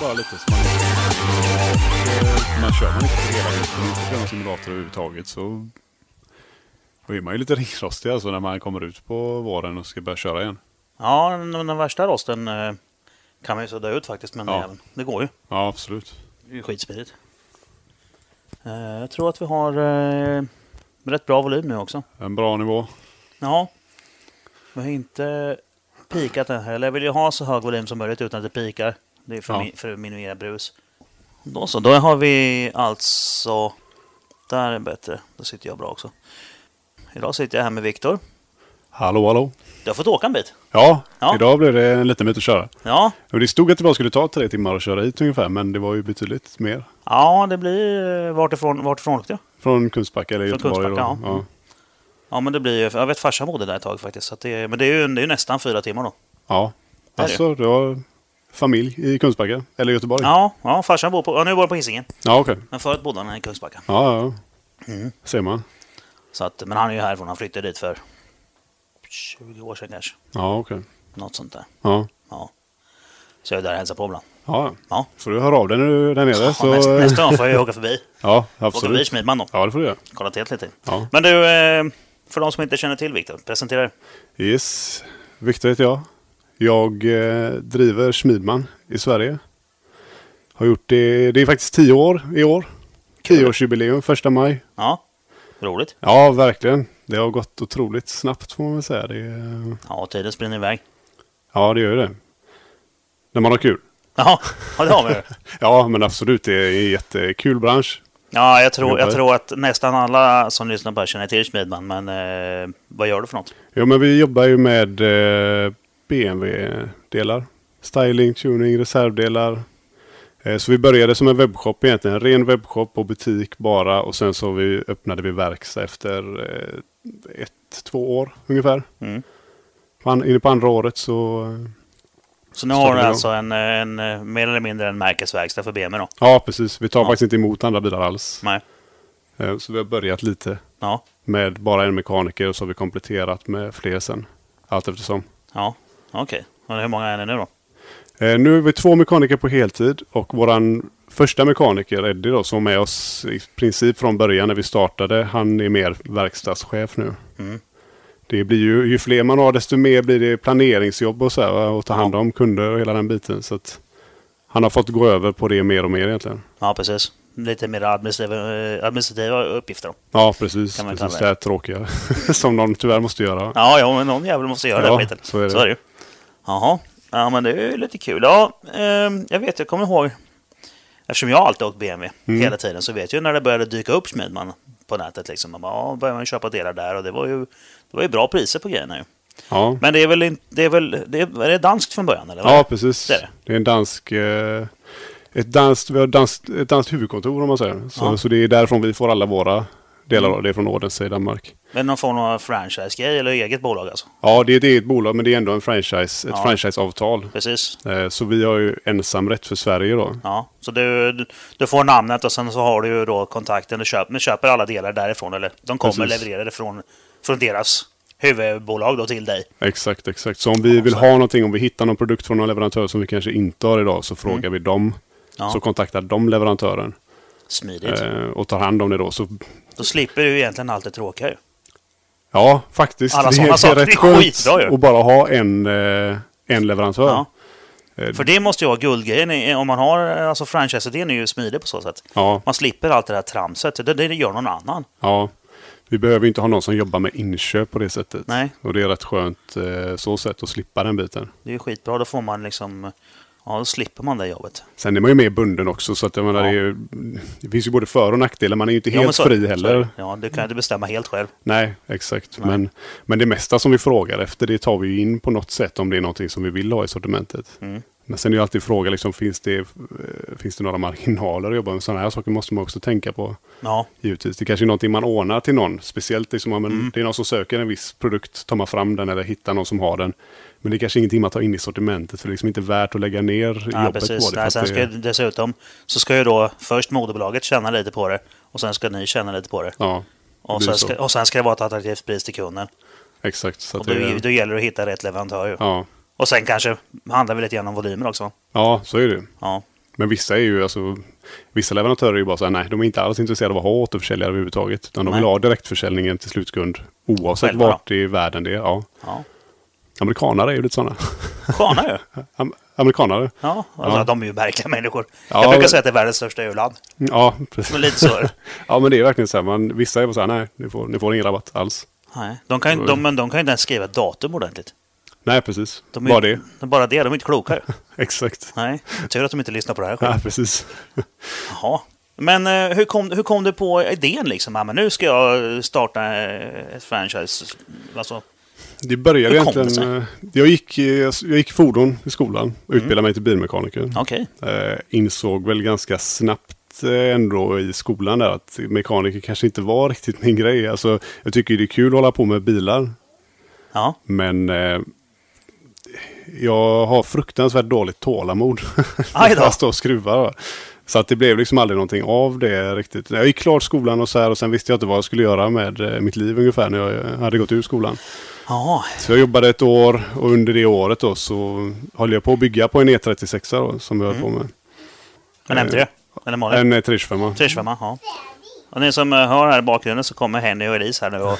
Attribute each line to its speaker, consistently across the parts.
Speaker 1: bara lite. Så man, eh, man kör man inte på hela vintern, inte kör någon simulator överhuvudtaget så då är man ju lite ringrostig alltså när man kommer ut på våren och ska börja köra igen.
Speaker 2: Ja, den, den värsta rosten eh, kan man ju sudda ut faktiskt, men
Speaker 1: Ja.
Speaker 2: eh, det går ju.
Speaker 1: Ja, absolut.
Speaker 2: Det är ju skitsmidigt. Eh, jag tror att vi har eh, rätt bra volym nu också.
Speaker 1: En bra nivå.
Speaker 2: Ja. Vi har inte pikat den heller. Jag vill ju ha så hög volym som möjligt utan att det pikar. Det är för,
Speaker 1: Ja.
Speaker 2: min, för att minimera brus. Då så, då har vi alltså... Där är bättre. Då sitter jag bra också. Idag sitter jag här med Viktor.
Speaker 1: Hallå, hallå.
Speaker 2: Du har fått åka en bit.
Speaker 1: Ja,
Speaker 2: Ja.
Speaker 1: idag blev det en liten bit att köra.
Speaker 2: Ja,
Speaker 1: Och det stod att det bara skulle ta tre timmar att köra hit ungefär, men det var ju betydligt mer.
Speaker 2: ja det blir... eh, Vartifrån, vartifrån åkte jag?
Speaker 1: Från Kungsbacka eller
Speaker 2: Från
Speaker 1: Göteborg.
Speaker 2: Kungsbacka,
Speaker 1: då.
Speaker 2: ja. Mm.
Speaker 1: Ja.
Speaker 2: Ja, men det blir ju... Jag vet farsan bodde där ett tag faktiskt. Så att det, men det är, ju, det är ju nästan fyra timmar då.
Speaker 1: ja.
Speaker 2: Där är
Speaker 1: Alltså, du har familj i Kungsbacka eller Göteborg?
Speaker 2: Ja, ja farsan bor på... Ja, nu bor han på Hisingen.
Speaker 1: Ja, okej.
Speaker 2: Men förut bodde han här i Kungsbacka.
Speaker 1: Ja, ja, ja.
Speaker 2: Mm.
Speaker 1: Ser man.
Speaker 2: Så att, men han är ju härifrån. Han flyttade dit för 20 år sedan kanske.
Speaker 1: Ja, okej.
Speaker 2: Något sånt där.
Speaker 1: Ja.
Speaker 2: Ja. Så jag är där och hälsar på ibland.
Speaker 1: Ja.
Speaker 2: Ja.
Speaker 1: Så du hör av dig när du är där nere.
Speaker 2: Ja,
Speaker 1: Så...
Speaker 2: nästa, nästa gång får jag ju åka förbi.
Speaker 1: Ja,
Speaker 2: Åka förbi
Speaker 1: absolut.
Speaker 2: Smidman då.
Speaker 1: Ja, det får du göra.
Speaker 2: Kolla till lite.
Speaker 1: Ja.
Speaker 2: Men du, eh, för de som inte känner till Viktor, presentera dig.
Speaker 1: Yes. Viktor heter jag. Jag eh, driver Schmidman i Sverige. Har gjort det, det är faktiskt tio år i år. Tioårsjubileum, första maj.
Speaker 2: Ja. Roligt.
Speaker 1: Ja, verkligen. Det har gått otroligt snabbt får man väl säga. Det, är-
Speaker 2: Ja, tiden springer iväg.
Speaker 1: ja, det gör ju det. När man har kul.
Speaker 2: Ja, ja det har vi.
Speaker 1: Ja, men absolut. Det är en jättekul bransch.
Speaker 2: Ja, jag tror, jag tror att nästan alla som lyssnar på det här känner till Smidman, men eh, vad gör du för något?
Speaker 1: Jo, men vi jobbar ju med eh, BMW-delar. Styling, tuning, reservdelar. Eh, så vi började som en webbshop egentligen. En ren webbshop och butik bara. Och sen så vi, öppnade vi verkstad efter eh, ett, två år ungefär.
Speaker 2: Mm.
Speaker 1: På an- Inne på andra året så... eh,
Speaker 2: Så nu
Speaker 1: Startar
Speaker 2: har du
Speaker 1: igång.
Speaker 2: alltså en, en, eh, mer eller mindre en märkesverkstad för BMW då?
Speaker 1: Ja, precis. Vi tar
Speaker 2: Ja.
Speaker 1: faktiskt inte emot andra bilar alls.
Speaker 2: Nej.
Speaker 1: Eh, så vi har börjat lite
Speaker 2: Ja.
Speaker 1: med bara en mekaniker och så har vi kompletterat med fler sen. Allt eftersom.
Speaker 2: Ja, okej. Men Hur många är ni nu då?
Speaker 1: Eh, nu är vi två mekaniker på heltid och vår första mekaniker Eddie då, som är med oss i princip från början när vi startade. Han är mer verkstadschef nu.
Speaker 2: Mm.
Speaker 1: Det blir ju, ju fler man har desto mer blir det planeringsjobb och så här, va, och ta hand om kunder och hela den biten. Så att han har fått gå över på det mer och mer egentliva.
Speaker 2: Ja, precis. Lite mer administrativa, eh, administrativa uppgifter då.
Speaker 1: Ja, precis.
Speaker 2: Kan man
Speaker 1: precis
Speaker 2: kalla
Speaker 1: det
Speaker 2: det.
Speaker 1: här tråkiga som de tyvärr måste göra.
Speaker 2: Ja, ja, men någon jävel måste göra
Speaker 1: Ja,
Speaker 2: den skiten.
Speaker 1: så är det.
Speaker 2: ju. Jaha. Ja, men det är ju lite kul. Ja, ehm, jag vet, jag kommer ihåg. Eftersom jag alltid åkt BMW
Speaker 1: Mm.
Speaker 2: hela tiden så vet jag ju när det började dyka upp Smidman på nätet. Liksom. Man bara, ja, började man köpa delar där och det var ju, det var ju bra priser på grejerna ju.
Speaker 1: Ja,
Speaker 2: Men det är väl inte, det är väl, det är, är det danskt från början eller? vad?
Speaker 1: ja precis.
Speaker 2: Det är det.
Speaker 1: Det är en dansk... Eh, ett danskt, vi har danskt, ett danskt huvudkontor om man säger. Så,
Speaker 2: Ja. Mm.
Speaker 1: så det är därifrån vi får alla våra delar. då. Det är från Odense i Danmark.
Speaker 2: Men någon form av franchise-grej eller eget bolag alltså?
Speaker 1: Ja, det är ett eget bolag men det är ändå en franchise, ett
Speaker 2: Ja.
Speaker 1: franchiseavtal.
Speaker 2: Precis.
Speaker 1: Eh, Så vi har ju ensamrätt för Sverige då.
Speaker 2: Ja, så du, du- du får namnet och sen så har du ju då kontakten. Du köper, men köper alla delar därifrån. Eller de kommer
Speaker 1: Precis.
Speaker 2: leverera det från, från deras huvudbolag då till dig.
Speaker 1: Exakt, exakt. Så om vi vill ha någonting, om vi hittar någon produkt från någon leverantör som vi kanske inte har idag så frågar vi dem.
Speaker 2: Mm. Ja.
Speaker 1: Så kontaktar de leverantören
Speaker 2: Smidigt.
Speaker 1: eh, och tar hand om det då. Så,
Speaker 2: Då slipper du ju egentligen allt det tråkiga ju.
Speaker 1: ja, faktiskt.
Speaker 2: Alla
Speaker 1: det,
Speaker 2: sådana
Speaker 1: det
Speaker 2: saker,
Speaker 1: är
Speaker 2: det är
Speaker 1: rätt skönt
Speaker 2: skitbra ju.
Speaker 1: att bara ha en, eh, en leverantör.
Speaker 2: Ja.
Speaker 1: Eh,
Speaker 2: För det måste ju vara guldgrejen. i- Om man har, alltså franchise-idén är ju smidig på så sätt.
Speaker 1: ja,
Speaker 2: Man slipper allt det där tramset. Det, det gör någon annan.
Speaker 1: ja. Vi behöver inte ha någon som jobbar med inköp på det sättet.
Speaker 2: Nej.
Speaker 1: Och det är rätt skönt eh, så sätt att slippa den biten.
Speaker 2: Det är ju skitbra. Då får man liksom... Ja, då slipper man det jobbet.
Speaker 1: Sen är man ju mer bunden också, så att jag menar,
Speaker 2: Ja.
Speaker 1: det, är, ju- det finns ju både för och nackdelar. Man är ju inte
Speaker 2: ja, men
Speaker 1: helt
Speaker 2: så-
Speaker 1: fri
Speaker 2: så är
Speaker 1: heller.
Speaker 2: det. ja, du kan inte bestämma helt själv.
Speaker 1: Nej, exakt.
Speaker 2: Nej.
Speaker 1: Men, men det mesta som vi frågar efter, det tar vi ju in på något sätt om det är någonting som vi vill ha i sortimentet.
Speaker 2: Mm.
Speaker 1: Men sen är ju alltid frågan, liksom, finns, det, eh, finns det några marginaler att jobba med? Sådana här saker måste man också tänka på.
Speaker 2: Ja,
Speaker 1: Givetvis, det kanske är någonting man ordnar till någon. Speciellt liksom, ja, men
Speaker 2: Mm.
Speaker 1: det är någon som söker en viss produkt, tar man fram den eller hittar någon som har den. Men det är kanske är ingenting man tar in i sortimentet, för det är liksom inte värt att lägga ner
Speaker 2: Ja,
Speaker 1: jobbet
Speaker 2: precis.
Speaker 1: på det. för
Speaker 2: Nej,
Speaker 1: att
Speaker 2: sen
Speaker 1: det-
Speaker 2: ska ju dessutom så ska ju då först moderbolaget tjäna lite på det och sen ska ni tjäna lite på det.
Speaker 1: Ja,
Speaker 2: och,
Speaker 1: blir
Speaker 2: sen
Speaker 1: så.
Speaker 2: ska, och sen ska det vara ett attraktivt pris till kunden.
Speaker 1: exakt. Så
Speaker 2: Och
Speaker 1: att
Speaker 2: då,
Speaker 1: det,
Speaker 2: då gäller det att hitta rätt leverantör. ju.
Speaker 1: ja.
Speaker 2: Och sen kanske handlar vi lite grann om volymer också.
Speaker 1: ja, så är det.
Speaker 2: Ja.
Speaker 1: Men vissa är ju alltså, vissa leverantörer är ju bara så här, nej, de är inte alls intresserade av att ha återförsäljare överhuvudtaget. Utan de
Speaker 2: Nej.
Speaker 1: vill ha direktförsäljningen till slutkund oavsett
Speaker 2: Själva då?
Speaker 1: vart i världen det är. Ja.
Speaker 2: Ja.
Speaker 1: Amerikanare är ju lite sådana.
Speaker 2: Sköna ju.
Speaker 1: Am- amerikanare.
Speaker 2: Ja, alltså,
Speaker 1: Ja.
Speaker 2: de är ju verkliga människor.
Speaker 1: Ja,
Speaker 2: jag brukar
Speaker 1: men-
Speaker 2: säga att det är världens största EU-land.
Speaker 1: Ja, precis.
Speaker 2: Men lite så är det.
Speaker 1: Ja, men det är verkligen så här. Man, vissa är bara så här, nej, ni får, ni får ingen rabatt alls.
Speaker 2: Nej, de kan, ju- de, men de kan ju inte ens skriva ett datum ordentligt.
Speaker 1: Nej, precis.
Speaker 2: De är,
Speaker 1: Bara det.
Speaker 2: Bara det, de är inte kloka ju.
Speaker 1: Exakt.
Speaker 2: Nej, tur att de inte lyssnar på det här själv.
Speaker 1: Ja, precis.
Speaker 2: Jaha. Men eh, hur kom, hur kom du på idén liksom? Ja, men nu ska jag starta eh, ett franchise. Alltså,
Speaker 1: Det började
Speaker 2: Hur kom det Mm.
Speaker 1: egentligen... eh, Jag gick, i- jag gick fordon i skolan och utbildade mig till bilmekaniker.
Speaker 2: okej.
Speaker 1: Eh, insåg väl ganska snabbt eh, ändå i skolan där att mekaniker kanske inte var riktigt min grej. Alltså, jag tycker ju det är kul att hålla på med bilar,
Speaker 2: Ja,
Speaker 1: men eh, jag har fruktansvärt dåligt tålamod.
Speaker 2: Aj då.
Speaker 1: jag står och skruvar. va. Så att det blev liksom aldrig någonting av det riktigt. Jag gick klart skolan och så här och sen visste jag inte vad jag skulle göra med eh, mitt liv ungefär när jag eh, hade gått ur skolan.
Speaker 2: ja,
Speaker 1: Så jag jobbade ett år och under det året då så höll jag på att bygga på en E36 då, som jag höll på
Speaker 2: Mm.
Speaker 1: med.
Speaker 2: jag nämnde det. Eller Malin?
Speaker 1: En eh, 325.
Speaker 2: Tvärsvämma, ja. Och ni som eh, hör här i bakgrunden så kommer Henny och Elise här nu och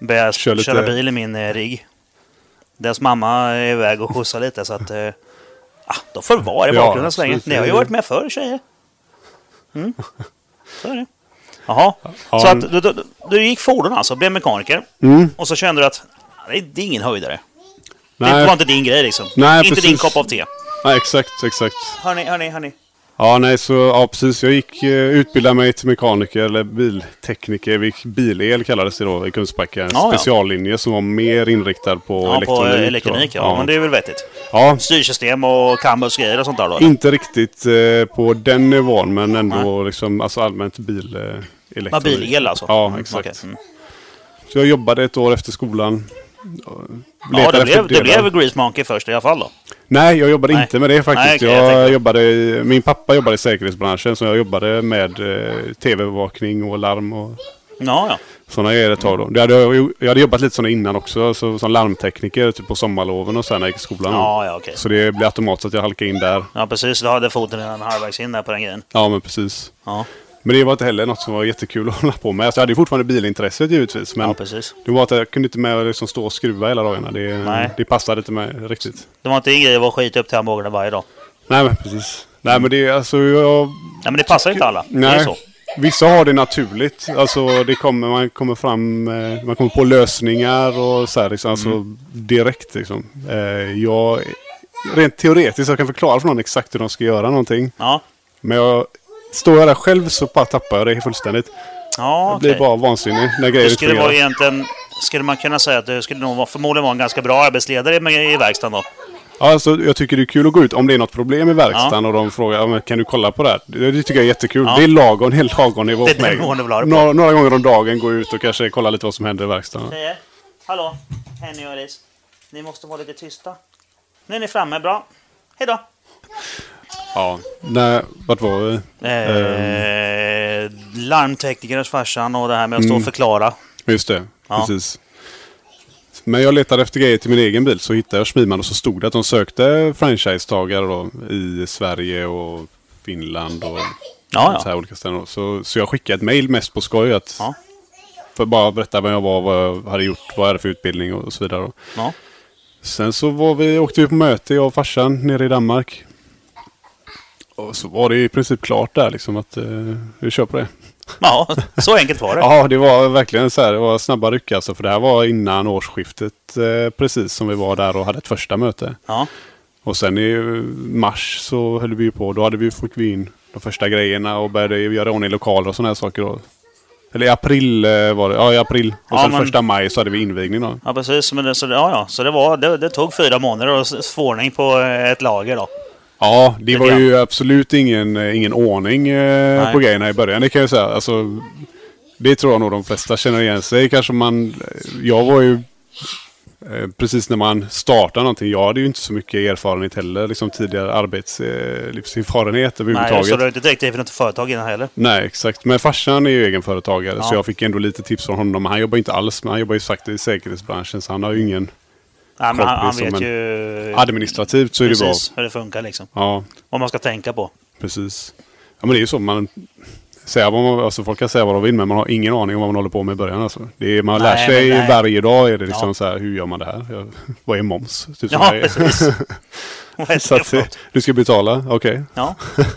Speaker 2: börjar
Speaker 1: Kör lite-
Speaker 2: köra bil i min eh, rigg. Deras mamma är iväg och skjutsar lite så att... Eh, ah, de får vara i
Speaker 1: Ja,
Speaker 2: bakgrunden så länge.
Speaker 1: absolut.
Speaker 2: Ni har ju varit med förr tjejer. Mm. Så är det. Jaha.
Speaker 1: Ja,
Speaker 2: Så att
Speaker 1: men-
Speaker 2: du, du, du gick fordon alltså, blev mekaniker.
Speaker 1: Mm.
Speaker 2: Och så kände du att ah, det är, det är ingen höjdare. Det var
Speaker 1: Nej,
Speaker 2: inte din grej liksom.
Speaker 1: Nej,
Speaker 2: inte din
Speaker 1: precis.
Speaker 2: kopp av te.
Speaker 1: nej, exakt, exakt.
Speaker 2: Hörni, hörni, hörni.
Speaker 1: Ja, nej, så ja, precis. Jag gick eh, utbildade mig till mekaniker eller biltekniker. Vi gick bilel kallades det då i Kungsbacka. En
Speaker 2: Ja, ja.
Speaker 1: speciallinje som var mer inriktad på
Speaker 2: Ja,
Speaker 1: elektronik.
Speaker 2: på eh,
Speaker 1: då.
Speaker 2: elektronik ja.
Speaker 1: ja.
Speaker 2: Men det är väl vettigt.
Speaker 1: ja,
Speaker 2: Styrsystem och campusgrejer och sånt där då? eller?
Speaker 1: inte riktigt eh, på den nivån, men ändå liksom, alltså allmänt bil, eh, elektronik.
Speaker 2: Ja, bilel alltså?
Speaker 1: Ja,
Speaker 2: Mm,
Speaker 1: exakt.
Speaker 2: okej. Mm.
Speaker 1: Så jag jobbade ett år efter skolan.
Speaker 2: Ja,
Speaker 1: Letade
Speaker 2: det
Speaker 1: efter
Speaker 2: blev, det
Speaker 1: delar.
Speaker 2: blev Grease Monkey först i alla fall då.
Speaker 1: Nej, jag jobbade
Speaker 2: Nej.
Speaker 1: inte med det faktiskt.
Speaker 2: Nej, okej, jag
Speaker 1: jag
Speaker 2: tänkte-
Speaker 1: jobbade i, min pappa jobbade i säkerhetsbranschen så jag jobbade med eh, tv-bevakning och larm och
Speaker 2: Ja, ja.
Speaker 1: sådana grejer ett tag. Då. Det hade jag, ju- jag hade jobbat lite sådana innan också, så, som larmtekniker typ på sommarloven och sen när jag gick i skolan.
Speaker 2: Ja, ja, okej.
Speaker 1: Så det blev automatiskt att jag halkade in där.
Speaker 2: Ja, precis. Du hade foten redan halvvägs in där på den grejen.
Speaker 1: Ja, men precis.
Speaker 2: Ja,
Speaker 1: Men det var inte heller något som var jättekul att hålla på med. Alltså, jag hade ju fortfarande bilintresset givetvis. Men
Speaker 2: ja precis.
Speaker 1: det var att jag kunde inte med att liksom stå och skruva hela dagarna.
Speaker 2: Nej.
Speaker 1: Det, det passade inte mig riktigt.
Speaker 2: Det var inte din grej att skita upp till hamburgarna varje dag.
Speaker 1: Nej, men precis. Nej, men det är alltså... Jag,
Speaker 2: Nej, men det passar inte alla. Det är
Speaker 1: nej.
Speaker 2: så.
Speaker 1: Vissa har det naturligt. Alltså, det kommer, man kommer fram... eh, Man kommer på lösningar och så här liksom. Alltså, direkt liksom. Eh, Jag... Rent teoretiskt, jag kan förklara för någon exakt hur de ska göra någonting.
Speaker 2: Ja,
Speaker 1: Men jag... Står jag där själv så bara tappar jag det fullständigt.
Speaker 2: ja
Speaker 1: Jag blir
Speaker 2: okej.
Speaker 1: bara vansinnig när grejer
Speaker 2: Du
Speaker 1: inte
Speaker 2: skulle vara
Speaker 1: fungerar.
Speaker 2: egentligen... Skulle man kunna säga att du skulle nog vara, förmodligen vara en ganska bra arbetsledare i, i verkstaden då?
Speaker 1: Ja, Alltså, jag tycker det är kul att gå ut om det är något problem i verkstaden och de frågar "Ja, men kan du kolla på det här? Det, det tycker jag är jättekul. Det är lagom, det är lagom nivå
Speaker 2: Det är
Speaker 1: för mig.
Speaker 2: den nivån du vill ha det på.
Speaker 1: Några, några gånger om dagen gå ut och kanske kolla lite vad som händer i verkstaden.
Speaker 2: Tjejer? Hallå? Henny och Elis? Ni måste vara lite tysta. Nu är ni framme, bra. Hej då!
Speaker 1: Ja. Nej, vart var vi?
Speaker 2: Eh, larmteknikernas farsan och det här med att stå
Speaker 1: Mm.
Speaker 2: och förklara.
Speaker 1: Just det,
Speaker 2: Ja.
Speaker 1: precis. Men jag letade efter grejer till min egen bil så hittade jag Schmiman och så stod det att de sökte franchisetagare då i Sverige och Finland och
Speaker 2: Ja, ja.
Speaker 1: så här olika ställen. då. Så, så jag skickade ett mail mest på skoj att
Speaker 2: Ja.
Speaker 1: för att bara berätta vem jag var, vad jag hade gjort, vad jag hade för utbildning och så vidare. då.
Speaker 2: Ja.
Speaker 1: Sen så var vi, åkte vi på möte, jag och farsan, nere i Danmark. Och så var det i princip klart där liksom att eh, vi kör på det.
Speaker 2: ja, så enkelt var det.
Speaker 1: Ja, det var verkligen så här, det var snabba ryck alltså. För det här var innan årsskiftet eh, precis som vi var där och hade ett första möte.
Speaker 2: Ja.
Speaker 1: Och sen i eh, mars så höll vi ju på, då hade vi, fick vi in de första grejerna och började göra i ordning lokaler och sådana här saker. Då. Eller i april eh, var det, ja i april. Och
Speaker 2: Ja,
Speaker 1: sen
Speaker 2: men-
Speaker 1: första maj så hade vi invigning då.
Speaker 2: Ja, precis. Men det, så, det- ja, ja. så det, var, det, det tog fyra månader att s- få ordning på eh, ett lager då.
Speaker 1: Ja, det var
Speaker 2: grann.
Speaker 1: ju absolut ingen, eh, ingen ordning eh,
Speaker 2: Nej.
Speaker 1: på grejerna i början. Det kan jag säga. Alltså, det tror jag nog de flesta känner igen sig. Kanske man, eh, jag var ju eh, precis när man startar någonting. Jag hade ju inte så mycket erfarenhet heller. Liksom tidigare arbetslivserfarenhet
Speaker 2: Nej,
Speaker 1: överhuvudtaget.
Speaker 2: så
Speaker 1: Nej,
Speaker 2: du har inte direkt drivit något företag innan heller.
Speaker 1: exakt. Men farsan är ju egenföretagare. Så
Speaker 2: Ja.
Speaker 1: jag fick ändå lite tips från honom. Men han jobbar inte alls. Men han jobbar ju faktiskt i säkerhetsbranschen. Så han har ju ingen...
Speaker 2: Nej, men han, han
Speaker 1: Kompis som
Speaker 2: vet
Speaker 1: en-
Speaker 2: ju
Speaker 1: Administrativt så är det bra.
Speaker 2: precis hur det funkar liksom.
Speaker 1: Ja,
Speaker 2: Vad man ska tänka på.
Speaker 1: Precis. Ja men det är ju så. Man, säga vad man, alltså folk kan säga vad de vill men man har ingen aning om vad man håller på med i början. Alltså. Det är, man
Speaker 2: Nej,
Speaker 1: lär sig
Speaker 2: men nej.
Speaker 1: varje dag. Är det liksom
Speaker 2: Ja.
Speaker 1: så här, hur gör man det här? Ja, vad är moms? Typ
Speaker 2: Ja,
Speaker 1: som det är.
Speaker 2: precis. Vad är
Speaker 1: så
Speaker 2: det
Speaker 1: att,
Speaker 2: för
Speaker 1: eh,
Speaker 2: något?
Speaker 1: du ska betala, okej.
Speaker 2: Ja,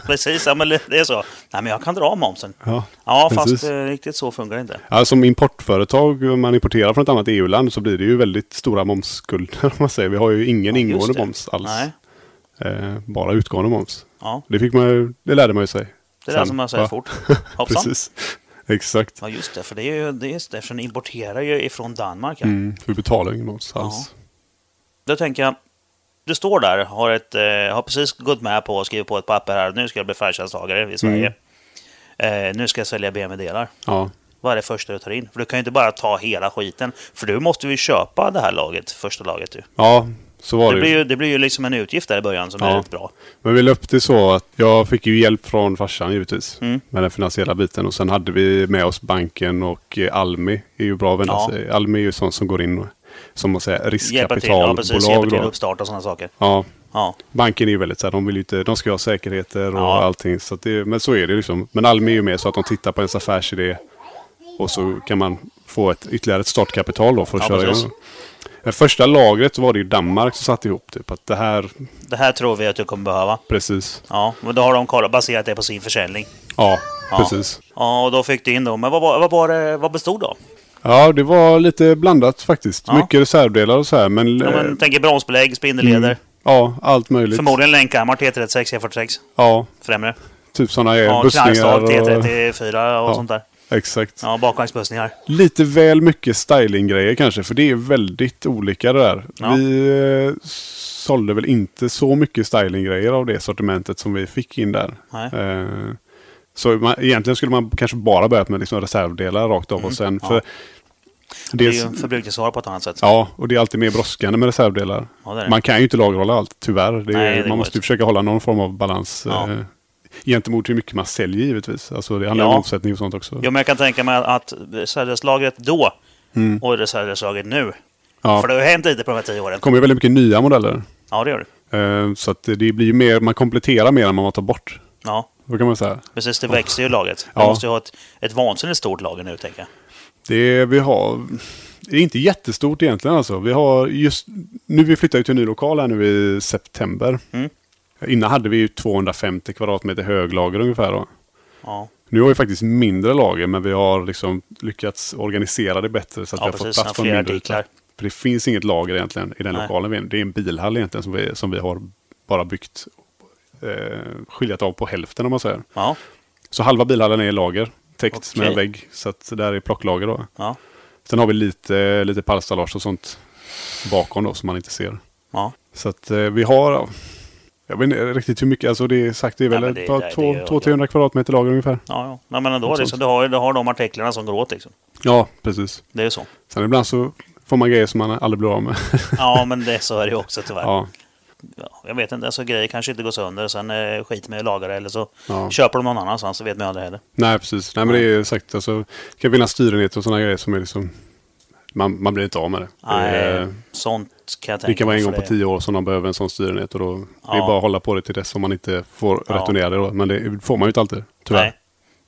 Speaker 2: precis. Ja, men det är så. Nej, men jag kan dra av momsen.
Speaker 1: Ja.
Speaker 2: Ja,
Speaker 1: Precis.
Speaker 2: fast eh, riktigt så fungerar det inte.
Speaker 1: Ja, som importföretag, om man importerar från ett annat EU-land så blir det ju väldigt stora momsskulder. Om man säger. Vi har ju ingen
Speaker 2: Ja, just
Speaker 1: ingående
Speaker 2: det.
Speaker 1: moms alls.
Speaker 2: Nej,
Speaker 1: Eh, bara utgående moms.
Speaker 2: ja.
Speaker 1: Det, fick man, ju- det lärde man ju sig.
Speaker 2: Det är det
Speaker 1: Sen,
Speaker 2: som man säger
Speaker 1: va?
Speaker 2: fort. Hoppsan.
Speaker 1: Precis. Exakt.
Speaker 2: Ja, just det. För det är ju det är just det, eftersom ni importerar ju ifrån Danmark. Ja.
Speaker 1: Mm, för vi betalar ju ingen moms alls.
Speaker 2: Då tänker jag, du står där, har, ett, eh, har precis gått med på och skrivit på ett papper här. Nu ska jag bli färdtjänsttagare i Sverige.
Speaker 1: Mm.
Speaker 2: Eh, nu ska jag sälja BMW-delar.
Speaker 1: Ja.
Speaker 2: Vad är det första du tar in? För du kan ju inte bara ta hela skiten. För du måste ju köpa det här laget, första laget. Du.
Speaker 1: ja, så var
Speaker 2: Det,
Speaker 1: det,
Speaker 2: blir
Speaker 1: ju.
Speaker 2: ju, det blir ju liksom en utgift där i början som är
Speaker 1: Ja.
Speaker 2: rätt bra.
Speaker 1: Men vi löpte så att jag fick ju hjälp från farsan givetvis.
Speaker 2: Mm.
Speaker 1: Med den finansiella biten. Och sen hade vi med oss banken och eh, Almi. är ju bra vänner.
Speaker 2: Ja.
Speaker 1: sig. Almi är ju sånt som går in och som man säger,
Speaker 2: Hjälpa till, ja, precis, hjälpa
Speaker 1: riskkapitalbolag.
Speaker 2: till
Speaker 1: då.
Speaker 2: uppstart och sådana saker.
Speaker 1: ja,
Speaker 2: Ja,
Speaker 1: Banken är ju väldigt så här, de vill ju inte, de ska ju ha säkerheter och
Speaker 2: Ja.
Speaker 1: allting. Så att det, men så är det liksom. Men Almi är ju med så att de tittar på ens affärsidé. Och så kan man få ett, ytterligare ett startkapital då för att
Speaker 2: Ja,
Speaker 1: köra
Speaker 2: precis.
Speaker 1: igång. Det första lagret så var det ju Danmark som satte ihop typ att det här,
Speaker 2: det här tror vi att du kommer behöva.
Speaker 1: precis.
Speaker 2: Ja, men då har de kollat, baserat det på sin försäljning.
Speaker 1: Ja,
Speaker 2: Ja.
Speaker 1: precis.
Speaker 2: Ja, och då fick du in då. Men vad, var- vad, var det, vad bestod då?
Speaker 1: Ja, det var lite blandat faktiskt.
Speaker 2: Ja.
Speaker 1: Mycket reservdelar och så här. Men,
Speaker 2: Ja,
Speaker 1: eh, mm,
Speaker 2: men, tänk er bromsbelägg, spindelleder.
Speaker 1: ja allt möjligt.
Speaker 2: Förmodligen länkarmar T36, E46
Speaker 1: Ja,
Speaker 2: E främre.
Speaker 1: typ sådana
Speaker 2: Ja,
Speaker 1: ja,
Speaker 2: knarkstag
Speaker 1: bussningar. Och,
Speaker 2: T34 och
Speaker 1: Ja.
Speaker 2: sånt där.
Speaker 1: exakt.
Speaker 2: Ja, bakvagnsbussningar.
Speaker 1: Lite väl mycket stylinggrejer kanske, för det är väldigt olika det där.
Speaker 2: Ja.
Speaker 1: Vi eh, sålde väl inte så mycket stylinggrejer av det sortimentet som vi fick in där.
Speaker 2: Nej.
Speaker 1: Eh, så man, egentligen skulle man kanske bara börjat med liksom reservdelar rakt av och sen. För
Speaker 2: Mm. ja. Det är
Speaker 1: dels-
Speaker 2: ju en förbrukningsvara på ett annat sätt.
Speaker 1: Ja, och det är alltid mer brådskande med reservdelar.
Speaker 2: Ja, det är det.
Speaker 1: Man kan ju inte lagerhålla allt, tyvärr. Det är,
Speaker 2: Nej, det går
Speaker 1: man måste
Speaker 2: inte.
Speaker 1: ju försöka hålla någon form av balans
Speaker 2: Ja.
Speaker 1: eh, gentemot hur mycket man säljer givetvis. Alltså, det handlar
Speaker 2: Ja.
Speaker 1: om omsättning och sånt också.
Speaker 2: Jo, men jag kan tänka mig att reservdelslagret då och reservdelslagret nu.
Speaker 1: Mm. Ja.
Speaker 2: För det har ju hänt lite på de här tio åren.
Speaker 1: Det kommer ju väldigt mycket nya modeller.
Speaker 2: Ja, det gör det.
Speaker 1: Eh, Så att det blir ju mer, man kompletterar mer än vad man tar bort.
Speaker 2: Ja,
Speaker 1: Vad kan man säga?
Speaker 2: precis. Det växer ju lagret. Man
Speaker 1: Ja.
Speaker 2: måste ju ha ett, ett vansinnigt stort lager nu, tänker jag.
Speaker 1: Det vi har, det är inte jättestort egentligen alltså. Vi har just, nu vi flyttar ju till en ny lokal här nu i september.
Speaker 2: Mm.
Speaker 1: Innan hade vi ju 250 kvadratmeter höglager ungefär då.
Speaker 2: Ja,
Speaker 1: Nu har vi faktiskt mindre lager men vi har liksom lyckats organisera det bättre så att
Speaker 2: Ja,
Speaker 1: vi har fått
Speaker 2: precis.
Speaker 1: plats
Speaker 2: Med
Speaker 1: för
Speaker 2: fler
Speaker 1: en mindre
Speaker 2: artiklar.
Speaker 1: yta. För det finns inget lager egentligen i den
Speaker 2: Nej.
Speaker 1: lokalen vi är i. Det är en bilhall egentligen som vi, som vi har bara byggt, eh, skiljat av på hälften om man säger.
Speaker 2: ja,
Speaker 1: Så halva bilhallen är lager, täckt med
Speaker 2: Okej.
Speaker 1: en vägg. Så att där är plocklager då.
Speaker 2: ja.
Speaker 1: Sen har vi lite, lite pallstallage och sånt bakom då som man inte ser.
Speaker 2: ja.
Speaker 1: Så att eh, vi har, jag vet inte riktigt hur mycket, alltså det är sagt, det är
Speaker 2: Nej,
Speaker 1: väl
Speaker 2: men det-
Speaker 1: ett
Speaker 2: det-
Speaker 1: par
Speaker 2: det är
Speaker 1: två-
Speaker 2: ju-
Speaker 1: två 300 kvadratmeter lager ungefär.
Speaker 2: Ja, ja. Nej, men ändå, liksom,
Speaker 1: Något
Speaker 2: det, så
Speaker 1: sånt.
Speaker 2: du, har, ju- du har de artiklarna som går åt liksom.
Speaker 1: Ja, precis.
Speaker 2: Det är ju så.
Speaker 1: Sen ibland så får man grejer som man aldrig blir av med.
Speaker 2: Ja, men det, så är det ju också tyvärr. Ja.
Speaker 1: ja,
Speaker 2: jag vet inte, alltså, grejer kanske inte går sönder. Sen eh, skiter man i att laga det eller så
Speaker 1: Ja.
Speaker 2: köper de någon annanstans. Så vet man ju aldrig heller.
Speaker 1: nej precis. Nej men det är sagt, alltså, det kan finnas styrenheter och sådana grejer som är liksom, man, man blir inte av med det.
Speaker 2: Nej,
Speaker 1: Eh,
Speaker 2: sånt kan jag tänka
Speaker 1: Det kan vara
Speaker 2: mig,
Speaker 1: en gång
Speaker 2: för
Speaker 1: på tio år som de behöver en sån styrenhet och då det är
Speaker 2: Ja.
Speaker 1: bara att hålla på det till dess som man inte får
Speaker 2: Ja.
Speaker 1: returnera det då. Men det får man ju inte alltid, tyvärr.
Speaker 2: Nej.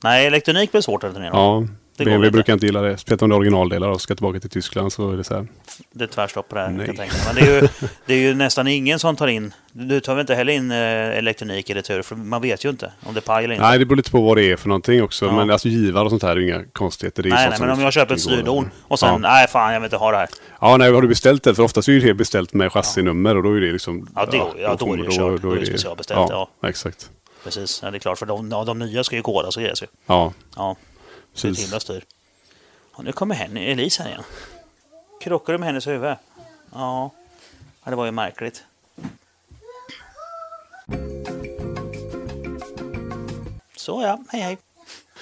Speaker 2: Nej, elektronik blir svårt att returnera.
Speaker 1: Ja,
Speaker 2: Det går
Speaker 1: BMW
Speaker 2: lite.
Speaker 1: brukar inte gilla det. Speciellt om det är originaldelar och ska tillbaka till Tyskland så är det så här.
Speaker 2: Det är tvärstopp på det här. kan
Speaker 1: Nej.
Speaker 2: jag tänka. mig. Men det är, ju, det är ju nästan ingen som tar in... Du tar väl inte heller in eh, elektronik i retur? För man vet ju inte om det är paj eller inte.
Speaker 1: Nej, det beror lite på vad det är för någonting också.
Speaker 2: Ja.
Speaker 1: Men alltså givare och sånt här är ju inga konstigheter. Det är ju
Speaker 2: Nej,
Speaker 1: sånt
Speaker 2: nej,
Speaker 1: som liksom
Speaker 2: men om jag köper ett
Speaker 1: ingår.
Speaker 2: styrdon och sen,
Speaker 1: Ja.
Speaker 2: nej fan jag vill inte ha det här.
Speaker 1: Ja, nej, har du beställt det? För oftast är ju det beställt med chassinummer och då är det liksom...
Speaker 2: Ja, det- ja, då är
Speaker 1: kommer-
Speaker 2: det kört. Då är det specialbeställt,
Speaker 1: exakt.
Speaker 2: Precis, ja, det är klart. För de, ja, de nya ska ju kodas och grejas ju.
Speaker 1: Ja,
Speaker 2: Ja, så det är ett
Speaker 1: Precis.
Speaker 2: himla styr. Ja, nu kommer Henny, Elise här igen. Krockar du med hennes huvud? Ja. ja, det var ju märkligt. Så ja, hej hej.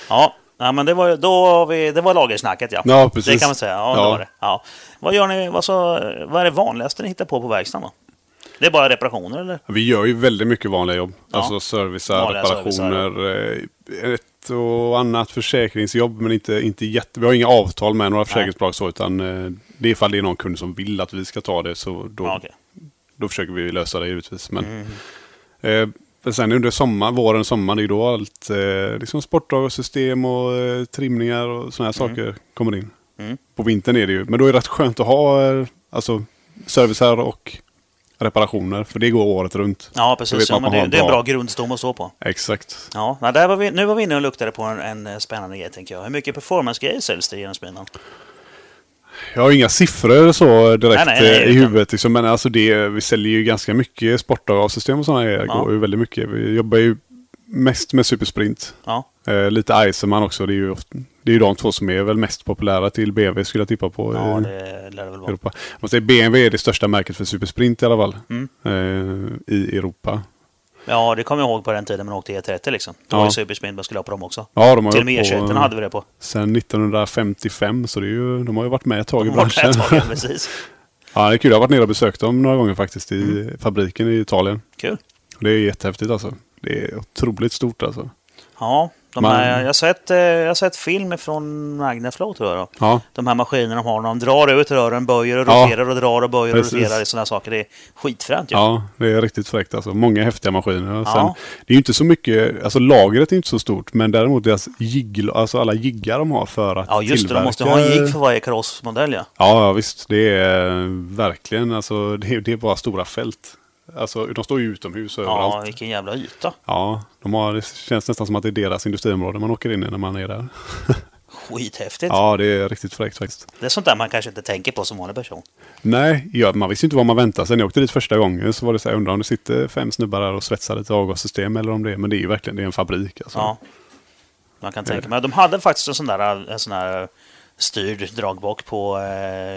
Speaker 2: Ja, ja men det var, ju- då har vi, det var lagersnacket ja.
Speaker 1: Ja, precis.
Speaker 2: Det kan man säga. Ja, Det
Speaker 1: Ja.
Speaker 2: var det. Ja. Vad, gör ni, vad, så, vad är det vanligaste ni hittar på på verkstaden? Då? Det är bara reparationer eller?
Speaker 1: Vi gör ju väldigt mycket vanliga jobb.
Speaker 2: Ja.
Speaker 1: Alltså servicer,
Speaker 2: Vanliga
Speaker 1: reparationer, eh, ett och annat försäkringsjobb. Men inte, inte jätte... Vi har inga avtal med några försäkringsbolag så. Utan eh, det är ifall det är någon kund som vill att vi ska ta det så då,
Speaker 2: Ja, okej. Mm.
Speaker 1: då försöker vi lösa det givetvis. Men, eh, Men sen under sommar, våren, sommaren, det är ju då allt eh, liksom sportdragarsystem och eh, trimningar och sådana här saker kommer in.
Speaker 2: Mm.
Speaker 1: På vintern är det ju, men då är det rätt skönt att ha eh, alltså, servicer och reparationer. För det går året runt.
Speaker 2: Ja,
Speaker 1: Då vet
Speaker 2: precis. Ja,
Speaker 1: man
Speaker 2: men
Speaker 1: att man
Speaker 2: det,
Speaker 1: har
Speaker 2: det är en
Speaker 1: bra-
Speaker 2: bra grundstomme att stå på.
Speaker 1: Exakt.
Speaker 2: Ja, nej, där var vi, nu var vi inne och luktade på en, en eh, spännande grej, tänker jag. Hur mycket performance-grejer säljs det genom spelaren?
Speaker 1: Jag har inga siffror så direkt
Speaker 2: Nej, nej, nej,
Speaker 1: eh, i
Speaker 2: utan-
Speaker 1: huvudet. Liksom, men alltså det, vi säljer ju ganska mycket sportavgassystem och sådana grejer. Det
Speaker 2: Ja.
Speaker 1: går ju väldigt mycket. Vi jobbar ju mest med Supersprint.
Speaker 2: Ja,
Speaker 1: Eh, lite Eisenman också. Det är, ju ofta, det är ju de två som är väl mest populära till BMW skulle jag tippa på.
Speaker 2: ja
Speaker 1: i-
Speaker 2: det lär det väl vara.
Speaker 1: Europa. Man säger BMW är det största märket för supersprint i alla fall.
Speaker 2: Mm.
Speaker 1: Eh, I Europa.
Speaker 2: Ja, det kommer jag ihåg på den tiden man åkte E30 liksom. Då var
Speaker 1: Ja.
Speaker 2: ju Supersprint man skulle ha på dem också.
Speaker 1: Ja, de har
Speaker 2: Till
Speaker 1: ju
Speaker 2: och med
Speaker 1: hållit
Speaker 2: E21 hade vi det på.
Speaker 1: Sen 1955 så det är ju, de har ju varit med ett tag i
Speaker 2: Vart
Speaker 1: branschen.
Speaker 2: är taget, precis.
Speaker 1: ja, det är kul. Jag har varit nere och besökt dem några gånger faktiskt i
Speaker 2: Mm.
Speaker 1: fabriken i Italien.
Speaker 2: Kul.
Speaker 1: Och Det är jättehäftigt alltså. Det är otroligt stort alltså.
Speaker 2: Ja, de
Speaker 1: Man-
Speaker 2: här, jag, har sett, eh, jag har sett film från Magnaflow tror jag. Då.
Speaker 1: Ja,
Speaker 2: De här maskinerna de har, när de drar ut rören, böjer och
Speaker 1: Ja.
Speaker 2: roterar och drar och böjer
Speaker 1: Precis.
Speaker 2: och roterar. Sådana saker. Det är skitfränt ju.
Speaker 1: ja, det är riktigt fräckt alltså. Många häftiga maskiner. Och Sen,
Speaker 2: Ja.
Speaker 1: Det är ju inte så mycket, alltså lagret är inte så stort. Men däremot deras jigg, alltså alla jiggar de har för att
Speaker 2: Ja, just det.
Speaker 1: tillverka...
Speaker 2: De måste ha en jigg för varje karossmodell ja.
Speaker 1: Ja, ja, visst. Det är eh, verkligen alltså, det, är- det är bara stora fält. Alltså, de står ju utomhus
Speaker 2: Ja,
Speaker 1: överallt.
Speaker 2: vilken jävla yta.
Speaker 1: Ja, de har, det känns nästan som att det är deras industriområde man åker in i när man är där.
Speaker 2: Skithäftigt.
Speaker 1: Ja, det är riktigt fräckt faktiskt.
Speaker 2: Det är sånt där man kanske inte tänker på som vanlig person.
Speaker 1: Nej, ja, man visste ju inte vad man väntade sig. När jag åkte dit första gången så var det så här, undrar om det sitter fem snubbar där och svetsar ett avgassystem eller om det är, men det är ju verkligen det är en fabrik. Alltså.
Speaker 2: Ja. Man kan tänka mig. De hade faktiskt en sån där, en sån där styrd dragbock på... Eh,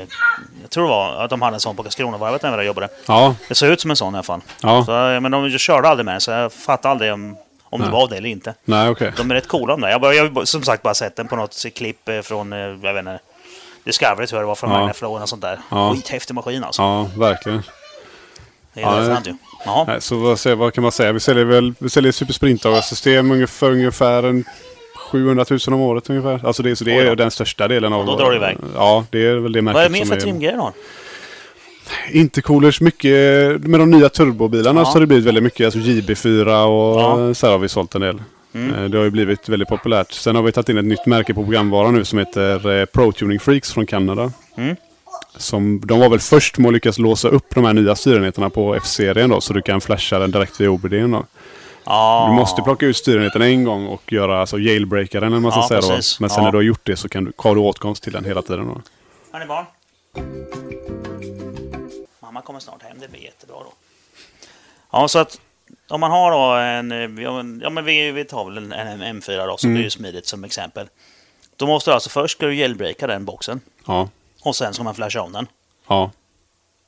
Speaker 2: jag tror det var att de hade en sån på Karlskronavarvet när jag där jobbade.
Speaker 1: ja,
Speaker 2: Det såg ut som en sån i alla fall.
Speaker 1: Ja.
Speaker 2: Så, eh, men de körde aldrig med den, så jag fattade aldrig om, om det
Speaker 1: Nej.
Speaker 2: var det eller inte.
Speaker 1: nej okej.
Speaker 2: De är rätt coola de där. Jag har jag har som sagt bara sett den på något klipp eh, från, eh, jag vet inte, Discovery tror jag det var, från
Speaker 1: Ja.
Speaker 2: Magnaflow och sånt där.
Speaker 1: Ja.
Speaker 2: Skithäftig maskin alltså.
Speaker 1: Ja, verkligen.
Speaker 2: Det är
Speaker 1: Ja,
Speaker 2: ja, ju. Ja.
Speaker 1: Nej, så vad, säger- vad kan man säga? Vi säljer väl vi säljer supersprintdagarsystem ungefär, ungefär en 700 000 om året ungefär. Alltså det, så det
Speaker 2: Oj
Speaker 1: är
Speaker 2: då.
Speaker 1: den största delen av...
Speaker 2: Då drar det iväg.
Speaker 1: Ja, det är väl det märket
Speaker 2: Vad är det mer
Speaker 1: som
Speaker 2: för trimgrejer då?
Speaker 1: Intercoolers mycket. Med de nya turbobilarna
Speaker 2: Ja.
Speaker 1: så har det blivit väldigt mycket. Alltså JB4 och
Speaker 2: Ja. Mm.
Speaker 1: så här har vi sålt en del. Eh, Det har ju blivit väldigt populärt. Sen har vi tagit in ett nytt märke på programvaran nu som heter eh, Pro Tuning Freaks från Kanada.
Speaker 2: Mm.
Speaker 1: Som, de var väl först med att lyckas låsa upp de här nya styrenheterna på F-serien då. Så du kan flasha den direkt via OBD. Då.
Speaker 2: Ja.
Speaker 1: Du måste plocka ut styrenheten en gång och göra alltså jailbreaka den eller vad man ska
Speaker 2: Ja,
Speaker 1: säga
Speaker 2: precis.
Speaker 1: då. Men sen
Speaker 2: Ja.
Speaker 1: när du har gjort det så kan du, har du åtkomst till den hela tiden då.
Speaker 2: Är ni barn? Mamma kommer snart hem, det blir jättebra då. Ja, så att om man har då en... eh, ja, men- Ja, men vi, vi tar väl en, en M4 då, så
Speaker 1: Mm.
Speaker 2: blir det ju smidigt som exempel. Då måste du alltså först ska du jailbreaka den boxen
Speaker 1: Ja,
Speaker 2: och sen ska man flasha om den.
Speaker 1: ja.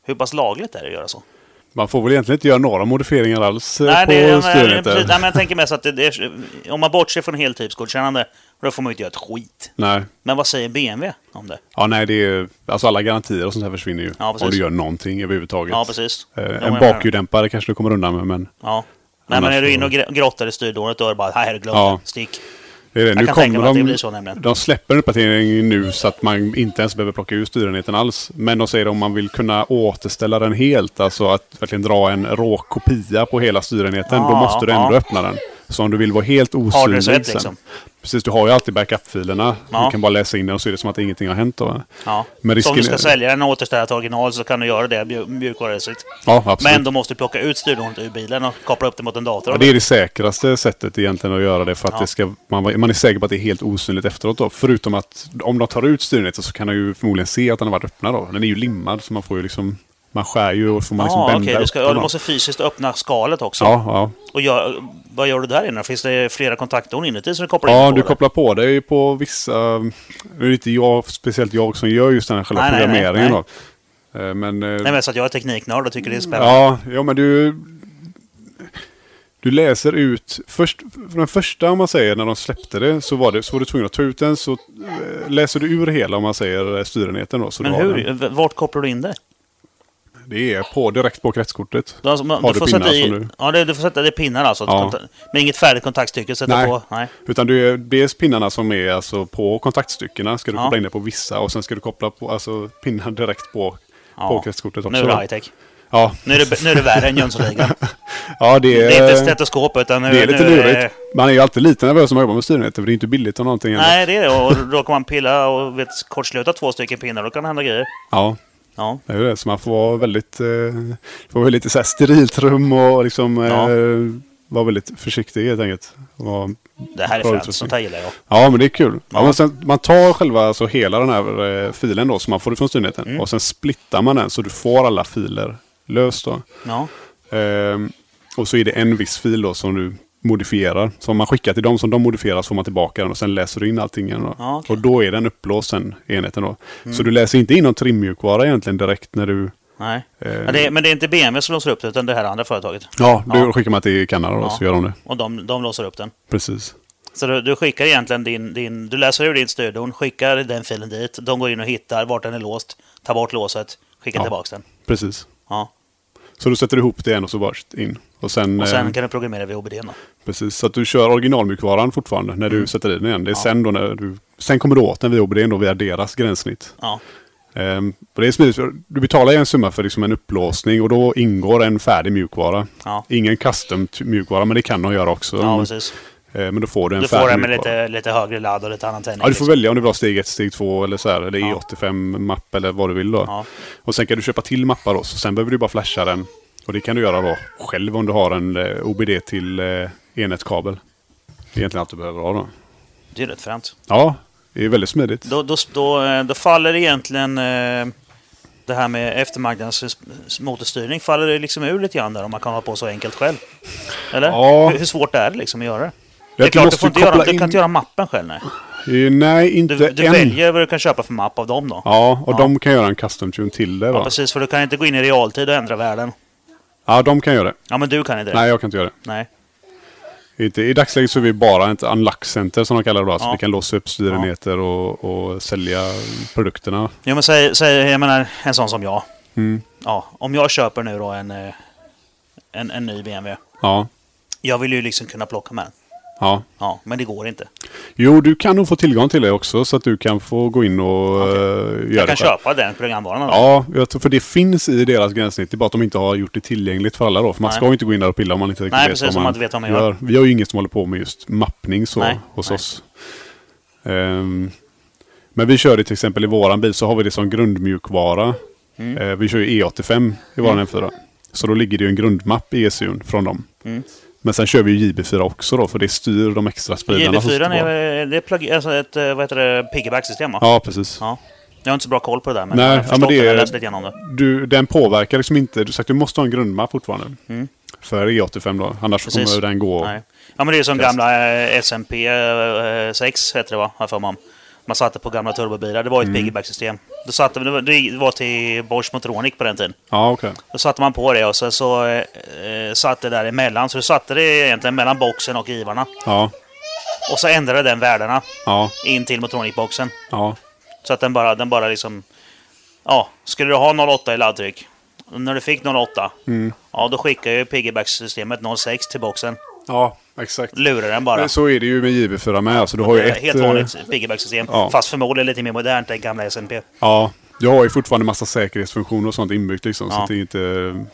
Speaker 2: Hur pass lagligt är det att göra så?
Speaker 1: Man får väl egentligen inte göra några modifieringar alls eh,
Speaker 2: Nej,
Speaker 1: på
Speaker 2: det, är- men,
Speaker 1: styrenheten.
Speaker 2: precis, nej, men jag tänker mest att det, det är, om man bortser från heltypsgodkännande, då får man ju inte göra ett skit.
Speaker 1: nej.
Speaker 2: Men vad säger BMW om det?
Speaker 1: Ja, nej, det är, alltså alla garantier och sånt här försvinner ju.
Speaker 2: Ja, precis.
Speaker 1: om du gör någonting överhuvudtaget.
Speaker 2: Ja, precis.
Speaker 1: Eh,
Speaker 2: Ja, jag
Speaker 1: en
Speaker 2: menar-
Speaker 1: bakhjuldämpare kanske du kommer undan med, men
Speaker 2: Ja. Nej, men
Speaker 1: Annars
Speaker 2: är du
Speaker 1: så-
Speaker 2: inne och gr- grottar i styrdånet då är det bara här, glöm
Speaker 1: Ja.
Speaker 2: det, stick.
Speaker 1: det är det.
Speaker 2: Jag
Speaker 1: Nu
Speaker 2: kan tänka
Speaker 1: kommer
Speaker 2: mig att
Speaker 1: de,
Speaker 2: det blir så nämligen.
Speaker 1: de släpper en uppdatering nu så att man inte ens behöver plocka ur styrenheten alls. Men de säger om man vill kunna återställa den helt, alltså att verkligen dra en rå kopia på hela styrenheten, då
Speaker 2: Ja,
Speaker 1: måste du ändå
Speaker 2: ja.
Speaker 1: öppna den. Så om du vill vara helt
Speaker 2: Har du
Speaker 1: osynlig
Speaker 2: så
Speaker 1: sen.
Speaker 2: ett, liksom?
Speaker 1: Precis, du har ju alltid backup-filerna.
Speaker 2: Ja.
Speaker 1: Du kan bara läsa in den och så är det som att ingenting har hänt då.
Speaker 2: Ja.
Speaker 1: Men
Speaker 2: Så om du
Speaker 1: risken
Speaker 2: ska
Speaker 1: är-
Speaker 2: sälja den och återställa ett original så kan du göra det mju- mjukvarumässigt.
Speaker 1: Ja, absolut.
Speaker 2: Men då måste du plocka ut styrdånet ur bilen och koppla upp det mot en dator.
Speaker 1: Ja, det är det säkraste sättet egentligen att göra det för att
Speaker 2: Ja.
Speaker 1: det ska, man, man är säker på att det är helt osynligt efteråt. Då. Förutom att om de tar ut styrenheten så kan de ju förmodligen se att den har varit öppnad. Då. Den är ju limmad så man får ju liksom... Man skär ju och får man liksom
Speaker 2: ah,
Speaker 1: bända
Speaker 2: okej. Du,
Speaker 1: upp
Speaker 2: ska,
Speaker 1: den
Speaker 2: ja, du
Speaker 1: då.
Speaker 2: måste fysiskt öppna skalet också.
Speaker 1: Ja, ja.
Speaker 2: Och gör, vad gör du där inne? Finns det flera kontaktdon inuti som du kopplar
Speaker 1: ja
Speaker 2: in på?
Speaker 1: du
Speaker 2: det?
Speaker 1: kopplar på dig på vissa... Det är inte jag, speciellt jag som gör just den här själva
Speaker 2: Nej, nej, nej,
Speaker 1: programmeringen.
Speaker 2: nej.
Speaker 1: Då. Eh, Men, eh,
Speaker 2: Nej, men så att jag är tekniknörd och tycker det är spännande.
Speaker 1: Ja, ja men du... Du läser ut, först, för den första om man säger när de släppte det så var, det, så var du tvungen att ta ut den så eh, läser du ur hela om man säger eh, styrenheten då. Så
Speaker 2: men
Speaker 1: du har
Speaker 2: hur,
Speaker 1: Den.
Speaker 2: v- vart kopplar du in det?
Speaker 1: Det är på, direkt på kretskortet.
Speaker 2: Du, alltså, man-
Speaker 1: Har du pinnar
Speaker 2: sätta i,
Speaker 1: som du-
Speaker 2: Ja, det, du får sätta det i pinnar alltså.
Speaker 1: Ja.
Speaker 2: Konta- Men inget färdigt kontaktstycke sätta
Speaker 1: Nej.
Speaker 2: på? Nej.
Speaker 1: Utan det är dels pinnarna som är alltså på kontaktstyckena ska du
Speaker 2: Ja.
Speaker 1: koppla in det på vissa och sen ska du koppla på alltså, pinnar direkt på,
Speaker 2: Ja.
Speaker 1: på kretskortet också.
Speaker 2: Nu är det
Speaker 1: då.
Speaker 2: high tech.
Speaker 1: Ja,
Speaker 2: Nu är det, nu är det värre än Jönssonligan.
Speaker 1: Ja, det är,
Speaker 2: Det är inte ett stetoskop utan nu,
Speaker 1: Eh, det är lite
Speaker 2: nu
Speaker 1: lurigt. Man är ju alltid lite nervös när man jobbar med styrenheter för det är inte billigt av någonting. heller.
Speaker 2: Nej, det är det. Och då kan man pilla och vet, kortsluta två stycken pinnar. Då kan det hända grejer.
Speaker 1: Ja,
Speaker 2: Ja.
Speaker 1: det är ju det. Så man får vara väldigt... Eh, får vara lite så här sterilt rum och liksom...
Speaker 2: Ja.
Speaker 1: Eh, vara väldigt försiktig helt enkelt. Vara
Speaker 2: Det här är
Speaker 1: Bra
Speaker 2: fränt.
Speaker 1: utrustning.
Speaker 2: Sånt här gillar jag.
Speaker 1: Ja, men det är kul. Ja.
Speaker 2: Ja.
Speaker 1: men sen, man tar själva alltså, hela den här eh, filen då, som man får ifrån styrnäten
Speaker 2: Mm.
Speaker 1: och sen splittar man den så du får alla filer löst. Då.
Speaker 2: Ja.
Speaker 1: Ehm, och så är det en viss fil då, som du modifierar. Som man skickar till dem som de modifierar så får man tillbaka den och sen läser du in allting. igen Då.
Speaker 2: Ja, okej. Mm.
Speaker 1: Och då är den uppblåst sen, enheten. Då. Så du läser inte in någon trimmjukvara egentligen direkt när du...
Speaker 2: Nej.
Speaker 1: Eh.
Speaker 2: Ja, det, är- men det är inte BMW som låser upp det, utan det här andra företaget.
Speaker 1: Ja, du
Speaker 2: Ja.
Speaker 1: skickar man till Kanada då,
Speaker 2: Ja.
Speaker 1: så gör de det.
Speaker 2: Och de, de låser upp den.
Speaker 1: Precis.
Speaker 2: Så du, du skickar egentligen din, din... Du läser ur din styrdon, skickar den filen dit. De går in och hittar vart den är låst. Tar bort låset, skickar
Speaker 1: Ja.
Speaker 2: tillbaka den.
Speaker 1: Precis.
Speaker 2: Ja.
Speaker 1: Så du sätter ihop det igen och så bara in. Och sen,
Speaker 2: Och sen
Speaker 1: eh,
Speaker 2: kan du programmera VOBD. Då.
Speaker 1: Precis, så att du kör originalmjukvaran fortfarande när du
Speaker 2: Mm.
Speaker 1: sätter i den igen. Det är sen då när du... Sen kommer du åt den via OBD då via deras gränssnitt.
Speaker 2: Ja.
Speaker 1: Ehm, och det är smidigt. för Du betalar ju en summa för liksom en upplåsning och då ingår en färdig mjukvara.
Speaker 2: Ja.
Speaker 1: Ingen custom ty- mjukvara, men det kan de göra också.
Speaker 2: Ja,
Speaker 1: Men-
Speaker 2: precis.
Speaker 1: eh, men då får du en
Speaker 2: Du
Speaker 1: färdig
Speaker 2: får den med
Speaker 1: mjukvara.
Speaker 2: lite, lite högre ladd och lite annan tändning.
Speaker 1: Ja, du får
Speaker 2: liksom.
Speaker 1: välja om du vill ha steg 1, steg 2 eller så här. Eller
Speaker 2: Ja.
Speaker 1: E85-mapp eller vad du vill då.
Speaker 2: Ja.
Speaker 1: Och sen kan du köpa till mappar då. Så sen behöver du bara flasha den. Och det kan du göra då själv om du har en eh, OBD till eh, enhetskabel. Det är egentligen allt du behöver ha då.
Speaker 2: Det är rätt fränt.
Speaker 1: Ja, det är väldigt smidigt.
Speaker 2: Då, då, då, eh, då faller egentligen eh, det här med eftermarknadens s- motorstyrning faller det liksom ur lite grann där om man kan ha på så enkelt själv. Eller?
Speaker 1: Ja.
Speaker 2: Hur, hur svårt är det liksom att göra det? Det
Speaker 1: Jag
Speaker 2: är klart,
Speaker 1: måste
Speaker 2: du, får inte
Speaker 1: koppla
Speaker 2: göra, du
Speaker 1: in-
Speaker 2: kan inte göra mappen själv. Nej.
Speaker 1: Eh, Nej, inte
Speaker 2: Du, du
Speaker 1: än.
Speaker 2: väljer vad du kan köpa för mapp av dem då.
Speaker 1: Ja, och
Speaker 2: Ja.
Speaker 1: de kan göra en custom tune till det
Speaker 2: Ja,
Speaker 1: va?
Speaker 2: precis, för du kan inte gå in i realtid och ändra världen.
Speaker 1: Ja, de kan göra det.
Speaker 2: Ja, men du kan inte det.
Speaker 1: Nej, jag kan inte göra
Speaker 2: Nej.
Speaker 1: det. Inte. I dagsläget så är vi bara ett unlock center som de kallar det då. Alltså
Speaker 2: Ja.
Speaker 1: vi kan låsa upp styrenheter och, och sälja produkterna.
Speaker 2: Jo, men säg, säg, jag menar, en sån som jag.
Speaker 1: Mm.
Speaker 2: Ja, om jag köper nu då en, eh, en, en ny BMW.
Speaker 1: Ja,
Speaker 2: Jag vill ju liksom kunna plocka med den.
Speaker 1: ja.
Speaker 2: Ja, men det går inte.
Speaker 1: Jo, du kan nog få tillgång till det också så att du kan få gå in och okay. göra
Speaker 2: Jag
Speaker 1: det
Speaker 2: kan
Speaker 1: själv.
Speaker 2: köpa den programvaran. då.
Speaker 1: Ja, jag tror, för det finns i deras gränssnitt. Det är bara att de inte har gjort det tillgängligt för alla då. För man
Speaker 2: Nej.
Speaker 1: ska ju inte gå in där och pilla om man inte riktigt
Speaker 2: Nej,
Speaker 1: vet,
Speaker 2: precis,
Speaker 1: vad
Speaker 2: om
Speaker 1: man
Speaker 2: man inte vet vad man gör.
Speaker 1: Vi har ju ingen som håller på med just mappning så
Speaker 2: Nej,
Speaker 1: hos
Speaker 2: nej.
Speaker 1: oss. Ehm, men vi kör det till exempel i våran bil så har vi det som grundmjukvara.
Speaker 2: Mm.
Speaker 1: Eh, vi kör ju E85 i våran M4. Så då ligger det ju en grundmapp i ECUn från dem.
Speaker 2: Mm.
Speaker 1: Men sen kör vi ju JB4 också då för det styr de extra spridarna. som
Speaker 2: JB4
Speaker 1: står på.
Speaker 2: är, det är plug, alltså ett eh, vad heter det, piggyback-system va?
Speaker 1: Ja, precis.
Speaker 2: Ja. Jag har inte så bra koll på det där, men
Speaker 1: Nej,
Speaker 2: jag
Speaker 1: ja,
Speaker 2: har förstått
Speaker 1: men det
Speaker 2: det, jag har
Speaker 1: är-
Speaker 2: läst lite grann om det.
Speaker 1: du, den påverkar liksom inte. Du, sagt, du måste ha en grundmapp fortfarande. För E85 då. Annars
Speaker 2: Mm. Precis.
Speaker 1: kommer den gå.
Speaker 2: Nej. Ja, men det är som
Speaker 1: Test.
Speaker 2: gamla eh, SMP eh, 6, heter det va? Har jag för mig om. Man satte på gamla turbobilar. Det var
Speaker 1: Mm.
Speaker 2: ju ett piggyback-system. Då satte, det var- det var till Bosch Motronic på den tiden.
Speaker 1: Ja, okej.
Speaker 2: Då satte man på det och sen så eh, satt det däremellan. Så du satte det egentligen mellan boxen och givarna.
Speaker 1: Ja,
Speaker 2: Och så ändrade den värdena
Speaker 1: ja,
Speaker 2: in till Motronic-boxen.
Speaker 1: ja.
Speaker 2: Så att den bara, den bara liksom... Ja, skulle du ha 08 i laddtryck. och När du fick 08,
Speaker 1: Mm.
Speaker 2: ja då skickar ju piggyback-systemet 06 till boxen.
Speaker 1: Ja, exakt.
Speaker 2: Lurar den bara.
Speaker 1: Men Så är det ju med JB4 med. Alltså, du har ju
Speaker 2: Eh,
Speaker 1: ett...
Speaker 2: Helt
Speaker 1: eh,
Speaker 2: vanligt piggyback-system.
Speaker 1: ja.
Speaker 2: Fast förmodligen lite mer modernt än gamla SMP.
Speaker 1: Ja, du har ju fortfarande massa säkerhetsfunktioner och sånt inbyggt liksom. Så
Speaker 2: Ja.
Speaker 1: att det är inte...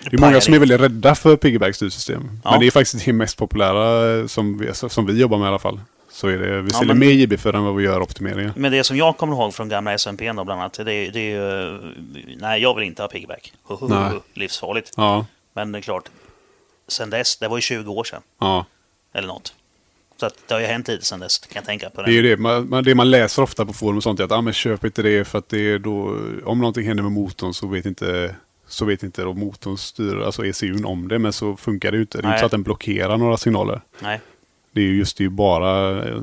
Speaker 1: Det är
Speaker 2: pajar
Speaker 1: många som är
Speaker 2: inte.
Speaker 1: väldigt rädda för piggyback styrsystem.
Speaker 2: Ja.
Speaker 1: Men det är faktiskt det mest populära eh, som vi, som vi jobbar med i alla fall. Så är det. Vi säljer
Speaker 2: men-
Speaker 1: mer JB4 än vad vi gör optimeringar.
Speaker 2: Men det som jag kommer ihåg från gamla SMP då bland annat, det är, det är ju... eh, Nej, jag vill inte ha piggyback.
Speaker 1: Nej.
Speaker 2: Livsfarligt.
Speaker 1: Ja,
Speaker 2: Men det är klart, sen dess, det var ju 20 år sedan.
Speaker 1: ja.
Speaker 2: Eller något. Så att det har ju hänt lite sen dess, kan jag tänka på.
Speaker 1: Det är ju det man, man- det man läser ofta på forum och sånt. är Att ah, men köp inte det för att det är då, om någonting händer med motorn så vet inte, så vet inte då motorn styr, alltså ECUn om det. Men så funkar det ju inte. Det är ju
Speaker 2: Nej.
Speaker 1: inte så att den blockerar några signaler.
Speaker 2: Nej.
Speaker 1: Det är ju just det är ju bara eh,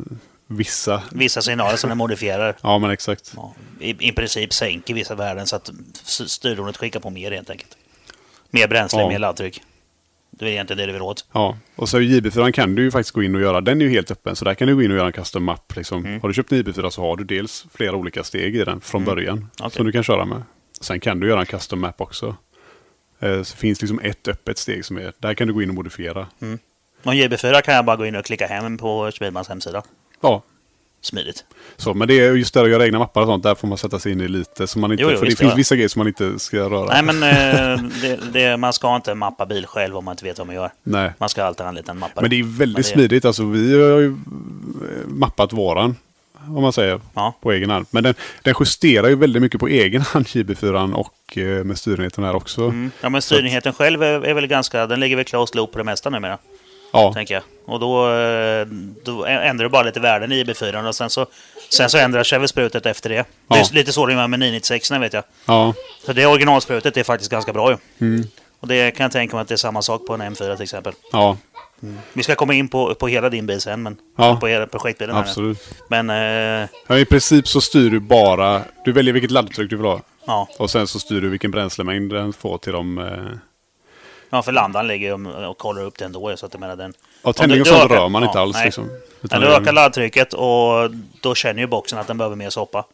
Speaker 1: vissa.
Speaker 2: Vissa signaler som den modifierar.
Speaker 1: Ja men exakt.
Speaker 2: Ja, i, I princip sänker vissa värden så att s- styrdonet skickar på mer helt enkelt. Mer bränsle,
Speaker 1: Ja.
Speaker 2: mer laddtryck. Det är egentligen det du vill åt.
Speaker 1: Ja. Och så JB4 kan du ju faktiskt gå in och göra. Den är ju helt öppen. Så där kan du gå in och göra en custom map. Liksom.
Speaker 2: Mm.
Speaker 1: Har du köpt en JB4 så har du dels flera olika steg i den från början.
Speaker 2: Okej.
Speaker 1: Som du kan köra med. Sen kan du göra en custom map också. Eh, Så finns liksom ett öppet steg som är, där kan du gå in och
Speaker 2: Mm.
Speaker 1: modifiera.
Speaker 2: Och JB4 kan jag bara gå in och klicka hem på Speedmans hemsida.
Speaker 1: Ja,
Speaker 2: smidigt.
Speaker 1: Så, men det är just där att göra egna mappar och sånt, där får man sätta sig in i lite. Så man inte,
Speaker 2: Jo, jo,
Speaker 1: för det
Speaker 2: visst,
Speaker 1: finns
Speaker 2: ja.
Speaker 1: vissa grejer som man inte ska röra.
Speaker 2: Nej, men eh, det, det, man ska inte mappa bil själv om man inte vet vad man gör.
Speaker 1: Nej.
Speaker 2: Man ska alltid anlita en mappare.
Speaker 1: Men det är väldigt
Speaker 2: Men det-
Speaker 1: smidigt. Alltså, vi har ju eh, mappat våran, om man säger,
Speaker 2: Ja.
Speaker 1: på egen hand. Men den, den justerar ju väldigt mycket på egen hand, JB4 och eh, med styrenheten här också.
Speaker 2: Mm. Ja, men styrningen själv är, är väl ganska... Den ligger väl closed loop på det mesta numera,
Speaker 1: Ja,
Speaker 2: tänker jag. Och då, eh, då ändrar du bara lite värden i IB4 och sen så, sen så ändrar sig väl sprutet efter det. Det
Speaker 1: Ja.
Speaker 2: är lite så det är med 996 vet jag.
Speaker 1: ja,
Speaker 2: Så det originalsprutet är faktiskt ganska bra ju.
Speaker 1: Mm.
Speaker 2: Och det kan jag tänka mig att det är samma sak på en M4 till exempel.
Speaker 1: ja,
Speaker 2: Vi ska komma in på, på hela din bil sen, men
Speaker 1: Ja.
Speaker 2: på hela projektbilen. här nu.
Speaker 1: absolut.
Speaker 2: Men eh,
Speaker 1: Ja, I princip så styr du bara, du väljer vilket laddtryck du vill ha.
Speaker 2: ja.
Speaker 1: Och sen så styr du vilken bränslemängd den får till de... Eh,
Speaker 2: ja, för landaren ligger ju och kollar upp det ändå. Så att jag menar den...
Speaker 1: ja, tändning
Speaker 2: du-
Speaker 1: och
Speaker 2: du
Speaker 1: sånt
Speaker 2: ökar-
Speaker 1: rör man inte
Speaker 2: ja,
Speaker 1: alls.
Speaker 2: nej.
Speaker 1: Liksom,
Speaker 2: När
Speaker 1: Utan
Speaker 2: du
Speaker 1: det-
Speaker 2: ökar laddtrycket och då känner ju boxen att den behöver mer soppa.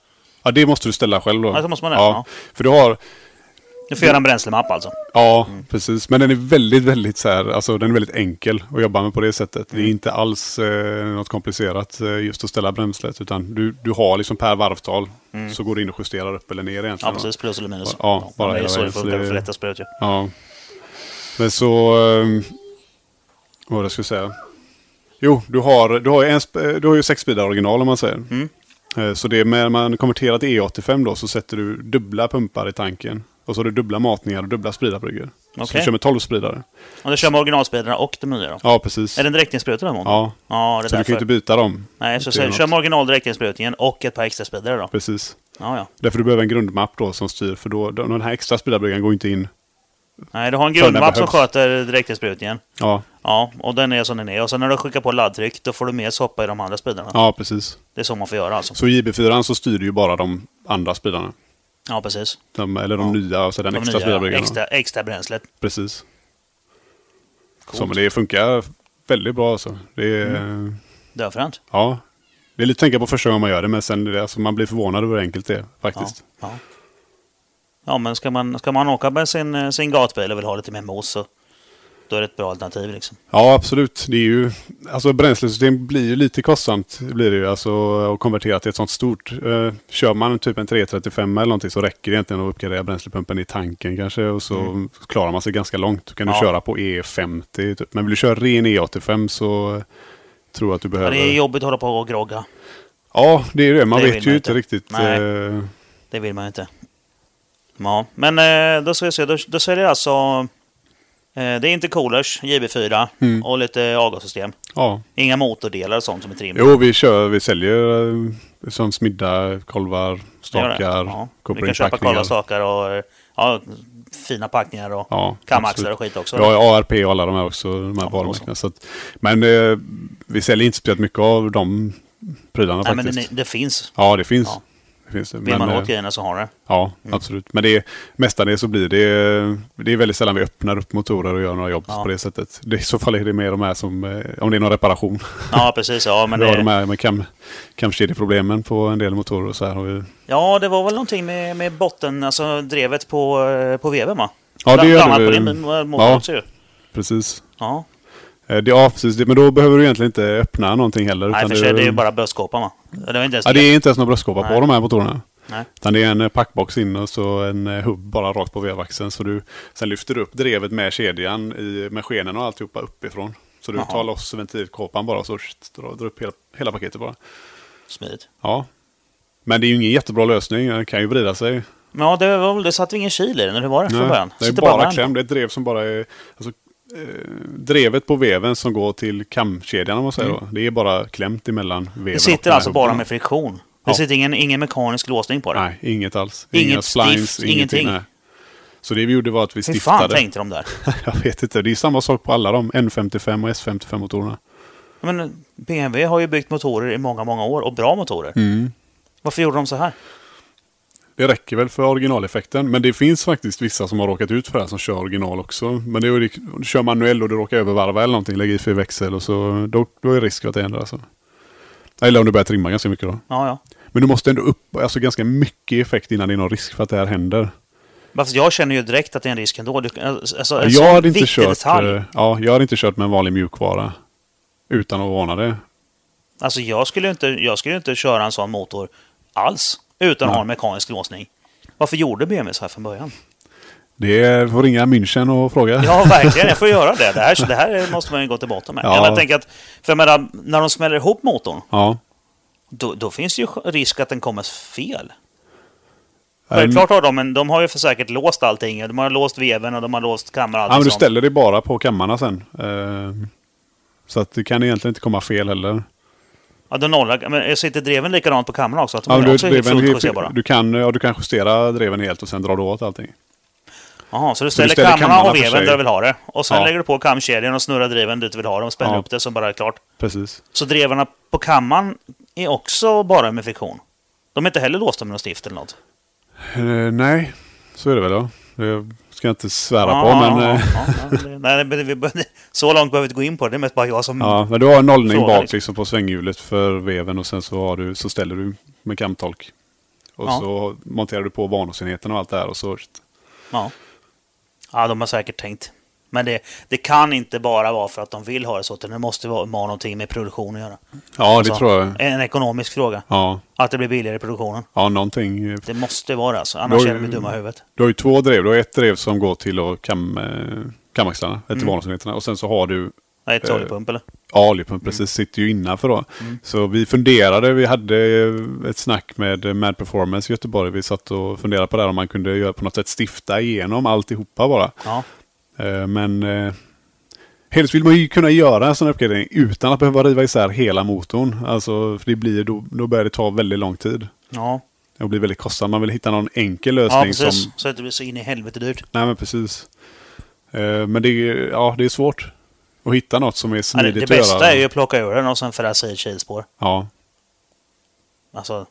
Speaker 1: ja, det måste du ställa själv då.
Speaker 2: Ja, så måste man det, ja.
Speaker 1: För du har,
Speaker 2: Du får göra en bränslemapp alltså.
Speaker 1: Ja, precis. Men den är väldigt, väldigt så här, alltså den är väldigt enkel att jobba med på det sättet.
Speaker 2: Mm.
Speaker 1: Det är inte alls eh, något komplicerat eh, just att ställa bränslet, utan du, du har liksom per varvtal så går det in och justerar upp eller ner
Speaker 2: Mm. Ja,
Speaker 1: egentligen.
Speaker 2: precis. Plus eller minus.
Speaker 1: Ja, bara
Speaker 2: det är
Speaker 1: hela
Speaker 2: så det
Speaker 1: vägen, så
Speaker 2: funkar
Speaker 1: det-
Speaker 2: för lätta sprut ju.
Speaker 1: Ja. Men så... ehm, vad var det jag skulle säga? Jo, du har, du har, ju, en, sp- eh, du har ju sex speedar original om man säger.
Speaker 2: Mm.
Speaker 1: Eh, Så det är när man konverterar till E85 då så sätter du dubbla pumpar i tanken. Och så har du dubbla matningar och dubbla spridarbryggor. Så
Speaker 2: Okej.
Speaker 1: du kör med 12 spridare.
Speaker 2: Och du kör med originalspeedarna och de nya då.
Speaker 1: Ja, precis.
Speaker 2: Är det en direktinspruta den
Speaker 1: Ja.
Speaker 2: Ja, det är
Speaker 1: Så du
Speaker 2: därför.
Speaker 1: kan ju inte byta dem.
Speaker 2: Nej, så,
Speaker 1: Det är
Speaker 2: så
Speaker 1: något.
Speaker 2: kör med original direktinsprutningen och ett par extra speedare då.
Speaker 1: Precis.
Speaker 2: Ja, ja.
Speaker 1: Därför du behöver en grundmapp då som styr. För då, då den här extra speedarbryggaren går ju inte in.
Speaker 2: Nej, du har en
Speaker 1: För den
Speaker 2: grundmapp som
Speaker 1: behövs.
Speaker 2: sköter direktinsprutningen.
Speaker 1: Ja,
Speaker 2: Ja, och den är som den är. Och sen när du skickar på laddtryck, då får du mer soppa i de andra speedarna.
Speaker 1: ja precis.
Speaker 2: Det är så man får göra alltså.
Speaker 1: Så i JB4 så styr du ju bara de andra speedarna.
Speaker 2: Ja, precis.
Speaker 1: De, eller de nya, alltså den
Speaker 2: De
Speaker 1: extra
Speaker 2: nya,
Speaker 1: speedarbryggaren.
Speaker 2: extra, extra bränslet.
Speaker 1: Precis.
Speaker 2: Coolt. Mm.
Speaker 1: Så men det funkar väldigt bra alltså. Det är,
Speaker 2: Dödfränt.
Speaker 1: ja, det är lite att tänka på första gången man gör det, men sen är det, alltså, man blir förvånad över hur enkelt det är faktiskt.
Speaker 2: Ja, ja. ja men ska man, ska man åka med sin, eh, sin gatbil och vill ha lite mer mos så då är det ett bra alternativ. Liksom.
Speaker 1: Ja. absolut. Det är ju, alltså bränslesystem blir ju lite kostsamt det blir det ju, alltså att konvertera till ett sånt stort. Eh, kör man typ en 335 eller någonting så räcker det egentligen att uppgradera bränslepumpen i tanken kanske och så klarar man sig ganska långt. Då kan du
Speaker 2: Mm. Ja.
Speaker 1: köra på E50 typ. Men vill du köra ren E85 så eh, tror jag att du
Speaker 2: Men
Speaker 1: behöver...
Speaker 2: det är jobbigt att hålla på och grogga.
Speaker 1: Ja, det är det. Man
Speaker 2: Det vill
Speaker 1: vet ju
Speaker 2: man
Speaker 1: inte,
Speaker 2: inte.
Speaker 1: riktigt.
Speaker 2: Nej.
Speaker 1: eh,
Speaker 2: Det vill man ju inte. Ja, men eh, då ska vi se. Då, då så är det alltså... Eh, det är inte coolers, JB4
Speaker 1: Mm.
Speaker 2: och lite avgassystem.
Speaker 1: ja.
Speaker 2: Inga motordelar och sånt som är trimmat.
Speaker 1: Jo, vi kör, vi säljer eh, som smidda, kolvar,
Speaker 2: Det gör det.
Speaker 1: stakar,
Speaker 2: Ja. Du kan köpa
Speaker 1: kopplingspackningar.
Speaker 2: kolvastakar och eh, ja, fina packningar och
Speaker 1: Ja,
Speaker 2: kamaxlar
Speaker 1: absolut.
Speaker 2: och skit också.
Speaker 1: Ja, ja, ARP och alla de här också, de här
Speaker 2: Ja,
Speaker 1: varumärkena. Så att, men eh, vi säljer inte speciellt mycket av de prylarna
Speaker 2: Nej, men
Speaker 1: faktiskt.
Speaker 2: det, det finns.
Speaker 1: Ja, det finns.
Speaker 2: Ja.
Speaker 1: Det finns det.
Speaker 2: Vill
Speaker 1: men,
Speaker 2: man Mm.
Speaker 1: eh,
Speaker 2: åt grejerna så har det.
Speaker 1: Ja, absolut. Men det är, mestadels så blir det... Det är väldigt sällan vi öppnar upp motorer och gör några jobb
Speaker 2: Ja.
Speaker 1: på det sättet. Det, I så fall är det mer de här som... eh, Om det är någon reparation.
Speaker 2: Ja, precis. Ja, men
Speaker 1: Vi har
Speaker 2: det,
Speaker 1: de här med cam, camkedjeproblemen på en del motorer och så här. har vi-
Speaker 2: ja, det var väl någonting med, med botten, alltså drevet på, eh, på veven va?
Speaker 1: Ja, det
Speaker 2: Bland-
Speaker 1: gör
Speaker 2: bland
Speaker 1: det.
Speaker 2: annat på din eh, motor
Speaker 1: Ja.
Speaker 2: också ju.
Speaker 1: Precis.
Speaker 2: Ja.
Speaker 1: Eh, Det, ja, precis. Det- Men då behöver du egentligen inte öppna någonting heller.
Speaker 2: Nej, för sig, det är ju bara bröstkåpan va? Det var inte ens
Speaker 1: ja, det är inte ens några bröstkåpa på
Speaker 2: Nej.
Speaker 1: de här motorerna.
Speaker 2: Nej.
Speaker 1: Utan det är en eh, packbox in och så en eh, hubb bara rakt på vevaxeln. Så du sen lyfter du upp drevet med kedjan, i, med skenen och alltihopa uppifrån. Så du
Speaker 2: Jaha.
Speaker 1: tar loss ventilkåpan bara och så sh- drar, drar upp hela, hela paketet bara.
Speaker 2: Smidigt.
Speaker 1: Ja. Men det är ju ingen jättebra lösning. Den kan ju vrida sig.
Speaker 2: Men ja, det, var, väl- det satt ingen kil i den, eller hur var det från början?
Speaker 1: det är
Speaker 2: Sitter
Speaker 1: bara
Speaker 2: varm.
Speaker 1: kläm. Det är ett drev som bara är... Alltså, eh, drevet på veven som går till kamkedjan om man säger då. Det är bara klämt emellan veven
Speaker 2: Mm. Det
Speaker 1: och
Speaker 2: sitter
Speaker 1: den här
Speaker 2: alltså bara
Speaker 1: hubben.
Speaker 2: med friktion. Det
Speaker 1: Ja.
Speaker 2: sitter ingen, ingen mekanisk låsning på det.
Speaker 1: Nej, inget alls.
Speaker 2: Inget
Speaker 1: Inga splines,
Speaker 2: stift, ingenting.
Speaker 1: nej. Så det vi gjorde var att vi
Speaker 2: Hur fan
Speaker 1: stiftade.
Speaker 2: tänkte de där?
Speaker 1: Jag vet inte. Det är samma sak på alla de N55 och S55-motorerna.
Speaker 2: Ja, Men eh, BMW har ju byggt motorer i många, många år och bra motorer.
Speaker 1: Mm.
Speaker 2: Varför gjorde de så här?
Speaker 1: Det räcker väl för originaleffekten. Men det finns faktiskt vissa som har råkat ut för det här som kör original också. Men det är, ju- du kör manuell och du råkar övervarva eller någonting. Lägger i för växel och så då, då är det risk att det händer alltså. Eller om du börjar trimma ganska mycket då.
Speaker 2: Ja, ja.
Speaker 1: Men du måste ändå upp alltså ganska mycket effekt innan det är någon risk för att det här händer.
Speaker 2: Fast jag känner ju direkt att det är en risk ändå. Du, alltså, en
Speaker 1: jag
Speaker 2: sån
Speaker 1: hade inte
Speaker 2: viktig
Speaker 1: kört,
Speaker 2: detalj.
Speaker 1: eh, ja, jag hade inte kört med en vanlig mjukvara utan att varna det.
Speaker 2: Alltså jag skulle inte, jag skulle inte köra en sån motor alls utan att ha en mekanisk låsning. Varför gjorde BMW så här från början?
Speaker 1: Det är, får ringa München och fråga.
Speaker 2: Ja, verkligen. Jag får göra det. Det här, det här måste man ju gå till botten med.
Speaker 1: Ja.
Speaker 2: Men Jag tänker att, för jag menar, när de smäller ihop motorn,
Speaker 1: ja.
Speaker 2: då, då finns det ju risk att den kommer fel.
Speaker 1: Ja, men-
Speaker 2: Självklart har de, men de har ju för säkert låst allting. De har låst veven och de har låst kameran.
Speaker 1: Ja, men du
Speaker 2: sånt.
Speaker 1: ställer dig bara på kammarna sen. Eh, Så att det kan egentligen inte komma fel heller.
Speaker 2: Ja, de nollar. Men sitter dreven likadant på kameran också? Att de
Speaker 1: Ja, men
Speaker 2: är
Speaker 1: du,
Speaker 2: också helt
Speaker 1: dreven,
Speaker 2: fullt justerbara?
Speaker 1: du, kan, ja, du kan justera dreven helt och sen drar du åt allting.
Speaker 2: Jaha, så du ställer,
Speaker 1: ställer
Speaker 2: kamrarna
Speaker 1: kamrarna
Speaker 2: och
Speaker 1: för
Speaker 2: veven
Speaker 1: sig.
Speaker 2: där du vill ha det. Och sen
Speaker 1: Ja.
Speaker 2: lägger du på kamkedjan och snurrar driven dit du vill ha dem och spänner
Speaker 1: Ja.
Speaker 2: upp det så bara är det klart.
Speaker 1: Precis.
Speaker 2: Så drevarna på kammaren är också bara med friktion. De är inte heller låsta med någon stift eller något.
Speaker 1: Eh, nej, så är det väl då. Det ska jag inte svära
Speaker 2: Ja, Mm.
Speaker 1: på,
Speaker 2: ja,
Speaker 1: men...
Speaker 2: ja,
Speaker 1: eh,
Speaker 2: ja, ja, det- nej, men det- vi- Så långt behöver vi inte gå in på det. Det är mest bara jag som...
Speaker 1: Ja, men du har en nollning
Speaker 2: Fråga
Speaker 1: bak
Speaker 2: liksom.
Speaker 1: liksom på svänghjulet för veven och sen så, har du, så ställer du med kamtolk. Och
Speaker 2: Ja. Alltså.
Speaker 1: så monterar du på vanusenheten och allt det här och så.
Speaker 2: Ja. ja, de har säkert tänkt. Men det, det kan inte bara vara för att de vill ha det så, utan det måste vara vara någonting med produktion att göra.
Speaker 1: Ja, det
Speaker 2: Alltså,
Speaker 1: tror jag.
Speaker 2: En ekonomisk fråga.
Speaker 1: Ja,
Speaker 2: Att det blir billigare i produktionen.
Speaker 1: ja någonting.
Speaker 2: Det måste vara det alltså, annars
Speaker 1: Då-
Speaker 2: är de dumma i huvudet.
Speaker 1: Du har ju två drev. Du har ett drev som går till och kam, eh, kamaxlarna, eller till
Speaker 2: Mm.
Speaker 1: vanusenheterna. Och sen så har du
Speaker 2: Nej, ett oljepump eller? Mm.
Speaker 1: Alipump precis, sitter ju innanför då. Så vi funderade, vi hade eh, ett snack med eh, Mad Performance i Göteborg. Vi satt och funderade på det här om man kunde göra på något sätt stifta igenom alltihopa bara.
Speaker 2: Ja.
Speaker 1: Eh, Men eh, helst vill man ju kunna göra en sån här uppgradering utan att behöva riva isär hela motorn. Alltså, för det blir, då, då börjar det ta väldigt lång tid.
Speaker 2: Ja,
Speaker 1: Det blir väldigt kostsamt. Man vill hitta någon enkel
Speaker 2: ja
Speaker 1: lösning
Speaker 2: precis.
Speaker 1: som...
Speaker 2: Så att det blir så in i helvete dyrt.
Speaker 1: Nej, men precis. Eh, Men det är, ja, det är svårt att hitta något som är
Speaker 2: Ja, det,
Speaker 1: smidigt
Speaker 2: det
Speaker 1: att göra.
Speaker 2: bästa är ju att plocka ur den och sen fräsa i ett kilspår.
Speaker 1: Ja.
Speaker 2: Alltså,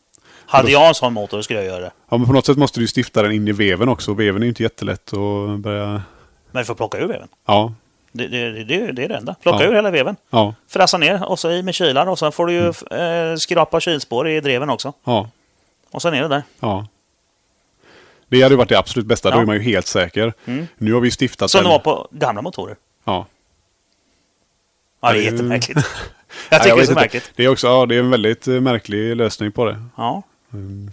Speaker 2: hade jag en sån motor skulle jag göra det.
Speaker 1: Ja, men på något sätt måste du ju stifta den in i veven också. Veven är ju inte jättelätt att börja...
Speaker 2: Men vi får plocka ur veven.
Speaker 1: Ja,
Speaker 2: Det, det, det, det, det är det enda. Plocka
Speaker 1: Ja.
Speaker 2: ur hela veven.
Speaker 1: ja,
Speaker 2: Fräsa ner och så i med kilar och sen får du ju eh, skrapa kilspår i dreven också.
Speaker 1: ja,
Speaker 2: Och sen är det där.
Speaker 1: ja. Det hade ju varit det absolut bästa. Då
Speaker 2: Ja.
Speaker 1: är man ju helt säker.
Speaker 2: Mm.
Speaker 1: Nu har vi ju stiftat
Speaker 2: Som
Speaker 1: den.
Speaker 2: det var på gamla motorer.
Speaker 1: Ja.
Speaker 2: Ja, det är
Speaker 1: Ja, det-
Speaker 2: jättemärkligt. Jag tycker
Speaker 1: Nej,
Speaker 2: det är
Speaker 1: vet
Speaker 2: så
Speaker 1: inte.
Speaker 2: märkligt. Mm.
Speaker 1: Det är också, ja, det är en väldigt eh, märklig lösning på det.
Speaker 2: Ja.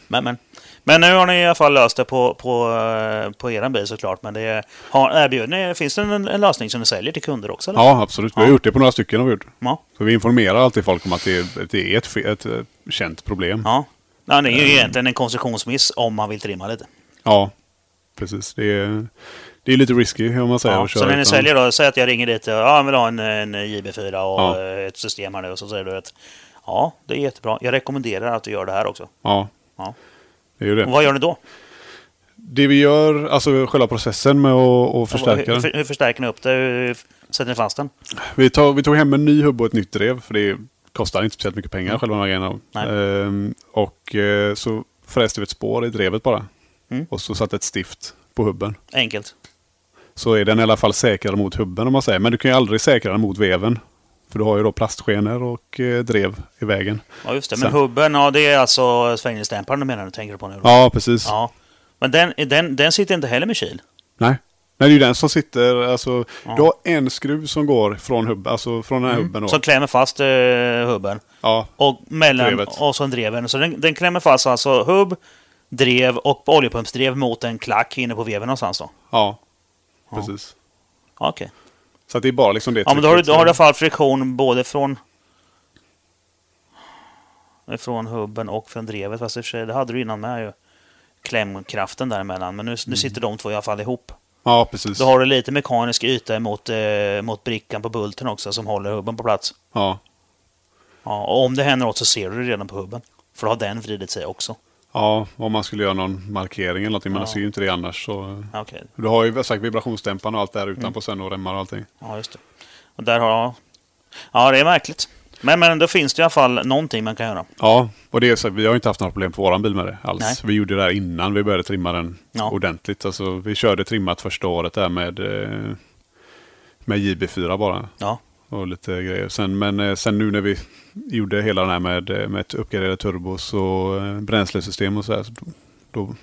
Speaker 2: Men, men. men nu har ni i alla fall löst det på, på, eh, på er bil såklart. Men det är, har, erbjuder, ni- finns det en, en lösning som ni säljer till kunder också? Eller?
Speaker 1: Ja, absolut. Vi har
Speaker 2: Ja.
Speaker 1: gjort det på några stycken. Har vi gjort.
Speaker 2: Ja.
Speaker 1: Så vi informerar alltid folk om att det är, att det är ett, fe- ett eh, känt problem. Ja,
Speaker 2: Ja. ja. Det är ju egentligen en konstruktionsmiss om man vill trimma lite.
Speaker 1: precis. Det är, det är lite risky om man säger.
Speaker 2: Ja.
Speaker 1: att köra
Speaker 2: Så när ni
Speaker 1: utan-
Speaker 2: säljer då, säg att jag ringer dit och ja, jag vill ha en, en JB4 och
Speaker 1: Ja.
Speaker 2: eh, ett system här nu. Och så säger du att ja, det är jättebra. Jag rekommenderar att du gör det här också.
Speaker 1: Ja.
Speaker 2: Ja.
Speaker 1: Det är ju det.
Speaker 2: Och vad gör ni då?
Speaker 1: Det vi gör, alltså själva processen med att, att förstärka
Speaker 2: hur,
Speaker 1: den.
Speaker 2: hur, hur förstärker ni upp det? Hur sätter ni fast den?
Speaker 1: Vi, tog, vi tog hem en ny hubb och ett nytt drev, för det kostar inte speciellt mycket pengar, själva de här grejerna.
Speaker 2: Mm. Nej.
Speaker 1: Ehm, och eh, så fräste vi ett spår i drevet bara.
Speaker 2: Mm.
Speaker 1: Och så satte ett stift på hubben.
Speaker 2: Enkelt.
Speaker 1: Så är den i alla fall säkrare mot hubben om man säger. Men du kan ju aldrig säkra den mot veven. För du har ju då plastskenor och eh, drev i vägen.
Speaker 2: Ja, just det. Men
Speaker 1: Sen-
Speaker 2: hubben, ja, det är alltså svängningsdämparen du menar du tänker på nu? då?
Speaker 1: Ja, precis.
Speaker 2: Ja. Men den, den, den sitter inte heller med kil?
Speaker 1: Nej. Nej, det är ju den som sitter, alltså.
Speaker 2: Ja. Mm.
Speaker 1: Du har en skruv som går från, hubb, alltså, från den här hubben. Då.
Speaker 2: Som klämmer fast eh, hubben.
Speaker 1: Ja,
Speaker 2: Och mellan
Speaker 1: Drevet.
Speaker 2: och så en dreven. Så den, den klämmer fast alltså hubb, drev och oljepumpsdrev mot en klack inne på veven någonstans då?
Speaker 1: ja,
Speaker 2: Ja.
Speaker 1: precis.
Speaker 2: Ja, Okej.
Speaker 1: Så att det är bara liksom det
Speaker 2: Ja, men då har du,
Speaker 1: trycket.
Speaker 2: då har du i alla fall friktion både från... Från hubben och från drevet. Fast i och för sig, det hade du innan med ju. Klämkraften däremellan. Men nu,
Speaker 1: Mm.
Speaker 2: nu sitter de två i alla fall ihop.
Speaker 1: Ja, precis.
Speaker 2: Då har du lite mekanisk yta mot, eh, mot brickan på bulten också som håller hubben på plats.
Speaker 1: Ja.
Speaker 2: Ja, och om det händer något så ser du det redan på hubben. För då har den vridit sig också.
Speaker 1: ja, om man skulle göra någon markering eller någonting. Men
Speaker 2: Ja.
Speaker 1: jag ser ju inte det annars. Så.
Speaker 2: Ja, Okej,
Speaker 1: Du har ju sagt vibrationsdämparen och allt där
Speaker 2: Mm.
Speaker 1: utanpå sen och remmar och allting.
Speaker 2: ja just det. Och där har... Ja, det är märkligt. Men, men då finns det i alla fall någonting man kan göra.
Speaker 1: Ja, och det är så, här, vi har ju inte haft några problem på våran bil med det alls.
Speaker 2: Nej.
Speaker 1: Vi gjorde det här innan vi började trimma den
Speaker 2: Ja.
Speaker 1: ordentligt. Alltså, vi körde trimmat första året där med, eh, med JB4 bara.
Speaker 2: Ja,
Speaker 1: Och lite grejer. Sen, men eh, sen nu när vi gjorde hela den här med, eh, med ett uppgraderat turbo så eh, bränslesystem och så här. Så då, då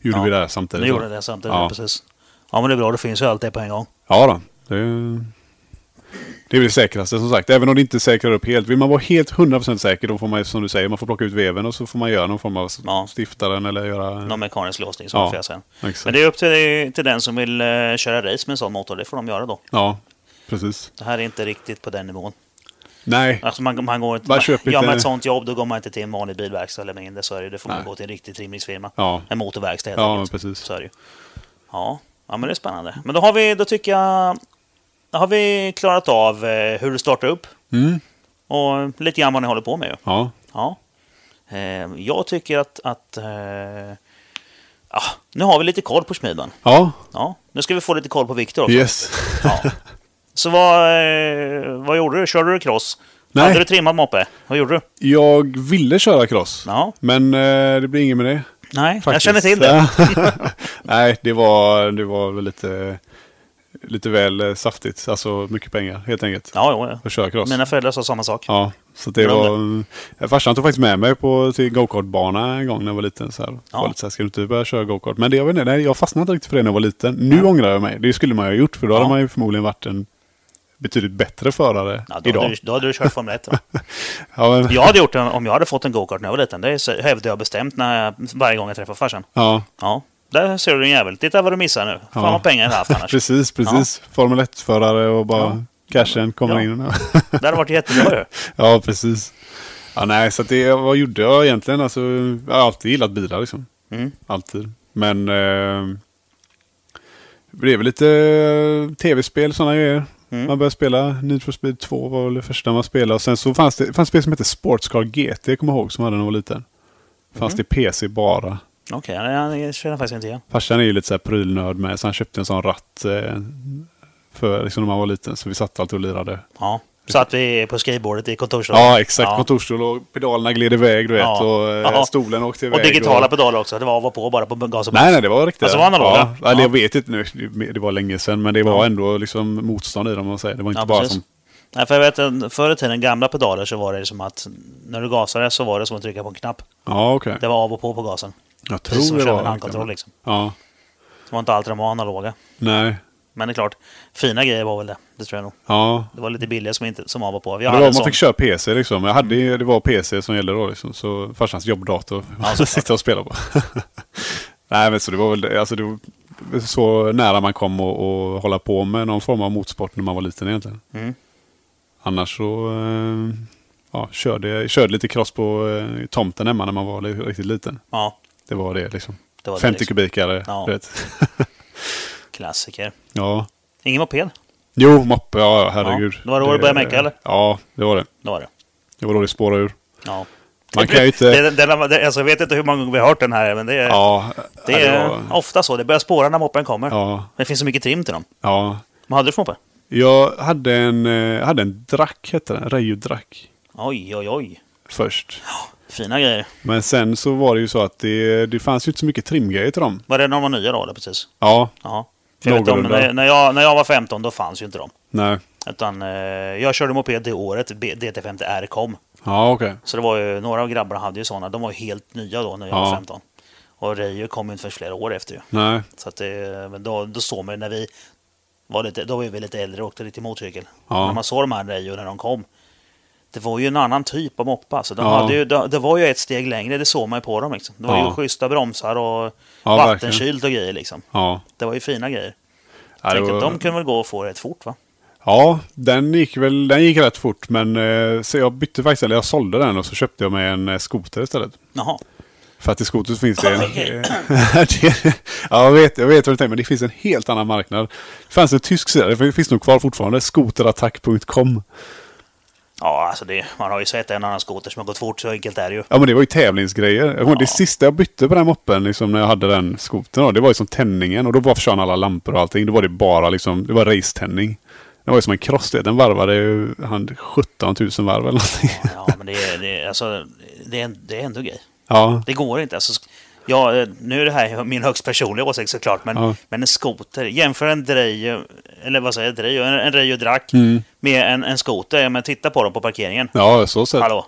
Speaker 1: gjorde
Speaker 2: Ja.
Speaker 1: vi det här samtidigt.
Speaker 2: nu gjorde det samtidigt.
Speaker 1: Ja.
Speaker 2: Precis. Ja, men det är bra. Det finns ju allt det på en gång.
Speaker 1: Ja då. Det, Det är väl det säkraste som sagt. Även om det inte säkrar upp helt. Vill man vara helt 100% säker då får man som du säger, man får plocka ut veven och så får man göra någon form av
Speaker 2: Ja.
Speaker 1: stiftaren eller göra...
Speaker 2: Någon mekanisk låsning som
Speaker 1: Mm. Ja,
Speaker 2: man får göra sen.
Speaker 1: exakt.
Speaker 2: Men det är upp till, till den som vill eh, köra race med en sån motor. Det får de göra då.
Speaker 1: Ja, precis.
Speaker 2: Det här är inte riktigt på den nivån.
Speaker 1: Nej,
Speaker 2: Alltså man, man går inte...
Speaker 1: Man
Speaker 2: Man,
Speaker 1: köper
Speaker 2: gör
Speaker 1: inte-
Speaker 2: man ett sånt jobb då går man inte till en vanlig bilverkstad eller mindre. Så är det, det får man
Speaker 1: Nej.
Speaker 2: gå till en riktig trimningsfirma.
Speaker 1: Ja.
Speaker 2: En motorverkstad helt
Speaker 1: Ja,
Speaker 2: enkelt.
Speaker 1: men precis.
Speaker 2: Så är det ju. Ja. ja, men det är spännande. Men då har vi, då tycker jag... Då har vi klarat av eh, hur du startar upp.
Speaker 1: Mm.
Speaker 2: Och lite grann vad ni håller på med ju.
Speaker 1: ja.
Speaker 2: Ja. Eh, jag tycker att... att eh, ja, nu har vi lite koll på Schmidman.
Speaker 1: Ja,
Speaker 2: Ja, nu ska vi få lite koll på Viktor också.
Speaker 1: yes.
Speaker 2: Ja. Så vad, eh, vad gjorde du? Körde du cross?
Speaker 1: Nej.
Speaker 2: Hade du trimmat moppe? Vad gjorde du?
Speaker 1: Jag ville köra cross.
Speaker 2: Ja.
Speaker 1: Men eh, det blir inget med det.
Speaker 2: Nej, jag
Speaker 1: faktiskt.
Speaker 2: känner till det.
Speaker 1: Nej, det var, det var väl lite, lite väl eh, saftigt. Alltså mycket pengar helt enkelt.
Speaker 2: Ja, eh, jo,
Speaker 1: Att köra cross.
Speaker 2: Mina föräldrar sa samma sak.
Speaker 1: Ja, så det
Speaker 2: Glöm
Speaker 1: var... eh, Farsan tog faktiskt med mig på, till gokartbana en gång när jag var liten. Så här.
Speaker 2: Ja.
Speaker 1: Var lite så här, ska du inte börja köra gokart? Men det, jag, vet inte, nej, jag fastnade inte riktigt för det när jag var liten. Nu ångrar jag mig. Det skulle man ju ha gjort för då
Speaker 2: Ja.
Speaker 1: hade man ju förmodligen varit en betydligt bättre förare
Speaker 2: Ja, då, hade
Speaker 1: idag.
Speaker 2: du, då hade du kört Formel 1. då.
Speaker 1: Ja, men, ja.
Speaker 2: Jag hade gjort det om jag hade fått en go-kart när jag var liten. Det är så- hävdar jag bestämt när jag, varje gång jag träffar farsan.
Speaker 1: ja,
Speaker 2: Ja, där ser du en jävel. Titta vad du missar nu. Fan
Speaker 1: Ja.
Speaker 2: vad pengar jag hade haft annars.
Speaker 1: precis, precis. Formel 1-förare och bara cashen kommer
Speaker 2: Ja.
Speaker 1: in.
Speaker 2: Det hade varit jättebra ju.
Speaker 1: ja, precis. Ja, nej, så att det, vad gjorde jag egentligen? Alltså, jag har alltid gillat bilar liksom.
Speaker 2: Mm.
Speaker 1: Alltid. Men eh, det blev väl lite eh, tv-spel sådana grejer.
Speaker 2: Mm.
Speaker 1: Man började spela Need for Speed 2 var väl det första man spelade. Och sen så fanns det fanns spel som hette Sports Car GT, jag kommer ihåg, som hade när jag var liten. Fanns det PC bara.
Speaker 2: Okej, okay, jag känner faktiskt inte igen.
Speaker 1: Farsan är ju lite så här prylnörd med, så han köpte en sån ratt eh, för, liksom, när man var liten. Så vi satt alltid och lirade.
Speaker 2: Ja. Så att vi är på skrivbordet i kontorsrummet.
Speaker 1: Ja, exakt. Kontorsstol och pedalerna gled iväg, du vet.
Speaker 2: Ja.
Speaker 1: Och eh,
Speaker 2: Ja.
Speaker 1: stolen åkte iväg.
Speaker 2: Och digitala pedaler också. Det var av och på bara på gas och
Speaker 1: Nej, nej, det var riktigt.
Speaker 2: Alltså, var analoga?
Speaker 1: Ja,
Speaker 2: Ja.
Speaker 1: Eller jag vet inte nu, det var länge sedan, men det var
Speaker 2: Ja.
Speaker 1: ändå liksom motstånd i dem, om man säger. Det var inte
Speaker 2: Ja,
Speaker 1: bara
Speaker 2: precis.
Speaker 1: som...
Speaker 2: Nej, för jag vet, en- förr i tiden, gamla pedaler, så var det som att när du gasade så var det som att trycka på en knapp.
Speaker 1: Ja, okej.
Speaker 2: Det var av och på på gasen.
Speaker 1: Jag
Speaker 2: Precis som
Speaker 1: tror
Speaker 2: att
Speaker 1: det
Speaker 2: köra en
Speaker 1: var...
Speaker 2: handkontroll. Liksom.
Speaker 1: Ja,
Speaker 2: Det var inte alltid de var analoga.
Speaker 1: nej.
Speaker 2: Men det är klart, fina grejer var väl det. Det tror jag nog.
Speaker 1: Ja.
Speaker 2: Det var lite billiga som, inte, som av och på. Jag
Speaker 1: Det
Speaker 2: hade en
Speaker 1: var, man
Speaker 2: sån.
Speaker 1: fick köra PC liksom. Jag hade, ju- det var PC som gällde då liksom. Så farsans jobbdator.
Speaker 2: såklart.
Speaker 1: sitta och spela på. nej, men så det var väl det. Alltså, det var så nära man kom att att hålla på med någon form av motorsport när man var liten egentligen.
Speaker 2: Mm.
Speaker 1: Annars så eh, ja, körde jag körde lite cross på eh, tomten hemma när man var li- riktigt liten.
Speaker 2: Ja,
Speaker 1: Det var det liksom.
Speaker 2: det var
Speaker 1: 50
Speaker 2: det. Liksom.
Speaker 1: kubikare.
Speaker 2: Ja.
Speaker 1: Du vet.
Speaker 2: Klassiker.
Speaker 1: ja.
Speaker 2: Ingen moped.
Speaker 1: Jo, moppe. Ja, ja, herregud.
Speaker 2: Ja, det var då det började mecka, eller?
Speaker 1: Ja, det var det.
Speaker 2: Det var det.
Speaker 1: Det var då det spårade ur.
Speaker 2: Ja.
Speaker 1: Man kan ju inte...
Speaker 2: Det, det, det, alltså, jag vet inte hur många gånger vi har hört den här, men det är,
Speaker 1: ja,
Speaker 2: det
Speaker 1: ja,
Speaker 2: är
Speaker 1: var-
Speaker 2: ofta så. Det börjar spåra när moppen kommer.
Speaker 1: ja,
Speaker 2: Det finns så mycket trim till dem.
Speaker 1: ja.
Speaker 2: Vad hade du för moppe?
Speaker 1: Jag hade en, eh, hade en drack, hette den. Reju-drack.
Speaker 2: Oj, oj, oj.
Speaker 1: Först.
Speaker 2: Fina grejer.
Speaker 1: Men sen så var det ju så att det, det fanns ju inte så mycket trimgrejer till dem.
Speaker 2: Var det när de var nya då? Eller precis?
Speaker 1: Ja,
Speaker 2: Ja. För jag vet om,
Speaker 1: Någorlunda.
Speaker 2: när, när, jag, när jag var 15 då fanns ju inte de.
Speaker 1: nej.
Speaker 2: Utan, eh, jag körde moped det året B- DT50R kom.
Speaker 1: Ja, okej.
Speaker 2: Så det var ju, några av grabbarna hade ju sådana. De var ju helt nya då när jag
Speaker 1: Ja.
Speaker 2: var 15. Och Reijo kom ju inte för flera år efter ju.
Speaker 1: Nej.
Speaker 2: Så att det, men då, då såg man ju när vi var lite, då var vi lite äldre och åkte lite motorcykel.
Speaker 1: Ja.
Speaker 2: När man såg de här Reijo när de kom. Det var ju en annan typ av moppa. Alltså, de
Speaker 1: Ja.
Speaker 2: hade ju, det, det var ju ett steg längre, det såg man ju på dem. Liksom. Det var
Speaker 1: Ja.
Speaker 2: ju schyssta bromsar och
Speaker 1: Ja,
Speaker 2: vattenkylt och grejer. Liksom.
Speaker 1: Ja.
Speaker 2: Det var ju fina grejer.
Speaker 1: Ja, det
Speaker 2: Tänk
Speaker 1: var-
Speaker 2: att de kunde väl gå och få rätt fort va?
Speaker 1: Ja, den gick väl den gick rätt fort. Men eh, så jag bytte faktiskt, eller jag sålde den och så köpte jag mig en eh, skoter istället.
Speaker 2: Jaha.
Speaker 1: För att i skoter så finns det en...
Speaker 2: Okej.
Speaker 1: det, ja, jag vet, jag vet vad du tänker, men det finns en helt annan marknad. Det fanns en tysk sida, det finns nog kvar fortfarande, skoterattack.com.
Speaker 2: Ja, alltså det, man har ju sett en annan skoter som har gått fort, så enkelt är det ju.
Speaker 1: Ja, men det var ju tävlingsgrejer. Jag kommer ihåg Det sista jag bytte på den moppen, liksom, när jag hade den skotern, då, det var ju som tändningen. Och då bara försvann alla lampor och allting. Då var det bara liksom, det var racetändning. Det var ju som en cross, det. den varvade ju han, 17 000 varv eller någonting.
Speaker 2: Ja, men det, är- det, är- alltså, det, är, det är ändå grej.
Speaker 1: Ja,
Speaker 2: Det går inte. Alltså, sk- ja, eh, nu är det här min högst personliga åsikt såklart, men,
Speaker 1: Ja.
Speaker 2: men en skoter. Jämför en Drejo, eller vad säger jag, Drejo, en, en Drejo Drack
Speaker 1: Mm.
Speaker 2: med en, en skoter. Ja, men titta på dem på parkeringen.
Speaker 1: ja så sett.
Speaker 2: Hallå?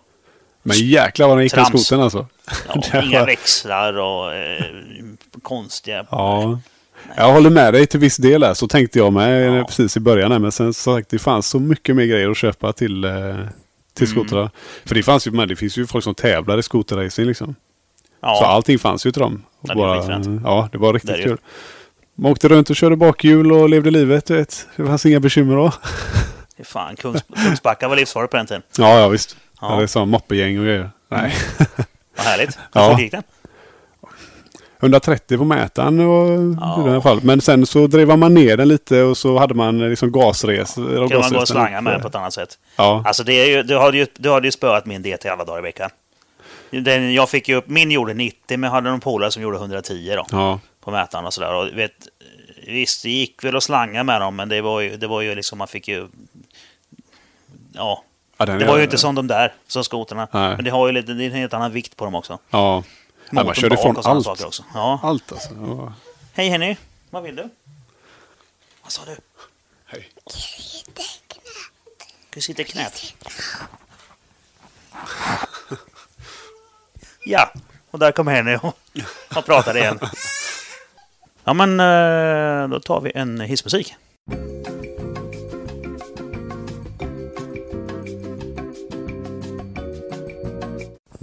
Speaker 1: Men jäklar vad den gick
Speaker 2: Trams.
Speaker 1: på skotern alltså.
Speaker 2: Ja,
Speaker 1: Det
Speaker 2: inga
Speaker 1: var-
Speaker 2: växlar och eh, konstiga...
Speaker 1: Ja. Jag håller med dig till viss del här. Så tänkte jag med eh, precis i början. Här, men sen som sagt, det fanns så mycket mer grejer att köpa till, eh,
Speaker 2: Mm.
Speaker 1: till skotrar. För det fanns ju, men det finns ju folk som tävlar i skoterracing liksom. Så
Speaker 2: Ja,
Speaker 1: allting fanns ju till dem. Och
Speaker 2: Ja, det är
Speaker 1: bara,
Speaker 2: skitfränt.
Speaker 1: ja, det var riktigt
Speaker 2: Det är det.
Speaker 1: kul. Man åkte runt och körde bakhjul och levde livet. Du vet. Det fanns inga bekymmer då.
Speaker 2: fy fan. Kungs, Kungsbacka var livsfarligt på den tiden.
Speaker 1: Ja, ja visst.
Speaker 2: Ja. Mm.
Speaker 1: Ja. det är så moppegäng och grejer. Nej.
Speaker 2: Vad härligt. Hur
Speaker 1: Ja.
Speaker 2: fort gick det?
Speaker 1: 130 på mätaren och
Speaker 2: Ja.
Speaker 1: i alla fall. Men sen så drev man ner den lite och så hade man liksom gasres. Kunde
Speaker 2: Kan man gå och slanga med den på ett annat sätt?
Speaker 1: Ja.
Speaker 2: Alltså, det är ju, du, hade ju, du hade ju spöat min DT alla dagar i veckan. Den, jag fick ju upp, min gjorde 90, men jag hade någon polare som gjorde 110 då,
Speaker 1: ja.
Speaker 2: på mätaren och sådär. Och, vet, visst, det gick väl att slanga med dem, men det var ju, det var ju liksom, man fick ju... Ja,
Speaker 1: ja den
Speaker 2: det
Speaker 1: är-
Speaker 2: var ju inte som de där, som skotrarna.
Speaker 1: Nej.
Speaker 2: Men det har ju lite, det är en helt annan vikt på dem också.
Speaker 1: Ja. ja man
Speaker 2: Motorn
Speaker 1: körde
Speaker 2: bak
Speaker 1: ifrån
Speaker 2: och sådana
Speaker 1: allt.
Speaker 2: saker också. Ja.
Speaker 1: Allt alltså. Ja.
Speaker 2: Hej Henny, vad vill du? Vad sa du?
Speaker 1: Hej.
Speaker 2: Du sitter knät. Ja, och där kom Henny och, och pratade igen. Ja, men eh, då tar vi en hissmusik.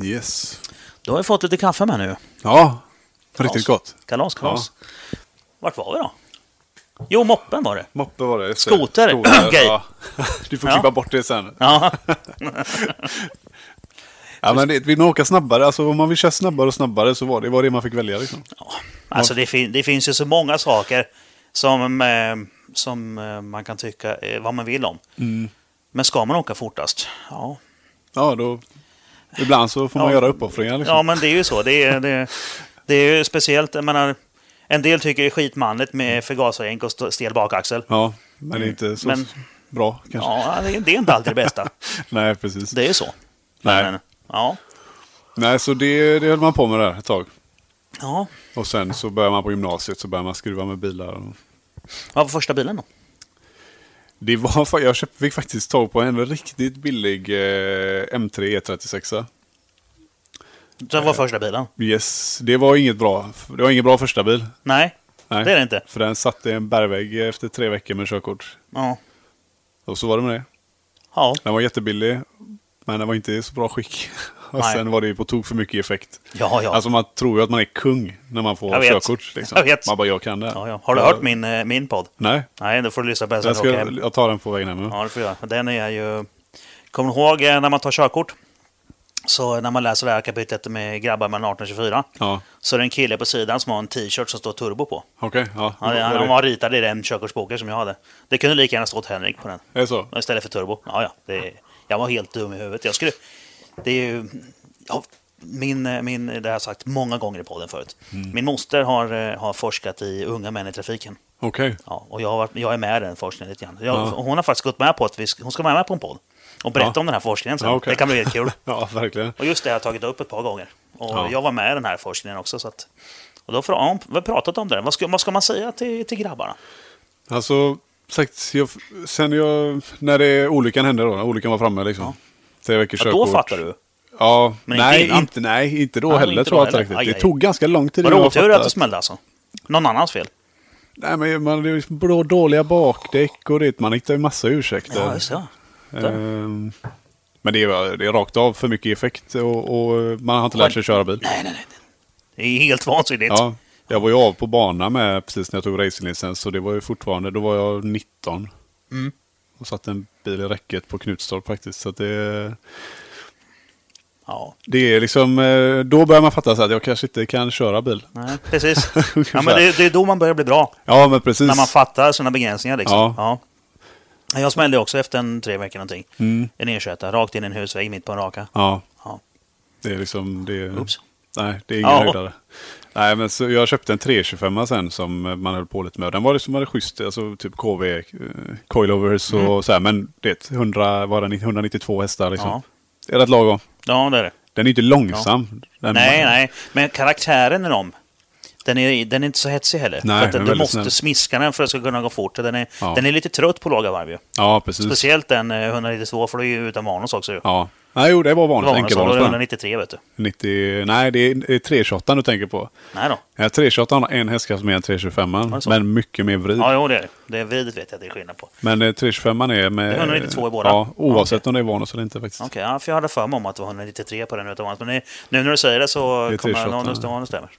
Speaker 1: Yes.
Speaker 2: Då har vi fått lite kaffe med nu.
Speaker 1: Ja. Riktigt gott.
Speaker 2: Kalas, kalas. Vart var vi då? Jo, moppen var det.
Speaker 1: Moppe var det.
Speaker 2: Skoter. Okej.
Speaker 1: ja. Du får
Speaker 2: Ja.
Speaker 1: klippa bort det sen.
Speaker 2: Ja,
Speaker 1: Ja, men det, vill man åka snabbare, alltså om man vill köra snabbare och snabbare så var det var det man fick välja liksom.
Speaker 2: alltså det, fin- det finns ju så många saker som, eh, som eh, man kan tycka eh, vad man vill om.
Speaker 1: Mm.
Speaker 2: Men ska man åka fortast? Ja,
Speaker 1: Ja, då... Ibland så får man
Speaker 2: Ja.
Speaker 1: göra uppoffringar liksom.
Speaker 2: Ja, men det är ju så. Det är, det, det är ju speciellt. Jag menar, en del tycker det är skitmanligt med förgasarjänk och st- stel bakaxel.
Speaker 1: Ja, men det är inte så
Speaker 2: Men-
Speaker 1: bra kanske.
Speaker 2: Ja, det är- det är inte alltid det bästa.
Speaker 1: Nej, precis.
Speaker 2: Det är ju så.
Speaker 1: Nej.
Speaker 2: Men, ja.
Speaker 1: Nej, så det, det höll man på med där ett tag.
Speaker 2: ja.
Speaker 1: Och sen så började man på gymnasiet så började man skruva med bilar.
Speaker 2: Vad var första bilen då?
Speaker 1: Det var, fa- jag köpte, fick faktiskt tag på en riktigt billig eh, M3 E36.
Speaker 2: Det
Speaker 1: Eh.
Speaker 2: var första bilen.
Speaker 1: Yes, det var inget bra. Det var ingen bra första bil.
Speaker 2: Nej,
Speaker 1: Nej.
Speaker 2: det är det inte.
Speaker 1: För den satte i en bergvägg efter tre veckor med körkort.
Speaker 2: Ja.
Speaker 1: Och så var det med det.
Speaker 2: Ja,
Speaker 1: Den var jättebillig, men den var inte i så bra skick. Och
Speaker 2: Nej.
Speaker 1: sen var det ju på tok för mycket effekt.
Speaker 2: ja, ja.
Speaker 1: Alltså man tror ju att man är kung när man får
Speaker 2: Jag vet.
Speaker 1: körkort. Liksom.
Speaker 2: Jag vet.
Speaker 1: Man bara, jag kan det. här."
Speaker 2: ja, ja. Har du
Speaker 1: Jag-
Speaker 2: hört min, eh, min podd?
Speaker 1: Nej,
Speaker 2: Nej, då får du lyssna på den sen
Speaker 1: jag,
Speaker 2: du åker
Speaker 1: ska,
Speaker 2: hem.
Speaker 1: jag tar den på vägen hem. nu.
Speaker 2: Ja, det får jag. Den är ju... Kommer du ihåg eh, när man tar körkort? Så när man läser det här kapitlet med grabbar mellan 18 och 24.
Speaker 1: Ja,
Speaker 2: Så det är en kille på sidan som har en t-shirt som står turbo på.
Speaker 1: okej. ja.
Speaker 2: Han,
Speaker 1: Vad är
Speaker 2: han
Speaker 1: det?
Speaker 2: var ritad i den körkortsboken som jag hade. Det kunde lika gärna stått Henrik på den.
Speaker 1: Är det så?
Speaker 2: Istället för turbo. Ja, ja. Det, jag var helt dum i huvudet. Jag skulle... Det är ju... Ja, min, min, det har jag sagt många gånger i podden förut.
Speaker 1: Mm.
Speaker 2: Min moster har, eh, har forskat i unga män i trafiken.
Speaker 1: Okej.
Speaker 2: Ja, och jag, har varit, jag är med i den forskningen lite grann. Jag,
Speaker 1: Ja.
Speaker 2: Hon har faktiskt gått med på att vi, ska- hon ska vara med på en podd. Och berätta
Speaker 1: Ja.
Speaker 2: om den här forskningen sen.
Speaker 1: Ja, okej.
Speaker 2: Det kan bli väldigt kul.
Speaker 1: Ja, verkligen.
Speaker 2: Och just det har jag tagit upp ett par gånger. Och
Speaker 1: Ja.
Speaker 2: jag var med i den här forskningen också. Så att, och då har hon vi har pratat om det. Vad ska, vad ska man säga till, till grabbarna?
Speaker 1: Alltså, sagt, jag, sen jag, när det, olyckan hände då, när olyckan var framme liksom. Tre veckors
Speaker 2: Ja,
Speaker 1: körkort.
Speaker 2: då fattar du.
Speaker 1: Ja,
Speaker 2: Men inte
Speaker 1: nej,
Speaker 2: innan.
Speaker 1: inte, nej, inte då
Speaker 2: Nej,
Speaker 1: heller
Speaker 2: inte
Speaker 1: tror
Speaker 2: då
Speaker 1: jag inte
Speaker 2: heller.
Speaker 1: riktigt.
Speaker 2: Aj,
Speaker 1: det
Speaker 2: aj.
Speaker 1: tog ganska lång tid
Speaker 2: Var det
Speaker 1: innan jag
Speaker 2: otur att
Speaker 1: fattade
Speaker 2: det smällde alltså? Någon annans fel?
Speaker 1: Nej, men man, det är liksom blå, dåliga bakdäck och det. Man hittar ju massa ursäkter.
Speaker 2: Ja, just det.
Speaker 1: Ehm, men det är, det är rakt av för mycket effekt och, och man har inte lärt sig att köra bil.
Speaker 2: Nej, nej, nej. Det är helt vansinnigt. Ja.
Speaker 1: Ja, jag var ju av på bana med precis när jag tog racinglicens så det var ju fortfarande, då var jag 19.
Speaker 2: Mm.
Speaker 1: Och satt en bil i räcket på Knutstorp faktiskt. Så att det, det är liksom, eh, då börjar man fatta så här att jag kanske inte kan köra bil.
Speaker 2: Nej, precis.
Speaker 1: Ungefär.
Speaker 2: ja, men det, det är då man börjar bli bra.
Speaker 1: Ja, men precis.
Speaker 2: När man fattar sina begränsningar liksom.
Speaker 1: Ja.
Speaker 2: Ja. Jag smällde också efter en tre veckor någonting.
Speaker 1: Mm.
Speaker 2: En e rakt in i en husvägg mitt på en raka.
Speaker 1: Ja.
Speaker 2: Ja.
Speaker 1: Det är liksom... Det är,
Speaker 2: Oops.
Speaker 1: Nej, det är ingen
Speaker 2: Ja.
Speaker 1: höjdare. Nej, men så jag köpte en 325 sen som eh, man höll på lite med. Den var liksom hade schysst, alltså typ KV, eh, coilovers och så här. Men det, 100, var den 192 hästar liksom.
Speaker 2: Mm. Ja.
Speaker 1: Det är rätt lagom.
Speaker 2: Ja, det är det.
Speaker 1: Den är inte långsam. Den,
Speaker 2: Nej, nej. Men karaktären i dem, den är, den är inte så hetsig heller.
Speaker 1: Nej,
Speaker 2: för att den,
Speaker 1: den är
Speaker 2: du
Speaker 1: väldigt
Speaker 2: måste
Speaker 1: snäll.
Speaker 2: smiska den för att det ska kunna gå fort. Den är,
Speaker 1: Ja.
Speaker 2: den är lite trött på låga varv ju.
Speaker 1: Ja, precis.
Speaker 2: Speciellt den eh, 192, för det är ju utan manus också ju.
Speaker 1: Ja. Nej, jo, det var
Speaker 2: Det
Speaker 1: vanligt.
Speaker 2: var en
Speaker 1: Enkelvarningsplan.
Speaker 2: 193 vet du.
Speaker 1: 90, nej, det är det är 328 du tänker på.
Speaker 2: Nej då.
Speaker 1: Ja, 328 har en hästkraft mer än 325
Speaker 2: det så?
Speaker 1: men mycket mer vrid.
Speaker 2: Ja, jo, det är det. Det är vridet vet jag att det är skillnad på.
Speaker 1: Men eh, 325 är med...
Speaker 2: Det är 192 i båda.
Speaker 1: Ja, oavsett om det är Vanos eller inte faktiskt.
Speaker 2: Okej, ja, för jag hade för mig om att det var 193 på den utan vanligt. Men det- nu när du säger det så
Speaker 1: Det är
Speaker 2: kommer jag
Speaker 1: 328.
Speaker 2: nog stämma. Det stämmer.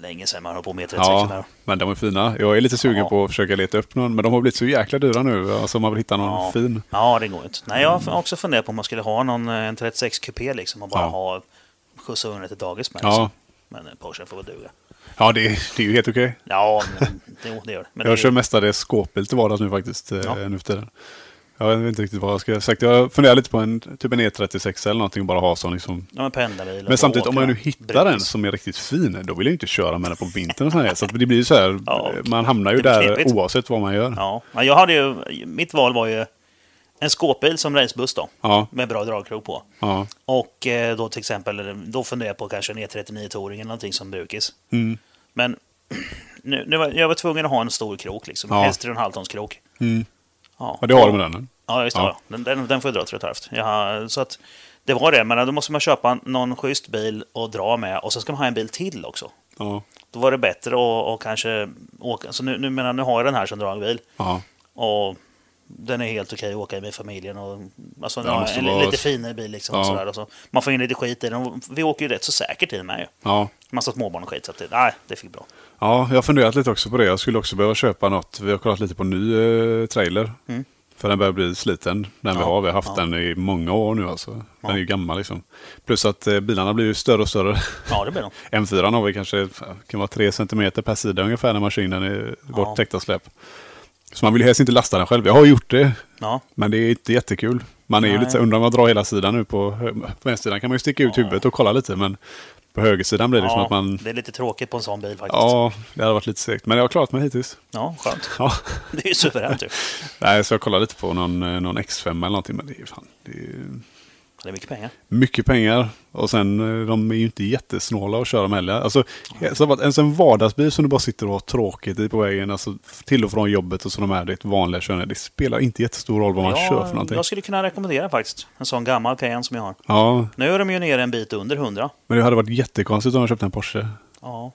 Speaker 2: Länge sedan man höll på med 36
Speaker 1: Ja,
Speaker 2: där.
Speaker 1: men de är fina. Jag är lite sugen
Speaker 2: Ja.
Speaker 1: på att försöka leta upp någon, men de har blivit så jäkla dyra nu. Alltså man vill hitta någon
Speaker 2: Ja.
Speaker 1: fin.
Speaker 2: Ja, det går inte. Nej, jag har också funderat på om man skulle ha någon eh, en 36 kupé liksom och bara
Speaker 1: Ja.
Speaker 2: ha skjutsa ungarna till dagis med.
Speaker 1: Ja,
Speaker 2: Liksom. Men eh, Porschen får väl duga.
Speaker 1: ja det, är- det är ju helt okej.
Speaker 2: Ja, men, jo, det gör det. Men
Speaker 1: Jag
Speaker 2: det,
Speaker 1: kör mestadels skåpbil till vardags nu faktiskt, eh,
Speaker 2: Ja.
Speaker 1: nu för tiden. Jag vet inte riktigt vad jag ska ha sagt. Jag funderar lite på en, typ en E36 eller någonting och bara ha sån liksom
Speaker 2: ja, men pendlarbil.
Speaker 1: Men samtidigt, om man nu
Speaker 2: åka,
Speaker 1: hittar en
Speaker 2: brus.
Speaker 1: som är riktigt fin, då vill jag ju inte köra med den på vintern och sådär. Så att det blir ju så här,
Speaker 2: Ja.
Speaker 1: man hamnar ju
Speaker 2: Det blir
Speaker 1: där
Speaker 2: knepigt.
Speaker 1: oavsett vad man gör. Ja.
Speaker 2: Ja, men jag hade ju... Mitt val var ju en skåpbil som racebuss då.
Speaker 1: Ja.
Speaker 2: Med bra dragkrok på.
Speaker 1: ja.
Speaker 2: Och eh, då till exempel, då funderar jag på kanske en E39 Touring eller någonting som brukis.
Speaker 1: Mm.
Speaker 2: Men nu, nu var, jag var tvungen att ha en stor krok liksom.
Speaker 1: Ja.
Speaker 2: Helst 3,5 krok.
Speaker 1: Mm.
Speaker 2: Ja.
Speaker 1: det har du med den.
Speaker 2: Ja, just det.
Speaker 1: Ja.
Speaker 2: Ja. Den, den, den får jag dra till ett halvt. Jag har- så att det var det, men eh, då måste man köpa någon schysst bil och dra med. Och så ska man ha en bil till också.
Speaker 1: Ja.
Speaker 2: Då var det bättre att att kanske åka. Så nu, nu, menar, jag, nu har jag den här som dragbil.
Speaker 1: ja.
Speaker 2: Och den är helt okej att åka i med familjen. Och, alltså,
Speaker 1: Den
Speaker 2: ja,
Speaker 1: måste
Speaker 2: en
Speaker 1: vara-
Speaker 2: lite finare bil liksom. Och
Speaker 1: Ja.
Speaker 2: sådär, och så. Man får in lite skit i den. och Vi åker ju rätt så säkert i den med ju.
Speaker 1: ja.
Speaker 2: Massa småbarn och skit. Så att det, nej, det fick bra.
Speaker 1: Ja, jag har funderat lite också på det. Jag skulle också behöva köpa något. Vi har kollat lite på ny eh, trailer.
Speaker 2: Mm.
Speaker 1: För den börjar bli sliten, den vi
Speaker 2: Ja,
Speaker 1: har. Vi har haft
Speaker 2: ja.
Speaker 1: den i många år nu alltså. Den
Speaker 2: Ja.
Speaker 1: är ju gammal liksom. Plus att eh, bilarna blir ju större och större.
Speaker 2: Ja, det blir nog.
Speaker 1: M4 har vi kanske kan vara 3 cm per sida ungefär när man kör in den i vårt
Speaker 2: Ja.
Speaker 1: täckta släp. Så man vill ju helst inte lasta den själv. Jag har gjort det,
Speaker 2: Ja.
Speaker 1: men det är inte jättekul. Man är ju
Speaker 2: Nej.
Speaker 1: lite så här, undrar om jag drar hela sidan nu på, hö- på vänstersidan kan man ju sticka ut
Speaker 2: Ja.
Speaker 1: huvudet och kolla lite. Men på högersidan blir det som
Speaker 2: Ja,
Speaker 1: att man...
Speaker 2: Det är lite tråkigt på en sån bil faktiskt. Ja,
Speaker 1: Ja, det hade varit lite segt. Men jag har klarat mig hittills.
Speaker 2: skönt.
Speaker 1: Ja.
Speaker 2: Det är ju suveränt ju.
Speaker 1: Nej, så jag kollade lite på någon, eh, någon X5 eller någonting. Men det är ju fan, det är
Speaker 2: Det är mycket pengar.
Speaker 1: mycket pengar. Och sen eh, de är ju inte jättesnåla att köra dem heller. Alltså, så att en sån vardagsbil som du bara sitter och har tråkigt i på vägen, alltså till och från jobbet och så de här ditt vanliga körningar. Det spelar inte jättestor roll vad man
Speaker 2: Ja,
Speaker 1: kör för någonting.
Speaker 2: Jag skulle kunna rekommendera faktiskt en sån gammal Cayenne som jag har.
Speaker 1: Ja,
Speaker 2: Nu är de ju nere en bit under 100.
Speaker 1: men det hade varit jättekonstigt om jag köpte en Porsche.
Speaker 2: Ja.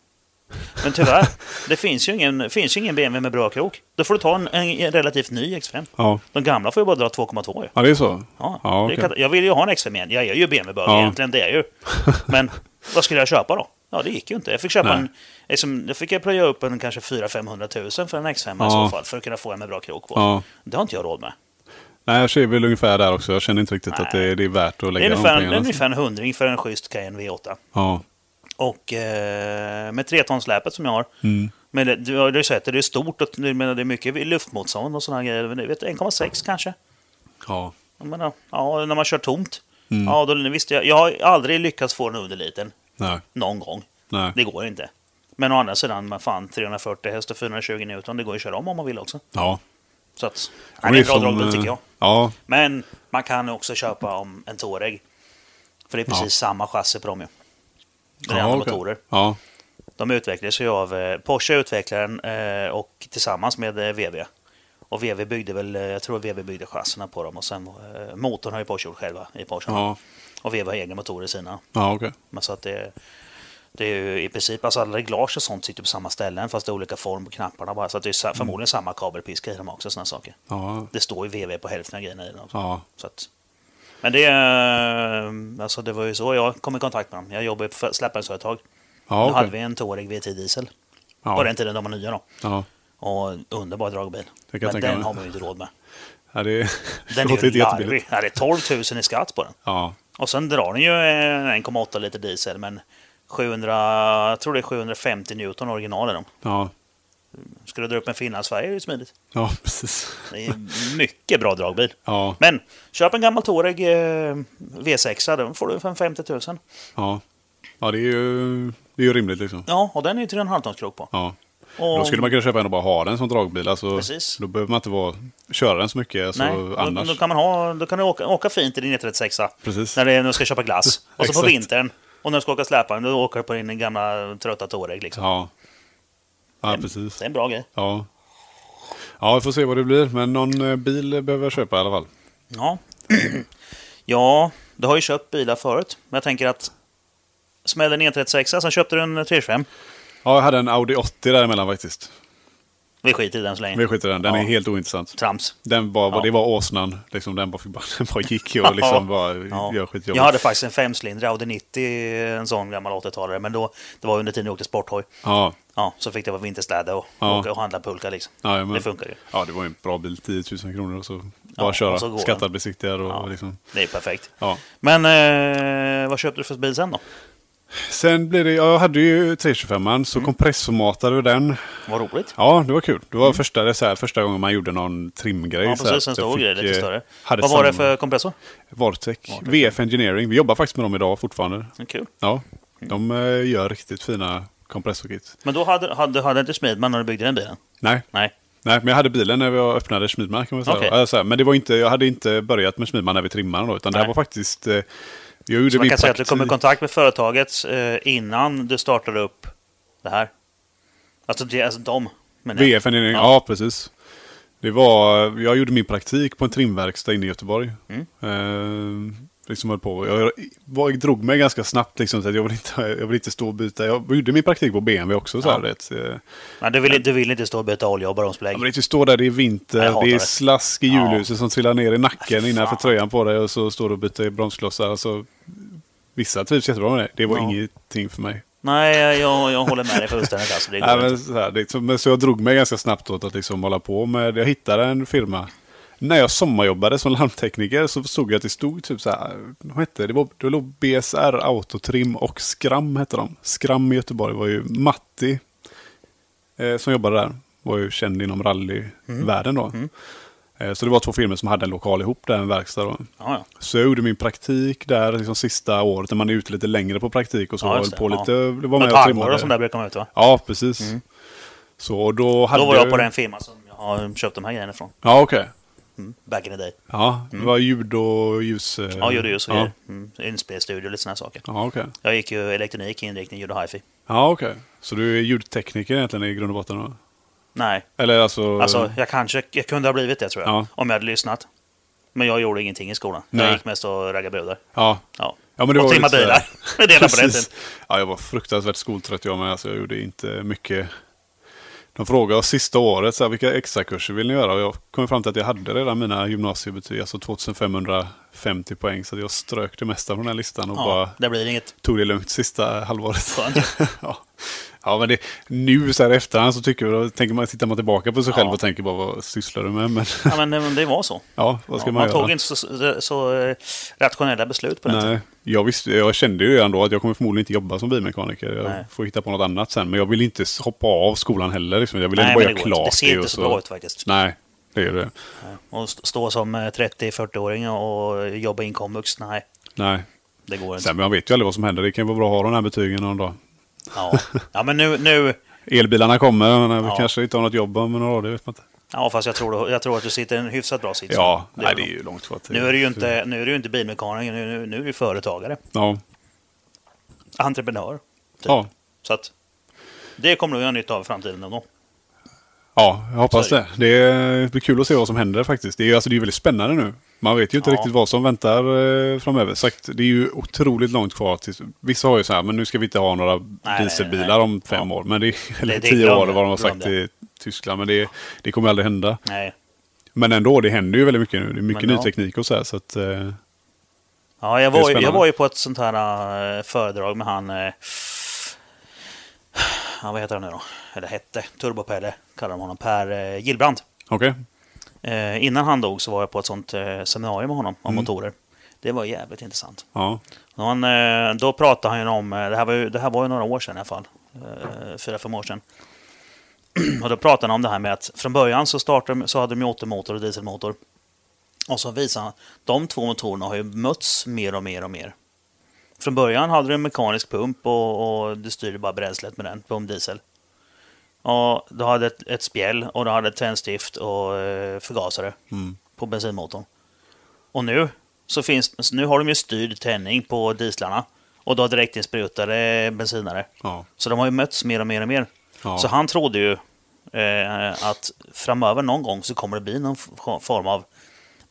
Speaker 2: Men tyvärr, det finns ju, ingen, finns ju ingen BMW med bra krok. Då får du ta en, en relativt ny X5.
Speaker 1: Ja,
Speaker 2: De gamla får ju bara dra 2,2 ju.
Speaker 1: ja det är så.
Speaker 2: Ja,
Speaker 1: Ja,
Speaker 2: det är
Speaker 1: okej.
Speaker 2: katas- Jag vill ju ha en X5 igen. Jag är ju BMW-bög
Speaker 1: Ja.
Speaker 2: egentligen, det är jag ju. Men vad skulle jag köpa då? Ja, det gick ju inte. Jag fick köpa
Speaker 1: Nej.
Speaker 2: en... Liksom, då fick jag plöja upp en kanske 400-500 tusen för en X5 i
Speaker 1: Ja.
Speaker 2: så fall, för att kunna få en med bra krok på.
Speaker 1: Ja.
Speaker 2: Det har inte jag råd med.
Speaker 1: Nej, jag ser väl ungefär där också. Jag känner inte riktigt
Speaker 2: Nej.
Speaker 1: att det, det är värt att
Speaker 2: Det är
Speaker 1: lägga de
Speaker 2: ungefär, det
Speaker 1: pengarna.
Speaker 2: är ungefär en hundring för en schysst Cayenne V8.
Speaker 1: Ja,
Speaker 2: Och eh, med 3-tonsläpet som jag har.
Speaker 1: Mm.
Speaker 2: Men det, du har ju sett det, det är stort och jag menar, det är mycket luftmotstånd och sådana grejer. Men du vet, 1,6 kanske?
Speaker 1: ja.
Speaker 2: Jag menar, ja, när man kör tomt.
Speaker 1: Mm.
Speaker 2: Ja, då visste jag. Jag har aldrig lyckats få den under liten.
Speaker 1: Nej,
Speaker 2: Någon gång.
Speaker 1: nej.
Speaker 2: Det går inte. Men å andra sidan, men fan, 340 häst och 420 Newton, det går ju att köra om om man vill också.
Speaker 1: Ja.
Speaker 2: Så att,
Speaker 1: Ja,
Speaker 2: nej,
Speaker 1: men
Speaker 2: det är en bra
Speaker 1: som,
Speaker 2: dragbil
Speaker 1: eh,
Speaker 2: tycker jag.
Speaker 1: Ja,
Speaker 2: Men man kan ju också köpa om en Touareg. För det är precis
Speaker 1: Ja.
Speaker 2: samma
Speaker 1: samma
Speaker 2: chassi på dem ju. Det är
Speaker 1: ja,
Speaker 2: andra
Speaker 1: okej.
Speaker 2: motorer.
Speaker 1: Ja,
Speaker 2: De utvecklades ju av eh, Porsche utvecklaren eh, och tillsammans med eh, VW. Och VW byggde väl, eh, jag tror VW byggde chassierna på dem och sen eh, motorn har ju Porsche gjort själva i Porsche.
Speaker 1: ja,
Speaker 2: Och VW har egna motorer i sina.
Speaker 1: ja okej.
Speaker 2: Men så att det, det är ju i princip, alltså alla reglage och sånt sitter på samma ställen fast det är olika form på knapparna bara. Så att det är
Speaker 1: Mm.
Speaker 2: sa- förmodligen samma kabelpiska i dem också, sådana saker.
Speaker 1: Ja,
Speaker 2: Det står ju VW på hälften av grejerna i dem.
Speaker 1: ja,
Speaker 2: Så att, men det, eh, alltså det var ju så jag kom i kontakt med dem. Jag jobbade på släpvagnsföretag.
Speaker 1: ja,
Speaker 2: Då hade vi
Speaker 1: okej.
Speaker 2: en Touareg V10 diesel. På
Speaker 1: Ja,
Speaker 2: den tiden de var nya då.
Speaker 1: ja.
Speaker 2: Och en underbar dragbil.
Speaker 1: Det kan jag
Speaker 2: Men
Speaker 1: tänka
Speaker 2: den
Speaker 1: mig.
Speaker 2: har man ju inte råd med.
Speaker 1: ja det
Speaker 2: Den är
Speaker 1: låter
Speaker 2: ju
Speaker 1: inte jättebilligt.
Speaker 2: larvig. Ja, Det är 12 000 i skatt på den.
Speaker 1: Ja,
Speaker 2: Och sen drar den ju eh, 1,8 liter diesel men 700, jag tror det är 750 Newton original är de.
Speaker 1: ja,
Speaker 2: Skulle du dra upp en Finland-Sverige är det ju smidigt.
Speaker 1: ja, precis.
Speaker 2: Det är mycket bra dragbil.
Speaker 1: Ja,
Speaker 2: Men köp en gammal Touareg eh, V6, den får du för en 50 000.
Speaker 1: ja. Ja, det är ju, det är ju rimligt liksom.
Speaker 2: Ja, och den är ju 3,5 tons krok på.
Speaker 1: Ja.
Speaker 2: Och,
Speaker 1: Då skulle man kunna köpa en och bara ha den som dragbil. Alltså,
Speaker 2: Precis.
Speaker 1: Då behöver man inte vara, köra den så mycket. Alltså,
Speaker 2: nej, då,
Speaker 1: annars.
Speaker 2: då kan man ha, då kan du åka, åka fint i din E36.
Speaker 1: Precis.
Speaker 2: När det är- när du ska köpa glass. Och så på
Speaker 1: Exakt.
Speaker 2: vintern, och när du ska åka släpvagn, då åker du på din gamla trötta Touareg. Liksom.
Speaker 1: Ja. ja, precis.
Speaker 2: Det är en bra grej.
Speaker 1: Ja. ja, vi får se vad det blir. Men någon eh, bil behöver jag köpa i alla fall.
Speaker 2: Ja. ja, Du har ju köpt bilar förut, men jag tänker att smäller en E36, sen köpte du en 325.
Speaker 1: Ja, jag hade en Audi 80 däremellan faktiskt.
Speaker 2: Vi skiter i den så länge.
Speaker 1: Vi skiter i den, den
Speaker 2: Ja.
Speaker 1: är helt ointressant.
Speaker 2: Trams.
Speaker 1: Den bara,
Speaker 2: Ja.
Speaker 1: Det var åsnan, liksom, den, bara, fick bara, den bara gick och liksom bara
Speaker 2: Ja.
Speaker 1: gör skitjobbet.
Speaker 2: Jag hade faktiskt en femcylindrig Audi 90, en sån gammal 80-talare, men då, det var under tiden jag åkte sporthoj.
Speaker 1: Ja,
Speaker 2: Ja, så fick det vara vinterstäda och,
Speaker 1: Ja.
Speaker 2: åka och handla pulka liksom.
Speaker 1: ja, men,
Speaker 2: Det funkar ju.
Speaker 1: ja, det var ju en bra bil, 10 000 kronor och så bara
Speaker 2: Ja,
Speaker 1: köra.
Speaker 2: och så går den.
Speaker 1: Skattad besiktigare och
Speaker 2: Ja.
Speaker 1: liksom,
Speaker 2: Det är ju perfekt.
Speaker 1: ja.
Speaker 2: Men eh, vad köpte du för bil sen då?
Speaker 1: Sen blev det, ja, jag hade ju 325an,
Speaker 2: Mm.
Speaker 1: så kompressormatade vi den.
Speaker 2: Vad roligt.
Speaker 1: Ja, det var kul. Det var första, det är så här, första gången man gjorde någon trimgrej.
Speaker 2: Mm. Ja,
Speaker 1: så här,
Speaker 2: precis. En
Speaker 1: att jag
Speaker 2: stor
Speaker 1: fick,
Speaker 2: grej, lite
Speaker 1: eh,
Speaker 2: större.
Speaker 1: hade
Speaker 2: Vad var det
Speaker 1: samma-
Speaker 2: för kompressor?
Speaker 1: Vortec. VF Engineering. Vi jobbar faktiskt med dem idag fortfarande.
Speaker 2: Kul.
Speaker 1: Ja,
Speaker 2: Mm.
Speaker 1: de eh, gör riktigt fina kompressorkit.
Speaker 2: Men då hade, hade, hade inte Smidman när du byggde den bilen?
Speaker 1: Nej,
Speaker 2: Nej.
Speaker 1: nej, men jag hade bilen när vi öppnade Smidman kan man säga.
Speaker 2: Okej.
Speaker 1: Ja, så här, men det var inte, jag hade inte börjat med Smidman när vi trimmade då, utan det här
Speaker 2: Nej.
Speaker 1: var faktiskt... eh, Jag gjorde
Speaker 2: Så man
Speaker 1: min
Speaker 2: kan säga att du
Speaker 1: praktik-
Speaker 2: kom i kontakt med företaget eh, innan du startade upp det här? Alltså, det, alltså de, men
Speaker 1: VF Engineering, ja. precis. Det var, jag gjorde min praktik på en trimverkstad inne i Göteborg.
Speaker 2: Mm.
Speaker 1: Eh, liksom höll på. Jag, var, drog mig ganska snabbt liksom, så att jag ville inte, jag ville inte stå och byta. Jag gjorde min praktik på BMW också. Så
Speaker 2: Ja.
Speaker 1: här, vet, eh,
Speaker 2: Nej, du, vill, du vill inte stå och byta olja och baronsbelägg?
Speaker 1: Ja, men det är ju stå där, det är
Speaker 2: Nej, jag
Speaker 1: vinter,
Speaker 2: hatar
Speaker 1: det är
Speaker 2: det.
Speaker 1: slask i
Speaker 2: Ja.
Speaker 1: hjulhuset som trillar ner i nacken
Speaker 2: Fy
Speaker 1: innanför
Speaker 2: fan.
Speaker 1: tröjan på dig och så står du och byter bromsklossar. Alltså, vissa trivs jättebra med det. Det var
Speaker 2: Ja.
Speaker 1: ingenting för mig.
Speaker 2: Nej, jag, jag håller med dig fullständigt. Alltså, det går
Speaker 1: Nej,
Speaker 2: inte.
Speaker 1: men, så, här, det, så, men, så jag drog mig ganska snabbt åt att liksom hålla på med Jag hittade en firma. När jag sommarjobbade som larmtekniker så såg jag att det stod typ så här. Vad hette det? Det, var, det låg BSR, Autotrim och Skram hette de. Skram i Göteborg var ju Matti eh, som jobbade där. Var ju känd
Speaker 2: Mm.
Speaker 1: inom rallyvärlden då. Eh, så det var två firmor som hade en lokal ihop där, en verkstad då.
Speaker 2: Ja, ja.
Speaker 1: Så jag gjorde min praktik där liksom sista året när man är ute lite längre på praktik och så.
Speaker 2: Ja,
Speaker 1: höll
Speaker 2: just
Speaker 1: på
Speaker 2: det,
Speaker 1: lite,
Speaker 2: ja.
Speaker 1: var med
Speaker 2: Ett
Speaker 1: och
Speaker 2: halvår
Speaker 1: trimmade.
Speaker 2: och sånt där brukar man ut va?
Speaker 1: Ja, precis. Så och då hade
Speaker 2: Då var jag
Speaker 1: du-
Speaker 2: på den firman som jag har köpt de här grejerna från.
Speaker 1: Ja, okej.
Speaker 2: Mm. Back in the day.
Speaker 1: Ja, det var ljud och ljus... eh,
Speaker 2: Mm. Ja, gjorde ju så.
Speaker 1: Ja,
Speaker 2: Ja. Mm. Inspelstudio och lite sådana saker.
Speaker 1: ja okej.
Speaker 2: Jag gick ju elektronik, inriktning, ljud och hifi.
Speaker 1: Ja, okej. Så du är ljudtekniker egentligen i grund och botten? då?
Speaker 2: Nej,
Speaker 1: Eller alltså...
Speaker 2: alltså jag kanske jag kunde ha blivit det tror jag.
Speaker 1: Ja.
Speaker 2: Om jag hade lyssnat. Men jag gjorde ingenting i skolan.
Speaker 1: Nej.
Speaker 2: Jag gick mest och raggade brudar.
Speaker 1: Ja.
Speaker 2: Ja.
Speaker 1: ja men det
Speaker 2: och
Speaker 1: var
Speaker 2: trimma
Speaker 1: lite sådär.
Speaker 2: bilar. Det är det enda på den
Speaker 1: Precis.
Speaker 2: tiden.
Speaker 1: Ja, jag var fruktansvärt skoltrött jag med. Alltså, jag gjorde inte mycket. De frågade oss sista året så här, vilka extrakurser vill ni göra? Och jag kom fram till att jag hade redan mina gymnasiebetyg, alltså 2550 poäng. Så att jag strök det mesta från den här listan och bara
Speaker 2: Ja, det blir inget.
Speaker 1: tog det lugnt sista halvåret.
Speaker 2: Skönt.
Speaker 1: ja. ja, men det, nu så här i efterhand så tycker jag, då tänker man, tittar man tillbaka på sig själv
Speaker 2: Ja.
Speaker 1: och tänker bara vad sysslar du med? Men
Speaker 2: Ja, men det- men det var så.
Speaker 1: ja, vad ska
Speaker 2: Ja,
Speaker 1: man,
Speaker 2: man
Speaker 1: göra?
Speaker 2: tog inte så, så, så eh, rationella beslut på den tiden.
Speaker 1: Nej, jag, visste, jag kände ju redan då att jag kommer förmodligen inte jobba som bilmekaniker. Jag
Speaker 2: Nej.
Speaker 1: får hitta på något annat sen. Men jag vill inte s- hoppa av skolan heller. Liksom. Jag vill
Speaker 2: Nej,
Speaker 1: ändå
Speaker 2: men
Speaker 1: bara
Speaker 2: det
Speaker 1: göra
Speaker 2: går inte. Det
Speaker 1: klart
Speaker 2: ser
Speaker 1: och
Speaker 2: inte så bra ut faktiskt.
Speaker 1: Nej, det är det.
Speaker 2: Och st- stå som eh, 30-40-åring och jobba in komvux, nej,
Speaker 1: Nej.
Speaker 2: det går inte.
Speaker 1: Sen, men man vet ju aldrig vad som händer. Det kan ju vara bra att ha de här betygen någon dag.
Speaker 2: Ja, ja men nu, nu
Speaker 1: Elbilarna kommer. Men Vi
Speaker 2: Ja.
Speaker 1: kanske inte har något jobb om några år. Det vet man inte.
Speaker 2: ja, fast jag tror, jag tror att du sitter i en hyfsat bra sits.
Speaker 1: Ja,
Speaker 2: Det
Speaker 1: det
Speaker 2: är
Speaker 1: nej,
Speaker 2: det
Speaker 1: det är
Speaker 2: nog.
Speaker 1: ju långt kvar till.
Speaker 2: Nu är du ju inte, nu är du ju inte bilmekaniker, nu, nu, nu är du ju företagare,
Speaker 1: Ja.
Speaker 2: entreprenör. Typ.
Speaker 1: Ja.
Speaker 2: Så att det kommer du att göra nytta av i framtiden ändå.
Speaker 1: ja, jag hoppas
Speaker 2: Så är
Speaker 1: det. Det är- blir kul att se vad som händer faktiskt. Det är ju alltså, det är ju väldigt spännande nu. Man vet ju inte
Speaker 2: Ja.
Speaker 1: riktigt vad som väntar eh, framöver. Sagt, det är ju otroligt långt kvar. Tills, vissa har ju så här, men nu ska vi inte ha några
Speaker 2: nej,
Speaker 1: dieselbilar
Speaker 2: nej.
Speaker 1: om fem år. Men det, eller
Speaker 2: det
Speaker 1: tio
Speaker 2: glömde-
Speaker 1: år vad de har
Speaker 2: glömde.
Speaker 1: sagt i Tyskland. Men det, det kommer aldrig hända.
Speaker 2: Nej.
Speaker 1: Men ändå, det händer ju väldigt mycket nu. Det är mycket
Speaker 2: Men
Speaker 1: ny
Speaker 2: ja.
Speaker 1: teknik och så här. Så att, eh,
Speaker 2: Ja, jag
Speaker 1: Det är
Speaker 2: var, ju- jag
Speaker 1: spännande.
Speaker 2: var ju på ett sånt här eh, föredrag med han... eh, Ja, vad heter han nu då? Eller hette, Turbopelle kallar de honom, Per eh, Gillbrand.
Speaker 1: Okej,
Speaker 2: Eh, innan han dog så var jag på ett sånt eh, seminarium med honom
Speaker 1: Mm.
Speaker 2: om motorer. Det var jävligt intressant.
Speaker 1: ja.
Speaker 2: Och Han, eh, då pratade han ju om, eh, det här var ju, det här var ju några år sedan i alla fall, eh, fyra, fem år sedan. och då pratade han om det här med att från början så, startade, de- så hade de ju återmotor och dieselmotor. Och så visade han, de två motorerna har ju mötts mer och mer och mer. Från början hade du en mekanisk pump och, och du styrde bara bränslet med den, pumpdiesel. Och du hade ett, ett spjäll och du hade ett tändstift och eh, förgasare
Speaker 1: Mm.
Speaker 2: på bensinmotorn. Och nu, så finns, så nu har de ju styrd tändning på dieslarna och du har direktinsprutade bensinare.
Speaker 1: ja.
Speaker 2: Så de har ju mötts mer och mer och mer.
Speaker 1: ja.
Speaker 2: Så han trodde ju eh, att framöver någon gång så kommer det bli någon f- form av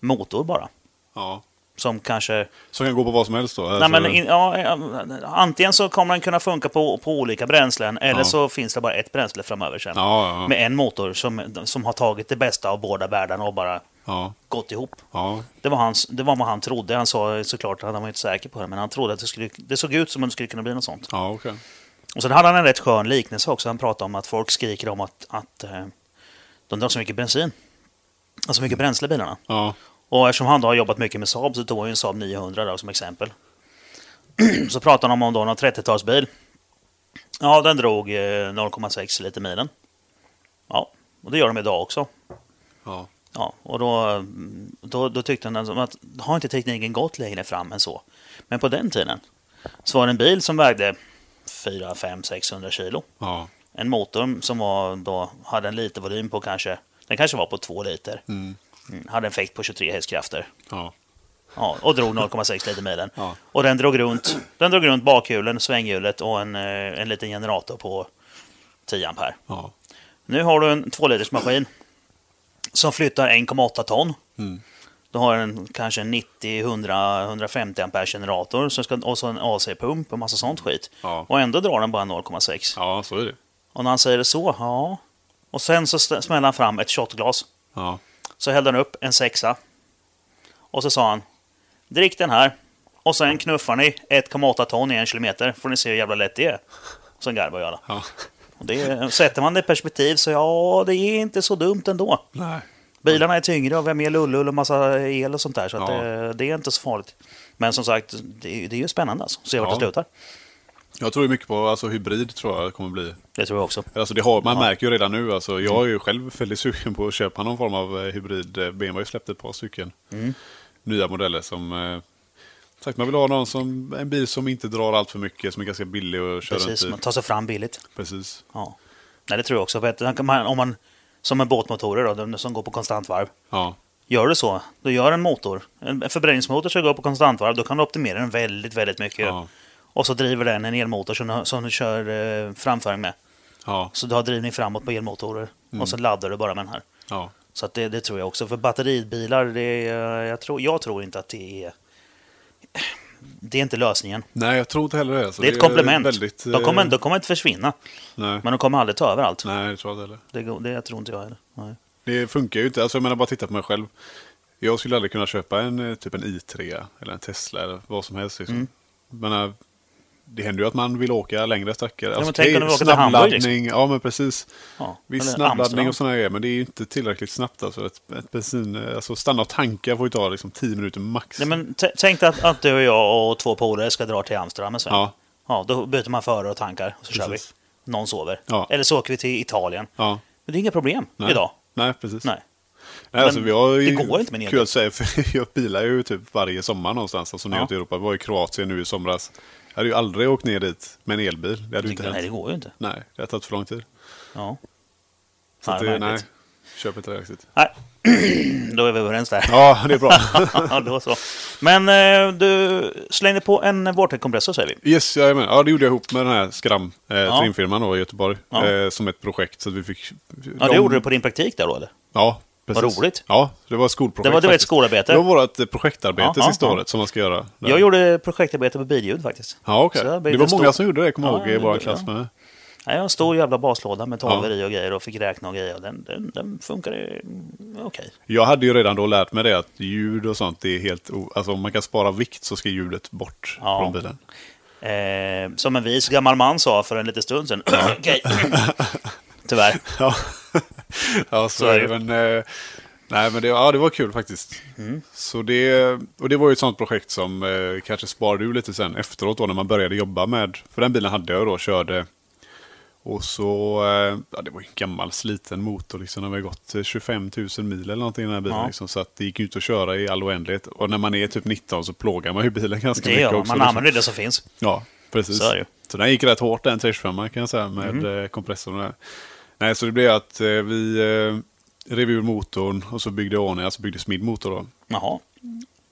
Speaker 2: motor bara.
Speaker 1: ja.
Speaker 2: Som kanske...
Speaker 1: Som kan gå på vad som helst då?
Speaker 2: Nej,
Speaker 1: Alltså,
Speaker 2: men in, ja, antingen så kommer den kunna funka på, på olika bränslen eller
Speaker 1: Ja.
Speaker 2: så finns det bara ett bränsle framöver sen.
Speaker 1: ja, ja,
Speaker 2: Med en motor som, som har tagit det bästa av båda världarna och bara
Speaker 1: ja,
Speaker 2: gått ihop.
Speaker 1: ja,
Speaker 2: Det var, hans, det var vad han trodde. Han sa såklart, han var inte säker på det, men han trodde att det, skulle, det såg ut som om det skulle kunna bli något sånt.
Speaker 1: ja okej.
Speaker 2: Och sen hade han en rätt skön liknelse också. Han pratade om att folk skriker om att, att eh, de drar så mycket bensin. Alltså mycket bränsle i bilarna.
Speaker 1: Ja,
Speaker 2: Och eftersom han då har jobbat mycket med Saab så tog han ju en Saab 900 då, som exempel. så pratade han om då någon 30-talsbil. Ja, den drog eh, 0,6 liter milen. Ja, och det gör de idag också.
Speaker 1: ja,
Speaker 2: Ja, och då, då, då tyckte han som att har inte tekniken gått längre fram än så? Men på den tiden så var det en bil som vägde 4, 5, 600 kilo.
Speaker 1: ja,
Speaker 2: En motor som var då, hade en liten volym på kanske, den kanske var på 2 liter.
Speaker 1: mm,
Speaker 2: Mm, hade en fäkt på 23 hästkrafter.
Speaker 1: ja,
Speaker 2: Ja, och drog 0,6 liter milen.
Speaker 1: Ja.
Speaker 2: Och den drog runt, den drog runt bakhjulen, svänghjulet och en, eh, en liten generator på 10 ampere.
Speaker 1: ja,
Speaker 2: Nu har du en 2 liters maskin som flyttar 1,8 ton.
Speaker 1: mm,
Speaker 2: Du har en kanske en 90, 100, 150 ampere generator som ska, och så en AC-pump och massa sånt skit.
Speaker 1: Ja.
Speaker 2: Och ändå drar den bara 0,6.
Speaker 1: ja, så är det.
Speaker 2: Och när han säger det så, ja. Och sen så st- smäller han fram ett shotglas.
Speaker 1: Ja,
Speaker 2: Så hällde han upp en sexa. Och så sa han, drick den här. Och sen knuffar ni 1,8 ton i en kilometer. Får ni se hur jävla lätt det är. Sen garvar ju alla.
Speaker 1: ja,
Speaker 2: Och det, sätter man det i perspektiv så ja, det är inte så dumt ändå.
Speaker 1: nej,
Speaker 2: Bilarna är tyngre och vi har mer lullull och massa el och sånt där. Så att eh,
Speaker 1: Ja.
Speaker 2: det, det är inte så farligt. Men som sagt, det, är- det är ju spännande alltså. Se vart
Speaker 1: Ja.
Speaker 2: det slutar.
Speaker 1: Jag tror ju mycket på alltså, hybrid tror jag kommer bli.
Speaker 2: Det tror jag också.
Speaker 1: Alltså, det har, man märker ju redan nu. Alltså, jag är ju själv väldigt sugen på att köpa någon form av eh, hybrid. Eh, BMW har ju släppt ett par stycken nya modeller som... Eh, sagt, man vill ha någon som, en bil som inte drar allt för mycket, som är ganska billig att köra
Speaker 2: Precis,
Speaker 1: runt i.
Speaker 2: man tar sig fram billigt.
Speaker 1: Precis.
Speaker 2: Ja. Nej, det tror jag också. För att han kan- man- Om man, som en båtmotorer då, de som går på konstant varv.
Speaker 1: Ja,
Speaker 2: Gör du så, då gör en motor, en en förbränningsmotor som går på konstant varv, då kan du optimera den väldigt, väldigt mycket.
Speaker 1: ja,
Speaker 2: Och så driver den en elmotor som du, som du kör eh, framföring med.
Speaker 1: ja,
Speaker 2: Så du har drivning framåt på elmotorer. Och så
Speaker 1: Mm.
Speaker 2: laddar du bara med den här.
Speaker 1: ja.
Speaker 2: Så att det, det tror jag också. För batteribilar, det är, jag, tror, jag tror inte att det är... Det är inte lösningen.
Speaker 1: Nej, jag tror inte heller det. Alltså,
Speaker 2: Det är ett komplement.
Speaker 1: Väldigt,
Speaker 2: de, kommer,
Speaker 1: eh,
Speaker 2: de kommer inte försvinna,
Speaker 1: Nej,
Speaker 2: men de kommer aldrig ta över allt.
Speaker 1: nej, det tror jag inte heller.
Speaker 2: Det, går- det jag tror inte jag heller. Nej.
Speaker 1: Det funkar ju inte. Alltså, jag menar, bara titta på mig själv. Jag skulle aldrig kunna köpa en eh, typ en i3 eller en Tesla eller vad som helst. Liksom.
Speaker 2: Mm.
Speaker 1: Men, eh, det händer ju att man vill åka längre sträckor.
Speaker 2: men tänk om
Speaker 1: okej,
Speaker 2: du vill åka till Hamburg,
Speaker 1: snabbladdning.
Speaker 2: liksom.
Speaker 1: Ja, men precis.
Speaker 2: Ja.
Speaker 1: Viss
Speaker 2: Eller
Speaker 1: snabbladdning
Speaker 2: Amsterdam.
Speaker 1: och sådana grejer, men det är ju inte tillräckligt snabbt. Alltså. Ett, ett bensin, eh, alltså, stanna och tanka får ju ta liksom, 10 minuter max.
Speaker 2: Nej, men t- tänk dig att, att du och jag och två polare ska dra till Amsterdam en sväng.
Speaker 1: Ja,
Speaker 2: Ja, då byter man före och tankar, och så kör vi.
Speaker 1: Precis.
Speaker 2: Någon sover.
Speaker 1: Ja.
Speaker 2: Eller så åker vi till Italien.
Speaker 1: ja.
Speaker 2: Men det är inga problem
Speaker 1: Nej.
Speaker 2: idag.
Speaker 1: Nej, precis.
Speaker 2: Nej.
Speaker 1: Nej, alltså, vi har ju,
Speaker 2: det går inte med en
Speaker 1: Kul att säga, för jag bilar ju typ varje sommar någonstans. Alltså neråt
Speaker 2: Ja.
Speaker 1: i Europa. Vi var i Kroatien nu i somras. Jag hade ju aldrig åkt ner dit med en elbil. Det hade ju inte
Speaker 2: Nej, det
Speaker 1: hänt.
Speaker 2: går ju inte.
Speaker 1: Nej, det har tagit för lång tid.
Speaker 2: Ja.
Speaker 1: Så
Speaker 2: Nej,
Speaker 1: att det, nej,
Speaker 2: märkligt.
Speaker 1: köp inte det riktigt.
Speaker 2: Nej. då är vi överens där.
Speaker 1: Ja, det är bra.
Speaker 2: Ja, då så. Men eh, du slängde på en vortex-kompressor säger vi.
Speaker 1: Yes, jajamän. Ja, det gjorde jag ihop med den här Skram, eh,
Speaker 2: Ja.
Speaker 1: trimfirman då, i Göteborg.
Speaker 2: Ja.
Speaker 1: Eh, som ett projekt. Så att vi fick...
Speaker 2: Ja, det gjorde du på din praktik där då eller?
Speaker 1: Ja, precis.
Speaker 2: Vad roligt.
Speaker 1: Ja, det var ett skolprojekt.
Speaker 2: Det var, du vet,
Speaker 1: faktiskt.
Speaker 2: skolarbete.
Speaker 1: Det var vårt eh, projektarbete
Speaker 2: Ja, ja,
Speaker 1: sista
Speaker 2: ja.
Speaker 1: året som man ska göra. där.
Speaker 2: Jag gjorde projektarbete på billjud faktiskt.
Speaker 1: Ja, okej.
Speaker 2: Så där blev
Speaker 1: Det var
Speaker 2: en stor-
Speaker 1: många som gjorde det, kommer jag
Speaker 2: Ja,
Speaker 1: ihåg, i vår
Speaker 2: det-
Speaker 1: klass
Speaker 2: ja.
Speaker 1: med.
Speaker 2: Nej, jag har en stor jävla baslåda med tavlor
Speaker 1: Ja.
Speaker 2: i och grejer och fick räkna och grejer. Och den, den, den funkade mm, okej.
Speaker 1: Jag hade ju redan då lärt mig det att ljud och sånt, det är helt o- alltså om man kan spara vikt så ska ljudet bort
Speaker 2: Ja.
Speaker 1: från bilen.
Speaker 2: Eh, som en vis gammal man sa för en liten stund sedan. Okej. Tyvärr.
Speaker 1: Ja, ja så,
Speaker 2: Så
Speaker 1: är
Speaker 2: är
Speaker 1: det. Men, eh, nej, men det, ja, det var kul faktiskt.
Speaker 2: Mm.
Speaker 1: Så det, och det var ju ett sånt projekt som eh, kanske sparade ur lite sen efteråt då när man började jobba med, för den bilen hade jag då, körde. Och så, eh, ja, det var ju en gammal sliten motor liksom. Den har ju gått eh, 25 000 mil eller någonting i den här bilen.
Speaker 2: Ja.
Speaker 1: Liksom, så att det gick ju inte att köra i all oändlighet. Och när man är typ 19 så plågar man ju bilen ganska
Speaker 2: Det
Speaker 1: mycket
Speaker 2: gör man.
Speaker 1: också.
Speaker 2: Man
Speaker 1: liksom.
Speaker 2: använder det som finns.
Speaker 1: Ja, precis.
Speaker 2: Så är det ju. Mhm.
Speaker 1: Så den gick rätt hårt den 325 kan jag säga med mm. kompressorn. och det här. Nej, så det blev att eh, vi eh, rev ur motorn och så byggde jag ordning, alltså byggde smid motor då.
Speaker 2: Jaha.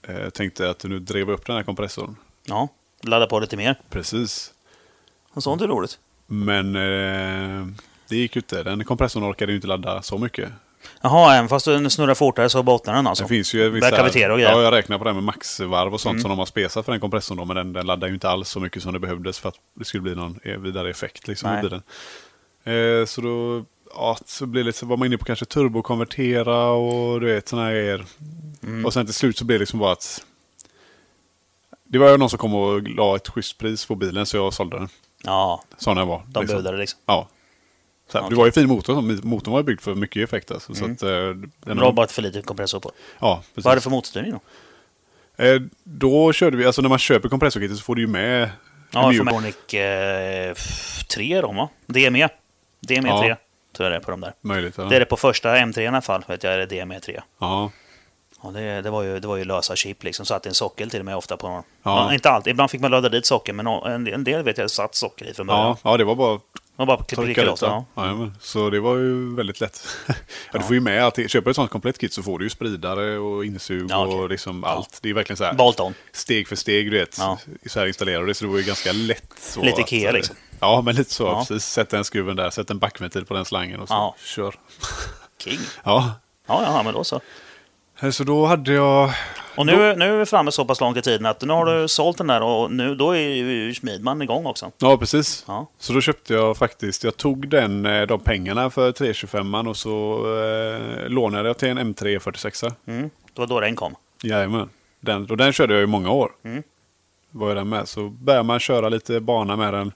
Speaker 1: Eh, tänkte att nu drev jag upp den här kompressorn.
Speaker 2: Ja. Ladda på lite mer.
Speaker 1: Precis.
Speaker 2: Och sånt är roligt.
Speaker 1: Men eh, det gick ju inte. Den kompressorn orkade ju inte ladda så mycket.
Speaker 2: Jaha, även fast den snurrar fortare så bottnar den alltså?
Speaker 1: Det finns ju vissa...
Speaker 2: Verkavitera och grejer. Mm.
Speaker 1: Ja, jag räknar på det här med maxvarv och sånt som de har spesat för den kompressorn. Då, men den, den laddar ju inte alls så mycket som det behövdes för att det skulle bli någon eh, vidare effekt liksom, i
Speaker 2: Nej.
Speaker 1: bilen. Eh, så då ja, så blir det, så var man inne på kanske turbokonvertera och du vet sådana här grejer.
Speaker 2: Mm.
Speaker 1: Och sen till slut så blev det liksom bara att... Det var ju någon som kom och la ett schysst pris på bilen så jag sålde den.
Speaker 2: Ja,
Speaker 1: Sån jag var.
Speaker 2: de
Speaker 1: liksom.
Speaker 2: budade liksom.
Speaker 1: Ja. Så här, Det
Speaker 2: Okej.
Speaker 1: var ju fin motor. som- Motorn var ju byggd för mycket effekt. Alltså, så att, eh, den
Speaker 2: Men det var bara ett för litet kompressor på.
Speaker 1: ja, precis.
Speaker 2: Vad är det för motorstyrning då?
Speaker 1: Eh, då körde vi, alltså när man köper kompressorkittet så får du ju med
Speaker 2: Ja,
Speaker 1: mjuk-
Speaker 2: Formonic eh, f- 3 de va? E. DME. DME
Speaker 1: Ja.
Speaker 2: 3 tror jag det är på de där.
Speaker 1: möjligt. Ja.
Speaker 2: Det är det på första M3 i alla fall, vet jag, är det DME 3.
Speaker 1: ja.
Speaker 2: Ja, det, det, var ju, det var ju lösa chip liksom, satt i en sockel till och med ofta på någon.
Speaker 1: Ja.
Speaker 2: Man, inte alltid, ibland fick man ladda dit socker, men nå- en, en del vet jag satt socker i från början.
Speaker 1: Ja, ja, det var bara
Speaker 2: Man bara
Speaker 1: torka
Speaker 2: klickade
Speaker 1: ut
Speaker 2: loss den.
Speaker 1: ja.
Speaker 2: Ja.
Speaker 1: Jajamän. Så det var ju väldigt lätt. ja, Du får ju med allt. Köper du ett sånt komplett kit så får du ju spridare och insug
Speaker 2: Ja, okej.
Speaker 1: och liksom allt. Det är verkligen så här
Speaker 2: Bolton.
Speaker 1: steg för steg, du vet.
Speaker 2: Ja.
Speaker 1: Så här installerar du det, så det var ju ganska lätt. Så eh,
Speaker 2: Lite Ikea, liksom.
Speaker 1: Ja, men lite så.
Speaker 2: Ja.
Speaker 1: Precis. Sätt den skruven där, sätt en backventil på den slangen och så
Speaker 2: Ja.
Speaker 1: kör.
Speaker 2: King.
Speaker 1: ja, Eh,
Speaker 2: Ja, ja, men då så.
Speaker 1: så då hade jag...
Speaker 2: Och nu, nu är vi framme så pass långt i tiden att nu har du sålt den där och nu då är ju Smidman igång också.
Speaker 1: Ja, precis.
Speaker 2: Ja.
Speaker 1: Så då köpte jag faktiskt, jag tog den, eh, de pengarna för 325 och så eh, lånade jag till en M3 46.
Speaker 2: Mm. Det var då den kom.
Speaker 1: Jajamän. Den, och den körde jag i många år.
Speaker 2: Mm.
Speaker 1: Var jag den med. Så började man köra lite bana med den.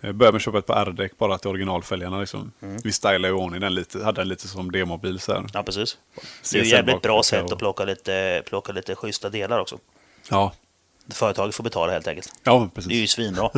Speaker 1: Eh, Började med att köpa ett par R-däck bara till originalfälgarna. Liksom.
Speaker 2: Mm.
Speaker 1: Vi stylade i ordning den lite, hade den lite som demobil. Så här.
Speaker 2: Ja, precis. Det är ju
Speaker 1: CSN
Speaker 2: jävligt
Speaker 1: bak-
Speaker 2: bra
Speaker 1: och-
Speaker 2: sätt att plocka lite, plocka lite schyssta delar också.
Speaker 1: Ja,
Speaker 2: Företaget får betala helt enkelt.
Speaker 1: ja
Speaker 2: Det är ju
Speaker 1: precis.
Speaker 2: svinbra.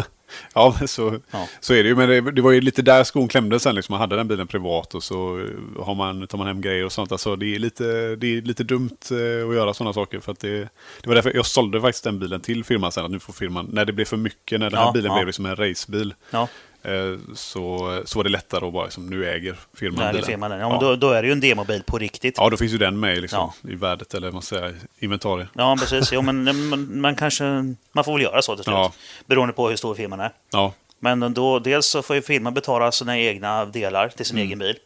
Speaker 1: Ja, men så,
Speaker 2: Ja.
Speaker 1: så är det ju. Men det, det var ju lite där skon klämde sen. Liksom. Man hade den bilen privat och så eh, har man, tar man hem grejer och sånt. Alltså, det, är lite, det är lite dumt eh, att göra sådana saker. För att det, det var därför jag sålde faktiskt den bilen till firman sen. Att nu får firman, när det blev för mycket, när den här
Speaker 2: Ja,
Speaker 1: bilen
Speaker 2: ja.
Speaker 1: blev liksom en racebil.
Speaker 2: Ja,
Speaker 1: eh, Så, så var det lättare att bara, liksom, nu äger firman
Speaker 2: där är
Speaker 1: bilen.
Speaker 2: firman den. Ja,
Speaker 1: ja.
Speaker 2: men då, då är det ju en demobil på riktigt.
Speaker 1: ja, då finns ju den med liksom,
Speaker 2: Ja.
Speaker 1: i värdet eller vad man säger, i inventariet.
Speaker 2: Ja, precis. Jo, men man, man kanske... Man får väl göra så till slut.
Speaker 1: Ja.
Speaker 2: Beroende på hur stor firman är.
Speaker 1: Ja,
Speaker 2: Men då, dels så får ju firman betala sina egna delar till sin
Speaker 1: Mm.
Speaker 2: egen bil.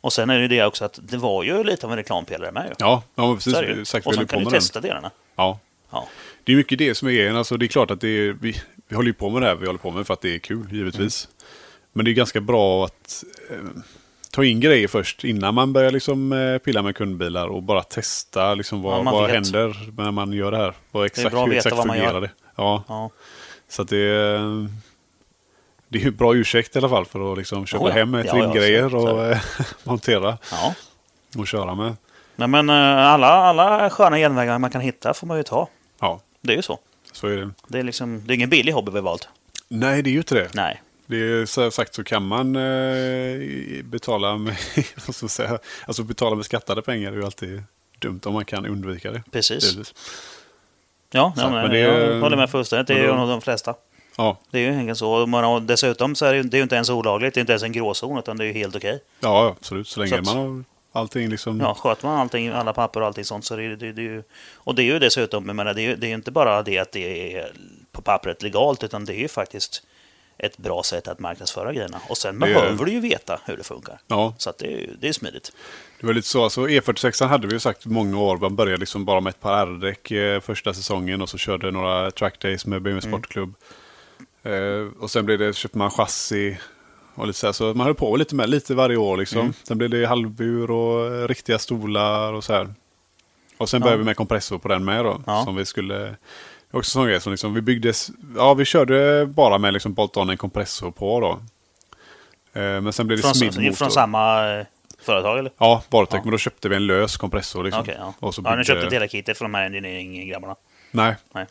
Speaker 2: Och sen är det ju det också att det var ju lite av en reklampelare med ju.
Speaker 1: ja, ja men
Speaker 2: Så är det ju.
Speaker 1: precis. Exakt,
Speaker 2: och
Speaker 1: vi höll
Speaker 2: sen kan du
Speaker 1: ju på med den.
Speaker 2: testa delarna.
Speaker 1: Ja.
Speaker 2: Ja.
Speaker 1: Det är mycket det som är grejen. Alltså, det är klart att det är, vi, vi håller ju på med det här vi håller på med för att det är kul, givetvis.
Speaker 2: Mm.
Speaker 1: Men det är ganska bra att eh, ta in grejer först innan man börjar liksom, eh, pilla med kundbilar och bara testa liksom, vad,
Speaker 2: Ja, man
Speaker 1: vad
Speaker 2: vet.
Speaker 1: händer när man gör det här. Vad exakt,
Speaker 2: bra att
Speaker 1: hur
Speaker 2: veta
Speaker 1: exakt
Speaker 2: vad man
Speaker 1: fungerar
Speaker 2: gör.
Speaker 1: det. Ja,
Speaker 2: Ja.
Speaker 1: så att det, är- det är ju en bra ursäkt i alla fall för att liksom, köpa
Speaker 2: Oh ja.
Speaker 1: hem eh,
Speaker 2: Ja, ja, så-
Speaker 1: trimgrejer
Speaker 2: så är
Speaker 1: och eh, montera
Speaker 2: ja.
Speaker 1: och köra med.
Speaker 2: Nej, men eh, alla, alla sköna genvägar man kan hitta får man ju ta.
Speaker 1: Ja,
Speaker 2: Det är ju så.
Speaker 1: så är det.
Speaker 2: Det är, liksom, det är ingen billig hobby vi valt.
Speaker 1: Nej, det är ju inte det.
Speaker 2: Nej.
Speaker 1: Det är så här sagt så kan man eh, betala med, vad ska jag säga, alltså betala med skattade pengar är ju alltid dumt om man kan undvika det.
Speaker 2: Precis.
Speaker 1: Givetvis.
Speaker 2: Ja,
Speaker 1: Så,
Speaker 2: nej, men
Speaker 1: men det är-
Speaker 2: jag håller med fullständigt. Det är
Speaker 1: men
Speaker 2: ju
Speaker 1: då-
Speaker 2: nog de flesta.
Speaker 1: Ja,
Speaker 2: Det är ju ingen så. Man har, dessutom så är det, ju- det är ju inte ens olagligt. Det är inte ens en gråzon, utan det är ju helt okej.
Speaker 1: ja, absolut. Så länge
Speaker 2: Så att-
Speaker 1: man har allting liksom.
Speaker 2: Ja, sköter man allting, alla papper och allting sånt så är det, det, det är ju... Och det är ju dessutom, jag menar, det är ju det är ju inte bara det att det är på pappret legalt, utan det är ju faktiskt ett bra sätt att marknadsföra grejerna. Och sen
Speaker 1: Det är-
Speaker 2: behöver du ju veta hur det funkar.
Speaker 1: Ja,
Speaker 2: Så att det, är ju- det är smidigt.
Speaker 1: det var lite så. Alltså, E46 hade vi ju sagt många år. Man började liksom bara med ett par R-däck eh, första säsongen och så körde några trackdays med
Speaker 2: Mm.
Speaker 1: BMW Sportklubb. Eh, och sen blev det, köpte man chassi och lite så, här, så man höll på lite med lite varje år liksom.
Speaker 2: Mm.
Speaker 1: Sen blev det halvbur och eh, riktiga stolar och så här. Och sen började vi med kompressor på den med då.
Speaker 2: Ja.
Speaker 1: Som vi skulle... Också sån grej som liksom, vi byggdes... Ja, vi körde bara med liksom bolt-on en kompressor på då. Eh, men sen blev det
Speaker 2: Från,
Speaker 1: smidmotor.
Speaker 2: från samma eh, företag, eller?
Speaker 1: Ja, Vartec, men då köpte vi en lös kompressor. Liksom.
Speaker 2: Okej, ja.
Speaker 1: Och så
Speaker 2: ja, ni
Speaker 1: byggde-
Speaker 2: köpte inte hela kittet från de här engineering-grabbarna.
Speaker 1: Nej.
Speaker 2: Nej.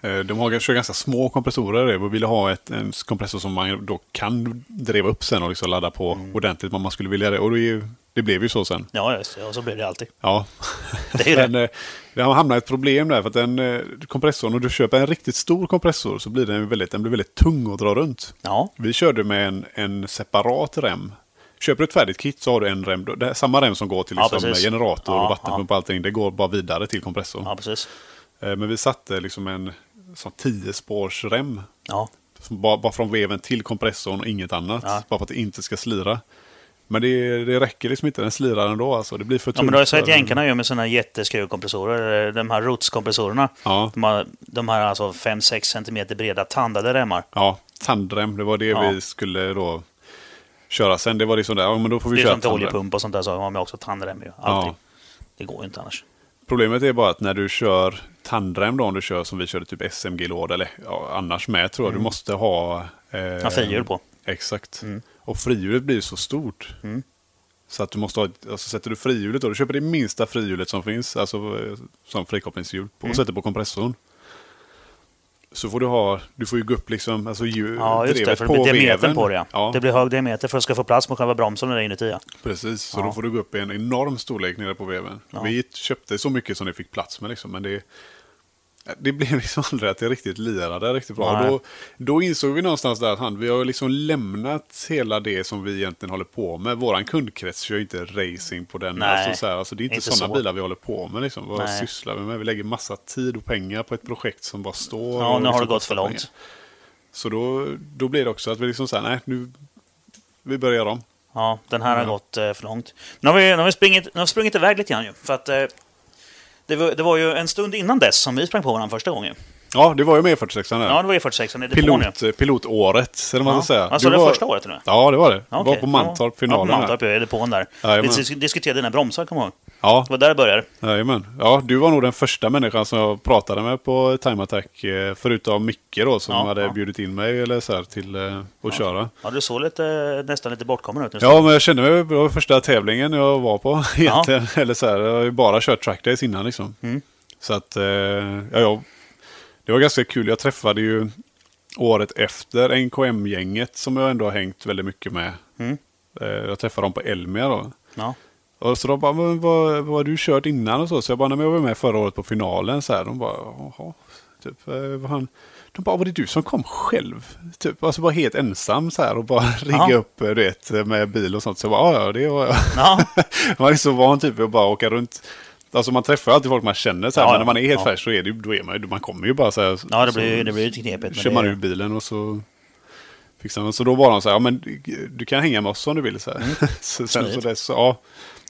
Speaker 1: Eh, De har kör ganska små kompressorer. Vi ville ha ett, en kompressor som man då kan driva upp sen och liksom ladda på
Speaker 2: Mm.
Speaker 1: ordentligt om man skulle vilja det. Och det, är ju, det blev ju så sen.
Speaker 2: Ja, just det. Ja, så blir det alltid.
Speaker 1: Ja.
Speaker 2: Det är
Speaker 1: Men eh, det har hamnat ett problem där. För att den eh, kompressorn, om du köper en riktigt stor kompressor så blir den, ju väldigt, den blir väldigt tung att dra runt.
Speaker 2: Ja,
Speaker 1: Vi körde med en, en separat rem. Köper du ett färdigt kit så har du en rem. Det är samma rem som går till
Speaker 2: Ja,
Speaker 1: liksom
Speaker 2: precis.
Speaker 1: generator
Speaker 2: Ja,
Speaker 1: och vattenpump och allting. Det går bara vidare till kompressorn.
Speaker 2: ja precis.
Speaker 1: Eh, Men vi satte liksom en sån 10 spårs rem.
Speaker 2: Ja,
Speaker 1: Som bara, bara från veven till kompressorn och inget annat.
Speaker 2: Ja.
Speaker 1: Bara för att det inte ska slira. Men det, det räcker liksom inte, den slirar ändå alltså. Det blir för tunt.
Speaker 2: Ja, men du har ju sett
Speaker 1: för den.
Speaker 2: jänkarna gör med sina jätteskruvkompressorer, eh, de här rotskompressorerna.
Speaker 1: Ja,
Speaker 2: De här, de här alltså 5-6 centimeter breda tandade remmar.
Speaker 1: ja, tandrem. Det var det
Speaker 2: Ja.
Speaker 1: vi skulle då köra sen. Det var liksom där, ja men då får vi
Speaker 2: Det är
Speaker 1: köra
Speaker 2: som till
Speaker 1: tandrem.
Speaker 2: oljepump och sånt där så har man också tandrem ju. Allting. Det går ju inte annars.
Speaker 1: Problemet är bara att när du kör tandrem då, om du kör som vi körde typ SMG-låda eller ja, annars med tror jag,
Speaker 2: Mm.
Speaker 1: du måste ha... Eh,
Speaker 2: Ja, frihjul på.
Speaker 1: Exakt.
Speaker 2: Mm.
Speaker 1: Och frihjulet blir så stort.
Speaker 2: Mm.
Speaker 1: Så att du måste ha, ett- alltså sätter du frihjulet då, du köper det minsta frihjulet som finns, alltså eh, som frikopplingshjul, på-
Speaker 2: Mm.
Speaker 1: och sätter på kompressorn. Så får du ha, du får ju gå upp liksom, alltså ju,
Speaker 2: Ja, just det.
Speaker 1: drevet
Speaker 2: För det blir diametern
Speaker 1: veven.
Speaker 2: på det ja. Det blir hög diameter för att det ska få plats med själva bromsen där inuti ja.
Speaker 1: Precis, så
Speaker 2: Ja.
Speaker 1: då får du gå upp i en enorm storlek nere på veven.
Speaker 2: Ja.
Speaker 1: Vi köpte så mycket som det fick plats med liksom, men det, det blev liksom aldrig att det riktigt lirade riktigt bra.
Speaker 2: Nej.
Speaker 1: Då, då insåg vi någonstans där att han, vi har ju liksom lämnat hela det som vi egentligen håller på med. Våran kundkrets kör ju inte racing på den.
Speaker 2: Nej,
Speaker 1: Alltså, så här, alltså, det är inte,
Speaker 2: inte
Speaker 1: sådana
Speaker 2: så.
Speaker 1: bilar vi håller på med. Liksom. Vad
Speaker 2: Nej.
Speaker 1: sysslar vi med? Vi lägger massa tid och pengar på ett projekt som bara står. och
Speaker 2: Ja, nu har
Speaker 1: liksom
Speaker 2: det gått
Speaker 1: kostar
Speaker 2: för
Speaker 1: pengar.
Speaker 2: långt.
Speaker 1: Så då, då blir det också att vi liksom säger nej, nu, vi börjar om.
Speaker 2: Ja, den här har
Speaker 1: Ja.
Speaker 2: gått eh, för långt. Nu har vi, nu har vi, springit, nu har vi sprungit iväg lite grann ju. För att, eh, det, var, det var ju en stund innan dess som vi sprang på varandra första gången.
Speaker 1: Ja, det var ju med i 46an. där.
Speaker 2: Ja, det var ju 46 i depån ju.
Speaker 1: Pilot, eh, pilotåret, eller vad man ska
Speaker 2: Ja.
Speaker 1: säga.
Speaker 2: Alltså
Speaker 1: Du
Speaker 2: det
Speaker 1: var-
Speaker 2: första året nu?
Speaker 1: Ja, det var det.
Speaker 2: Ja,
Speaker 1: Du var
Speaker 2: okej.
Speaker 1: på Mantorp, finalen.
Speaker 2: Ja, på
Speaker 1: Ja,
Speaker 2: Mantorp, i depån där. Vi
Speaker 1: Jajamän.
Speaker 2: dis- diskuterade dina bromsar, kommer jag ihåg.
Speaker 1: Ja,
Speaker 2: Det var där det började.
Speaker 1: jajamän. ja, du var nog den första människan som jag pratade med på Time Attack. eh, Förutom Micke då, som
Speaker 2: Ja,
Speaker 1: hade
Speaker 2: ja.
Speaker 1: bjudit in mig eller så här, till eh, att köra.
Speaker 2: Ja, du såg lite, nästan lite bortkommen ut nu.
Speaker 1: Ja, men jag kände mig, det var första tävlingen jag var på egentligen. Eller så här, jag har ju bara kört trackdays innan liksom. Så att, eh, ja, ja, det var ganska kul. Jag träffade ju året efter NKM-gänget som jag ändå har hängt väldigt mycket med.
Speaker 2: Mm.
Speaker 1: Eh, Jag träffade dem på Elmia då.
Speaker 2: Ja.
Speaker 1: Och så de bara, men vad, vad har du kört innan och så? Så jag bara, nej, men jag var med förra året på finalen så här. De bara, jaha. Typ, eh, vad han... De bara, var det du som kom själv? Typ, alltså bara helt ensam så här och bara rigga upp eh, du vet, med bil och sånt. Så jag bara, ja, ja, det var jag.
Speaker 2: Ja.
Speaker 1: man är så van typ att bara åka runt. Alltså man träffar alltid folk man känner så här,
Speaker 2: Ja,
Speaker 1: men när man är helt
Speaker 2: ja.
Speaker 1: färsk så är det, ju- då är man, ju- man kommer ju bara så här.
Speaker 2: Ja, det
Speaker 1: så-
Speaker 2: blir ju- det blir ju lite knepigt, men
Speaker 1: Kör man
Speaker 2: det-
Speaker 1: ur bilen och så fixar man. Så då var de så här, ja men du kan hänga med oss om du vill så här. så sen så
Speaker 2: Mm. Smidigt.
Speaker 1: dess, ja.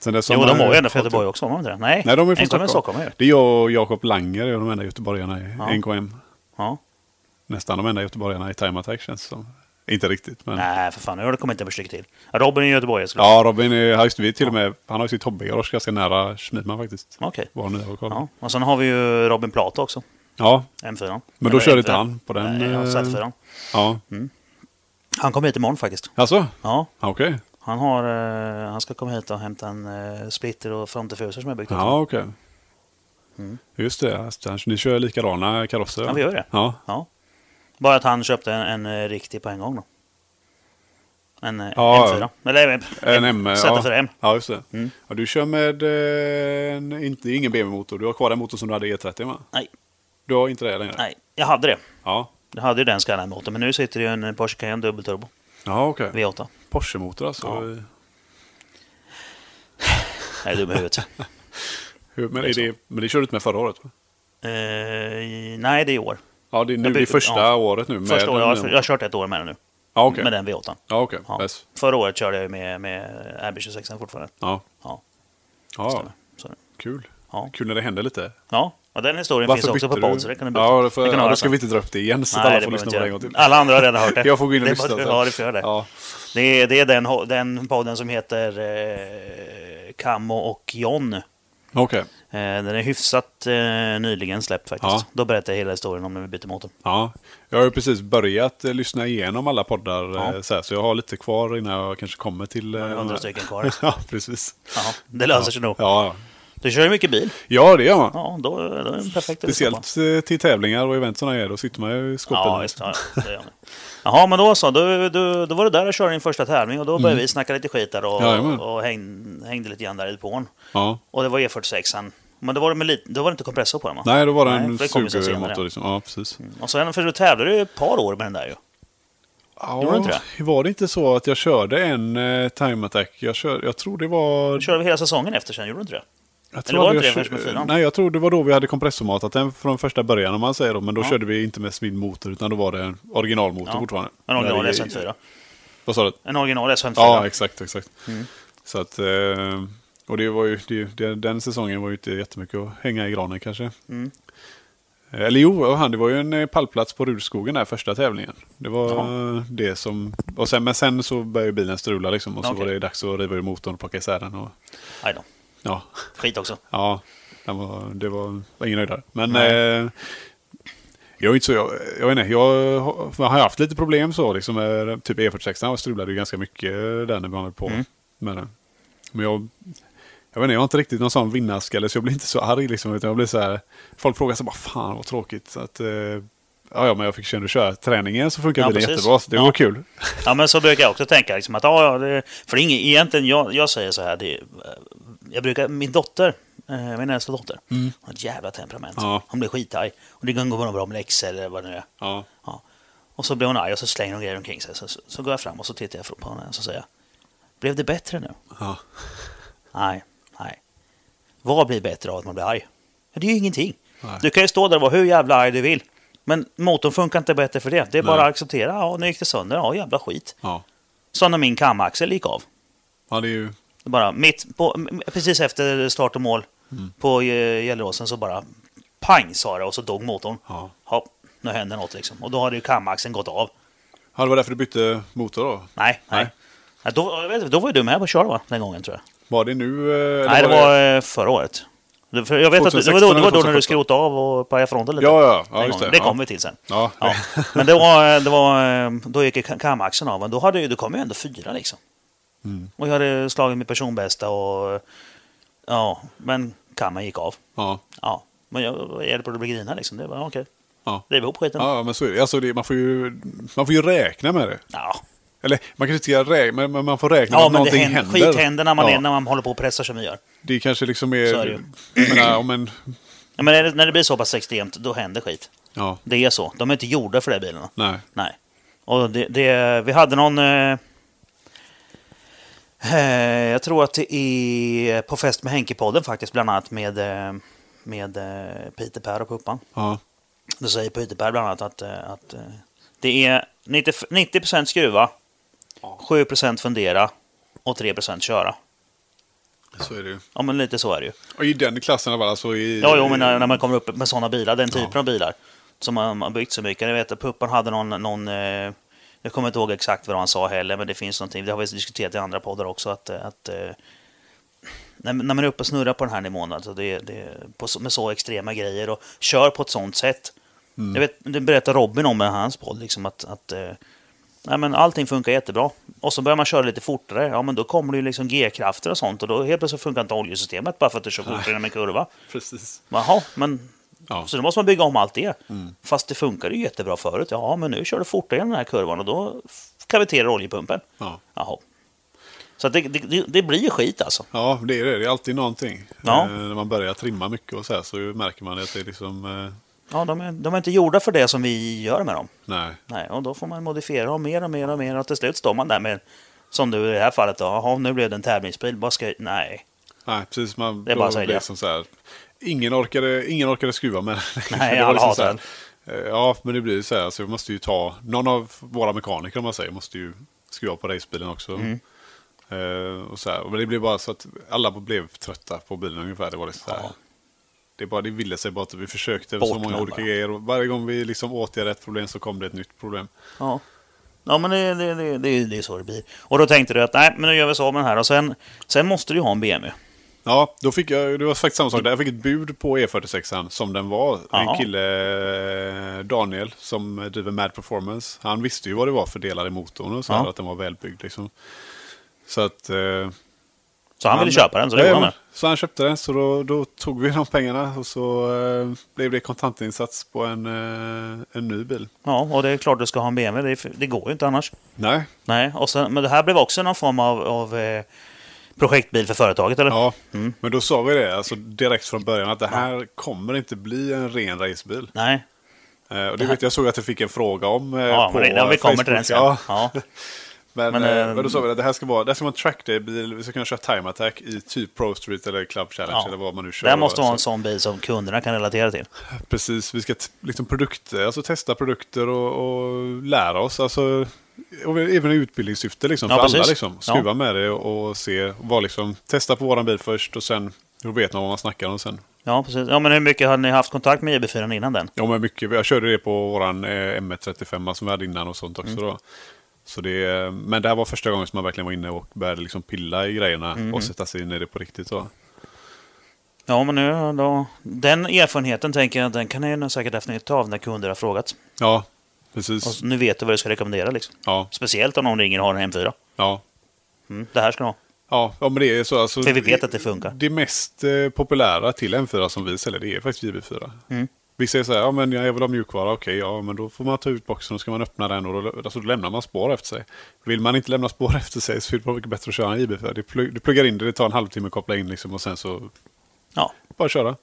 Speaker 1: Sen dess har
Speaker 2: Jo, de
Speaker 1: man-
Speaker 2: var ju ändå från Göteborg också, var de inte det? Nej,
Speaker 1: Nej, de är från
Speaker 2: NKM
Speaker 1: Stockholm.
Speaker 2: Stockholm ju.
Speaker 1: Det är jag och Jakob Langer, är de enda göteborgarna i
Speaker 2: Ja.
Speaker 1: NKM.
Speaker 2: Ja.
Speaker 1: Nästan de enda göteborgarna i Time Attack känns det som. Inte riktigt, men...
Speaker 2: Nej, för fan. Nu har det kommit en stycke till. Robin är göteborgare. skulle-
Speaker 1: Ja, Robin är, ja, just, det, vi är till och med, han har ju sitt hobbygarage ganska nära Schmidman faktiskt.
Speaker 2: Okej.
Speaker 1: Var nu jag kollade.
Speaker 2: Ja. Mm. Och sen har vi ju Robin Plata också.
Speaker 1: Ja,
Speaker 2: M4.
Speaker 1: men då körde inte han på den.
Speaker 2: Nej,
Speaker 1: eh,
Speaker 2: Z4.
Speaker 1: ja.
Speaker 2: Han kommer hit imorgon faktiskt.
Speaker 1: Alltså?
Speaker 2: Ja,
Speaker 1: Ja, Okej.
Speaker 2: han, har, eh, han ska komma hit och hämta en eh, splitter och frontdiffuser som jag byggt. också.
Speaker 1: Ja, okej. Just det, alltså, ni kör likadana karosser?
Speaker 2: Mm. Ja, vi gör det.
Speaker 1: Ja,
Speaker 2: Ja. Bara att han köpte en, en eh, riktig på en gång då. En eh,
Speaker 1: Ja,
Speaker 2: M4. Eller eh,
Speaker 1: en M. ja.
Speaker 2: Z4M.
Speaker 1: Ja, just det.
Speaker 2: Mm.
Speaker 1: Ja, du kör med eh, en, inte, ingen BMW-motor. Du har kvar den motor som du hade i E30 va?
Speaker 2: Nej,
Speaker 1: Du har inte det längre?
Speaker 2: nej, jag hade det.
Speaker 1: Ja.
Speaker 2: Jag hade ju den Skyline-motorn, men nu sitter det ju en Porsche Cayenne dubbelturbo.
Speaker 1: Ja, okej.
Speaker 2: V8.
Speaker 1: Porsche-motor alltså.
Speaker 2: Ja. Jag är dum i huvudet. Eh,
Speaker 1: Hur, men,
Speaker 2: Det är
Speaker 1: är det, men det körde du inte med förra året? Va?
Speaker 2: Eh, nej, det är i år.
Speaker 1: Ja, det är nu
Speaker 2: Jag bytte-
Speaker 1: det första
Speaker 2: ja.
Speaker 1: året nu. Med
Speaker 2: Första året, jag, har-
Speaker 1: den,
Speaker 2: jag har kört ett år med den nu.
Speaker 1: Ja, okej.
Speaker 2: Med den V8.
Speaker 1: Ja, okej.
Speaker 2: Ja.
Speaker 1: Bäst.
Speaker 2: Förra året körde jag ju med, med RB26 fortfarande.
Speaker 1: Ja.
Speaker 2: Ja,
Speaker 1: Ja,
Speaker 2: stämmer. Så,
Speaker 1: kul.
Speaker 2: Ja.
Speaker 1: Kul när det händer lite.
Speaker 2: ja, och den historien finns också på podd, så det kan du byta.
Speaker 1: Ja, det får,
Speaker 2: det kan du
Speaker 1: ja,
Speaker 2: höra
Speaker 1: då ska
Speaker 2: sen.
Speaker 1: vi inte dra upp det igen så att
Speaker 2: Nej,
Speaker 1: alla
Speaker 2: det
Speaker 1: får
Speaker 2: behöver
Speaker 1: lyssna
Speaker 2: inte
Speaker 1: på det en
Speaker 2: jag.
Speaker 1: gång till.
Speaker 2: Alla andra har redan hört det.
Speaker 1: Jag får gå in och
Speaker 2: det är
Speaker 1: lyssna.
Speaker 2: bara-
Speaker 1: sen.
Speaker 2: Ja, det får göra det.
Speaker 1: Ja.
Speaker 2: Det är, det är den, ho- den podden som heter eh, Kammo och John. Eh,
Speaker 1: Okej.
Speaker 2: den är hyfsat eh, nyligen släppt faktiskt.
Speaker 1: Ja.
Speaker 2: Då berättar jag hela historien om när vi bytte motor.
Speaker 1: Ja. Jag har ju precis börjat eh, lyssna igenom alla poddar
Speaker 2: Ja.
Speaker 1: eh, så, här, så jag har lite kvar innan jag kanske kommer till... eh, de
Speaker 2: Hundra
Speaker 1: här.
Speaker 2: stycken kvar.
Speaker 1: ja, precis.
Speaker 2: Ja, det löser sig nog.
Speaker 1: Ja, ja.
Speaker 2: Du kör ju mycket bil.
Speaker 1: ja, det gör man.
Speaker 2: Ja, då, då är den perfekt att lyssna på.
Speaker 1: Speciellt eh, till tävlingar och event som det är. Då sitter man ju i skåpen.
Speaker 2: Ja, just det. Ja, ja, det gör man. Jaha, men då så. Då, då, då var det där och körde din första tävling och då började vi snacka lite skit där
Speaker 1: Mm. Jajamän.
Speaker 2: och, och häng, hängde lite gran där i depån.
Speaker 1: Ja.
Speaker 2: Och det var E46an. Men då var det, med lite, då var det inte kompressor på den va?
Speaker 1: Nej, då var det
Speaker 2: Nej,
Speaker 1: en
Speaker 2: för det kom ju sen
Speaker 1: sugermotor.
Speaker 2: senare.
Speaker 1: Liksom. Ja, precis.
Speaker 2: Och sen, för du tävlade ju ett par år med den där ju. Gjorde du inte
Speaker 1: det? Var det inte så att jag körde en eh, time attack? Jag, kör, jag tror det var...
Speaker 2: Då körde vi hela säsongen efter sen, gjorde du inte det?
Speaker 1: Jag
Speaker 2: var
Speaker 1: aldrig
Speaker 2: det
Speaker 1: jag
Speaker 2: inte det först med
Speaker 1: kör-
Speaker 2: fyran?
Speaker 1: Nej, jag tror det var då vi hade kompressormatat den från första början om man säger då. Men då
Speaker 2: Ja.
Speaker 1: körde vi inte med smidd motor utan då var det en originalmotor
Speaker 2: Ja.
Speaker 1: fortfarande.
Speaker 2: Men om det
Speaker 1: Där
Speaker 2: var en
Speaker 1: i-
Speaker 2: S4.
Speaker 1: Vad sa du?
Speaker 2: En original S54.
Speaker 1: Ja, exakt, exakt.
Speaker 2: Mm.
Speaker 1: Så att, eh, och det var ju, det, det, den säsongen var ju inte jättemycket att hänga i granen kanske. Eh,
Speaker 2: Mm.
Speaker 1: Eller jo, och han, det var ju en eh, pallplats på Rudskogen där första tävlingen. Det var
Speaker 2: Jaha.
Speaker 1: eh, det som... Och sen, men sen så började ju bilen strula liksom och så
Speaker 2: Okej.
Speaker 1: var det dags att riva ur motorn och plocka isär den. Och,
Speaker 2: Aj då.
Speaker 1: ja,
Speaker 2: Skit också.
Speaker 1: ja den var, det var, var ingen höjdare. Men
Speaker 2: Nej.
Speaker 1: eh, jag är inte så... Jag, jag vet inte, jag har, jag har haft lite problem så liksom. Med, typ E46 och strulade ju ganska mycket där när man höll på
Speaker 2: Mm.
Speaker 1: med den. Men jag... Jag vet inte, jag har inte riktigt någon sån vinnarskalle så jag blir inte så arg liksom. Utan jag blir så här, folk frågar sig bara fan vad tråkigt. Så att, eh, ja, ja, men jag fick ju ändå köra träningen så funkar
Speaker 2: Ja,
Speaker 1: bilen
Speaker 2: precis.
Speaker 1: jättebra. Så det
Speaker 2: Ja.
Speaker 1: var kul.
Speaker 2: Ja, men så brukar jag också tänka. Liksom, att, ja, ja, det, för det är ingen, egentligen, jag, jag säger så här. Det, är, eh, jag brukar, min dotter, eh, min äldsta dotter, har ett jävla temperament.
Speaker 1: Mm. Ja.
Speaker 2: Hon blir skitarg. Och det kan gå bra om läxor eller vad det nu är.
Speaker 1: Ja,
Speaker 2: Ja. Och så blir hon arg och så slänger hon grejer omkring sig. Så, så, så går jag fram och så tittar jag på henne och så säger jag, Blev det bättre nu?
Speaker 1: ja.
Speaker 2: Nej, nej. Vad blir bättre av att man blir arg? Ja, Det är ju ingenting.
Speaker 1: Nej.
Speaker 2: Du kan ju stå där och vara hur jävla arg du vill. Men motorn funkar inte bättre för det. Det är bara
Speaker 1: Nej.
Speaker 2: att acceptera. Ja, nu gick det sönder. Ja, jävla skit.
Speaker 1: ja.
Speaker 2: Så när min kamaxel gick av.
Speaker 1: ja det är ju...
Speaker 2: Det Bara mitt på, m- precis efter start och mål
Speaker 1: Mm.
Speaker 2: på eh, Gelleråsen så bara pang sa det och så dog motorn.
Speaker 1: Ja.
Speaker 2: Hopp, nu händer något liksom. Och då hade ju kamaxeln gått av.
Speaker 1: Ja, det var därför du bytte motor då?
Speaker 2: Nej, nej.
Speaker 1: Nej.
Speaker 2: Ja, Då, jag vet inte, då var ju du med på Körd va? Den gången tror jag.
Speaker 1: Var det nu? eh, eller
Speaker 2: Nej, det var eh, förra året. Det- för Jag vet att det var då,
Speaker 1: 2016
Speaker 2: det var då när du
Speaker 1: 2017.
Speaker 2: skrotade av och pajade fronten lite.
Speaker 1: Ja, ja, ja,
Speaker 2: Den
Speaker 1: just
Speaker 2: gången. det
Speaker 1: det, ja.
Speaker 2: kommer vi till sen.
Speaker 1: Ja.
Speaker 2: Ja. Men det var, det var, eh, då gick ju ka- kamaxeln av, men då, hade, ju- då kom jag ändå fyra liksom. Och jag hade slagit mitt personbästa och... eh, Ja, men kammen gick av.
Speaker 1: ja.
Speaker 2: Ja, men jag vad är det på att bli grina liksom. Det var okej.
Speaker 1: Ja.
Speaker 2: Riv ihop skiten. Ja.
Speaker 1: Ja, men så är det. Alltså, det man, får ju, man får ju räkna med det.
Speaker 2: Ja.
Speaker 1: Eller man kanske inte ska räkna, men, men man får räkna med att
Speaker 2: men det
Speaker 1: någonting
Speaker 2: händer,
Speaker 1: händer.
Speaker 2: skit händer när man,
Speaker 1: ja.
Speaker 2: är, när man håller på och pressar som vi gör.
Speaker 1: Det kanske liksom
Speaker 2: Så är
Speaker 1: är...
Speaker 2: det ju.
Speaker 1: jag menar, om en,
Speaker 2: Ja, men när det, när det blir så pass extremt, då händer skit.
Speaker 1: ja,
Speaker 2: Det är så. De är inte gjorda för det bilarna.
Speaker 1: nej.
Speaker 2: Nej. Och det, det, vi hade någon... Eh, eh, jag tror att det är på fest med Henke-podden faktiskt, bland annat med, eh, med eh, Peter Per och Puppan.
Speaker 1: Ja,
Speaker 2: Då säger Peter Per bland annat att, eh, att eh, det är 90, 90% skruva, 7% fundera och 3% köra.
Speaker 1: så är det ju.
Speaker 2: Ja, men lite så är det ju.
Speaker 1: Och i den klassen av alla så i...
Speaker 2: Ja, jo, men när, när man kommer upp med sådana bilar, den typen
Speaker 1: Eh, Ja.
Speaker 2: av bilar som man har byggt så mycket. Jag vet att Puppan hade någon, någon eh, jag kommer inte ihåg exakt vad han sa heller, men det finns någonting, det har vi diskuterat i andra poddar också, att, eh, att eh, när, när man är uppe och snurrar på den här nivån, alltså det, det, på, så- med så extrema grejer och kör på ett sånt sätt. Jag vet, det berättar Robin om i hans podd, liksom att, att eh, nej, men allting funkar jättebra. Och så börjar man köra lite fortare, ja men då kommer det ju liksom G-krafter och sånt och då helt plötsligt funkar inte oljesystemet bara för att du kör fortare genom en kurva.
Speaker 1: Precis.
Speaker 2: Jaha, men...
Speaker 1: Ja.
Speaker 2: Så då måste man bygga om allt det. Fast det funkade ju jättebra förut. Ja, men nu kör du fortare genom den här kurvan och då f- kaviterar oljepumpen.
Speaker 1: Ja.
Speaker 2: Jaha. Så att det, det- det, det blir ju skit alltså.
Speaker 1: ja, det är det. Det är alltid någonting.
Speaker 2: Ja.
Speaker 1: Eh, när man börjar trimma mycket och så här så märker man att det är liksom... Eh,
Speaker 2: Ja, de, är, de är inte gjorda för det som vi gör med dem.
Speaker 1: nej.
Speaker 2: Nej, och då får man modifiera dem mer och mer och mer och till slut står man där med, som du i det här fallet då, jaha, nu blev det en tävlingsbil, vad ska jag... Nej,
Speaker 1: Nej, precis. Man,
Speaker 2: Det är
Speaker 1: då
Speaker 2: bara så här,
Speaker 1: blir
Speaker 2: ja.
Speaker 1: det som så här, ingen, orkade, ingen orkade skruva med den.
Speaker 2: Nej,
Speaker 1: Det var
Speaker 2: alla
Speaker 1: liksom så
Speaker 2: hatar
Speaker 1: här, eh, Ja, men det blir ju så här. Så vi måste ju ta, någon av våra mekaniker om man säger, måste ju skruva på racebilen också.
Speaker 2: Mm.
Speaker 1: Eh, och så här. och det blev bara så att alla blev trötta på bilen ungefär. Det var liksom så här.
Speaker 2: Ja.
Speaker 1: Det, bara, det ville sig bara att vi försökte
Speaker 2: Bort
Speaker 1: så
Speaker 2: med
Speaker 1: många olika
Speaker 2: bara.
Speaker 1: grejer. Och varje gång vi liksom åtgärdade ett problem så kom det ett nytt problem.
Speaker 2: Ja. Ja, men det, det, det, det, är- det är så det blir. Och då tänkte du att nej, men nu gör vi så med den här och sen, sen måste du ju ha en BMW.
Speaker 1: Ja, då fick jag, det var faktiskt samma sak där. Jag fick ett bud på E46 som den var.
Speaker 2: Jaha.
Speaker 1: En kille, eh, Daniel, som driver Mad Performance. Han visste ju vad det var för delar i motorn och så här,
Speaker 2: Ja.
Speaker 1: att den var välbyggd liksom. Så att... eh,
Speaker 2: Så han ville köpa den, så det gjorde han
Speaker 1: Jajamän.
Speaker 2: det.
Speaker 1: Så han köpte den, så då, då tog vi de pengarna och så eh, blev det kontantinsats på en, eh, en ny bil.
Speaker 2: Ja, och det är klart du ska ha en BMW. Det, är- det går ju inte annars.
Speaker 1: Nej,
Speaker 2: Nej, och sen, men det här blev också någon form av, av eh, projektbil för företaget, eller?
Speaker 1: ja. Men då sa vi det alltså direkt från början att det här kommer inte bli en ren racebil.
Speaker 2: Nej,
Speaker 1: Eh, Och det vet jag såg att jag fick en fråga om eh,
Speaker 2: ja,
Speaker 1: på
Speaker 2: men det, ja, vi kommer till den
Speaker 1: Facebook.
Speaker 2: sen.
Speaker 1: Ja,
Speaker 2: Ja.
Speaker 1: men,
Speaker 2: Men,
Speaker 1: eh,
Speaker 2: eh,
Speaker 1: men då sa vi att det här ska vara, det här ska vara en track day-bil. Vi ska kunna köra time attack i typ Pro Street eller Club Challenge
Speaker 2: Ja.
Speaker 1: eller vad man nu kör.
Speaker 2: Det här måste vara en
Speaker 1: Så-
Speaker 2: sån bil som kunderna kan relatera till.
Speaker 1: Precis, vi ska t- liksom produkter, alltså testa produkter och, och lära oss. Alltså, och även i utbildningssyfte liksom,
Speaker 2: Ja,
Speaker 1: för alla.
Speaker 2: precis.
Speaker 1: Liksom,
Speaker 2: Ja.
Speaker 1: skruva med det och, och se. och Var liksom, testa på våran bil först och sen då vet man vad man snackar om sen.
Speaker 2: Ja, precis. Ja, men hur mycket hade ni haft kontakt med IB4 innan den?
Speaker 1: Ja, men mycket. Jag körde det på våran eh, M135 som vi hade innan och sånt också. Då. Så det, men det här var första gången som man verkligen var inne och började liksom pilla i grejerna och sätta sig in i det på riktigt. Så.
Speaker 2: Ja, men nu då. Den erfarenheten tänker jag, den kan ni nog säkert haft nytta av när kunder har frågat.
Speaker 1: Ja, precis.
Speaker 2: Och nu vet du vad du ska rekommendera liksom.
Speaker 1: Ja,
Speaker 2: Speciellt om någon ringer och har en M4.
Speaker 1: ja.
Speaker 2: Mm, det här ska du ha.
Speaker 1: Ja, ja, men det är så. Alltså,
Speaker 2: För vi vet att det funkar.
Speaker 1: Det mest eh, populära till M4 som vi säljer, det är faktiskt JB4.
Speaker 2: Mm.
Speaker 1: Vissa är så här, ja men jag vill ha mjukvara, okej, ja men då får man ta ut boxen och ska man öppna den och då, alltså, då lämnar man spår efter sig. Vill man inte lämna spår efter sig så är det bara mycket bättre att köra en JB4. Det plug, du pluggar in det, det tar en halvtimme att koppla in liksom och sen så
Speaker 2: Ja,
Speaker 1: bara köra.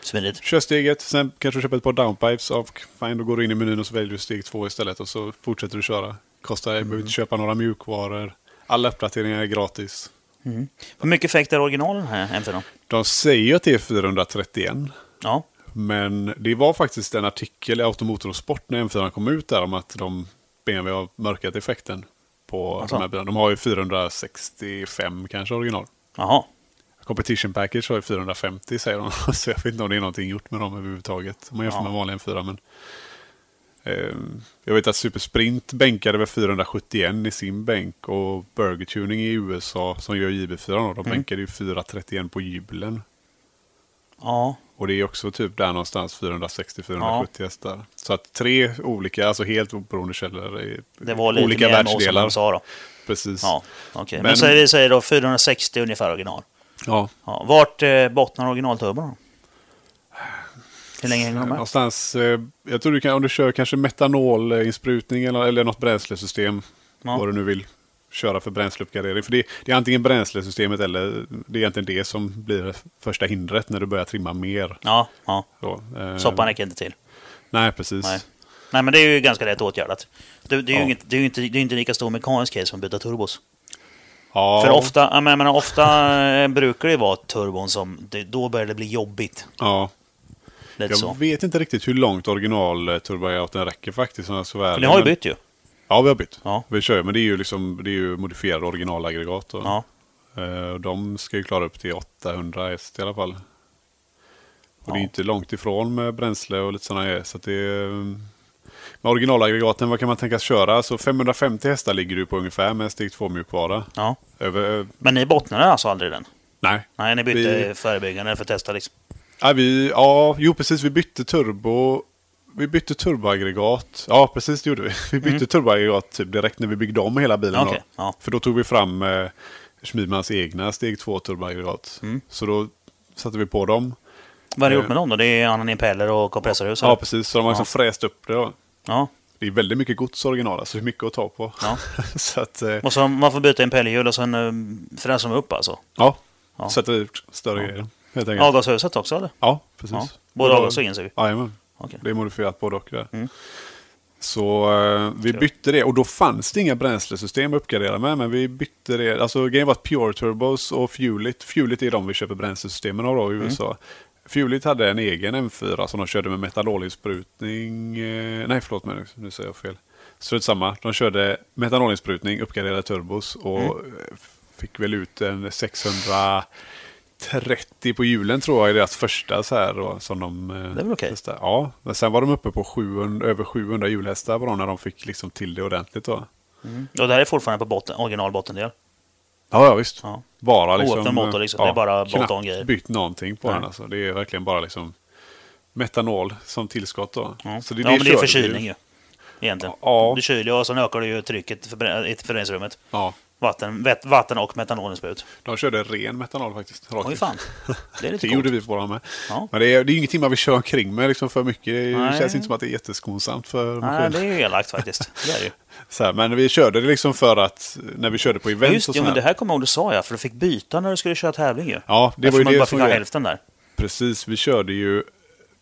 Speaker 2: smidigt.
Speaker 1: Kör steget, sen kanske du köper ett par downpipes och fine, då går du in i menyn och så väljer du steg två istället och så fortsätter du köra. Kostar, mm. behöver inte köpa några mjukvaror. Alla uppdateringar är gratis.
Speaker 2: Mm. Hur mycket effekt är originalen här M4?
Speaker 1: De säger att det är 431.
Speaker 2: Ja,
Speaker 1: Men det var faktiskt en artikel i Automotor och Sport när M4 kom ut där om att de BMW har mörkat effekten på
Speaker 2: Alltså.
Speaker 1: de här bilarna. De har ju 465 kanske original.
Speaker 2: jaha.
Speaker 1: Competition Package har ju 450 säger de. Så jag vet inte om det är någonting gjort med dem överhuvudtaget. Om man jämför
Speaker 2: Ja.
Speaker 1: med vanliga M4. Men, eh, jag vet att Supersprint bänkade väl 471 i sin bänk. Och Burger Tuning i USA som gör JB4 då, de bänkade ju 431 på hjulen.
Speaker 2: Ja,
Speaker 1: Och det är också typ där någonstans 460-470 hästar. Så att tre olika, alltså helt oberoende källor. i
Speaker 2: det var lite
Speaker 1: olika
Speaker 2: mer än vad som
Speaker 1: världsdelar.
Speaker 2: de sa då.
Speaker 1: Precis.
Speaker 2: Ja, okej. Men,
Speaker 1: Men-
Speaker 2: säger vi säger då 460 ungefär original.
Speaker 1: Ja.
Speaker 2: Ja. Vart eh, bottnar originalturbon då? Hur länge hänger de med?
Speaker 1: Någonstans, eh, jag tror du kan, om du kör kanske metanolinsprutning eller, eller något bränslesystem.
Speaker 2: Ja.
Speaker 1: Vad du nu vill köra för bränsleuppgradering. För det, det är antingen bränslesystemet eller det är egentligen det som blir första hindret när du börjar trimma mer.
Speaker 2: Ja, ja.
Speaker 1: Så, eh,
Speaker 2: Soppan räcker inte till.
Speaker 1: Nej, precis.
Speaker 2: Nej. Nej, men det är ju ganska lätt åtgärdat. Det, det är ju
Speaker 1: Ja.
Speaker 2: inget, det är ju inte, det är inte lika stor mekanisk case som att byta turbos.
Speaker 1: Ja,
Speaker 2: För ofta, jag menar, ofta eh, brukar det ju vara turbon som, det, då börjar det bli jobbigt.
Speaker 1: ja.
Speaker 2: Lite
Speaker 1: Jag
Speaker 2: så.
Speaker 1: vet inte riktigt hur långt original turboajouten räcker faktiskt. Om jag ska vara
Speaker 2: För
Speaker 1: ärlig,
Speaker 2: ni har ju
Speaker 1: men-
Speaker 2: bytt ju.
Speaker 1: Ja, vi har bytt.
Speaker 2: Ja.
Speaker 1: Vi kör ju, men det är ju, liksom, det är ju modifierade originalaggregat. Då.
Speaker 2: Ja.
Speaker 1: Eh, och de ska ju klara upp till 800 häst i alla fall. Och det är
Speaker 2: Ja.
Speaker 1: inte långt ifrån med bränsle och lite sådana grejer. Så att det är, eh, med originalaggregaten, vad kan man tänkas köra? Så 550 hästar ligger du på ungefär med en steg 2-mjukvara.
Speaker 2: Ja.
Speaker 1: Över, eh,
Speaker 2: Men ni bottnade alltså aldrig den?
Speaker 1: nej.
Speaker 2: Nej, ni bytte
Speaker 1: Vi-
Speaker 2: förebyggande för att testa liksom.
Speaker 1: Ja, vi, ja, jo precis. Vi bytte turbo. Vi bytte turboaggregat. Ja, precis det gjorde vi. Vi bytte turboaggregat typ direkt när vi byggde om hela bilen.
Speaker 2: Mm. Okej,
Speaker 1: då.
Speaker 2: ja.
Speaker 1: För då tog vi fram eh, Schmidmans egna steg 2 turboaggregat.
Speaker 2: Mm.
Speaker 1: Så då satte vi på dem.
Speaker 2: Vad har ni
Speaker 1: Eh.
Speaker 2: gjort med dem då? Det är annan impeller och kompressorhus?
Speaker 1: Ja,
Speaker 2: eller?
Speaker 1: precis. Så de har liksom fräst upp det. Då.
Speaker 2: ja.
Speaker 1: Det är väldigt mycket gods original, alltså det är mycket att ta på.
Speaker 2: Ja.
Speaker 1: så att, eh,
Speaker 2: Och så man får byta impellerhjul och sen eh, fräser de upp alltså?
Speaker 1: ja.
Speaker 2: Ja.
Speaker 1: Sätta ut större grejer. Helt enkelt. Ja,
Speaker 2: Avgashuset också eller?
Speaker 1: precis.
Speaker 2: Ja. Både
Speaker 1: Och då-
Speaker 2: avgas och insug?
Speaker 1: Jajamän.
Speaker 2: Okej.
Speaker 1: Det är modifierat både och där.
Speaker 2: Mm.
Speaker 1: Så eh, vi
Speaker 2: Kul.
Speaker 1: bytte det och då fanns det inga bränslesystem att uppgradera med. Men vi bytte det. Alltså grejen var att Pure Turbos och Fuelit. Fuelit är de vi köper bränslesystemen av då
Speaker 2: Mm.
Speaker 1: i USA. Fuelit hade en egen M4 som de körde med metanolinsprutning. Eh, nej, förlåt mig. Nu säger jag fel. Strunt samma. De körde metanolinsprutning, uppgraderade turbos och
Speaker 2: Mm.
Speaker 1: eh, fick väl ut en 600... 30 på julen tror jag i deras första så här då, som de eh,
Speaker 2: Det är väl okej.
Speaker 1: testade. Ja, men sen var de uppe på 700, över 700 julhästar var de när de fick liksom till det ordentligt då.
Speaker 2: Och Mm. det här är fortfarande på botten, original bottendel?
Speaker 1: Ja, ja visst.
Speaker 2: Ja.
Speaker 1: Bara liksom.
Speaker 2: Oöppen motor liksom. Det är bara
Speaker 1: knappt
Speaker 2: bolt-on-grejer.
Speaker 1: bytt någonting på
Speaker 2: Nej.
Speaker 1: den alltså. Det är verkligen bara liksom metanol som tillskott då.
Speaker 2: Ja,
Speaker 1: Så
Speaker 2: ja men det är
Speaker 1: körde vi
Speaker 2: förkylning ju. Egentligen.
Speaker 1: Ja.
Speaker 2: Du kyler ju och sen ökar du ju trycket i förbrän- i förbränningsrummet.
Speaker 1: Ja,
Speaker 2: Vatten, vet- vatten och metanolinsprut.
Speaker 1: de körde ren metanol faktiskt. rakt
Speaker 2: Oj
Speaker 1: ut.
Speaker 2: fan. Det är
Speaker 1: Det
Speaker 2: lite
Speaker 1: gjorde
Speaker 2: coolt.
Speaker 1: vi på våran med.
Speaker 2: Ja.
Speaker 1: Men det är, det är ju ingenting man vill köra omkring med liksom för mycket. Det
Speaker 2: Nej.
Speaker 1: känns inte som att det är jätteskonsamt för
Speaker 2: Nej, det är ju elakt faktiskt. Det är det ju.
Speaker 1: Så här, men vi körde det liksom för att när vi körde på
Speaker 2: Ja,
Speaker 1: event
Speaker 2: Just
Speaker 1: och
Speaker 2: det,
Speaker 1: så
Speaker 2: men
Speaker 1: här.
Speaker 2: det här kommer jag ihåg du sa ja, för du fick byta när du skulle köra tävling ju.
Speaker 1: Ja, det var
Speaker 2: Eftersom
Speaker 1: ju
Speaker 2: man
Speaker 1: det
Speaker 2: bara
Speaker 1: som
Speaker 2: fick ha
Speaker 1: grej-
Speaker 2: hälften där.
Speaker 1: Precis, vi körde ju...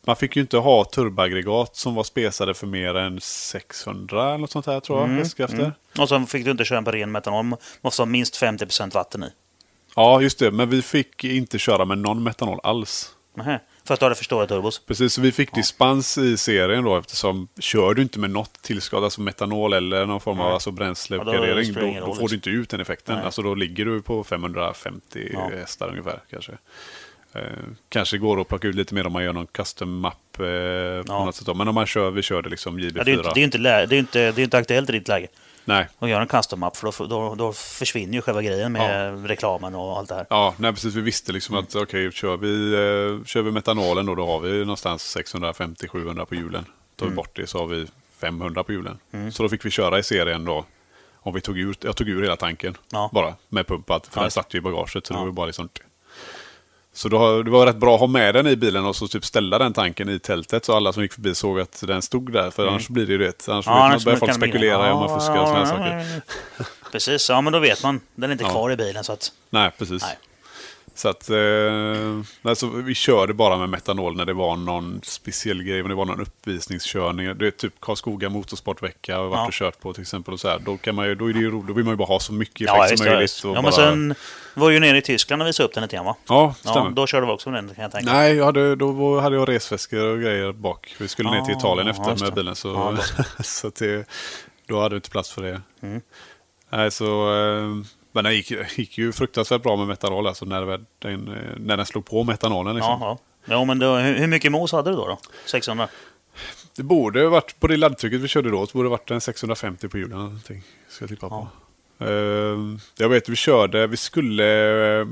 Speaker 1: Man fick ju inte ha turboaggregat som var spesade för mer än 600 eller något sånt här tror jag,
Speaker 2: Mm,
Speaker 1: hästkrafter.
Speaker 2: Och sen fick du inte köra på ren metanol. Man måste ha minst 50% vatten i.
Speaker 1: Ja, just det. Men vi fick inte köra med någon metanol alls.
Speaker 2: Nähä. För att du hade för stora turbos.
Speaker 1: Precis, så vi fick dispens i serien då eftersom kör du inte med något tillskott, alltså metanol eller någon form av
Speaker 2: Nej.
Speaker 1: alltså
Speaker 2: Ja, då
Speaker 1: bränsleuppgradering,
Speaker 2: spelar det
Speaker 1: då,
Speaker 2: ingen
Speaker 1: då
Speaker 2: roll,
Speaker 1: får du
Speaker 2: liksom.
Speaker 1: inte ut den effekten.
Speaker 2: Nej.
Speaker 1: Alltså då ligger du på 550
Speaker 2: Ja.
Speaker 1: hästar ungefär kanske. Eh, kanske går att plocka ut lite mer om man gör någon custom map eh, på
Speaker 2: Ja.
Speaker 1: något sätt. då. Men om man kör, vi körde liksom JB4.
Speaker 2: Ja, det, är ju inte, det, är ju inte, lä- det, är ju inte, det är ju inte aktuellt i ditt läge.
Speaker 1: Nej.
Speaker 2: Och gör en custom app för då, då, då försvinner ju själva grejen med reklamen och allt det här. Mm.
Speaker 1: Ja, nej, precis. Vi visste liksom att okej, kör, vi, eh, kör vi metanolen då, då har vi någonstans 650-700 på hjulen. Tar
Speaker 2: Mm.
Speaker 1: vi bort det så har vi 500 på hjulen. Så då fick vi köra i serien då. Om vi tog ur, jag tog ur hela tanken
Speaker 2: Ja.
Speaker 1: bara med pumpat, för
Speaker 2: Ja,
Speaker 1: den
Speaker 2: just
Speaker 1: satt ju i bagaget. Så
Speaker 2: Ja.
Speaker 1: det var ju bara liksom... Så då, har- det var rätt bra att ha med den i bilen och så typ ställa den tanken i tältet så alla som gick förbi såg att den stod där. För annars blir det ju det. Annars
Speaker 2: Mm. Ja, annars
Speaker 1: börjar folk
Speaker 2: kan de-
Speaker 1: spekulera i om man
Speaker 2: Ja,
Speaker 1: fuskar och sådana
Speaker 2: ja,
Speaker 1: saker.
Speaker 2: ja, ja. Precis, ja men då vet man. Den är inte
Speaker 1: Ja.
Speaker 2: kvar i bilen så att...
Speaker 1: Nej, precis.
Speaker 2: Nej.
Speaker 1: Så att eh, nej, så vi körde bara med metanol när det var någon speciell grej, men det var någon uppvisningskörning. Det är typ Karlskoga motorsportvecka har vi varit
Speaker 2: Ja.
Speaker 1: och kört på till exempel. Och så här. Då, kan man ju, då, är det ju roligt, då vill man ju bara ha så mycket
Speaker 2: Ja,
Speaker 1: effekt
Speaker 2: just
Speaker 1: som
Speaker 2: det. Ja,
Speaker 1: möjligt.
Speaker 2: just. det.
Speaker 1: och
Speaker 2: ja, men
Speaker 1: bara-
Speaker 2: sen var ju nere i Tyskland och visade upp den lite grann va?
Speaker 1: ja stämmer.
Speaker 2: Ja, då körde vi också med den kan jag tänka mig.
Speaker 1: Nej, jag hade, då var- hade jag resväskor och grejer bak. Vi skulle ner till
Speaker 2: Ah,
Speaker 1: Italien
Speaker 2: ja,
Speaker 1: efter
Speaker 2: just
Speaker 1: med
Speaker 2: det. Ah,
Speaker 1: bilen. Så,
Speaker 2: Ja,
Speaker 1: så att det, då hade vi inte plats för det.
Speaker 2: Mm.
Speaker 1: Nej, så, eh, men den gick, gick ju fruktansvärt bra med metanol. Alltså när, väl den, eh, när den slog på metanolen. Liksom.
Speaker 2: Ja, ja. ja men då, hur hur mycket mos hade du då? då? 600?
Speaker 1: Det borde ha varit, på det laddtrycket vi körde då, så borde det ha varit en 650 på hjulen. eller Någonting, ska jag tippa på. Eh, jag vet, vi körde, vi skulle, eh,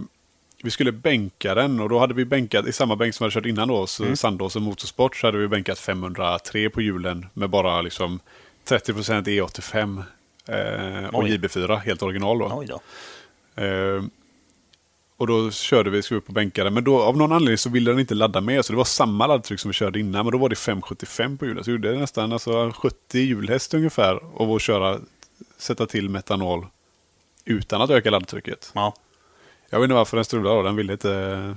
Speaker 1: vi skulle bänka den och då hade vi bänkat, i samma bänk som vi hade kört innan då, så Sandåsen Motorsport, så hade vi bänkat 503 på hjulen med bara liksom 30% E85 eh, och
Speaker 2: Oj.
Speaker 1: JB4, helt original då.
Speaker 2: Oj då.
Speaker 1: Eh, och då körde vi, skulle upp och bänka den. Men då, av någon anledning så ville den inte ladda med. Så det var samma laddtryck som vi körde innan. Men då var det 5,75 på hjulen. Så gjorde det nästan alltså, 70 hjulhäst ungefär. Och att köra, sätta till metanol utan att öka laddtrycket.
Speaker 2: Ja.
Speaker 1: Jag vet inte varför den strulade då. Den ville inte... Jag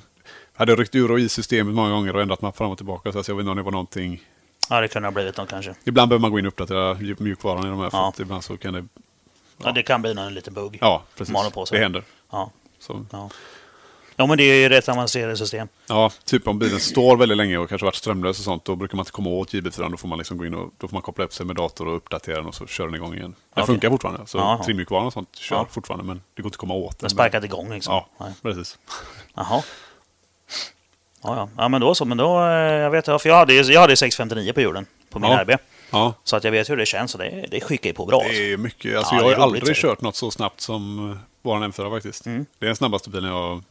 Speaker 1: hade ryckt ur och i systemet många gånger och ändrat mapp fram och tillbaka. Så jag vet inte om det var någonting...
Speaker 2: ja, det kunde ha blivit något kanske.
Speaker 1: Ibland behöver man gå in och uppdatera mjukvaran i de här. För
Speaker 2: Ja.
Speaker 1: att ibland så kan det...
Speaker 2: Ja, det kan bli någon liten bugg.
Speaker 1: Ja, precis.
Speaker 2: Man har på sig.
Speaker 1: Det händer.
Speaker 2: Ja.
Speaker 1: Så.
Speaker 2: Ja. ja, men det är ju rätt avancerade system.
Speaker 1: Ja, typ om bilen står väldigt länge och kanske varit strömlös och sånt, då brukar man inte komma åt JB4. Då får man liksom gå in och då får man koppla upp sig med dator och uppdatera den och så kör den igång igen. Den
Speaker 2: Okej.
Speaker 1: funkar fortfarande, så
Speaker 2: Jaha.
Speaker 1: trimmjukvaran och sånt kör
Speaker 2: Ja.
Speaker 1: fortfarande, men det går inte att komma åt
Speaker 2: Den
Speaker 1: den.
Speaker 2: sparkade igång liksom.
Speaker 1: Mm. Ja,
Speaker 2: Nej.
Speaker 1: precis.
Speaker 2: Jaha. Ja, ja. ja, men då så. Men då, eh, jag vet, ja, för jag hade, jag hade 659 på hjulen på min
Speaker 1: Ja.
Speaker 2: RB.
Speaker 1: Ja,
Speaker 2: Så att jag vet hur det känns och det, det skickar ju på bra. Alltså.
Speaker 1: det är mycket. Alltså,
Speaker 2: Ja,
Speaker 1: jag har
Speaker 2: det är
Speaker 1: ju
Speaker 2: roligt,
Speaker 1: aldrig
Speaker 2: säger
Speaker 1: kört något så snabbt som eh, vår M4 faktiskt.
Speaker 2: Mm.
Speaker 1: Det är den snabbaste bilen jag...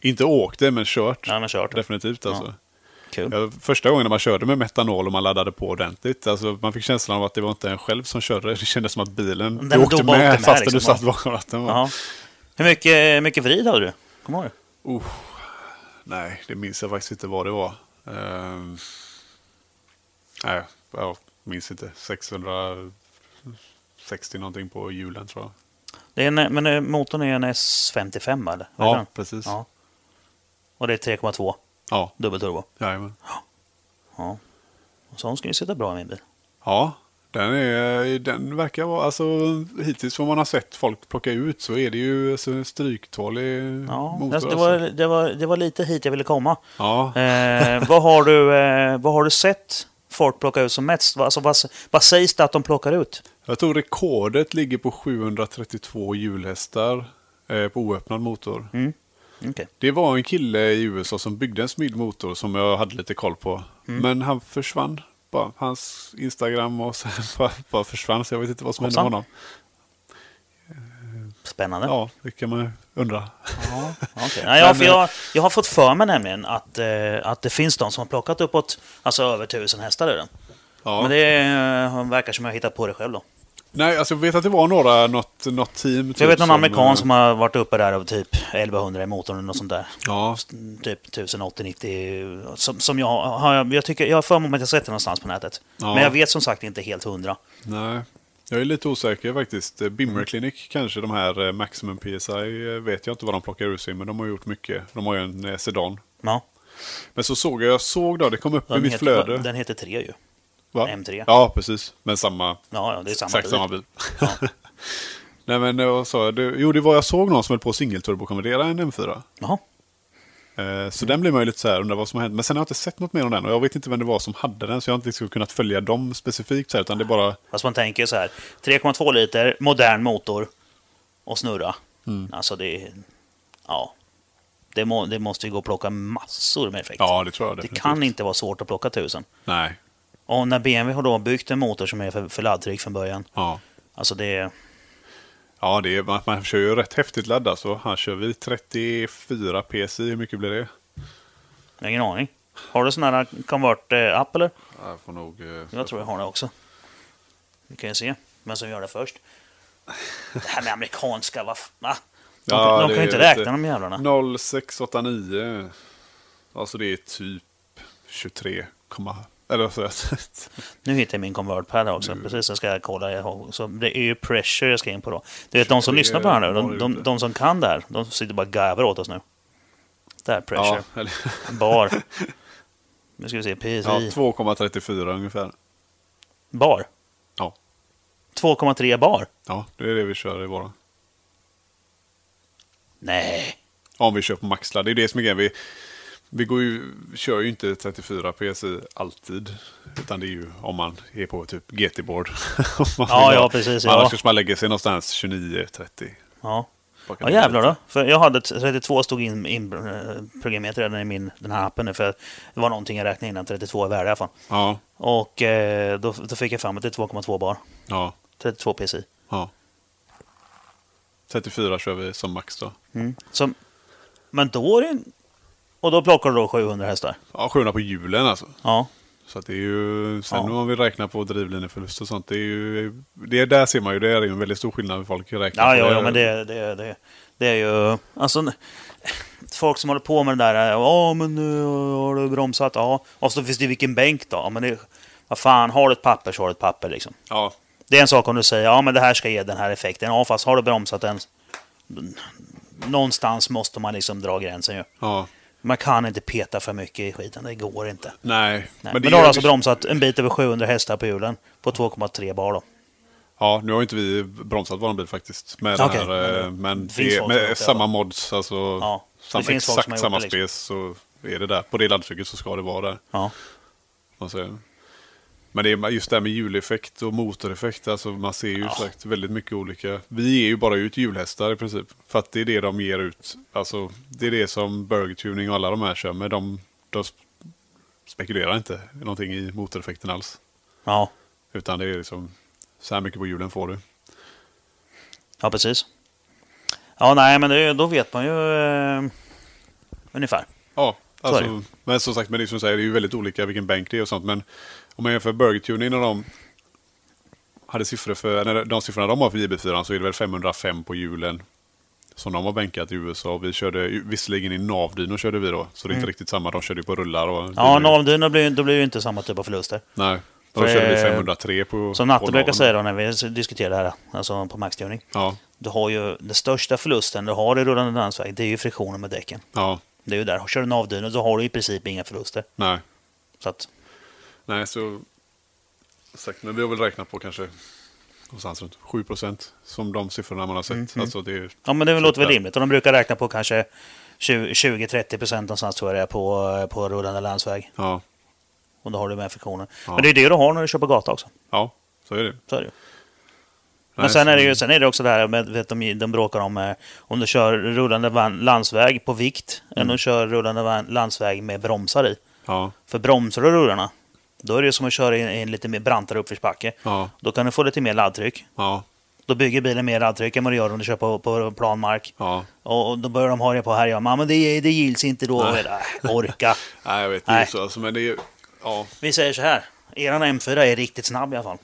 Speaker 1: Inte åkte, men kört.
Speaker 2: Ja, men kört.
Speaker 1: Definitivt alltså.
Speaker 2: Kul.
Speaker 1: Ja, första gången när man körde med metanol och man laddade på ordentligt, alltså man fick känslan av att det var inte en själv som körde. Det kändes som att bilen du
Speaker 2: Den
Speaker 1: åkte
Speaker 2: dog bara
Speaker 1: med
Speaker 2: åkte med,
Speaker 1: fastän du
Speaker 2: liksom.
Speaker 1: satt bakom ratten. va?
Speaker 2: Jaha. Hur mycket, mycket vrid hade du? Kommer du ihåg?
Speaker 1: Oh, nej, det minns jag faktiskt inte vad det var. Ehm, nej, jag minns inte. 660 någonting på hjulen tror jag.
Speaker 2: det? Är en, men eh, motorn är en S55 va, eller?
Speaker 1: Ja,
Speaker 2: Vet du?
Speaker 1: precis.
Speaker 2: Ja. Och det är 3,2
Speaker 1: Ja,
Speaker 2: dubbelturbo.
Speaker 1: jajamän.
Speaker 2: Ja. Och Sån ska ju sitta bra i min bil.
Speaker 1: Ja, den, är, den verkar vara, alltså hittills vad man har sett folk plocka ut så är det ju alltså, en stryktålig
Speaker 2: Ja,
Speaker 1: motor.
Speaker 2: alltså, det, var,
Speaker 1: alltså.
Speaker 2: det, var, det var lite hit jag ville komma.
Speaker 1: Ja,
Speaker 2: Eh, vad, har du, eh, vad har du sett folk plocka ut som mest? Vad- Alltså, vad, vad sägs det att de plockar ut?
Speaker 1: jag tror rekordet ligger på 732 hjulhästar eh, på oöppnad motor.
Speaker 2: Mm. Okej.
Speaker 1: Det var en kille i USA som byggde en smidd motor som jag hade lite koll på.
Speaker 2: Mm.
Speaker 1: Men han försvann. Bara, hans Instagram och sen bara, bara försvann. Så jag vet inte vad som hände med
Speaker 2: Hoppsan.
Speaker 1: honom.
Speaker 2: Spännande. Ja.
Speaker 1: Ja, det kan man ju undra.
Speaker 2: okej. Nej, ja,
Speaker 1: Men, eh,
Speaker 2: för jag, jag har fått för mig nämligen att, eh, att det finns de som har plockat uppåt alltså, över tusen hästar i den.
Speaker 1: Ja.
Speaker 2: Men det eh, verkar som jag har hittat på det själv då.
Speaker 1: Nej, alltså jag vet att det var några, något, något team.
Speaker 2: Jag vet någon amerikan som
Speaker 1: eh,
Speaker 2: har varit uppe där över typ 1100 i motorn eller något sånt där.
Speaker 1: Ja,
Speaker 2: Typ 1080-90 som, som jag har. Jag, tycker, jag har för mig att jag sett det någonstans på nätet.
Speaker 1: Ja.
Speaker 2: Men jag vet som sagt inte helt hundra.
Speaker 1: nej. Jag är lite osäker faktiskt. Eh,
Speaker 2: Mm.
Speaker 1: Bimmer Clinic kanske, de här eh, Maximum PSI, eh, vet jag inte vad de plockar ur sig, men de har gjort mycket. De har ju en eh, sedan.
Speaker 2: Ja.
Speaker 1: Men så såg jag, jag såg då, det kom upp i
Speaker 2: Den
Speaker 1: mitt flöde.
Speaker 2: heter, den heter 3 ju.
Speaker 1: Va?
Speaker 2: M3.
Speaker 1: Ja, precis. Men samma,
Speaker 2: Ja, ja det är samma
Speaker 1: exakt
Speaker 2: bil.
Speaker 1: samma bil. Nej men eh, vad sa jag? Det, jo, det var jag såg någon som höll på att singelturbokommendera en M4.
Speaker 2: Jaha.
Speaker 1: Eh, Så den blir man ju lite så här, undrar vad som har hänt. Men sen har jag inte sett något mer om den och jag vet inte vem det var som hade den. Så jag har inte liksom kunnat följa dem specifikt så här, utan det är bara...
Speaker 2: Fast man tänker så här, 3,2 liter, modern motor och snurra.
Speaker 1: Mm.
Speaker 2: Alltså det är... Ja. Det, må, det måste ju gå att plocka massor med effekt.
Speaker 1: Ja, det tror jag
Speaker 2: det
Speaker 1: definitivt.
Speaker 2: kan inte vara svårt att plocka tusen.
Speaker 1: Nej.
Speaker 2: Och när BMW har då byggt en motor som är för, för laddtryck från början.
Speaker 1: Ja.
Speaker 2: Alltså det...
Speaker 1: Ja, det är, man, man kör ju rätt häftigt ladd alltså. Här kör vi 34 PSI. Hur mycket blir det?
Speaker 2: Jag har ingen aning. Har du sån här Convert-app eller?
Speaker 1: Jag får nog... eh,
Speaker 2: Jag tror jag har det också. Vi kan ju se vem som gör det först. Det här med amerikanska, vad... f- va? De,
Speaker 1: Ja,
Speaker 2: de kan
Speaker 1: det
Speaker 2: ju
Speaker 1: är
Speaker 2: inte
Speaker 1: lite-
Speaker 2: räkna de jävlarna.
Speaker 1: 0689. Alltså det är typ 23, komma- eller så
Speaker 2: Nu hittar jag min konvertpad här
Speaker 1: Mm.
Speaker 2: också. Precis, jag ska kolla. Jag har- Så det är ju pressure jag ska in på då. Du vet, de som
Speaker 1: 23
Speaker 2: lyssnar på det här nu,
Speaker 1: var
Speaker 2: de,
Speaker 1: det
Speaker 2: de,
Speaker 1: inte.
Speaker 2: de som kan det här, de sitter bara och garvar åt oss nu. Där, pressure.
Speaker 1: Ja, eller,
Speaker 2: Bar. Nu ska vi se, PSI.
Speaker 1: ja, 2,34 ungefär.
Speaker 2: Bar.
Speaker 1: Ja.
Speaker 2: 2,3 bar.
Speaker 1: Ja, det är det vi kör i våran.
Speaker 2: Nej.
Speaker 1: Om vi kör på maxladd. Det är det som är grejen. Vi, vi går ju, kör ju inte 34 PSI alltid. Utan det är ju om man är på typ GT-board. Om man
Speaker 2: Ja,
Speaker 1: vill ha-
Speaker 2: ja, precis,
Speaker 1: Annars
Speaker 2: ja.
Speaker 1: kanske man lägger sig någonstans 29-30.
Speaker 2: Ja.
Speaker 1: Bakom
Speaker 2: Ja jävlar då. För jag hade t- 32 stod in, in eh, programmerat redan i min, den här appen nu. För det var någonting jag räknade innan, 32 är värde i alla fall.
Speaker 1: Ja,
Speaker 2: Och eh, då, då fick jag fram att det är 2,2 bar.
Speaker 1: ja,
Speaker 2: 32 PSI.
Speaker 1: ja. 34 kör vi som max då.
Speaker 2: Mm. Så, men då är det... Och då plockar du då 700 hästar?
Speaker 1: Ja, 700 på hjulen alltså.
Speaker 2: Ja.
Speaker 1: Så att det är ju, sen
Speaker 2: Ja.
Speaker 1: om vi räknar på drivlineförlust och sånt, det är ju, det där ser man ju, det är ju en väldigt stor skillnad hur folk räknar.
Speaker 2: Ja,
Speaker 1: på
Speaker 2: ja, ja men det, det, det, det är ju... Alltså, n- folk som håller på med det där. Ja, men eh, har du bromsat? Ja. Och så finns det vilken bänk då? Ja, men det, vad fan, har du ett papper så har du ett papper liksom.
Speaker 1: Ja,
Speaker 2: Det är en sak om du säger ja men det här ska ge den här effekten. Ja, fast har du bromsat den... Någonstans måste man liksom dra gränsen ju.
Speaker 1: ja.
Speaker 2: Man kan inte peta för mycket i skiten, det går inte.
Speaker 1: Nej.
Speaker 2: Nej,
Speaker 1: det
Speaker 2: men då har
Speaker 1: är-
Speaker 2: du alltså bromsat en bit över 700 hästar på hjulen på 2,3 bar då.
Speaker 1: Ja, nu har ju inte vi bromsat våran bil faktiskt. Med
Speaker 2: Okej,
Speaker 1: den här, eh, men
Speaker 2: det finns
Speaker 1: det,
Speaker 2: folk som har gjort
Speaker 1: med
Speaker 2: det,
Speaker 1: samma
Speaker 2: va?
Speaker 1: mods, alltså
Speaker 2: Ja, det
Speaker 1: sam,
Speaker 2: finns folk som har
Speaker 1: exakt
Speaker 2: gjort
Speaker 1: samma
Speaker 2: det, liksom.
Speaker 1: spec så är det där. På det laddtrycket så ska det vara där.
Speaker 2: Ja.
Speaker 1: Man säger. Men det är just det här med hjuleffekt och motoreffekt, alltså man ser ju sagt väldigt mycket olika. Vi är ju bara ut hjulhästar i princip. För att det är det de ger ut. Alltså det är det som Burger Tuning och alla de här kör med. De, de sp- spekulerar inte någonting i motoreffekten alls.
Speaker 2: Ja,
Speaker 1: Utan det är liksom, så här mycket på hjulen får du.
Speaker 2: ja precis. Ja, nej, men det, då vet man ju eh, ungefär.
Speaker 1: Ja,
Speaker 2: Så är
Speaker 1: alltså, men som sagt, men det, är som du säger, det är ju väldigt olika vilken bänk det är och sånt. Men om man jämför Burger Tuning och de hade siffror för, eller de siffrorna de har för JB4 så är det väl 505 på hjulen som de har bänkat i USA. Vi körde ju- visserligen i navdyno körde vi då, så det är inte riktigt samma. De körde ju på rullar och...
Speaker 2: Mm. Ja, navdyno blir, då blir det ju inte samma typ av förluster.
Speaker 1: Nej,
Speaker 2: För,
Speaker 1: då körde vi
Speaker 2: eh,
Speaker 1: 503 på...
Speaker 2: Som
Speaker 1: på
Speaker 2: Natte brukar
Speaker 1: naven.
Speaker 2: säga då när vi diskuterar det här, alltså på maxtuning.
Speaker 1: Ja,
Speaker 2: Du har ju den största förlusten du har i rullande landsväg, det är ju friktionen med däcken.
Speaker 1: ja,
Speaker 2: Det är ju där. Kör du navdyno så har du i princip inga förluster.
Speaker 1: nej.
Speaker 2: Så att,
Speaker 1: Nej, så... Sagt, men vi har väl räknat på kanske någonstans runt 7 procent som de siffrorna man har
Speaker 2: Mm,
Speaker 1: sett. Alltså det är
Speaker 2: ja, men det låter väl
Speaker 1: där.
Speaker 2: rimligt. Och de brukar räkna på kanske 20 20-30 procent någonstans tror jag det är på, på rullande landsväg.
Speaker 1: Ja,
Speaker 2: Och då har du med friktionen.
Speaker 1: Ja.
Speaker 2: Men det är det du har när du kör på gata också.
Speaker 1: ja så är det.
Speaker 2: Så är det ju. Men
Speaker 1: Nej,
Speaker 2: sen,
Speaker 1: så-
Speaker 2: är det ju, sen är det också det här med vet, de, de bråkar om eh, om du kör rullande van, landsväg på vikt än om
Speaker 1: Mm.
Speaker 2: du kör rullande van, landsväg med bromsar i.
Speaker 1: Ja,
Speaker 2: För bromsar du rullarna, då är det ju som att köra i en- i en lite mer brantare uppförsbacke.
Speaker 1: ja,
Speaker 2: Då kan du få lite mer laddtryck.
Speaker 1: ja,
Speaker 2: Då bygger bilen mer laddtryck än vad du gör om du kör på, på plan mark.
Speaker 1: ja.
Speaker 2: Och och då börjar de ha det på här. Ja, men det, det gills inte då.
Speaker 1: Nej.
Speaker 2: Äh, orka.
Speaker 1: Nej, jag vet
Speaker 2: Nej.
Speaker 1: inte så. Alltså, men det är, ja.
Speaker 2: Vi säger så här. Eran M4 är riktigt snabb i alla fall.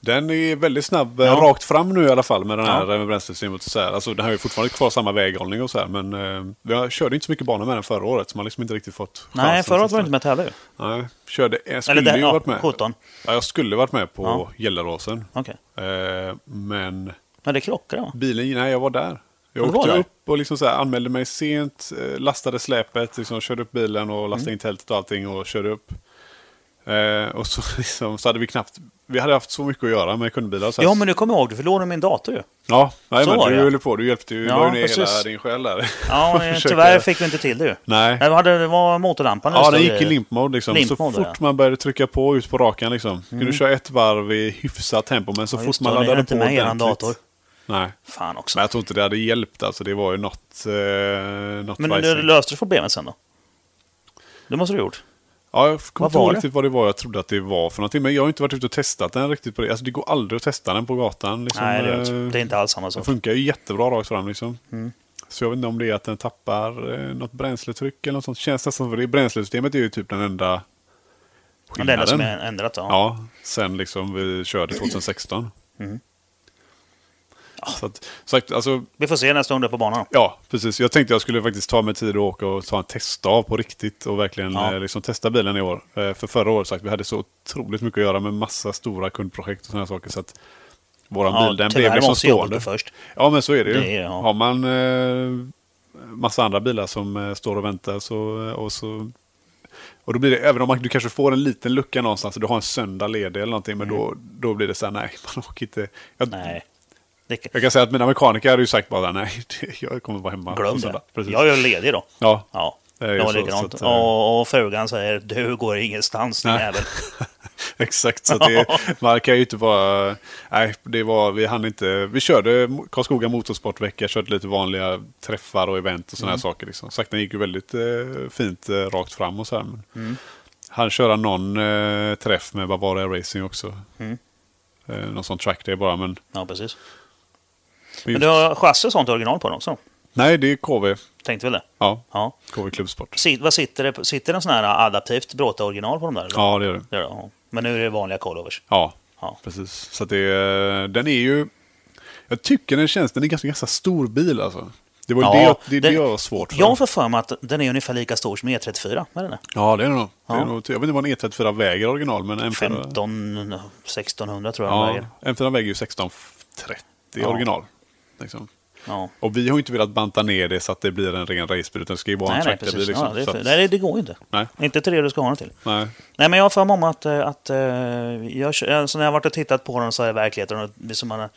Speaker 1: Den är väldigt snabb, eh,
Speaker 2: Ja.
Speaker 1: rakt fram nu i alla fall med den här
Speaker 2: Ja.
Speaker 1: ja. bränslesystemet. och Så här. Alltså, den har ju fortfarande kvar samma väghållning och så här. Men eh, jag körde inte så mycket banor med den förra året. Så man har liksom inte riktigt fått chansen.
Speaker 2: Nej, förra året var du
Speaker 1: att
Speaker 2: inte
Speaker 1: testa.
Speaker 2: med och tävlade ju.
Speaker 1: Nej, körde, jag skulle
Speaker 2: Eller det,
Speaker 1: ju
Speaker 2: ja,
Speaker 1: varit med.
Speaker 2: 17.
Speaker 1: Ja, jag skulle varit med på
Speaker 2: Ja.
Speaker 1: Gelleråsen.
Speaker 2: Okej.
Speaker 1: Eh, men
Speaker 2: Men det krockade va?
Speaker 1: bilen, nej jag var där.
Speaker 2: Ja,
Speaker 1: Jag
Speaker 2: du var
Speaker 1: åkte
Speaker 2: där.
Speaker 1: upp och liksom så här, anmälde mig
Speaker 2: Mm.
Speaker 1: sent, eh, lastade släpet, liksom, körde upp bilen och lastade in tältet och allting och körde upp. Eh, och så, liksom, så hade vi knappt... Vi hade haft så mycket att göra med kundbilar. Så
Speaker 2: Ja, men nu kommer jag ihåg, du förlorade min dator ju.
Speaker 1: ja nej,
Speaker 2: så
Speaker 1: men
Speaker 2: var
Speaker 1: du
Speaker 2: det.
Speaker 1: höll på. Du hjälpte ju. Du
Speaker 2: Ja,
Speaker 1: la ju ner hela
Speaker 2: precis.
Speaker 1: din själ där.
Speaker 2: Ja,
Speaker 1: Och
Speaker 2: eh,
Speaker 1: försökte-
Speaker 2: tyvärr fick vi inte till det ju.
Speaker 1: Nej.
Speaker 2: Nej, vi hade, det var motorlampan.
Speaker 1: Ja,
Speaker 2: just
Speaker 1: den
Speaker 2: då
Speaker 1: gick i
Speaker 2: grejer.
Speaker 1: limpmode liksom.
Speaker 2: Limpmode,
Speaker 1: så fort
Speaker 2: ja. Mm.
Speaker 1: man började trycka på ut på rakan liksom. Kunde du köra ett varv i hyfsat tempo, men så
Speaker 2: Ja,
Speaker 1: fort
Speaker 2: just
Speaker 1: man
Speaker 2: det, det är
Speaker 1: laddade
Speaker 2: inte
Speaker 1: på
Speaker 2: med i eran
Speaker 1: ordentligt-
Speaker 2: dator.
Speaker 1: Nej,
Speaker 2: Fan också.
Speaker 1: men jag tror inte det hade hjälpt alltså. Det var ju något... Eh, något
Speaker 2: Men
Speaker 1: vajsing.
Speaker 2: du löste du problemet sen då? Det måste du ha gjort.
Speaker 1: Ja, jag
Speaker 2: Vad
Speaker 1: kommer inte
Speaker 2: var
Speaker 1: ihåg
Speaker 2: det?
Speaker 1: riktigt vad det var jag trodde att det var för någonting. Men jag har inte varit ute och testat den riktigt. På det. Alltså, det går aldrig att testa den på gatan. Liksom,
Speaker 2: Nej, det, gör jag inte.
Speaker 1: eh,
Speaker 2: det är inte Mm. alls samma
Speaker 1: Den
Speaker 2: sak.
Speaker 1: funkar ju jättebra rakt fram liksom. Så jag vet inte om det är att den tappar eh, något bränsletryck eller något sånt. Känns nästan som det. Bränslesystemet är ju typ den enda
Speaker 2: Men Det enda
Speaker 1: skillnaden.
Speaker 2: som är ändrat då. Ja.
Speaker 1: Ja, sen liksom vi körde 2016.
Speaker 2: Mm.
Speaker 1: Så att, sagt, alltså,
Speaker 2: Vi får se nästa gång du är på banan.
Speaker 1: ja, precis. Jag tänkte jag skulle faktiskt ta mig tid att åka och ta en testav på riktigt och verkligen
Speaker 2: Ja.
Speaker 1: eh, liksom testa bilen i år. Eh, för förra året sagt, vi hade så otroligt mycket att göra med massa stora kundprojekt och sådana saker. Så att våran
Speaker 2: Ja,
Speaker 1: bil, den blev
Speaker 2: tyvärr
Speaker 1: liksom
Speaker 2: måste jag åka
Speaker 1: stående.
Speaker 2: först.
Speaker 1: Ja, men så är det ju.
Speaker 2: Det är- ja.
Speaker 1: Har man eh, massa andra bilar som eh, står och väntar så, eh, och så... Och då blir det, även om man, du kanske får en liten lucka någonstans, du har en söndag ledig eller någonting, men då, då blir det så här, nej, man åker inte. Jag,
Speaker 2: Mm. Nej. Det,
Speaker 1: jag kan säga att mina mekaniker hade ju sagt bara, nej, det, jag kommer vara hemma
Speaker 2: glöm
Speaker 1: på
Speaker 2: det.
Speaker 1: söndag. Precis.
Speaker 2: Jag är ju ledig då.
Speaker 1: Ja.
Speaker 2: Ja,
Speaker 1: Det
Speaker 2: det
Speaker 1: är ju
Speaker 2: var
Speaker 1: så,
Speaker 2: likadant.
Speaker 1: så att, eh,
Speaker 2: och, och frugan säger du går ingenstans din
Speaker 1: Nej.
Speaker 2: jävel.
Speaker 1: Exakt, så att det, man kan ju inte bara... Nej, det var, vi hann inte... Vi körde Karlskoga Motorsportvecka, körde lite vanliga träffar och event och sådana
Speaker 2: Mm.
Speaker 1: här saker. Liksom. Sakten gick ju väldigt eh, fint eh, rakt fram och så här. Men
Speaker 2: Mm.
Speaker 1: Han köra någon eh, träff med Bavaria Racing också.
Speaker 2: Mm.
Speaker 1: Eh, någon sån track day bara, men...
Speaker 2: Ja, precis. Men
Speaker 1: men just,
Speaker 2: du har chassi och sånt original på den också?
Speaker 1: Nej, det är KV.
Speaker 2: Tänkte väl det?
Speaker 1: Ja,
Speaker 2: Ja.
Speaker 1: KV Klubbsport.
Speaker 2: Sit, vad sitter, det, på- sitter det en sån här adaptivt bråta original på de där? eller?
Speaker 1: Ja, det är det.
Speaker 2: Det gör det, ja. Men nu är det vanliga callovers.
Speaker 1: Ja,
Speaker 2: Ja.
Speaker 1: precis. Så att det, är- den är ju... Jag tycker den känns... Den är ganska, ganska stor bil alltså. Det var ju
Speaker 2: Ja,
Speaker 1: det, jag, det, det
Speaker 2: den-
Speaker 1: jag var svårt för.
Speaker 2: Jag får för mig att den är ungefär lika stor som E34. Vad är den?
Speaker 1: Ja, det är det nog. Det är
Speaker 2: Ja.
Speaker 1: nog jag vet inte vad en E34 väger i original, men en
Speaker 2: 15 1600 tror jag den
Speaker 1: Ja,
Speaker 2: väger.
Speaker 1: M4 väger ju 1630 i
Speaker 2: Ja.
Speaker 1: original. Liksom.
Speaker 2: Ja.
Speaker 1: Och vi har ju inte velat banta ner det så att det blir en ren racebil, utan det ska ju vara
Speaker 2: Nej,
Speaker 1: en
Speaker 2: nej,
Speaker 1: traktorbil.
Speaker 2: precis.
Speaker 1: Liksom.
Speaker 2: ja, det, är
Speaker 1: Så
Speaker 2: för,
Speaker 1: att-
Speaker 2: nej, det går ju inte.
Speaker 1: nej,
Speaker 2: Inte till det du ska ha den till.
Speaker 1: nej.
Speaker 2: Nej, men jag har för mig om att, eh, att eh, jag, alltså när jag har varit och tittat på den så är verkligheten och det som man,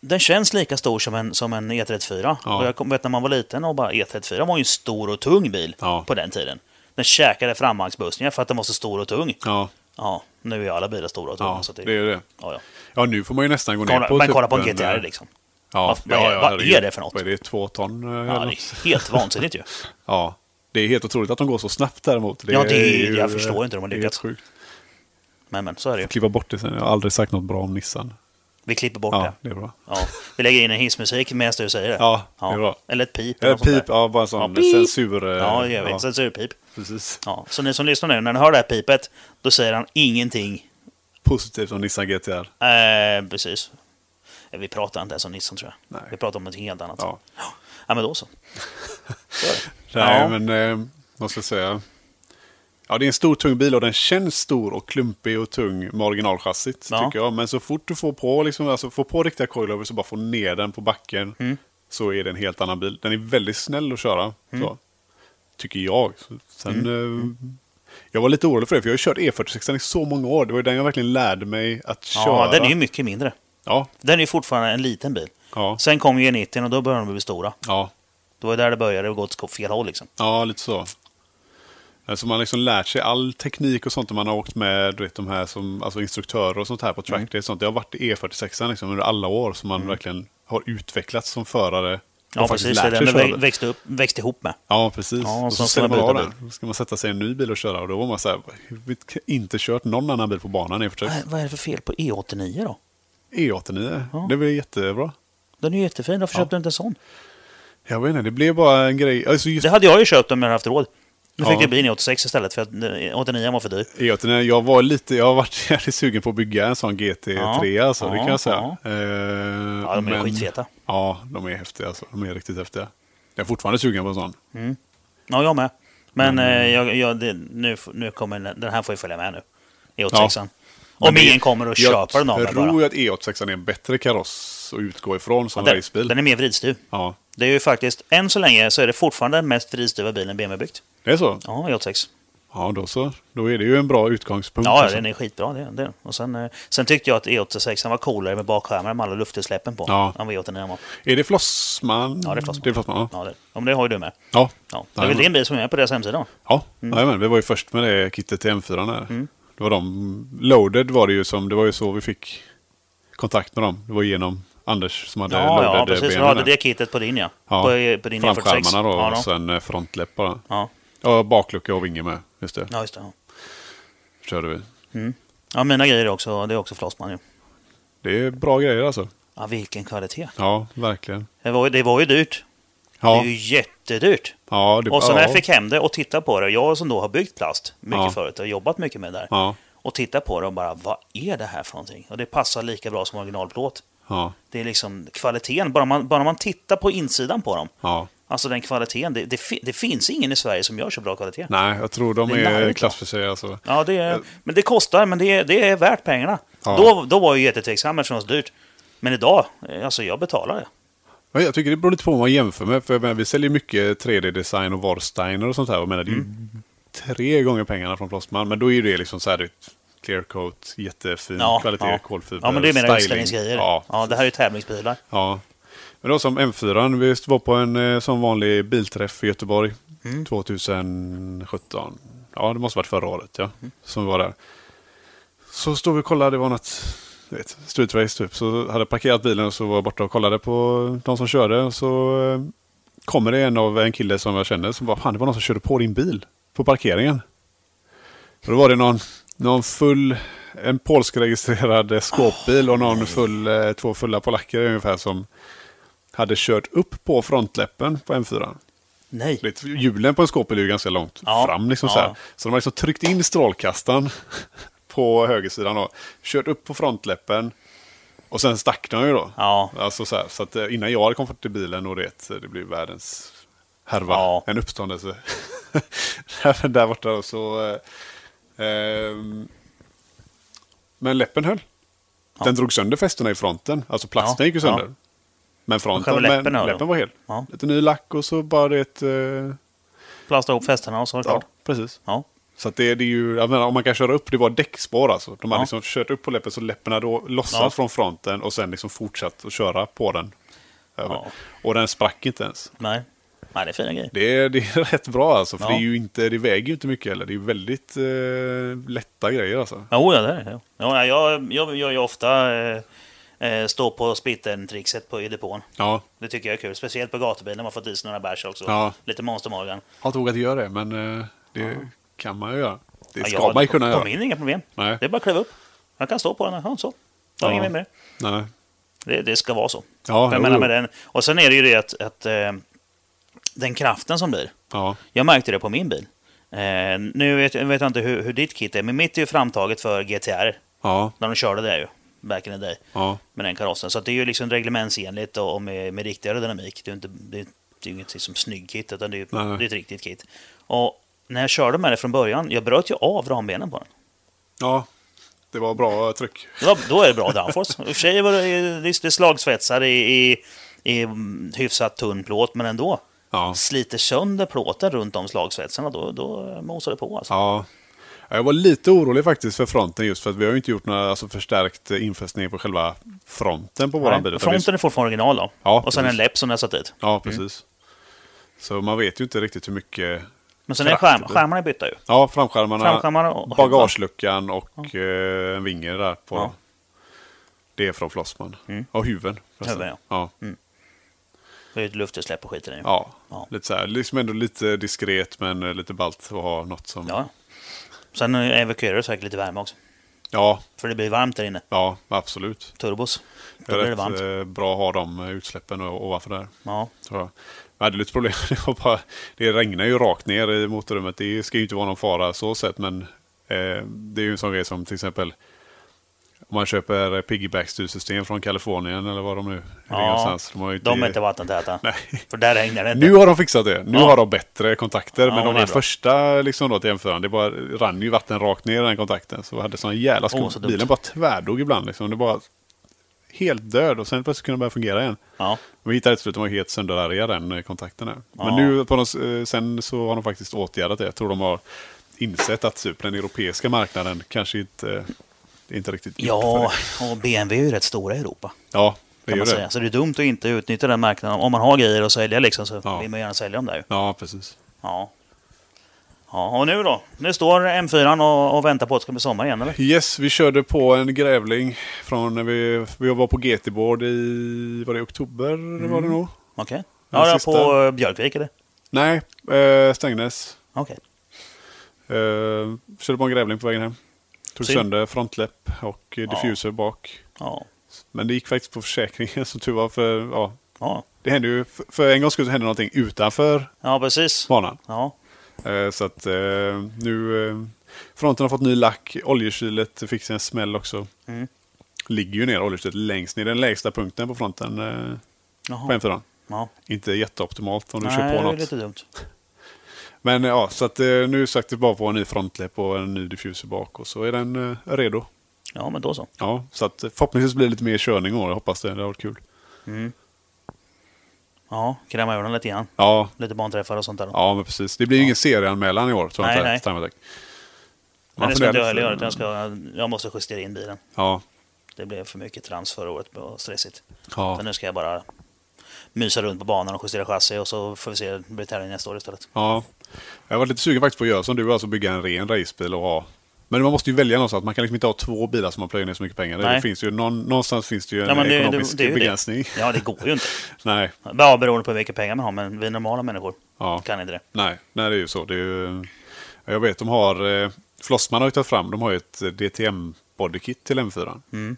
Speaker 2: den känns lika stor som en, som en E34.
Speaker 1: Ja.
Speaker 2: Och jag kom- vet när man var liten och bara E34 var ju en stor och tung bil
Speaker 1: Ja.
Speaker 2: på den tiden. Den käkade framvagnsbussningar för att den var så stor och tung.
Speaker 1: Ja,
Speaker 2: Ja, nu är alla bilar stora och tunga.
Speaker 1: ja
Speaker 2: så att
Speaker 1: det är ju det.
Speaker 2: ja, ja.
Speaker 1: Ja, nu får man ju nästan gå ner
Speaker 2: Kolla,
Speaker 1: på...
Speaker 2: men
Speaker 1: typ
Speaker 2: kolla på en
Speaker 1: en,
Speaker 2: GTR
Speaker 1: eh,
Speaker 2: liksom.
Speaker 1: Ja,
Speaker 2: Vad- vad är-
Speaker 1: ja, ja,
Speaker 2: vad är
Speaker 1: herregud.
Speaker 2: det för något?
Speaker 1: Vad är det? Två ton? eh, eller
Speaker 2: Ja, det
Speaker 1: något?
Speaker 2: är helt vansinnigt ju.
Speaker 1: Ja, det är helt otroligt att de går så snabbt däremot.
Speaker 2: Ja, det är-
Speaker 1: ju-
Speaker 2: jag förstår inte hur de har
Speaker 1: det är
Speaker 2: lyckats.
Speaker 1: helt sjukt.
Speaker 2: Men, men så är det ju.
Speaker 1: Klippa bort det sen. Jag har aldrig sagt något bra om Nissan.
Speaker 2: Vi klipper bort
Speaker 1: Ja,
Speaker 2: det.
Speaker 1: det är bra.
Speaker 2: Ja. Vi lägger in en hissmusik medan du säger det.
Speaker 1: Ja, det är bra.
Speaker 2: Eller ett pip. eller
Speaker 1: Eller
Speaker 2: något sånt
Speaker 1: Eh, pip,
Speaker 2: där.
Speaker 1: ja bara en sån
Speaker 2: Ja, pip.
Speaker 1: censur... eh,
Speaker 2: Ja, det gör vi. Censurpip.
Speaker 1: precis.
Speaker 2: Ja, så ni som lyssnar nu, när ni hör det här pipet, då säger han ingenting.
Speaker 1: Positivt om Nissan GTR.
Speaker 2: Eh, precis. Eh, Vi pratar inte ens om Nissan tror jag.
Speaker 1: Nej.
Speaker 2: Vi pratar om något helt annat.
Speaker 1: Ja.
Speaker 2: Ja, men då så. så är det.
Speaker 1: Nej,
Speaker 2: Ja.
Speaker 1: men eh, vad ska jag säga? Ja, det är en stor tung bil och den känns stor och klumpig och tung med originalchassit.
Speaker 2: Ja.
Speaker 1: Tycker jag. Men så fort du får på, liksom, alltså, får på riktiga coilovers och bara får ner den på backen
Speaker 2: Mm.
Speaker 1: så är det en helt annan bil. Den är väldigt snäll att köra.
Speaker 2: Mm.
Speaker 1: Så, tycker jag. Så- Sen, eh, jag var lite orolig för det, för jag har kört E46 i så många år. Det var ju den jag verkligen lärde mig att köra.
Speaker 2: ja, den är ju mycket mindre.
Speaker 1: Ja,
Speaker 2: Den är ju fortfarande en liten bil.
Speaker 1: ja,
Speaker 2: Sen kom ju E90 och då började de bli stora.
Speaker 1: ja.
Speaker 2: Då var det där det började gå åt fel håll liksom.
Speaker 1: Ja, lite så. Alltså man har liksom lärt sig all teknik och sånt när man har åkt med du vet, de här som, alltså instruktörer och sånt här på
Speaker 2: Mm.
Speaker 1: track day och sånt. Jag har varit i E46 liksom under alla år som man verkligen har utvecklats som förare.
Speaker 2: Ja,
Speaker 1: och faktiskt
Speaker 2: precis. Det är
Speaker 1: lärt
Speaker 2: den
Speaker 1: sig
Speaker 2: du
Speaker 1: köra
Speaker 2: vä-
Speaker 1: det.
Speaker 2: växte, upp, växte ihop med.
Speaker 1: Ja, precis.
Speaker 2: Ja,
Speaker 1: och så
Speaker 2: sen
Speaker 1: ställer
Speaker 2: ska
Speaker 1: man
Speaker 2: man
Speaker 1: av
Speaker 2: byta
Speaker 1: den. Då ska man sätta sig i en ny bil och köra och då var man så här, vi har inte kört någon annan bil på banan i E och för sig.
Speaker 2: Nej, Vad är det för fel på E89 då?
Speaker 1: E89,
Speaker 2: Ja.
Speaker 1: det var jättebra.
Speaker 2: Den är ju jättefin. Varför
Speaker 1: Ja.
Speaker 2: köpte du inte en sån?
Speaker 1: Jag vet inte, det blev bara en grej. Alltså just
Speaker 2: Det hade jag ju köpt om jag hade haft råd. Nu fick
Speaker 1: Ja.
Speaker 2: det bli en 86 istället för att eh, 89 var för dyr.
Speaker 1: E89, jag var lite, jag har varit jävligt sugen på att bygga en sån GT3
Speaker 2: Ja,
Speaker 1: alltså, det
Speaker 2: ja,
Speaker 1: kan jag säga.
Speaker 2: ja.
Speaker 1: Eh,
Speaker 2: Ja, de är skitfeta.
Speaker 1: Ja, de är häftiga alltså. De är riktigt häftiga. Jag är fortfarande sugen på en sån.
Speaker 2: Ja, jag med. Men eh, jag, jag, det, nu, f- nu kommer den, den här får ju följa med nu.
Speaker 1: Ja.
Speaker 2: E86. Om
Speaker 1: Men det-
Speaker 2: ingen kommer och köper den av mig
Speaker 1: Jag tror
Speaker 2: bara.
Speaker 1: ju att E86 är en bättre kaross att utgå ifrån som
Speaker 2: Den,
Speaker 1: racebil.
Speaker 2: den är mer vridstuv.
Speaker 1: Ja,
Speaker 2: Det är ju faktiskt, än så länge så är det fortfarande den mest vridstuva bilen BMW byggt.
Speaker 1: det är så?
Speaker 2: Ja, E E86.
Speaker 1: Ja, då så. Då är det ju en bra utgångspunkt.
Speaker 2: Ja,
Speaker 1: alltså.
Speaker 2: den är skitbra. Det, är den. Och sen, eh, sen tyckte jag att E86 var coolare med bakskärmar med alla luftutsläppen på.
Speaker 1: Ja.
Speaker 2: Än vad E89 var.
Speaker 1: Är det flossman?
Speaker 2: Ja, det är flossman.
Speaker 1: Det är flossman ja.
Speaker 2: Ja, det, ja, men det har ju du med.
Speaker 1: Ja.
Speaker 2: Ja. Det är väl
Speaker 1: Jajamän.
Speaker 2: din bil som är på deras hemsida? va?
Speaker 1: Ja,
Speaker 2: Mm.
Speaker 1: jajamän, vi var ju först med det kittet till M4 där. Det var de, loaded var det ju som, det var ju så vi fick kontakt med dem. Det var genom Anders som hade
Speaker 2: Ja,
Speaker 1: loaded
Speaker 2: ja precis. Du
Speaker 1: BMWn
Speaker 2: hade
Speaker 1: där.
Speaker 2: det kittet på din ja.
Speaker 1: Ja,
Speaker 2: På, på din E46.
Speaker 1: Framskärmarna då
Speaker 2: Ja,
Speaker 1: och sen eh, frontläpparna.
Speaker 2: ja.
Speaker 1: Ja, baklucka och vinge med. Just det,
Speaker 2: ja just det. Ja.
Speaker 1: körde vi.
Speaker 2: ja, mina grejer är också, det är också Flossman ju.
Speaker 1: Det är bra grejer alltså.
Speaker 2: Ja, vilken kvalitet.
Speaker 1: Ja, verkligen.
Speaker 2: Det var, ju- det var ju dyrt. Det
Speaker 1: Ja,
Speaker 2: är ju jättedyrt.
Speaker 1: ja, det,
Speaker 2: Och så när
Speaker 1: ja,
Speaker 2: jag fick hem det och tittade på det, jag som då har byggt plast mycket
Speaker 1: Ja.
Speaker 2: förut och jobbat mycket med det där.
Speaker 1: ja,
Speaker 2: Och tittade på det och bara, vad är det här för någonting? Och det passar lika bra som originalplåt.
Speaker 1: ja,
Speaker 2: Det är liksom kvaliteten, bara man, bara man tittar på insidan på dem.
Speaker 1: ja.
Speaker 2: Alltså den kvaliteten, det, det, fi- det finns ingen i Sverige som gör så bra kvalitet.
Speaker 1: Nej, jag tror de
Speaker 2: Det är
Speaker 1: är
Speaker 2: larvigt,
Speaker 1: klass för sig alltså.
Speaker 2: Ja, det är, men det kostar, men det är, det är värt pengarna.
Speaker 1: Ja.
Speaker 2: Då, då var jag ju jättetveksam eftersom det var så dyrt. Men idag, eh, alltså jag betalar det.
Speaker 1: Ja, Jag tycker det beror lite på vad man jämför med. För jag menar, vi säljer mycket 3D-design och Warsteiner och sånt här. Jag menar, det är ju
Speaker 2: Mm.
Speaker 1: tre gånger pengarna från Flossman. Men då är det liksom så här ett clear coat, jättefin Mm, kvalitet, kolfiber,
Speaker 2: Ja, men det är mer
Speaker 1: styling.
Speaker 2: utställningsgrejer.
Speaker 1: Ja,
Speaker 2: Ja. det här är ju tävlingsbilar.
Speaker 1: ja. Men då som M4, vi var på en eh, som vanlig bilträff i Göteborg 2017. Ja, det måste varit förra året, ja. Som vi var där. Så stod vi och kollade, det var något du vet, strutrace typ. Så hade jag parkerat bilen och så var jag borta och kollade på de som körde. Och så eh, kommer det en av en kille som jag känner som bara, fan det var någon som körde på din bil på parkeringen. Och då var det någon, någon full, en polskregistrerad eh, skåpbil och någon full, eh, två fulla polacker ungefär som hade kört upp på frontläppen på M4.
Speaker 2: Nej.
Speaker 1: Du vet, Hjulen på en skåpbil är ju ganska långt
Speaker 2: Ja.
Speaker 1: fram. Liksom,
Speaker 2: Ja.
Speaker 1: så, här. så de har liksom tryckt in strålkastaren på högersidan och kört upp på frontläppen. Och sen stack de ju då.
Speaker 2: Ja.
Speaker 1: Alltså, så här, så att eh, innan jag hade kommit fort till bilen och det, det blev världens härva.
Speaker 2: Ja.
Speaker 1: En uppståndelse. där, där borta och så... Eh, ehm, men läppen höll.
Speaker 2: Ja.
Speaker 1: Den drog sönder fästena i fronten. Alltså plasten
Speaker 2: Ja,
Speaker 1: gick ju sönder.
Speaker 2: ja.
Speaker 1: Men
Speaker 2: Själva
Speaker 1: fronten,
Speaker 2: läppen
Speaker 1: men
Speaker 2: höll då?
Speaker 1: läppen var hel.
Speaker 2: Ja.
Speaker 1: Lite ny lack och så bara det ett... Eh,
Speaker 2: Plasta ihop fästena och så var det
Speaker 1: Ja,
Speaker 2: klart.
Speaker 1: precis.
Speaker 2: Ja.
Speaker 1: Så att det, det är ju, jag menar, om man kan köra upp, det var däckspår alltså. De har
Speaker 2: Ja.
Speaker 1: liksom kört upp på läppen så läpparna då lossat
Speaker 2: Ja.
Speaker 1: från fronten och sen liksom fortsatt att köra på den. Över.
Speaker 2: Ja.
Speaker 1: Och den sprack inte ens.
Speaker 2: Nej. Nej, det är fina grejer.
Speaker 1: Det är, det är rätt bra alltså, för
Speaker 2: Ja.
Speaker 1: det, är ju inte, det väger ju inte mycket heller. Det är ju väldigt eh, lätta grejer alltså.
Speaker 2: Jo, ja, det är det. ja. Ja, jag, jag gör ju ofta eh, eh, stå på splitten-trixet på i depån.
Speaker 1: Ja,
Speaker 2: Det tycker jag är kul. Speciellt på gatubilen, man får dit sig några bärs också.
Speaker 1: Ja.
Speaker 2: Lite Monster Morgan.
Speaker 1: har inte vågat göra det, men eh, det kan man ju göra. Det
Speaker 2: Ja,
Speaker 1: ska
Speaker 2: jag har-
Speaker 1: man ju kunna
Speaker 2: på
Speaker 1: göra.
Speaker 2: min inga problem.
Speaker 1: Nej.
Speaker 2: Det är bara att kliva upp. Man kan stå på den. här. Ja, så. Det
Speaker 1: Ja.
Speaker 2: är inget mer med det.
Speaker 1: Nej.
Speaker 2: det. Det ska vara så.
Speaker 1: Ja,
Speaker 2: jag
Speaker 1: jo,
Speaker 2: menar
Speaker 1: jo.
Speaker 2: med den. Och sen är det ju det att, att eh, den kraften som blir.
Speaker 1: Ja.
Speaker 2: Jag märkte det på min bil. Eh, nu vet, vet jag inte hur, hur ditt kit är, men mitt är ju framtaget för GTR.
Speaker 1: Ja.
Speaker 2: När de körde det ju, back in the day,
Speaker 1: Ja.
Speaker 2: med den karossen. Så att det är ju liksom reglementsenligt och och med, med riktigare dynamik. Det är ju inte, det är, det är ju inget liksom snygg kit, utan det är, ju-
Speaker 1: Nej, nej.
Speaker 2: det är ett riktigt kit. Och när jag körde med det från början, jag bröt ju av rambenen på den.
Speaker 1: ja. Det var bra tryck.
Speaker 2: Det var, då är det bra downforce. I och för sig var det, det är slagsvetsar i, i, i mm, hyfsat tunn plåt, men ändå.
Speaker 1: Ja.
Speaker 2: Sliter sönder plåten runt om slagsvetsarna, då, då mosar det på. Alltså.
Speaker 1: Ja. Jag var lite orolig faktiskt för fronten just för att vi har ju inte gjort några alltså, förstärkt eh, infästning på själva fronten på våran
Speaker 2: Nej,
Speaker 1: bil. utan vi-
Speaker 2: Fronten Mm. är fortfarande original då.
Speaker 1: Ja,
Speaker 2: och sen
Speaker 1: precis.
Speaker 2: en läpp som jag satt dit.
Speaker 1: Ja, precis. Så man vet ju inte riktigt hur mycket...
Speaker 2: Men sen är
Speaker 1: Kraftigt.
Speaker 2: skärm, skärmarna är bytta ju.
Speaker 1: Ja, framskärmarna,
Speaker 2: Framskärmarna och-
Speaker 1: bagageluckan och eh, en vinge där på.
Speaker 2: Ja. Mm.
Speaker 1: Det är från Flossman. Och huven. förresten.
Speaker 2: Huven,
Speaker 1: ja.
Speaker 2: Det är ju ett luftutsläpp och skiten i.
Speaker 1: Ja.
Speaker 2: Ja.
Speaker 1: lite så här. Liksom ändå lite diskret men eh, lite ballt att ha något som...
Speaker 2: ja. Sen evakuerar du säkert lite värme också.
Speaker 1: ja,
Speaker 2: För det blir varmt där inne.
Speaker 1: ja, absolut.
Speaker 2: Turbos.
Speaker 1: Det
Speaker 2: Då
Speaker 1: är
Speaker 2: blir det
Speaker 1: rätt
Speaker 2: varmt.
Speaker 1: eh, bra att ha de eh, utsläppen o- ovanför där.
Speaker 2: Ja.
Speaker 1: tror jag. Jag hade lite problem. Det, var bara, det regnar ju rakt ner i motorrummet. Det ska ju inte vara någon fara så sett. Men eh, det är ju en sån grej som till exempel om man köper piggybackstyrsystem från Kalifornien eller vad de nu
Speaker 2: Ja.
Speaker 1: är någonstans. De har ju inte...
Speaker 2: De är inte vattentäta.
Speaker 1: Nej.
Speaker 2: För där regnar det inte.
Speaker 1: Nu har de fixat det. Nu
Speaker 2: Ja.
Speaker 1: har de bättre kontakter. men
Speaker 2: men
Speaker 1: de
Speaker 2: det är
Speaker 1: här
Speaker 2: bra.
Speaker 1: första liksom då, till jämförande, det bara rann ju vatten rakt ner i den kontakten. Så vi hade sån jävla skum.
Speaker 2: Åh, så dumt.
Speaker 1: Bilen bara tvärdog ibland. Liksom. Det bara helt död och sen plötsligt kunde den börja fungera igen.
Speaker 2: Ja.
Speaker 1: Vi hittade till slut, de var helt sönderarga den eh, kontakten. Här. Men
Speaker 2: Ja.
Speaker 1: nu på något, eh, sen så har de faktiskt åtgärdat det. Jag tror de har insett att typ den europeiska marknaden kanske inte, eh, inte riktigt gick
Speaker 2: Ja,
Speaker 1: för det.
Speaker 2: och BMW är ju rätt stora i Europa.
Speaker 1: ja, det
Speaker 2: Kan
Speaker 1: är ju
Speaker 2: man
Speaker 1: det.
Speaker 2: säga. Så det är dumt att inte utnyttja den marknaden. Om man har grejer att sälja liksom, så
Speaker 1: Ja.
Speaker 2: vill man gärna sälja dem där. ju.
Speaker 1: Ja, precis.
Speaker 2: Ja. ja, och nu då? Nu står M4 och, och väntar på att det ska bli sommar igen, eller?
Speaker 1: Yes, vi körde på en grävling från när vi, vi var på GT-board i, var det i oktober var
Speaker 2: Mm.
Speaker 1: det nog?
Speaker 2: Okej.
Speaker 1: Den
Speaker 2: Ja, det
Speaker 1: sista.
Speaker 2: var på eh, Björkvik, eller?
Speaker 1: Nej, eh, Strängnäs.
Speaker 2: Okej.
Speaker 1: Eh, körde på en grävling på vägen hem. Tog
Speaker 2: Synd.
Speaker 1: sönder frontläpp och eh,
Speaker 2: Ja.
Speaker 1: diffuser bak.
Speaker 2: Ja.
Speaker 1: Men det gick faktiskt på försäkringen så tur var för, ja.
Speaker 2: Ja.
Speaker 1: Det hände ju, för- för en gångs skull så hände någonting utanför
Speaker 2: ja, precis.
Speaker 1: banan.
Speaker 2: Ja.
Speaker 1: Eh, Så att eh, nu... eh, Fronten har fått ny lack. Oljekylet fick sig en smäll också.
Speaker 2: Mm.
Speaker 1: Ligger ju ner oljekylet längst ner. Den lägsta punkten på fronten eh, på
Speaker 2: Jaha.
Speaker 1: M4.
Speaker 2: Ja.
Speaker 1: Inte jätteoptimalt om du
Speaker 2: Nej,
Speaker 1: kör på
Speaker 2: det är
Speaker 1: något.
Speaker 2: lite dumt.
Speaker 1: Men eh, ja, så att eh, nu sökte vi bara på en ny frontläpp och en ny diffuser bak. Och så är den eh, redo.
Speaker 2: Ja, men då så.
Speaker 1: Ja, så att eh, förhoppningsvis blir det lite mer körning i år. Jag hoppas det. Det har varit kul.
Speaker 2: Mm. Ja, kräma ur den lite grann.
Speaker 1: Ja,
Speaker 2: Lite barnträffar och sånt där. då.
Speaker 1: ja men precis. Det blir ju ingen serieanmälan i år. Tror jag
Speaker 2: Nej,
Speaker 1: inte,
Speaker 2: nej.
Speaker 1: Time Attack. Man
Speaker 2: men det ska inte
Speaker 1: funderar
Speaker 2: jag heller
Speaker 1: lite-
Speaker 2: göra, utan jag, ska, jag måste justera in bilen.
Speaker 1: Ja,
Speaker 2: Det blev för mycket trams förra året och stressigt. Så
Speaker 1: ja,
Speaker 2: nu ska jag bara mysa runt på banan och justera chassi och så får vi se, det blir tävling nästa år istället.
Speaker 1: ja. Jag var lite sugen faktiskt på att göra som du, alltså bygga en ren racebil och ha. Men man måste ju välja någonstans. Man kan liksom inte ha två bilar som man plöjer ner så mycket pengar i.
Speaker 2: Nej.
Speaker 1: Det finns ju, någon, någonstans finns det ju en
Speaker 2: Ja, men det- det-
Speaker 1: ekonomisk
Speaker 2: det är ju det.
Speaker 1: begränsning.
Speaker 2: Ja, det går ju inte.
Speaker 1: Nej,
Speaker 2: Ja, beroende på hur mycket pengar man har, men vi normala människor
Speaker 1: ja.
Speaker 2: kan inte det.
Speaker 1: Nej, nej, det är ju så. Det är ju, jag vet, de har... eh, Flossman har ju tagit fram, de har ju ett eh, DTM-bodykit till M4.
Speaker 2: Mm.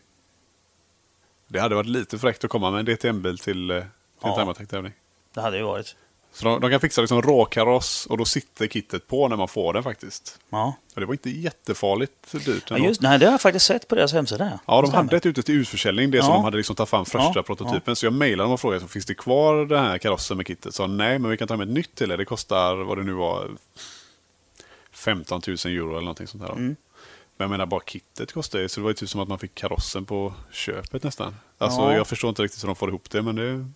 Speaker 1: Det hade varit lite fräckt att komma med en DTM-bil till, eh, till
Speaker 2: Ja.
Speaker 1: en Timatech-tävling.
Speaker 2: Det hade ju varit.
Speaker 1: Så de, de kan fixa liksom råkaross och då sitter kittet på när man får den faktiskt.
Speaker 2: Ja,
Speaker 1: Och det var inte jättefarligt dyrt.
Speaker 2: ja
Speaker 1: ändå.
Speaker 2: just, nej, det har jag faktiskt sett på deras hemsida.
Speaker 1: Ja, de
Speaker 2: Stämmer.
Speaker 1: hade ett ute till utförsäljning, det som
Speaker 2: Ja.
Speaker 1: de hade liksom tagit fram första
Speaker 2: Ja,
Speaker 1: prototypen. Så jag mejlade dem och frågade, finns det kvar den här karossen med kittet? Så nej, men vi kan ta med ett nytt till er. Det kostar, vad det nu var, 15 000 euro eller någonting sånt där.
Speaker 2: Mm.
Speaker 1: Men jag menar, bara kittet kostar ju, så det var ju typ som att man fick karossen på köpet nästan. Alltså,
Speaker 2: Ja.
Speaker 1: jag förstår inte riktigt hur de får ihop det, men det...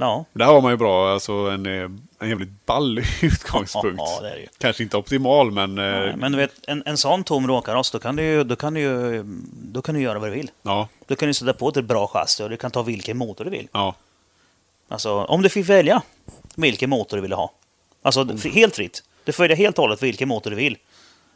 Speaker 2: Ja,
Speaker 1: Där har man ju bra, alltså en, eh, en jävligt ball utgångspunkt.
Speaker 2: Ja, det är det ju.
Speaker 1: Kanske inte optimal, men... eh,
Speaker 2: nej, men du vet, en, en sån tom råkaross, då kan du ju, då kan du ju, då kan du göra vad du vill.
Speaker 1: Ja,
Speaker 2: Då kan du sätta på ett bra chassi och du kan ta vilken motor du vill.
Speaker 1: ja,
Speaker 2: Alltså, om du fick välja vilken motor du ville ha. Alltså, fri- helt fritt. Du får välja helt och hållet vilken motor du vill.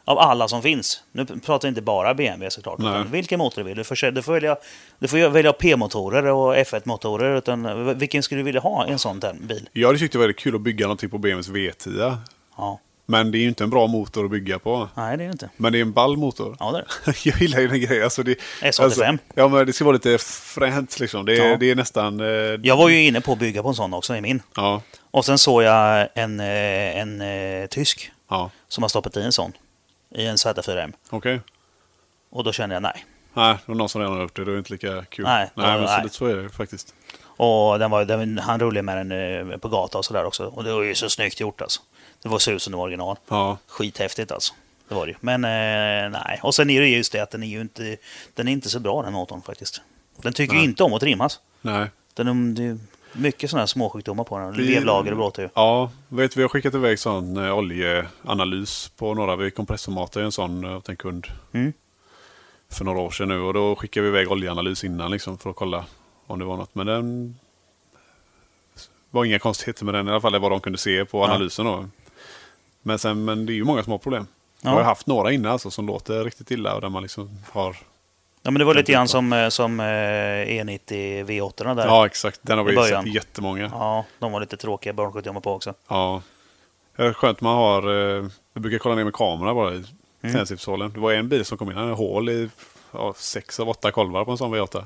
Speaker 2: Av alla som finns. Nu p- pratar jag inte bara BMW såklart.
Speaker 1: Nej.
Speaker 2: Utan vilken motor du vill. Du får, se- du får välja, du får ju välja P-motorer och F1-motorer. Utan v- vilken skulle du vilja ha i en sån där bil?
Speaker 1: jag hade tyckt det var väldigt kul att bygga någonting på BMWs V10.
Speaker 2: Ja.
Speaker 1: Men det är ju inte en bra motor att bygga på.
Speaker 2: Nej, det är det inte.
Speaker 1: Men det är en ball motor.
Speaker 2: Ja, det är det.
Speaker 1: Jag gillar ju den grejen. Alltså det,
Speaker 2: S85.
Speaker 1: ja, men det ska vara lite fränt liksom. Det är,
Speaker 2: Ja.
Speaker 1: det är nästan... Eh, ja.
Speaker 2: Jag var ju inne på att bygga på en sån också i min.
Speaker 1: ja,
Speaker 2: Och sen såg jag en, eh, en eh, tysk som har stoppat i en sån. I en Z4M.
Speaker 1: okej.
Speaker 2: Och då kände jag nej.
Speaker 1: Nej, det var någon som redan har gjort det. Det var inte lika kul.
Speaker 2: Nej,
Speaker 1: nej men så,
Speaker 2: nej.
Speaker 1: lite så är det faktiskt.
Speaker 2: Och den var, den, han rullade med den eh, på gatan och sådär också. Och det var ju så snyggt gjort alltså. Det var så ut som det var original.
Speaker 1: Ja,
Speaker 2: Skithäftigt alltså. Det var det ju. Men eh, nej. Och sen är det just det att den är ju inte, den är inte så bra den motorn faktiskt. Den tycker ju
Speaker 1: Nej.
Speaker 2: inte om att trimmas.
Speaker 1: nej.
Speaker 2: Den, är- det är mycket sådana här småsjukdomar på den.
Speaker 1: Vi-
Speaker 2: Levlager och bråte ju.
Speaker 1: Ja, vet vi har skickat iväg sån eh, oljeanalys på några. Vi kompressormatar ju en sån eh, åt en kund
Speaker 2: Mm.
Speaker 1: för några år sedan nu. Och då skickade vi iväg oljeanalys innan liksom för att kolla om det var något. Men den var inga konstigheter med den i alla fall. Det var vad de kunde se på
Speaker 2: Ja.
Speaker 1: analysen då. Men, sen, men det är ju många som har problem.
Speaker 2: Ja.
Speaker 1: Jag har ju haft några innan alltså, som låter riktigt illa och där man liksom har...
Speaker 2: Ja men det var
Speaker 1: Den
Speaker 2: lite grann
Speaker 1: typen.
Speaker 2: som, eh, som eh, E90 V8 där.
Speaker 1: Ja, exakt. Den har
Speaker 2: I
Speaker 1: vi ju
Speaker 2: början.
Speaker 1: sett jättemånga.
Speaker 2: Ja, de var lite tråkiga barnsjukdomar på också.
Speaker 1: Ja. Det är skönt man har... eh, Jag brukar kolla ner med kamera bara i
Speaker 2: Mm.
Speaker 1: sensorpsålen. Det var en bil som kom in, han hade hål i ja, sex av åtta kolvar på en sån V8.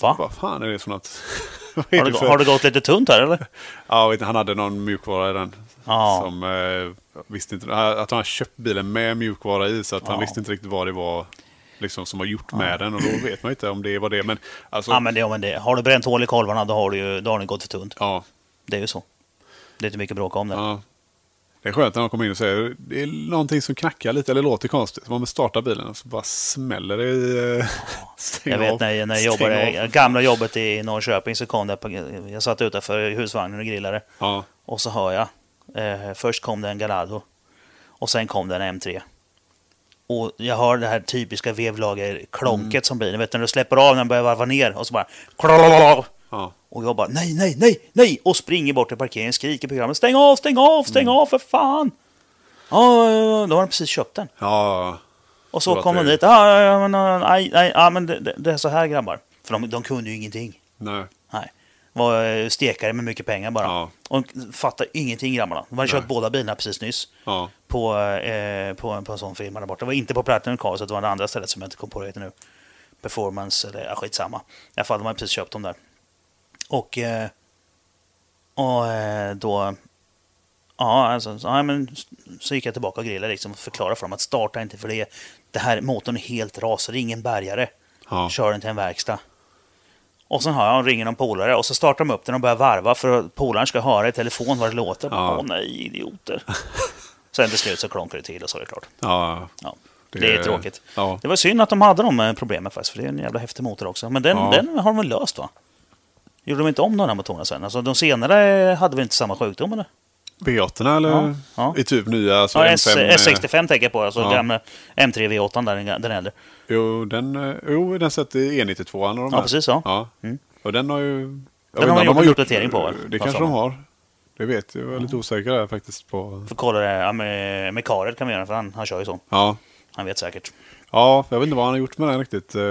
Speaker 2: Va?
Speaker 1: Vad fan är det för något? Vad är
Speaker 2: Har
Speaker 1: det
Speaker 2: det,
Speaker 1: för-
Speaker 2: har det gått lite tunt här eller?
Speaker 1: Ja, jag vet inte, han hade någon mjukvara i den.
Speaker 2: Ja.
Speaker 1: Som eh, visste inte, att han hade köpt bilen med mjukvara i så att han
Speaker 2: Ja.
Speaker 1: visste inte riktigt vad det var liksom, som var gjort med den. Och då vet man ju inte om det var det. Men alltså,
Speaker 2: Ja men, det, ja, men det. Har du bränt hål i kolvarna då har, du ju, då har det gått för tunt.
Speaker 1: ja,
Speaker 2: Det är ju så. Det är inte mycket att bråka om det.
Speaker 1: ja. Det är skönt när de kommer in och säger det är någonting som knackar lite eller låter konstigt. Man startar bilen och så bara smäller det i... eh, stäng
Speaker 2: Jag
Speaker 1: av,
Speaker 2: vet när, när jag
Speaker 1: stäng
Speaker 2: jobbade,
Speaker 1: av.
Speaker 2: gamla jobbet i Norrköping så kom det, på- jag satt utanför husvagnen och grillade
Speaker 1: Ja,
Speaker 2: och så hör jag Eh, först kom det en Gallardo och sen kom det en M3. Och jag har det här typiska vevlager-klonket
Speaker 1: Mm.
Speaker 2: som blir. Ni vet när du släpper av när den börjar varva ner och så bara... klalalala.
Speaker 1: Ja.
Speaker 2: Och jag bara nej, nej, nej, nej! Och springer bort till parkeringen, skriker på programmet stäng av, stäng av, stäng
Speaker 1: Mm.
Speaker 2: av för fan! Ja, ja, ja, då har de precis köpt den.
Speaker 1: Ja.
Speaker 2: Och
Speaker 1: Det
Speaker 2: så
Speaker 1: var
Speaker 2: kom de
Speaker 1: trevligt.
Speaker 2: dit. "Ah, Ja, ja, ja, men, ja, nej, nej, ja, men det, det- det är så här grabbar. För de, de kunde ju ingenting.
Speaker 1: Nej.
Speaker 2: Nej. Var eh, stekare med mycket pengar bara.
Speaker 1: Ja.
Speaker 2: Och de fattade ingenting grabbarna. De hade
Speaker 1: Nej.
Speaker 2: köpt båda bilarna precis nyss.
Speaker 1: Ja.
Speaker 2: På, eh, på, på en sån firma där borta. Det var inte på Platinum Car, så det var det andra stället som jag inte kom på det heter nu. Performance eller ja, skitsamma. I alla fall, de hade precis köpt dem där. Och, eh, och eh, då... Ja, alltså, så, ja, men, så gick jag tillbaka och grillade liksom, och förklarade för dem att starta inte för det. Det här motorn är helt rasad, det är ingen bärgare.
Speaker 1: Ja.
Speaker 2: Kör den till en verkstad. Och sen hör jag, ringer någon polare och så startar de upp den och börjar varva för att polaren ska höra i telefon vad det låter.
Speaker 1: Ja.
Speaker 2: Åh nej, idioter. sen till slut så klonkar det till och så är det klart.
Speaker 1: Ja.
Speaker 2: Ja.
Speaker 1: Det-
Speaker 2: Det, är tråkigt.
Speaker 1: ja.
Speaker 2: Det var synd att de hade de eh, problemen faktiskt, för det är en jävla häftig motor också. Men den,
Speaker 1: Ja.
Speaker 2: den har de väl löst va? Gjorde de inte om de här motorerna sen? Alltså de senare hade väl inte samma sjukdom eller?
Speaker 1: V8 eller? Ja.
Speaker 2: Ja, ja.
Speaker 1: I typ nya. Alltså
Speaker 2: Ja, S,
Speaker 1: M5, eh,
Speaker 2: S65 tänker jag på, alltså
Speaker 1: Ja.
Speaker 2: gamla M3 V8 där, den- den äldre.
Speaker 1: Jo, den, eh, jo, den sätter E92 an och de
Speaker 2: Ja,
Speaker 1: här.
Speaker 2: precis, ja.
Speaker 1: ja.
Speaker 2: Mm.
Speaker 1: Och den har ju... jag vet
Speaker 2: har
Speaker 1: inte om
Speaker 2: man
Speaker 1: de
Speaker 2: gjort en uppdatering på, väl?
Speaker 1: Det
Speaker 2: Vad
Speaker 1: kanske
Speaker 2: sa
Speaker 1: de
Speaker 2: man?
Speaker 1: har. Det vet jag. Jag är lite osäker där faktiskt på...
Speaker 2: Får kolla det ja, med, med Karel kan vi göra, för han, han kör ju så.
Speaker 1: Ja.
Speaker 2: Han vet säkert.
Speaker 1: ja, jag vet inte vad han har gjort med den riktigt. eh,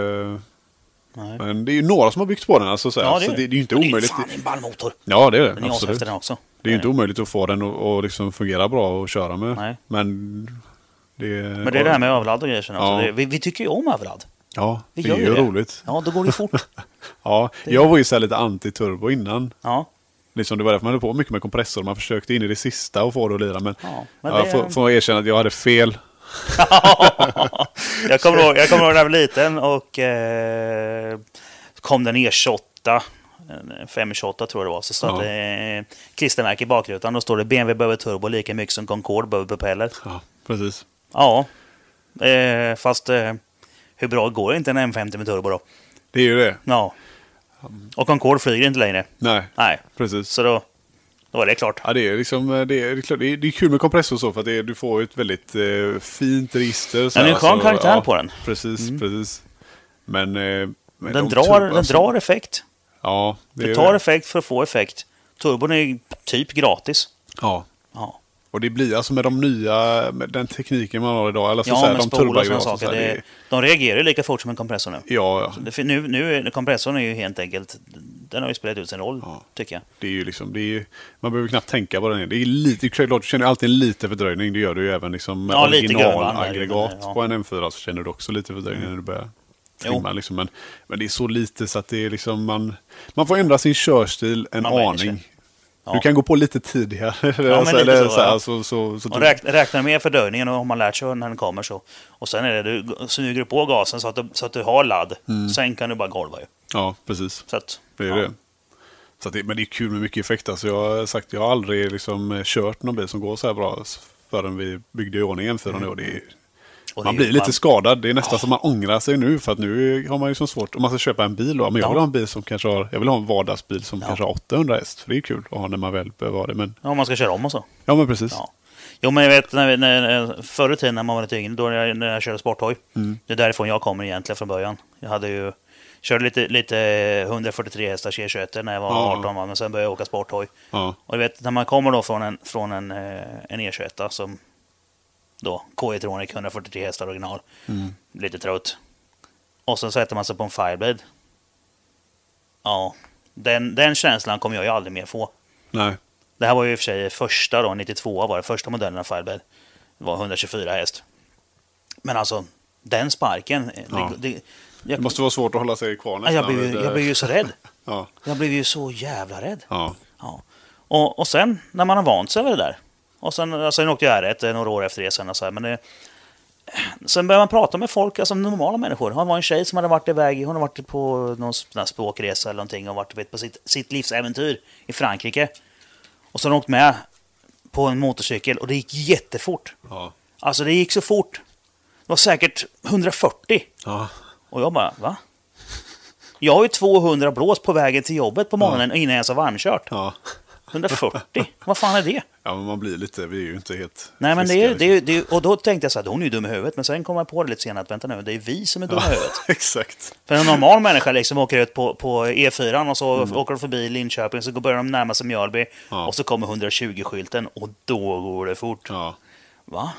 Speaker 2: Nej.
Speaker 1: Men det är ju några som har byggt på den. Alltså, så här.
Speaker 2: Ja,
Speaker 1: det,
Speaker 2: det
Speaker 1: så
Speaker 2: är
Speaker 1: det, det är ju inte
Speaker 2: Men det är ju
Speaker 1: omöjligt.
Speaker 2: fan en ballmotor.
Speaker 1: Ja, det är det.
Speaker 2: Den är ashäftig
Speaker 1: absolut.
Speaker 2: den också. Eh,
Speaker 1: Det är ju inte omöjligt att få den att och liksom fungera bra och köra med.
Speaker 2: Nej.
Speaker 1: Men det,
Speaker 2: Men det är det här med överladd och grejer sen också.
Speaker 1: Ja.
Speaker 2: Det, vi, vi tycker ju om överladd.
Speaker 1: Ja,
Speaker 2: Vi
Speaker 1: det
Speaker 2: gör
Speaker 1: är ju
Speaker 2: det.
Speaker 1: roligt.
Speaker 2: Ja, då går det fort.
Speaker 1: Ja, jag var ju så här lite anti-turbo innan.
Speaker 2: Ja.
Speaker 1: Liksom det var därför man höll på mycket med kompressor. Man försökte in i det sista och få det att lira. Men,
Speaker 2: Ja, men
Speaker 1: jag
Speaker 2: det-
Speaker 1: får, får erkänna att jag hade fel.
Speaker 2: jag, kommer ihåg, jag kommer ihåg när jag var liten och eh, kom den E eh, E28. en 528 tror jag det var. Så stod
Speaker 1: Ja.
Speaker 2: det eh, klistermärke i bakrutan. Då står det BMW behöver turbo lika mycket som Concorde behöver propeller.
Speaker 1: Ja, precis.
Speaker 2: Ja, eh, fast eh, hur bra går inte en M50 med turbo då?
Speaker 1: Det är ju det.
Speaker 2: Ja. Och Concorde flyger inte längre.
Speaker 1: Nej,
Speaker 2: Nej,
Speaker 1: precis.
Speaker 2: så då, då är det klart.
Speaker 1: Ja, det är liksom, eh, det är, det är klart- det är, det är kul med kompressor och så för att det är, du får ju ett väldigt eh, fint register. Så
Speaker 2: Ja, det är en
Speaker 1: här,
Speaker 2: skön karaktär på den.
Speaker 1: Precis,
Speaker 2: Mm.
Speaker 1: precis. Men, eh,
Speaker 2: Den
Speaker 1: men de
Speaker 2: drar,
Speaker 1: turbo-
Speaker 2: den
Speaker 1: alltså,
Speaker 2: drar effekt.
Speaker 1: Ja, det är
Speaker 2: Du tar
Speaker 1: det.
Speaker 2: effekt för att få effekt. Turbon är ju typ gratis.
Speaker 1: Ja.
Speaker 2: Ja.
Speaker 1: Och det blir alltså med de nya, med den tekniken man har idag. Eller så,
Speaker 2: Ja,
Speaker 1: så här,
Speaker 2: men
Speaker 1: de
Speaker 2: spol och sådana
Speaker 1: turboaggregat.
Speaker 2: saker.
Speaker 1: så här,
Speaker 2: det,
Speaker 1: det-
Speaker 2: de reagerar ju lika fort som en kompressor nu.
Speaker 1: Ja, ja.
Speaker 2: Det, fin- nu, nu är, kompressorn är ju helt enkelt... Den har ju spelat ut sin roll,
Speaker 1: Ja.
Speaker 2: tycker jag.
Speaker 1: Det är ju liksom, det är, ju- man behöver knappt tänka på den. här. Det är lite, klart, du känner alltid en liten fördröjning. Det gör du ju även liksom med
Speaker 2: Ja, lite grövre,
Speaker 1: originalaggregat
Speaker 2: men, ja. Mm.
Speaker 1: på en M4. Så känner du också lite fördröjning när du börjar trimma. Liksom. Men, men det är så lite så att det är liksom, man, man får ändra sin körstil en
Speaker 2: Man vänjer
Speaker 1: aning.
Speaker 2: Ja.
Speaker 1: Du kan gå på lite tidigare. Ja,
Speaker 2: men lite
Speaker 1: eller,
Speaker 2: så,
Speaker 1: så, här,
Speaker 2: ja.
Speaker 1: så, så, typ- så,
Speaker 2: Och räk, räkna med fördröjningen och om man lärt sig när den kommer så. Och sen är det, du g- smyger du på gasen så att du, så att du har ladd. Sen kan du bara golva ju.
Speaker 1: Ja, precis.
Speaker 2: Så att,
Speaker 1: Mm. Det är
Speaker 2: ja.
Speaker 1: det. Så att det. Men det är kul med mycket effekt. Alltså jag har sagt, jag har aldrig liksom eh, kört någon bil som går så här bra förrän vi byggde i ordning M4 nu. Och det är,
Speaker 2: Och
Speaker 1: man
Speaker 2: det-
Speaker 1: blir lite skadad. Det är nästan som man ångrar sig nu. För att nu har man ju som svårt. Om man ska köpa en bil då. Men jag
Speaker 2: Ja.
Speaker 1: vill ha en bil som kanske har. Jag vill ha en vardagsbil som
Speaker 2: Ja.
Speaker 1: kanske har 800 häst. För det är kul att ha när man väl behöver ha det. Men,
Speaker 2: Ja, om man ska köra om och så.
Speaker 1: ja men precis. Ja.
Speaker 2: Ja. Jo, men jag vet när, vi- när, förr i tiden när man var lite yngre, då när jag, när jag körde sporthoj. Det är därifrån jag kommer egentligen från början. Jag hade ju, körde lite, lite 143 hästars E21 när jag var
Speaker 1: Ja.
Speaker 2: 18, va, men sen började jag åka sporthoj.
Speaker 1: Ja.
Speaker 2: Och du vet, när man kommer då från en, från en, eh, en E21 som då, K-Etronic 143 hästar original, lite trött. Och sen sätter man sig på en Fireblade. Ja, den, den känslan kommer jag ju aldrig mer få.
Speaker 1: Nej.
Speaker 2: Det här var ju i och för sig första då, 92 var det första modellen av Firebed. Det var 124 häst. Men alltså, den sparken.
Speaker 1: Ja.
Speaker 2: Det, det,
Speaker 1: Det
Speaker 2: jag,
Speaker 1: måste vara svårt att hålla sig kvar
Speaker 2: Ja,
Speaker 1: nästan.
Speaker 2: jag, blev, ju-
Speaker 1: vid, eh,
Speaker 2: jag blev ju så rädd.
Speaker 1: Ja.
Speaker 2: Jag blev ju så jävla rädd.
Speaker 1: Ja.
Speaker 2: Ja. Och, och sen när man har vant sig vid det där. Och sen, ja, sen åkte jag R1 några år efter det sen. Och så här, men det, eh, sen började man prata med folk, alltså normala människor. Det var en tjej som hade varit iväg, hon hade varit på någon sån här språkresa eller någonting och varit vet, på sitt, sitt livsäventyr i Frankrike. Och så har hon åkt med på en motorcykel och det gick jättefort.
Speaker 1: Ja.
Speaker 2: Alltså det gick så fort. Det var säkert 140.
Speaker 1: Ja.
Speaker 2: Och jag bara, va? Jag har ju 200 blås på vägen till jobbet på morgonen innan jag ens har varmkört.
Speaker 1: Ja.
Speaker 2: 140? Vad fan är det?
Speaker 1: Ja, men man blir lite, vi är ju inte helt
Speaker 2: Nej, men det
Speaker 1: friska,
Speaker 2: är, det
Speaker 1: liksom.
Speaker 2: är, det är, och då tänkte jag så här, hon är ju dum i huvudet. Men sen kom jag på det lite senare, att vänta nu, det är vi som är dumma i huvudet.
Speaker 1: Exakt.
Speaker 2: För en normal människa liksom åker ut på, på E4 och så åker de förbi Linköping, så går- börjar de närma sig Mjölby.
Speaker 1: Mm. Ja.
Speaker 2: Och så kommer 120-skylten och då går det fort.
Speaker 1: Ja,
Speaker 2: Va?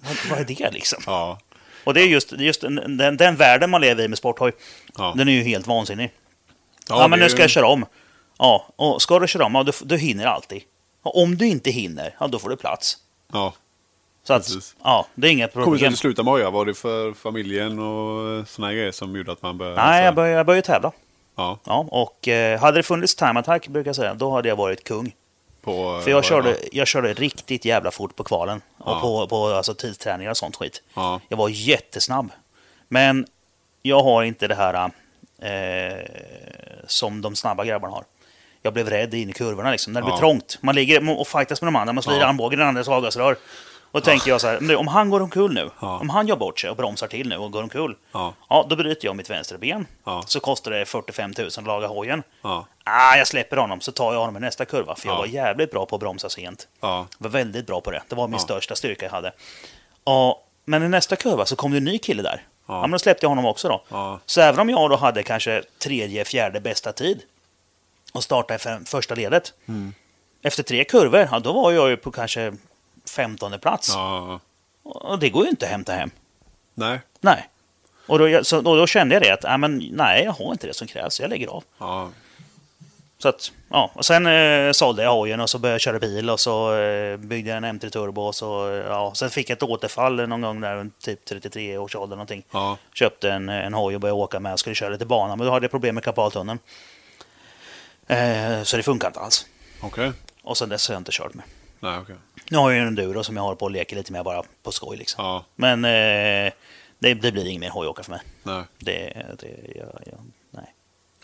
Speaker 2: vad, vad är det liksom?
Speaker 1: ja,
Speaker 2: Och det är just, just den, den, den världen man lever i med sporthoj.
Speaker 1: ja.
Speaker 2: Den är ju helt vansinnig. Ja,
Speaker 1: det
Speaker 2: men
Speaker 1: är
Speaker 2: nu ska
Speaker 1: ju-
Speaker 2: jag köra om. Ja, och ska du köra om, ja, du, du hinner alltid. Och om du inte hinner, ja, då får du plats.
Speaker 1: Ja.
Speaker 2: Så att,
Speaker 1: Precis.
Speaker 2: ja, det är inga
Speaker 1: Kommer du
Speaker 2: problem.
Speaker 1: att sluta med hoja? Var det för familjen och sådana grejer som gjorde att man började? alltså-
Speaker 2: Nej, jag började, jag började tävla.
Speaker 1: Ja,
Speaker 2: Ja, och eh, hade det funnits time attack, brukar jag säga, då hade jag varit kung.
Speaker 1: på, eh,
Speaker 2: För jag körde, jag körde riktigt jävla fort på kvalen. Och
Speaker 1: Ja.
Speaker 2: på, på alltså, tidsträningar och sånt skit.
Speaker 1: Ja,
Speaker 2: Jag var jättesnabb. Men jag har inte det här eh, som de snabba grabbarna har. Jag blev rädd in i kurvorna liksom. När det
Speaker 1: Ja.
Speaker 2: blir trångt. Man ligger och fightas med de andra. Man slår i
Speaker 1: Ja.
Speaker 2: armbågen i den andres avgasrör. Och tänker jag så här, nu, om han går omkull nu.
Speaker 1: Ja.
Speaker 2: Om han gör bort sig och bromsar till nu och går omkull.
Speaker 1: Ja.
Speaker 2: Ja, då bryter jag mitt vänsterben.
Speaker 1: Ja.
Speaker 2: Så kostar det 45 000 att laga hojen.
Speaker 1: ja,
Speaker 2: Ah, jag släpper honom, så tar jag honom i nästa kurva. För jag
Speaker 1: Ja.
Speaker 2: var jävligt bra på att bromsa sent.
Speaker 1: ja,
Speaker 2: Jag var väldigt bra på det. Det var min
Speaker 1: Ja.
Speaker 2: största styrka jag hade. Ja, men i nästa kurva så kom det en ny kille där.
Speaker 1: Ja.
Speaker 2: Ja. men då släppte jag honom också då.
Speaker 1: Ja.
Speaker 2: Så även om jag då hade kanske tredje, fjärde bästa tid och startade i fem- första ledet.
Speaker 1: Mm.
Speaker 2: Efter tre kurvor, ja, då var jag ju på kanske femtonde plats.
Speaker 1: ja.
Speaker 2: Och det går ju inte att hämta hem.
Speaker 1: Nej,
Speaker 2: Nej. Och då, så, och då kände jag det att, ja, men, nej, jag har inte det som krävs. Jag lägger av.
Speaker 1: ja,
Speaker 2: Så att, ja. Och sen eh, sålde jag hojen och så började jag köra bil och så eh, byggde jag en M3 Turbo och så, eh, ja. Sen fick jag ett återfall någon gång där runt typ 33 års ålder någonting.
Speaker 1: ja,
Speaker 2: Köpte en, en hoj och började åka med och skulle köra lite bana, men då hade jag problem med kapaltunneln. Eh, så det funkar inte alls.
Speaker 1: okej.
Speaker 2: Och sen dess har jag inte kört med.
Speaker 1: Nej, okej.
Speaker 2: Nu har jag ju en enduro som jag har på och leker lite med bara på skoj liksom.
Speaker 1: Ja,
Speaker 2: Men eh, det, det blir ingen mer hojåkare för mig.
Speaker 1: nej.
Speaker 2: Det, det, jag, jag, nej.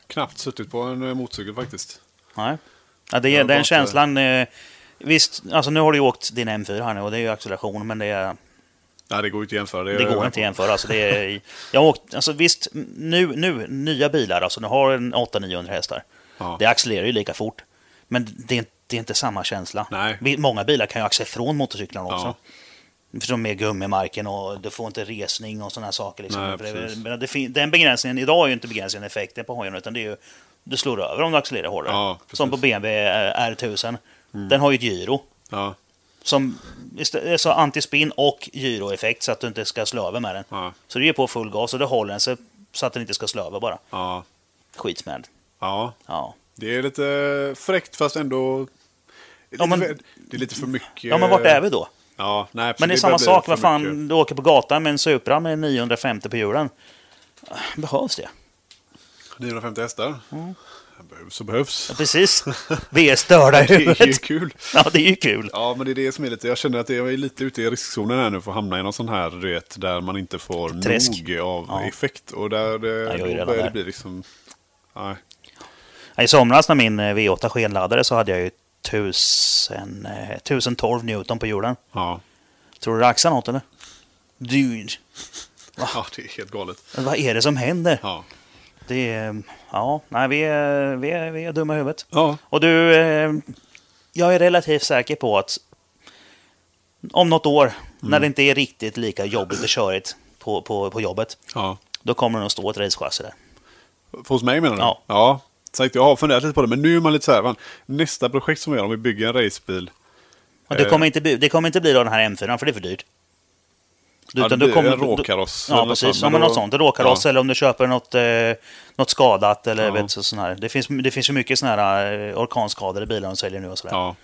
Speaker 1: Knappt suttit på en eh, motorcykel faktiskt.
Speaker 2: Nej. Ja, det,
Speaker 1: Jag har
Speaker 2: den
Speaker 1: bara-
Speaker 2: känslan... Eh, visst, alltså nu har du ju åkt din M4 här nu och det är ju acceleration, men det, är-
Speaker 1: Nej, det går ju inte att jämföra.
Speaker 2: det går inte att jämföra. Alltså, det är, jag har åkt, alltså, visst, nu, nu, nya bilar, alltså nu har en 800-900 hästar.
Speaker 1: Ja.
Speaker 2: Det accelererar ju lika fort, men det är, det är inte samma känsla.
Speaker 1: Nej.
Speaker 2: Vi- Många bilar kan ju axla ifrån motorcyklarna också.
Speaker 1: Ja.
Speaker 2: För de är gummimarken och du får inte resning och sådana saker. Liksom.
Speaker 1: Nej,
Speaker 2: För det,
Speaker 1: precis.
Speaker 2: men det, fin- den begränsningen idag är ju inte begränsningen effekten på hojen, utan det är ju du slår över om du accelererar hårdare.
Speaker 1: Ja, precis. Mm.
Speaker 2: som på BMW eh, R1000. Den har ju ett gyro.
Speaker 1: Ja,
Speaker 2: Som istä- är så antispinn och gyroeffekt så att du inte ska slå över med den.
Speaker 1: ja,
Speaker 2: Så du ger på full gas och det håller den sig så att den inte ska slå över bara.
Speaker 1: ja,
Speaker 2: Skitsmäll.
Speaker 1: ja.
Speaker 2: Ja.
Speaker 1: Det är lite fräckt fast ändå... Det är,
Speaker 2: Ja, men-
Speaker 1: lite, för- det är lite för mycket...
Speaker 2: ja, men vart är vi då?
Speaker 1: Ja, nej,
Speaker 2: Men det är
Speaker 1: precis,
Speaker 2: samma
Speaker 1: börjar bli
Speaker 2: sak, vad
Speaker 1: för
Speaker 2: fan,
Speaker 1: mycket.
Speaker 2: du åker på gatan med en Supra med 950 på hjulen. Behövs det?
Speaker 1: 950 hästar.
Speaker 2: Mm.
Speaker 1: Behövs och behövs.
Speaker 2: Ja, precis. Vi är störda i
Speaker 1: Det är ju
Speaker 2: huvudet.
Speaker 1: kul.
Speaker 2: Ja, det är ju kul.
Speaker 1: Ja, men det är det som är lite... Jag känner att jag är lite ute i riskzonen här nu för att hamna i någon sån här, du vet, där man inte får
Speaker 2: Träsk.
Speaker 1: nog av
Speaker 2: Ja.
Speaker 1: effekt. Och där eh,
Speaker 2: jag är
Speaker 1: då
Speaker 2: redan
Speaker 1: börjar det
Speaker 2: där.
Speaker 1: bli liksom... Nej,
Speaker 2: I somras när min eh, V8 skenladdade så hade jag ju 1000, eh, 1012 Newton på hjulen.
Speaker 1: ja.
Speaker 2: Tror du det axlar något eller? Dude,
Speaker 1: ja, det är helt galet.
Speaker 2: vad är det som händer?
Speaker 1: Ja,
Speaker 2: Det är, ja, nej, vi är, vi är, vi är dumma i huvudet.
Speaker 1: ja,
Speaker 2: Och du, eh, jag är relativt säker på att om något år,
Speaker 1: Mm.
Speaker 2: när det inte är riktigt lika jobbigt och körigt på, på, på jobbet,
Speaker 1: ja.
Speaker 2: då kommer det nog stå ett racechassi där.
Speaker 1: Hos mig menar du?
Speaker 2: Ja.
Speaker 1: ja. Sagt, jag har funderat lite på det, men nu är man lite så här, fan, nästa projekt som vi gör, om vi bygger en racebil.
Speaker 2: Och det,
Speaker 1: Eh.
Speaker 2: kommer inte bli, det kommer inte bli då den här M4, för det är för dyrt. Du,
Speaker 1: Ja, det
Speaker 2: utan du
Speaker 1: blir
Speaker 2: kommer-
Speaker 1: en
Speaker 2: du- du-
Speaker 1: råkaross eller
Speaker 2: Ja,
Speaker 1: något sånt,
Speaker 2: precis. Ja,
Speaker 1: men
Speaker 2: men
Speaker 1: då-
Speaker 2: något sånt. En råkaross
Speaker 1: Ja.
Speaker 2: eller om du köper något, eh, något skadat eller
Speaker 1: Ja.
Speaker 2: vet, så, sån här. Det finns, det finns ju mycket såna här eh, orkanskadade bilar de säljer nu och sådär.
Speaker 1: Ja,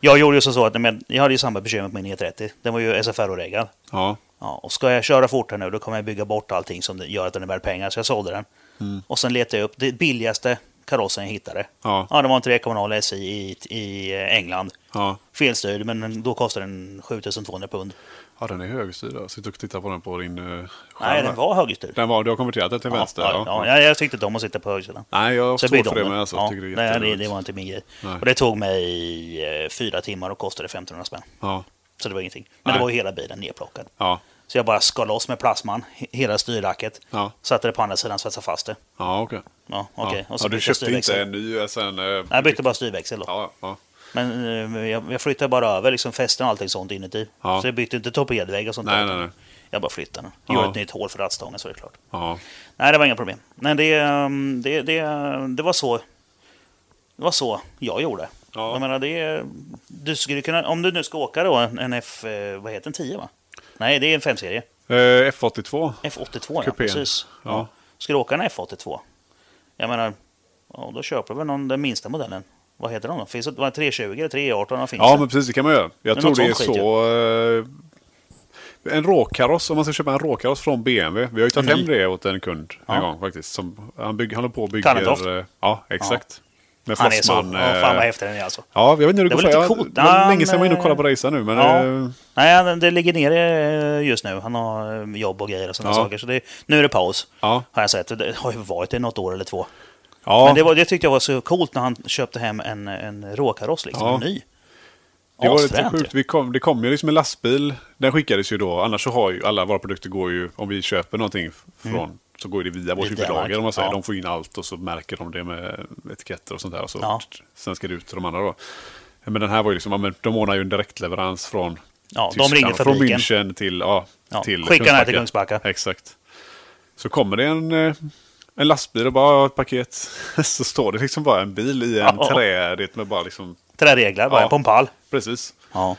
Speaker 2: Jag gjorde ju som så att men, jag hade ju samma bekymmer på min E30. Den var ju SFR-reggad.
Speaker 1: ja,
Speaker 2: Ja, och ska jag köra fort här nu, då kommer jag bygga bort allting som gör att den är värd pengar. Så jag sålde den.
Speaker 1: Mm.
Speaker 2: Och sen letade jag upp det billigaste karossen jag hittade.
Speaker 1: ja, ja,
Speaker 2: Ja, det var en 3,0 SI i, i England.
Speaker 1: ja.
Speaker 2: Felstyrd, men då kostade den 7200 pund.
Speaker 1: ja den är högerstyrd. Jag sitter och tittar på den på din eh, skärm.
Speaker 2: Nej,
Speaker 1: här.
Speaker 2: den var högerstyrd.
Speaker 1: Den var, du har konverterat den till vänster?
Speaker 2: ja, ja, ja, jag tyckte inte om att sitta på högersidan.
Speaker 1: Nej, jag har
Speaker 2: Så jag
Speaker 1: svårt
Speaker 2: byggde
Speaker 1: för
Speaker 2: om
Speaker 1: det,
Speaker 2: den.
Speaker 1: men alltså, jag
Speaker 2: ja,
Speaker 1: tycker det är
Speaker 2: nej, det,
Speaker 1: jätteroligt.
Speaker 2: det var inte min grej.
Speaker 1: Nej.
Speaker 2: Och det tog mig eh, fyra timmar och kostade 1500 spänn.
Speaker 1: Ja,
Speaker 2: Så det var ingenting. Men
Speaker 1: Nej.
Speaker 2: det var ju hela bilen nedplockad.
Speaker 1: ja,
Speaker 2: Så jag bara skar loss med plasman, he- hela styrracket.
Speaker 1: Ja,
Speaker 2: Satte det på andra sidan, svetsade fast det.
Speaker 1: ja okej.
Speaker 2: Ja, okej.
Speaker 1: Ja.
Speaker 2: Och så
Speaker 1: Ja, du
Speaker 2: bytte jag
Speaker 1: köpte inte
Speaker 2: styrväxel.
Speaker 1: en ny SN? Nej,
Speaker 2: Nej, jag bytte bara styrväxel då.
Speaker 1: Ja, ja.
Speaker 2: Men eh, jag, jag flyttade bara över liksom fästen och allting sånt inuti.
Speaker 1: Ja.
Speaker 2: Så jag bytte inte torpedvägg och sånt
Speaker 1: Nej,
Speaker 2: där.
Speaker 1: nej, nej.
Speaker 2: Jag bara flyttade den.
Speaker 1: Ja.
Speaker 2: Gjorde ett nytt hål för rattstången så är det klart.
Speaker 1: ja.
Speaker 2: Nej, det var inga problem. Nej, det, ehm, det, det, det var så. Det var så jag gjorde.
Speaker 1: Ja.
Speaker 2: Jag menar, det, du skulle kunna, om du nu ska åka då en en F... eh, Vad heter den? 10 va? Nej, det är en 5-serie.
Speaker 1: Eh, F82?
Speaker 2: F82 ja,
Speaker 1: Kupén.
Speaker 2: precis.
Speaker 1: Ja.
Speaker 2: Ska du åka en F82? Jag menar, ja, då köper du väl någon, den minsta modellen. Vad heter de då? Finns det var det 320 eller 318? Vad finns
Speaker 1: Ja,
Speaker 2: det?
Speaker 1: men precis. Det kan man göra. Jag
Speaker 2: Men
Speaker 1: tror
Speaker 2: något
Speaker 1: det är
Speaker 2: sånt skit,
Speaker 1: så... eh, en råkaross, om man ska köpa en råkaross från BMW. Vi har ju tagit
Speaker 2: Mm.
Speaker 1: hem det åt en kund en
Speaker 2: Ja.
Speaker 1: gång faktiskt. Som, han, bygger, han håller på och
Speaker 2: Tannentoft.
Speaker 1: bygger... eh, Ja, exakt. Med
Speaker 2: Han är så...
Speaker 1: Flossman.
Speaker 2: Ja, fan vad
Speaker 1: eh,
Speaker 2: häftig den är alltså.
Speaker 1: Ja, jag vet inte hur det,
Speaker 2: Det
Speaker 1: går
Speaker 2: var lite
Speaker 1: för jag-
Speaker 2: coolt.
Speaker 1: Det var
Speaker 2: Han,
Speaker 1: länge sedan jag var inne och
Speaker 2: eh,
Speaker 1: kollade på racen nu, men...
Speaker 2: ja.
Speaker 1: eh,
Speaker 2: Nej, den- det ligger nere eh, just nu. Han har eh, jobb och grejer och sådana
Speaker 1: Ja.
Speaker 2: saker. Så det, nu är det paus.
Speaker 1: Ja.
Speaker 2: Har jag sett. Det har ju varit i något år eller två.
Speaker 1: ja.
Speaker 2: Men det, var, det tyckte jag var så coolt när han köpte hem en, en råkaross, liksom.
Speaker 1: Ja.
Speaker 2: En ny.
Speaker 1: Det var lite
Speaker 2: Asfränt ju.
Speaker 1: sjukt. Vi kom, det kom ju liksom en lastbil. Den skickades ju då. Annars så har ju alla våra produkter går ju, om vi köper någonting f- från, så går det via vårt
Speaker 2: Mm. Via
Speaker 1: huvudlager. Om man säger.
Speaker 2: ja.
Speaker 1: De får in allt och så märker de det med etiketter och sånt där. Och så,
Speaker 2: Ja.
Speaker 1: Sen ska det ut till de andra då. Men den här var ju liksom, ja, men de ordnar ju en direktleverans från
Speaker 2: Ja, de
Speaker 1: Tyskland.
Speaker 2: ringer
Speaker 1: Från
Speaker 2: fabriken.
Speaker 1: München till, ja,
Speaker 2: Ja,
Speaker 1: till
Speaker 2: skicka den här till Kungsbacka.
Speaker 1: Exakt. Så kommer det en, eh, en lastbil och bara "Ja, ett paket. Så står det liksom bara en bil i en
Speaker 2: Ja.
Speaker 1: trä, det med bara liksom,
Speaker 2: Träreglar, bara
Speaker 1: Ja.
Speaker 2: en på en pall.
Speaker 1: precis.
Speaker 2: Ja.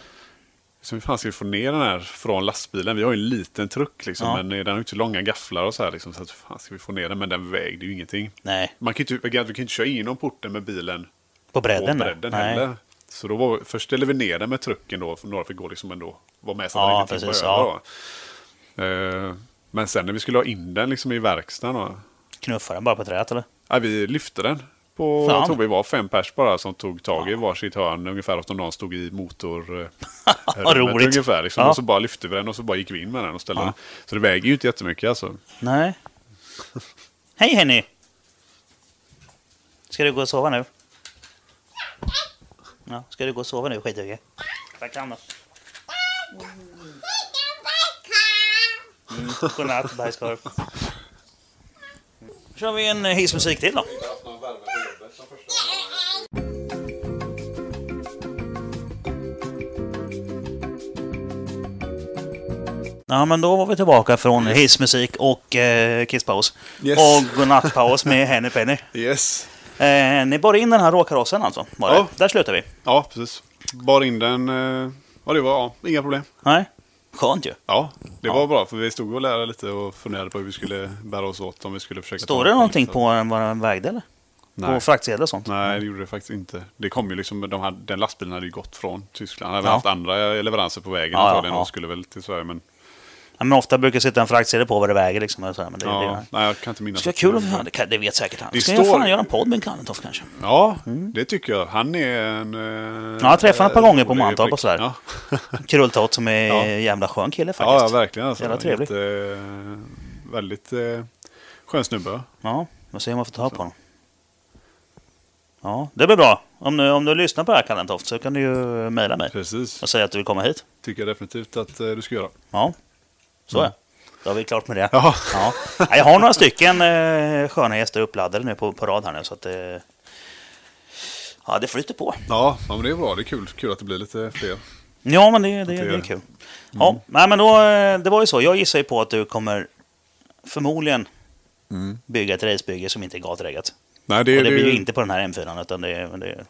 Speaker 1: Så hur fan ska vi få ner den här från lastbilen? Vi har ju en liten truck liksom,
Speaker 2: Ja.
Speaker 1: men den har ju inte långa gafflar och så här. Liksom, så att, hur fan ska vi få ner den? Men den vägde ju ingenting.
Speaker 2: Nej,
Speaker 1: Man kan ju inte, du kan ju inte köra igenom porten med bilen
Speaker 2: på
Speaker 1: på
Speaker 2: bredden. där.
Speaker 1: bredden
Speaker 2: Nej.
Speaker 1: heller. Så då var, först ställde vi ner den med trucken då, för några fick gå liksom ändå, vara med så att
Speaker 2: Ja,
Speaker 1: den inte tippade
Speaker 2: precis,
Speaker 1: över. Då. Eh, men sen när vi skulle ha in den liksom i verkstaden, då,
Speaker 2: Knuffa den bara på träet eller?
Speaker 1: ja, vi lyfte den. På,
Speaker 2: Fan.
Speaker 1: jag tror vi var fem pers bara som tog tag i varsitt hörn ungefär och som någon stod i motor... eh,
Speaker 2: Vad
Speaker 1: rummet
Speaker 2: roligt.
Speaker 1: Ungefär, liksom.
Speaker 2: Ja.
Speaker 1: Och så bara lyfte vi den och så bara gick vi in med den och ställde
Speaker 2: Ja.
Speaker 1: den. Så det väger ju inte jättemycket alltså.
Speaker 2: Nej. Hej Henny! Ska du gå och sova nu? Ja, ska du gå och sova nu skithugge? Tack Anna. Mm, Godnatt bajskorv. Då kör vi en eh, hissmusik till då. Ja, men då var vi tillbaka från hissmusik och eh, kisspaus.
Speaker 1: Yes.
Speaker 2: Och godnattpaus med Henny Penny.
Speaker 1: Yes.
Speaker 2: Eh, ni bar in den här råkarossen alltså? Var det?
Speaker 1: Ja.
Speaker 2: Där slutar vi.
Speaker 1: Ja, precis. Bar in den. eh, Ja, det var ja, inga problem.
Speaker 2: Nej. Skönt ju.
Speaker 1: Ja, det
Speaker 2: Ja.
Speaker 1: var bra för vi stod och lärde lite och funderade på hur vi skulle bära oss åt om vi skulle försöka... ta
Speaker 2: Står
Speaker 1: den
Speaker 2: det
Speaker 1: till-
Speaker 2: någonting på vad den- vad den vägde eller? På
Speaker 1: Nej.
Speaker 2: fraktsedlar och sånt?
Speaker 1: Nej, det gjorde det faktiskt inte. Det kom ju liksom, de hade, den lastbilen hade ju gått från Tyskland. Han hade
Speaker 2: Ja.
Speaker 1: haft andra leveranser på vägen
Speaker 2: Ja, ja,
Speaker 1: antagligen
Speaker 2: ja.
Speaker 1: och skulle väl till Sverige. Men,
Speaker 2: Ja, men ofta brukar sitta en fraktsedel på vad det väger liksom. eller Så här, men det,
Speaker 1: ja,
Speaker 2: det,
Speaker 1: nej, jag kan inte minnas.
Speaker 2: det ska vara
Speaker 1: att
Speaker 2: kul
Speaker 1: det
Speaker 2: om
Speaker 1: var-
Speaker 2: det, kan- det vet säkert han.
Speaker 1: Det
Speaker 2: ska jag
Speaker 1: står-
Speaker 2: fan göra en podd med en Kanentoft kanske?
Speaker 1: Ja, det tycker jag. Han är en... eh,
Speaker 2: Mm. Ja, jag träffade ett par gånger på
Speaker 1: rolig
Speaker 2: Mantorp
Speaker 1: prick.
Speaker 2: och sådär.
Speaker 1: Ja.
Speaker 2: Krulltott som är
Speaker 1: Ja.
Speaker 2: jävla skön kille faktiskt.
Speaker 1: ja, ja, verkligen. Alltså.
Speaker 2: Jävla trevlig.
Speaker 1: Jätte, väldigt eh, skön snubbe.
Speaker 2: Ja, vi får se om man får ta på honom. Ja, det blir bra. Om du, om du lyssnar på det här Kanentoft så kan du ju mejla mig
Speaker 1: Precis.
Speaker 2: och säga att du vill komma hit.
Speaker 1: Tycker jag definitivt att eh, du ska göra.
Speaker 2: Ja, så
Speaker 1: Mm.
Speaker 2: är Då är vi klart med det.
Speaker 1: Ja.
Speaker 2: Ja. Ja, Jag har några stycken eh, sköna gäster uppladdade nu på, på rad här nu så att eh, Ja, det flyter på.
Speaker 1: Ja, ja, men det är bra. Det är kul, kul att det blir lite fler.
Speaker 2: Ja, men det, det,
Speaker 1: det
Speaker 2: det,
Speaker 1: gör
Speaker 2: är
Speaker 1: det. Mm.
Speaker 2: kul. Ja, nej, men då, eh, det var ju så. Jag gissar ju på att du kommer förmodligen bygga ett racebygge som inte är gatreggat.
Speaker 1: Nej, Mm. det,
Speaker 2: Och det
Speaker 1: det-
Speaker 2: blir ju inte på den här M4, utan det, är- det är-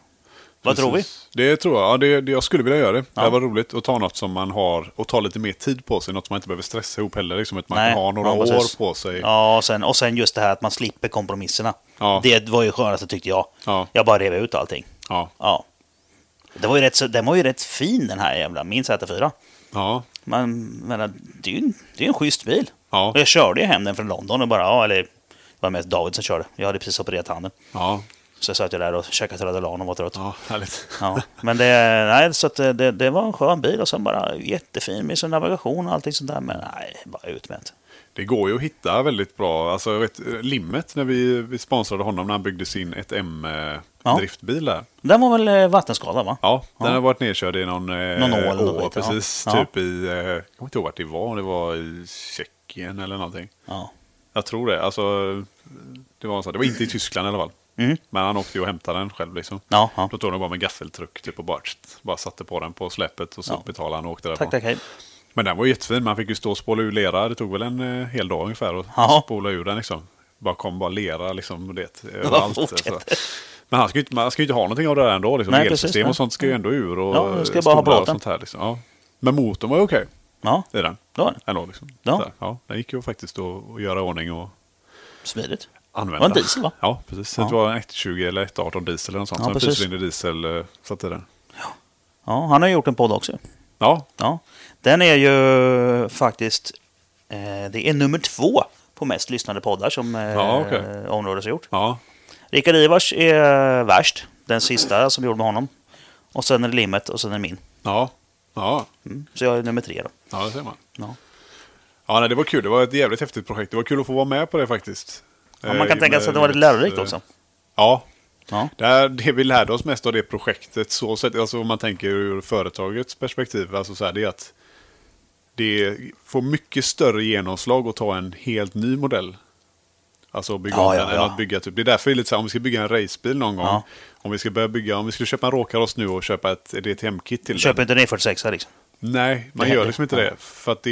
Speaker 2: Vad tror vi?
Speaker 1: Precis. Det tror jag. Ja, det, det, jag skulle vilja göra det.
Speaker 2: Ja.
Speaker 1: Det var roligt att ta något som man har och ta lite mer tid på sig. Något som man inte behöver stressa ihop heller. Liksom, att man
Speaker 2: Nej,
Speaker 1: kan ha några
Speaker 2: ja, precis.
Speaker 1: år på sig.
Speaker 2: Ja, och sen, och sen just det här att man slipper kompromisserna.
Speaker 1: Ja.
Speaker 2: Det var ju skönaste tyckte jag.
Speaker 1: Ja.
Speaker 2: Jag bara rev ut allting.
Speaker 1: Ja.
Speaker 2: Ja. Det var ju rätt, så- den var ju rätt fin den här jävla min Z4.
Speaker 1: Ja.
Speaker 2: Man, menar, det är ju en, det är ju en schysst bil.
Speaker 1: Ja.
Speaker 2: Och jag körde ju hem den från London och bara, ja, eller det var mest David som körde. Jag hade precis opererat handen.
Speaker 1: Ja.
Speaker 2: Så satt jag där och käkade Tradalan och var trött. Ja.
Speaker 1: ja. Härligt.
Speaker 2: Men det, nej, så att det, det, det var en skön bil och sen bara jättefin med sin navigation och allting sånt där. Men nej, bara utmätt.
Speaker 1: Det går ju att hitta väldigt bra. Alltså, jag vet, eh, Limmet, när vi, vi sponsrade honom när han byggde sin 1M eh,
Speaker 2: Ja.
Speaker 1: driftbil där.
Speaker 2: Den var väl eh, vattenskadad va?
Speaker 1: Ja, den
Speaker 2: Ja.
Speaker 1: har varit nedkörd i någon, eh,
Speaker 2: Någon ål eller
Speaker 1: å,
Speaker 2: något, ja.
Speaker 1: precis.
Speaker 2: Ja.
Speaker 1: Typ i, eh, jag kommer inte ihåg vart det var, om det var i Tjeckien eller någonting.
Speaker 2: Ja.
Speaker 1: Jag tror det. Alltså, det, var en sån, det var inte i Tyskland i alla fall.
Speaker 2: Mm.
Speaker 1: Men han åkte ju och hämtade den själv. Liksom.
Speaker 2: Ja, ja.
Speaker 1: Då tog han bara med gaffeltruck typ, och bara, bara satte på den på släpet och så
Speaker 2: Ja.
Speaker 1: betalade han och åkte därifrån.
Speaker 2: Tack, tack, hej.
Speaker 1: Men den var ju jättefin. Man fick ju stå och spåla ur lera. Det tog väl en eh, hel dag ungefär att
Speaker 2: Ja.
Speaker 1: spola ur den. Liksom. Bara kom bara lera liksom, och det, överallt.
Speaker 2: fortsätter.
Speaker 1: Så. Men han ska ju inte, man ska ju inte ha någonting av det där ändå. Liksom.
Speaker 2: Nej,
Speaker 1: Elsystem
Speaker 2: precis, nej.
Speaker 1: och sånt ska ju ändå ur. Och
Speaker 2: Ja, det ska ju bara ha
Speaker 1: stolar och
Speaker 2: plåten.
Speaker 1: sånt här, liksom. ja. Men motorn var ju okej
Speaker 2: Ja,
Speaker 1: i den.
Speaker 2: det var det.
Speaker 1: Ändå, liksom.
Speaker 2: Ja.
Speaker 1: Så här, ja, den gick ju faktiskt att, att göra i ordning och
Speaker 2: Smidigt.
Speaker 1: använda.
Speaker 2: Var det en diesel, va?
Speaker 1: Ja, precis. Så
Speaker 2: Ja.
Speaker 1: Det var en 120 eller 118 diesel eller något sånt.
Speaker 2: Ja,
Speaker 1: så en
Speaker 2: precis.
Speaker 1: fyrcylindrig diesel eh, satt i den.
Speaker 2: Ja, han har ju gjort en podd också.
Speaker 1: Ja,
Speaker 2: Ja. Den är ju faktiskt... Eh, det är nummer två på mest lyssnade poddar som eh,
Speaker 1: Ja, okej.
Speaker 2: Området har gjort.
Speaker 1: ja.
Speaker 2: Rickard Ivars är värst. Den sista som vi gjorde med honom. Och sen är det Limmet och sen är det min.
Speaker 1: Ja, ja.
Speaker 2: Mm. Så jag är nummer tre då.
Speaker 1: ja det ser man.
Speaker 2: Ja.
Speaker 1: Ja, nej, det var kul. Det var ett jävligt häftigt projekt. Det var kul att få vara med på det faktiskt.
Speaker 2: Ja, man kan
Speaker 1: Eh,
Speaker 2: tänka sig att det var lite lärorikt också.
Speaker 1: Ja,
Speaker 2: Ja.
Speaker 1: det, här, det vi lärde oss mest av det projektet, så sett, alltså, om man tänker ur företagets perspektiv, alltså, så här, det är att det får mycket större genomslag att ta en helt ny modell. Alltså att bygga
Speaker 2: Ja,
Speaker 1: om
Speaker 2: ja,
Speaker 1: den, än
Speaker 2: ja.
Speaker 1: att bygga typ. Det är därför det är lite så här, om vi ska bygga en racebil någon gång,
Speaker 2: Ja.
Speaker 1: om vi ska börja bygga, om vi skulle köpa en Råkaross nu och köpa ett DTM-kit till den.
Speaker 2: Köper inte en E46 liksom.
Speaker 1: Nej, man
Speaker 2: Det
Speaker 1: gör
Speaker 2: händer.
Speaker 1: liksom inte det. För att det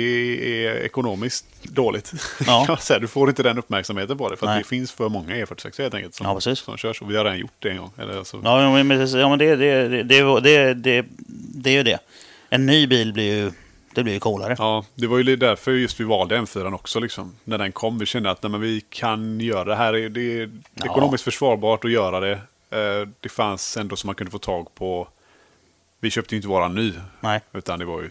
Speaker 1: är ekonomiskt dåligt.
Speaker 2: Ja.
Speaker 1: Kan man säga. du får inte den uppmärksamheten på det. För att
Speaker 2: Nej.
Speaker 1: det finns för många E46 helt enkelt som,
Speaker 2: Ja, precis.
Speaker 1: som körs. Och vi har redan gjort det en gång. Eller, alltså,
Speaker 2: Ja, men- men, precis. ja, men det, det, det, det, det, det, det är ju det. En ny bil blir ju, det blir ju coolare.
Speaker 1: Ja, det var ju li- därför just vi valde M4 också. Liksom. När den kom, vi kände att nej, men vi kan göra det här. Det är, det är
Speaker 2: Ja.
Speaker 1: ekonomiskt försvarbart att göra det. Eh, Det fanns ändå som man kunde få tag på. Vi köpte ju inte våran ny.
Speaker 2: Nej.
Speaker 1: Utan det var ju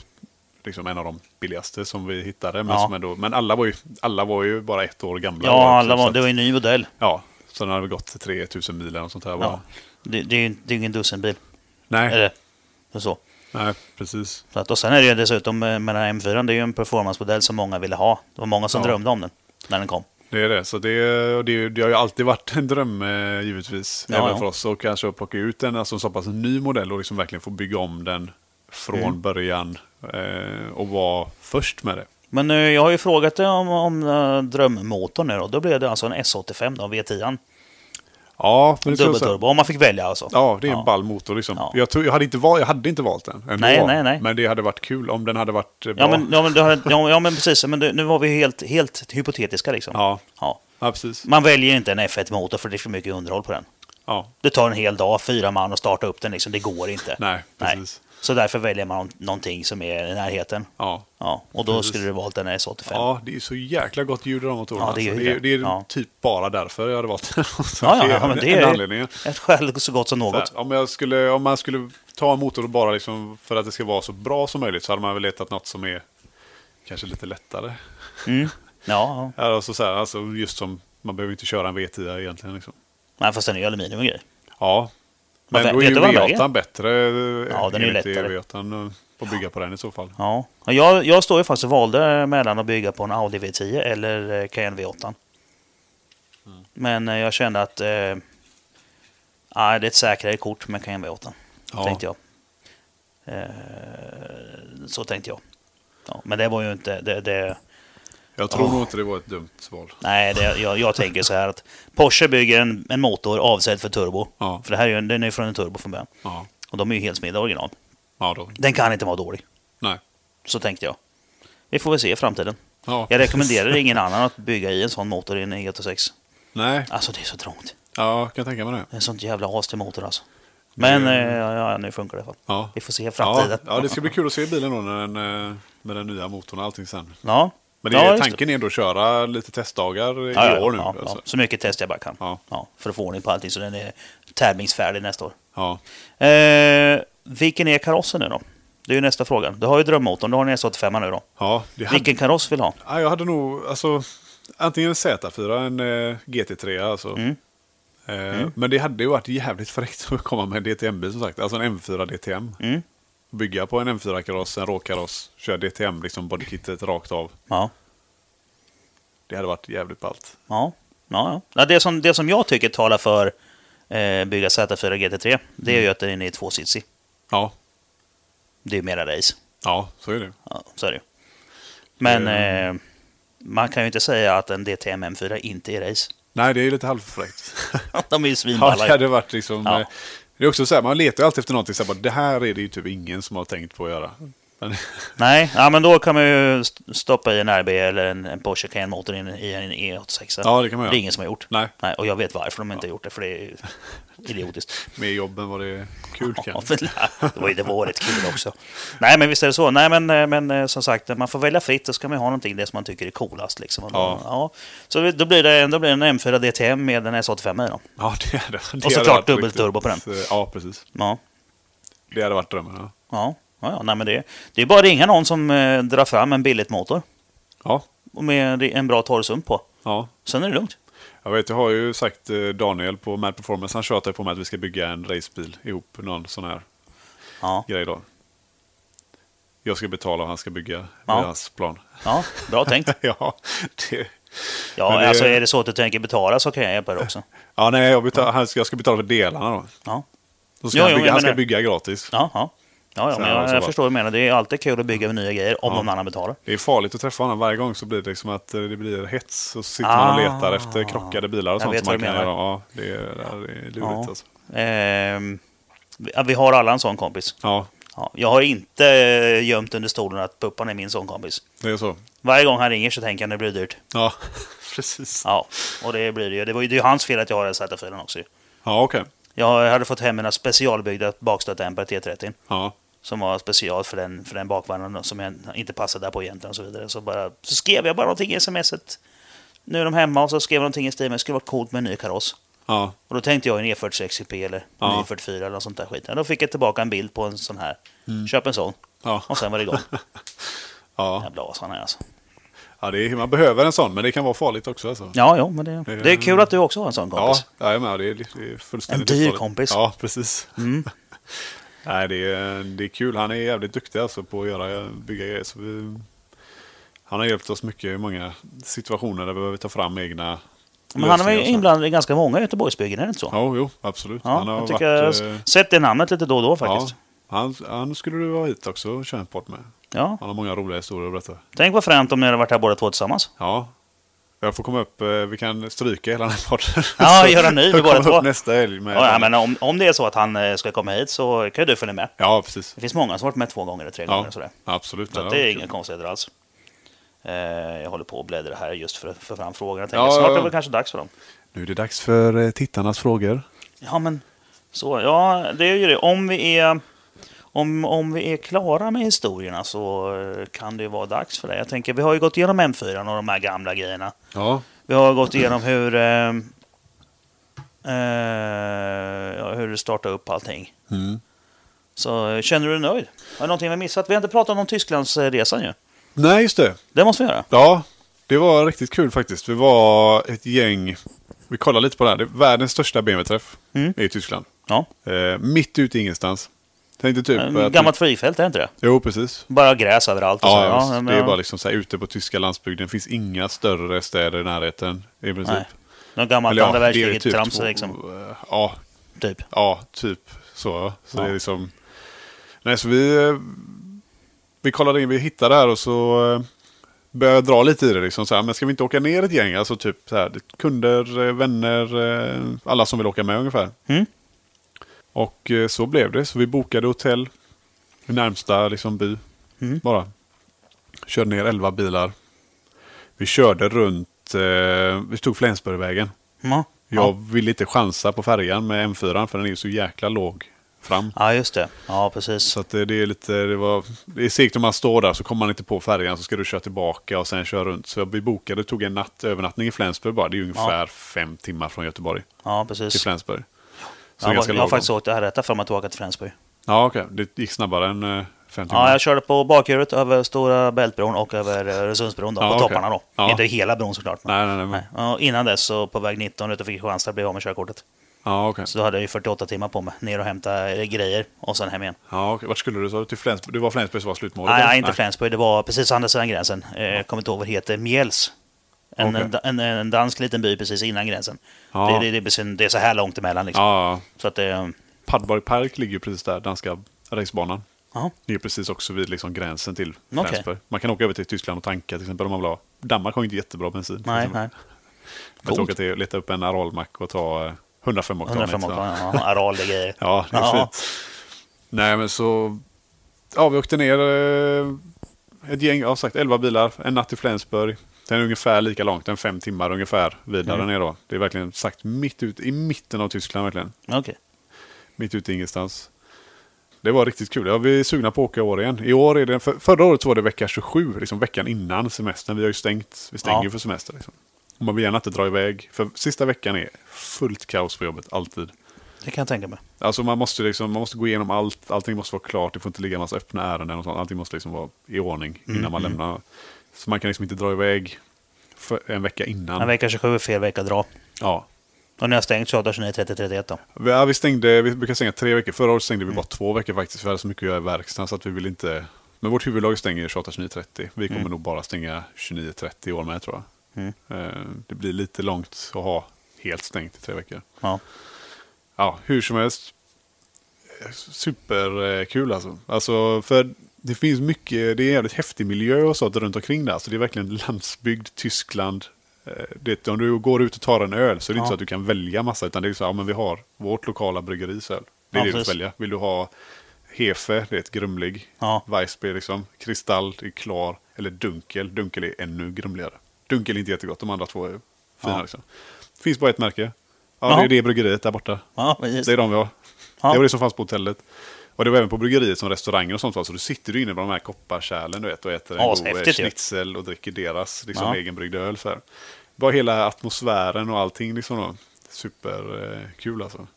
Speaker 1: liksom en av de billigaste som vi hittade. Men,
Speaker 2: Ja.
Speaker 1: som ändå, men alla, var ju, alla var ju bara ett år gamla. Och
Speaker 2: Ja, alla
Speaker 1: så
Speaker 2: var,
Speaker 1: att-
Speaker 2: det var ju en ny modell.
Speaker 1: Ja, så den hade väl gått 3000 mil eller något sånt här.
Speaker 2: Ja.
Speaker 1: bara.
Speaker 2: Det, det är ju inte- det är ju ingen dussinbil.
Speaker 1: Nej,
Speaker 2: Eller så.
Speaker 1: nej, precis.
Speaker 2: Så att, och sen är det ju dessutom eh, med den här M4, det är ju en performancemodell som många ville ha. Det var många som
Speaker 1: Ja.
Speaker 2: drömde om den när den kom.
Speaker 1: Det är det. Så det, och det, det har ju alltid varit en dröm eh, givetvis.
Speaker 2: Ja,
Speaker 1: även
Speaker 2: ja.
Speaker 1: för oss. Och kanske att plocka ut en alltså, en så pass ny modell och liksom verkligen få bygga om den från
Speaker 2: Mm.
Speaker 1: början. Eh, och vara först med det.
Speaker 2: Men eh, jag har ju frågat dig om, om eh, drömmotorn nu då. Då blev det alltså en S85 då, V10.
Speaker 1: Ja, men det tror jag så här-
Speaker 2: Dubbelturbo, om man fick välja alltså.
Speaker 1: Ja, det är en ball motor liksom.
Speaker 2: Ja.
Speaker 1: Jag, tror, jag, hade inte val, jag hade inte valt den. ändå.
Speaker 2: Nej, nej, nej.
Speaker 1: Men det hade varit kul om den hade varit eh, bra.
Speaker 2: Ja men, ja, men, det har- ja, ja, men precis, men det, nu var vi ju helt, helt hypotetiska liksom.
Speaker 1: ja.
Speaker 2: Ja.
Speaker 1: ja precis.
Speaker 2: Man väljer inte en F1-motor för det är för mycket underhåll på den.
Speaker 1: Ja,
Speaker 2: Det tar en hel dag, fyra man, att starta upp den. Liksom. Det går inte.
Speaker 1: nej, precis.
Speaker 2: Så därför väljer man någonting som är i närheten.
Speaker 1: Ja.
Speaker 2: Ja, och då
Speaker 1: Precis.
Speaker 2: skulle du valt en S85. Ja,
Speaker 1: Ja, det är så jäkla gott ljud i de motorerna.
Speaker 2: Ja, det är
Speaker 1: alltså.
Speaker 2: ju
Speaker 1: det är,
Speaker 2: det.
Speaker 1: det är
Speaker 2: Ja.
Speaker 1: typ bara därför jag hade valt den. Så
Speaker 2: ja,
Speaker 1: det
Speaker 2: ja,
Speaker 1: är
Speaker 2: men
Speaker 1: en-
Speaker 2: det
Speaker 1: en
Speaker 2: är
Speaker 1: anledning.
Speaker 2: ett skäl så gott som
Speaker 1: Så här,
Speaker 2: något.
Speaker 1: Om, jag skulle, om man skulle ta en motor och bara liksom för att det ska vara så bra som möjligt så hade man väl letat något som är kanske lite lättare.
Speaker 2: Mm. Ja, ja.
Speaker 1: Alltså, så här, alltså just som, man behöver inte köra en V10 egentligen. Liksom.
Speaker 2: Nej, fast den är ju aluminium och grejer.
Speaker 1: Ja, men
Speaker 2: vet-
Speaker 1: då är
Speaker 2: vet
Speaker 1: ju
Speaker 2: du vad den väger?
Speaker 1: V8 bättre.
Speaker 2: Ja, den är ju
Speaker 1: enligt
Speaker 2: lättare.
Speaker 1: V8 eh, på att bygga på den i så fall.
Speaker 2: Ja. Ja, Jag, jag står ju faktiskt och valde mellan att bygga på en Audi V10 eller eh, Cayenne V8.
Speaker 1: Mm.
Speaker 2: Men eh, jag kände att eh, nej, det är ett säkrare kort med Cayenne V8.
Speaker 1: Ja,
Speaker 2: tänkte jag. Eh, så tänkte jag. Ja, men det var ju inte... Det, det,
Speaker 1: jag tror
Speaker 2: Ja.
Speaker 1: nog inte det var ett dumt val.
Speaker 2: nej, det, jag, jag tänker så här att Porsche bygger en, en motor avsedd för turbo.
Speaker 1: Ja.
Speaker 2: För det här är ju, den är ju från en turbo från början.
Speaker 1: Ja,
Speaker 2: Och de är ju helt smidda original.
Speaker 1: ja då.
Speaker 2: Den kan inte vara dålig.
Speaker 1: Nej.
Speaker 2: Så tänkte jag. Vi får väl se i framtiden.
Speaker 1: Ja.
Speaker 2: Jag rekommenderar ingen annan att bygga i en sån motor i en E86.
Speaker 1: Nej,
Speaker 2: Alltså det är så trångt.
Speaker 1: ja, kan jag tänka mig det.
Speaker 2: En sånt jävla as till motor alltså. Men
Speaker 1: Det-
Speaker 2: eh, ja, ja, nu funkar det i alla fall.
Speaker 1: Ja.
Speaker 2: Vi får se i
Speaker 1: Ja,
Speaker 2: framtiden.
Speaker 1: ja, det ska bli kul att se bilen då när den, eh, med den nya motorn och allting sen.
Speaker 2: Ja.
Speaker 1: Men det,
Speaker 2: Ja,
Speaker 1: är
Speaker 2: just det.
Speaker 1: tanken är ändå att köra lite testdagar i
Speaker 2: Ja, ja,
Speaker 1: år nu.
Speaker 2: ja,
Speaker 1: alltså.
Speaker 2: ja. Så mycket test jag bara kan.
Speaker 1: Ja.
Speaker 2: Ja. för att få ordning på allting så den är tävlingsfärdig nästa år.
Speaker 1: Ja.
Speaker 2: Eh, vilken är karossen nu då? Det är ju nästa fråga. Du har ju drömmotorn, du har en S85 nu då.
Speaker 1: Ja, det hade,
Speaker 2: Vilken kaross vill du ha?
Speaker 1: ja, jag hade nog alltså, antingen en Z4, en eh, GT3 alltså.
Speaker 2: Mm.
Speaker 1: Eh, Men det hade ju varit jävligt fräckt att komma med en DTM-bil som sagt. Alltså en M4 DTM.
Speaker 2: Mm.
Speaker 1: Bygga på en M4-kaross, en råkaross, köra DTM, liksom bodykittet rakt av.
Speaker 2: Ja.
Speaker 1: Det hade varit jävligt ballt.
Speaker 2: Ja. ja, ja. ja det, som, det som jag tycker talar för eh, bygga Z4 GT3, det gör ju att den är inne i tvåsitsig.
Speaker 1: Ja,
Speaker 2: Det är ju mera race.
Speaker 1: ja så är det.
Speaker 2: Ja, så är det ju. Men
Speaker 1: Ehm.
Speaker 2: eh, man kan ju inte säga att en DTM M4 inte är race.
Speaker 1: Nej, det är lite halvfräckt.
Speaker 2: De är ju
Speaker 1: Ja, det
Speaker 2: svinballa. ju.
Speaker 1: hade varit liksom...
Speaker 2: Ja.
Speaker 1: eh, Det är också så här, man letar ju alltid efter någonting. Så här, bara, det här är det ju typ ingen som har tänkt på att göra. Men,
Speaker 2: Nej, ja, men då kan man ju st- stoppa i en RB eller en, en Porsche Cayenne-motor in i en E86.
Speaker 1: ja, det kan man
Speaker 2: det
Speaker 1: göra.
Speaker 2: är ingen som har gjort.
Speaker 1: Nej,
Speaker 2: Nej, och jag vet varför de inte har gjort det, för det är ju idiotiskt.
Speaker 1: med jobben var det kul
Speaker 2: Ja,
Speaker 1: kanske.
Speaker 2: men, det var ju det var rätt kul också. Nej, men visst är det så. Nej, men, eh, men eh, som sagt, man får välja fritt och ska man ju ha någonting det som man tycker är coolast. Liksom. Och då-
Speaker 1: Ja.
Speaker 2: Ja. Så det- då blir, det, då blir det en M4 DTM med en S85 i då.
Speaker 1: Ja, det hade, det
Speaker 2: Och
Speaker 1: hade
Speaker 2: såklart
Speaker 1: varit
Speaker 2: dubbelturbo
Speaker 1: riktigt, eh, Ja, precis.
Speaker 2: Ja.
Speaker 1: Det hade varit drömmen. Ja,
Speaker 2: Ja, ja, ja nej, men det, det är bara att ringa någon som eh, drar fram en billigt motor
Speaker 1: ja.
Speaker 2: och med en bra torrsump på.
Speaker 1: ja.
Speaker 2: Sen är det lugnt.
Speaker 1: Jag vet, jag har ju sagt eh, Daniel på Mad Performance, han tjatar på mig att vi ska bygga en racebil ihop, någon sån här
Speaker 2: Ja,
Speaker 1: grej då. Jag ska betala och han ska bygga
Speaker 2: Ja.
Speaker 1: med hans plan.
Speaker 2: ja bra tänkt.
Speaker 1: ja, det,
Speaker 2: Ja,
Speaker 1: Men det-
Speaker 2: alltså är det så att du tänker betala så kan jag hjälpa dig också.
Speaker 1: ja, nej, jag, betal, han ska, jag ska betala för delarna då.
Speaker 2: Ja,
Speaker 1: Så ska
Speaker 2: Jo,
Speaker 1: han,
Speaker 2: jo,
Speaker 1: bygga,
Speaker 2: jag
Speaker 1: han ska
Speaker 2: menar-
Speaker 1: bygga gratis.
Speaker 2: ja, ja. Ja, ja,
Speaker 1: Så
Speaker 2: men
Speaker 1: här
Speaker 2: jag,
Speaker 1: också
Speaker 2: jag
Speaker 1: bara.
Speaker 2: förstår vad du menar. Det är alltid kul att bygga nya grejer om någon annan betalar.
Speaker 1: Det är farligt att träffa honom. Varje gång så blir det liksom att eh, det blir hets. Och så sitter man och letar
Speaker 2: Ah.
Speaker 1: efter krockade bilar och
Speaker 2: Jag
Speaker 1: sånt
Speaker 2: vet
Speaker 1: som man
Speaker 2: vad du
Speaker 1: kan
Speaker 2: menar.
Speaker 1: göra. Ja, det är, det här är lurigt
Speaker 2: Ja.
Speaker 1: alltså.
Speaker 2: Ehm, vi- vi har alla en sån kompis.
Speaker 1: Ja,
Speaker 2: Ja, jag har inte eh, gömt under stolen att Puppan är min sån kompis.
Speaker 1: det är så.
Speaker 2: Varje gång han ringer så tänker han det blir dyrt.
Speaker 1: Ja, precis. Ja,
Speaker 2: Ja, och det blir det ju. Det var ju det är ju hans fel att jag har den Z4 också ju.
Speaker 1: okej.
Speaker 2: Jag hade fått hem mina specialbyggda bakstötdämpare T30.
Speaker 1: Ja.
Speaker 2: Som var special för den, för den bakvagnen som jag inte passade där på egentligen och så vidare. Så, bara, så skrev jag bara någonting i smset. Nu är de hemma och så skrev jag någonting i stil med det skulle vara coolt med en ny kaross.
Speaker 1: Ja,
Speaker 2: Och då tänkte jag en E E46 EP eller en
Speaker 1: Ja.
Speaker 2: E44 eller något sånt där skit. Ja, Då fick jag tillbaka en bild på en sån här.
Speaker 1: Mm.
Speaker 2: Köp en sån.
Speaker 1: ja,
Speaker 2: Och sen var det igång.
Speaker 1: ja.
Speaker 2: Jävla as han är alltså.
Speaker 1: ja det är, man behöver en sån, men det kan vara farligt också. Alltså.
Speaker 2: Ja, jo, men det, det är kul att du också har en sån
Speaker 1: Ja,
Speaker 2: kompis.
Speaker 1: ja, jag menar, det är, liksom- det är fullständigt
Speaker 2: En dyr
Speaker 1: farligt.
Speaker 2: kompis.
Speaker 1: Ja, precis.
Speaker 2: Mm.
Speaker 1: Nej, det är, det är kul. Han är jävligt duktig alltså på att göra, bygga grejer. Så vi, han har hjälpt oss mycket i många situationer där vi behöver ta fram egna
Speaker 2: Men han var ju
Speaker 1: lösningar och så.
Speaker 2: inblandad i ganska många Göteborgsbyggen, är det inte så?
Speaker 1: Ja, jo, absolut.
Speaker 2: Ja,
Speaker 1: han har
Speaker 2: jag tycker jag
Speaker 1: varit... eh,
Speaker 2: har sett det namnet lite då och då faktiskt.
Speaker 1: Ja, han, han skulle du ha hit också och köra en podd med.
Speaker 2: Ja.
Speaker 1: Han har många roliga historier att berätta.
Speaker 2: Tänk vad fränt om ni hade varit här båda två tillsammans.
Speaker 1: Ja. Jag får komma upp, eh, vi kan stryka hela den här podden.
Speaker 2: Ja,
Speaker 1: Så
Speaker 2: göra en ny, vi
Speaker 1: jag
Speaker 2: båda
Speaker 1: kommer
Speaker 2: två.
Speaker 1: upp nästa helg med...
Speaker 2: Ja, ja, men om, om det är så att han eh, ska komma hit så kan ju du följa med.
Speaker 1: Ja, precis.
Speaker 2: Det finns många som varit med två gånger eller tre gånger.
Speaker 1: Ja,
Speaker 2: Och sådär.
Speaker 1: absolut.
Speaker 2: Så
Speaker 1: Ja,
Speaker 2: att det är
Speaker 1: kul.
Speaker 2: inga konstigheter alls. Eh, jag håller på att bläddra här just för att få fram frågorna. Jag
Speaker 1: Ja,
Speaker 2: tänker,
Speaker 1: ja,
Speaker 2: snart är
Speaker 1: ja.
Speaker 2: det väl kanske dags för dem.
Speaker 1: Nu är det dags för eh, tittarnas frågor.
Speaker 2: Ja, men så. Ja, det är ju det. Om vi är, om, om vi är klara med historierna så eh, kan det ju vara dags för det. Jag tänker, vi har ju gått igenom M4 och de här gamla grejerna.
Speaker 1: Ja,
Speaker 2: Vi har gått igenom hur, eh, eh, ja, hur du startar upp allting.
Speaker 1: Mm.
Speaker 2: Så eh, känner du dig nöjd? Har du någonting vi missat? Vi har inte pratat om Tysklandsresan ju.
Speaker 1: nej just det.
Speaker 2: Det måste vi göra.
Speaker 1: Ja, det var riktigt kul faktiskt. Vi var ett gäng, vi kollade lite på det här, det är världens största BMW-träff
Speaker 2: Mm.
Speaker 1: i Tyskland.
Speaker 2: Ja.
Speaker 1: Eh, mitt ute i ingenstans. Tänkte typ...
Speaker 2: Eh,
Speaker 1: att-
Speaker 2: Gammalt flygfält, är det inte det?
Speaker 1: Jo, precis.
Speaker 2: Bara gräs överallt. Och så.
Speaker 1: Ja,
Speaker 2: här.
Speaker 1: visst.
Speaker 2: men,
Speaker 1: det är bara liksom så här, ute på tyska landsbygden finns inga större städer i närheten i princip.
Speaker 2: Nej. Något gammalt
Speaker 1: typ. Eller ja,
Speaker 2: andra
Speaker 1: det är typ
Speaker 2: världskriget-trams
Speaker 1: två-
Speaker 2: liksom.
Speaker 1: Ja,
Speaker 2: Typ.
Speaker 1: ja, typ så. ja. Så
Speaker 2: Ja.
Speaker 1: det är liksom... Nej, så vi, eh, vi kollade in, vi hittade det här och så eh, började jag dra lite i det. Liksom, så här, men ska vi inte åka ner ett gäng? Alltså typ så här, kunder, eh, vänner, eh, alla som vill åka med ungefär.
Speaker 2: Mm.
Speaker 1: Och eh, så blev det. Så vi bokade hotell i närmsta liksom, by.
Speaker 2: Mm.
Speaker 1: Bara. Körde ner 11 bilar. Vi körde runt, eh, vi tog Flensburgvägen.
Speaker 2: Ja.
Speaker 1: Jag
Speaker 2: Ja.
Speaker 1: ville inte chansa på färjan med M4 för den är ju så jäkla låg fram.
Speaker 2: ja, just det. Ja, precis.
Speaker 1: Så att det, det är lite, det var, det är segt om man står där så kommer man inte på färjan så ska du köra tillbaka och sen köra runt. Så vi bokade, tog en natt, övernattning i Flensburg bara. Det är ju ungefär fem timmar från Göteborg
Speaker 2: Ja,
Speaker 1: till
Speaker 2: precis.
Speaker 1: Flensburg. Så
Speaker 2: Jag, var, jag
Speaker 1: ganska
Speaker 2: har
Speaker 1: lagom.
Speaker 2: faktiskt åkt det här rätta för mig att åka till Flensburg.
Speaker 1: Ja, okej. Det gick snabbare än eh, fem timmar.
Speaker 2: Ja, jag körde på bakhjulet över Stora Bältbron och över eh, Öresundsbron då,
Speaker 1: Ja,
Speaker 2: på
Speaker 1: okej.
Speaker 2: topparna då.
Speaker 1: Ja.
Speaker 2: Inte hela bron såklart. Men.
Speaker 1: Nej, nej, nej. men-
Speaker 2: Nej. Och innan dess så på väg 19 utanför Kristianstad blev jag av med körkortet.
Speaker 1: Ja, okej.
Speaker 2: Så då hade jag ju 48 timmar på mig ner och hämta eh, grejer och sen hem igen.
Speaker 1: Ja, okej. Vart skulle du? Sa du till Flensburg? Det var Flensburg som var slutmålet?
Speaker 2: Nej,
Speaker 1: eller?
Speaker 2: nej, inte Flensburg. Det var precis andra sidan gränsen. Eh, Jag kommer inte ihåg vad det heter. Mjäls. En,
Speaker 1: Okej.
Speaker 2: en, en, en dansk liten by precis innan gränsen.
Speaker 1: Ja.
Speaker 2: Det, det, det, det är så här långt emellan liksom.
Speaker 1: Ja,
Speaker 2: Så att det...
Speaker 1: Padborg Park ligger ju precis där, danska racebanan.
Speaker 2: Ja.
Speaker 1: Ligger precis också vid liksom gränsen till
Speaker 2: Okej.
Speaker 1: Flensburg. Man kan åka över till Tyskland och tanka till exempel om man vill ha. Danmark har ju inte jättebra bensin. till
Speaker 2: Nej,
Speaker 1: exempel.
Speaker 2: nej.
Speaker 1: Jag
Speaker 2: Coolt.
Speaker 1: åka till leta upp en Aralmack och ta eh, 105 oktanigt.
Speaker 2: 105
Speaker 1: så.
Speaker 2: oktan, ja. Aral, det är grejer.
Speaker 1: Ja, det är
Speaker 2: Ja.
Speaker 1: fint. Nej, men så... Ja, vi åkte ner eh, ett gäng, jag har sagt 11 bilar, en natt i Flensburg. Den är ungefär lika långt, den är fem timmar ungefär vidare
Speaker 2: Mm.
Speaker 1: ner då. Det är verkligen sagt mitt ut, i mitten av Tyskland verkligen.
Speaker 2: Okej.
Speaker 1: Mitt ute i ingenstans. Det var riktigt kul. Ja, vi är sugna på att åka i år igen. I år är det, för, förra året så var det vecka 27, liksom veckan innan semestern. Vi har ju stängt, vi stänger
Speaker 2: Ja.
Speaker 1: ju för semester. Liksom. Och man vill gärna inte dra iväg, för sista veckan är fullt kaos på jobbet, alltid.
Speaker 2: Det kan jag tänka mig.
Speaker 1: Alltså man måste, liksom, man måste gå igenom allt, allting måste vara klart, det får inte ligga en massa öppna ärenden och sånt. Allting måste liksom vara i ordning innan
Speaker 2: Mm,
Speaker 1: man lämnar. Så man kan liksom inte dra iväg för en vecka innan.
Speaker 2: En vecka 27 är fel vecka att dra.
Speaker 1: Ja.
Speaker 2: Och när jag stängt så 29, 30, 31 då.
Speaker 1: Vi, ja, vi, stängde, vi brukar stänga tre veckor, förra året stängde vi bara två veckor faktiskt. För vi hade så mycket att göra i verkstaden så att vi vill inte... Men vårt huvudlag stänger 28, 29, 30. Vi kommer nog bara stänga 29, 30 i år med tror jag.
Speaker 2: Mm.
Speaker 1: Eh, Det blir lite långt att ha helt stängt i tre veckor.
Speaker 2: Ja.
Speaker 1: ja, hur som helst. Eh, Superkul alltså. Alltså, för det finns mycket, det är en jävligt häftig miljö och sånt runt omkring där. Alltså, det är verkligen landsbygd, Tyskland. Eh, Det, om du går ut och tar en öl så är det
Speaker 2: Ja.
Speaker 1: inte så att du kan välja massa, utan det är så här, ja, men vi har vårt lokala bryggeris öl. Det är
Speaker 2: Ja,
Speaker 1: det du får
Speaker 2: precis.
Speaker 1: välja. Vill du ha Hefe, det är ett grumlig.
Speaker 2: Ja.
Speaker 1: Weissbier liksom. Kristall, det är klar. Eller Dunkel, Dunkel är ännu grumligare. Dunkel är inte jättegott, de andra två är fina
Speaker 2: Ja.
Speaker 1: liksom. Finns bara ett märke. Ja,
Speaker 2: Ja.
Speaker 1: det är det bryggeriet där borta.
Speaker 2: Ja, precis.
Speaker 1: Det är de vi har.
Speaker 2: Ja.
Speaker 1: Det var det som fanns på hotellet. Och det var även på bryggeriet som restauranger och sånt var. Så du sitter du inne bland de här kopparkärlen du vet och äter en god
Speaker 2: Ashäftigt
Speaker 1: eh,
Speaker 2: ju.
Speaker 1: schnitzel och dricker deras liksom,
Speaker 2: Ja.
Speaker 1: egenbryggda öl. Så här. Bara hela atmosfären och allting liksom. Då. Superkul eh, kul, alltså.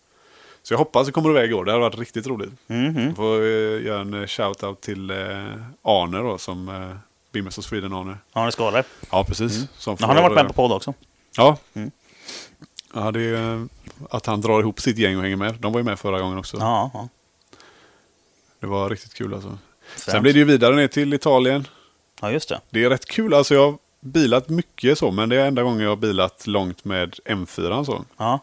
Speaker 1: Så jag hoppas det kommer iväg i år. Det har varit riktigt roligt.
Speaker 2: Mhm.
Speaker 1: Jag får eh, göra en eh, shout-out till eh, Arne då som eh, Bimmers och Sweden Arne.
Speaker 2: Ja, det skålar.
Speaker 1: Ja, precis. Som
Speaker 2: Mm. Han har
Speaker 1: får,
Speaker 2: varit med
Speaker 1: eh,
Speaker 2: på Mm. podd också.
Speaker 1: Ja. ja det är, eh, att han drar ihop sitt gäng och hänger med. De var ju med förra gången också.
Speaker 2: Ja, ja.
Speaker 1: Det var riktigt kul alltså.
Speaker 2: Främt.
Speaker 1: Sen blir det ju vidare ner till Italien.
Speaker 2: ja just det.
Speaker 1: Det är rätt kul. Alltså jag har bilat mycket så, men det är enda gången jag har bilat långt med M4. Så.
Speaker 2: Ja.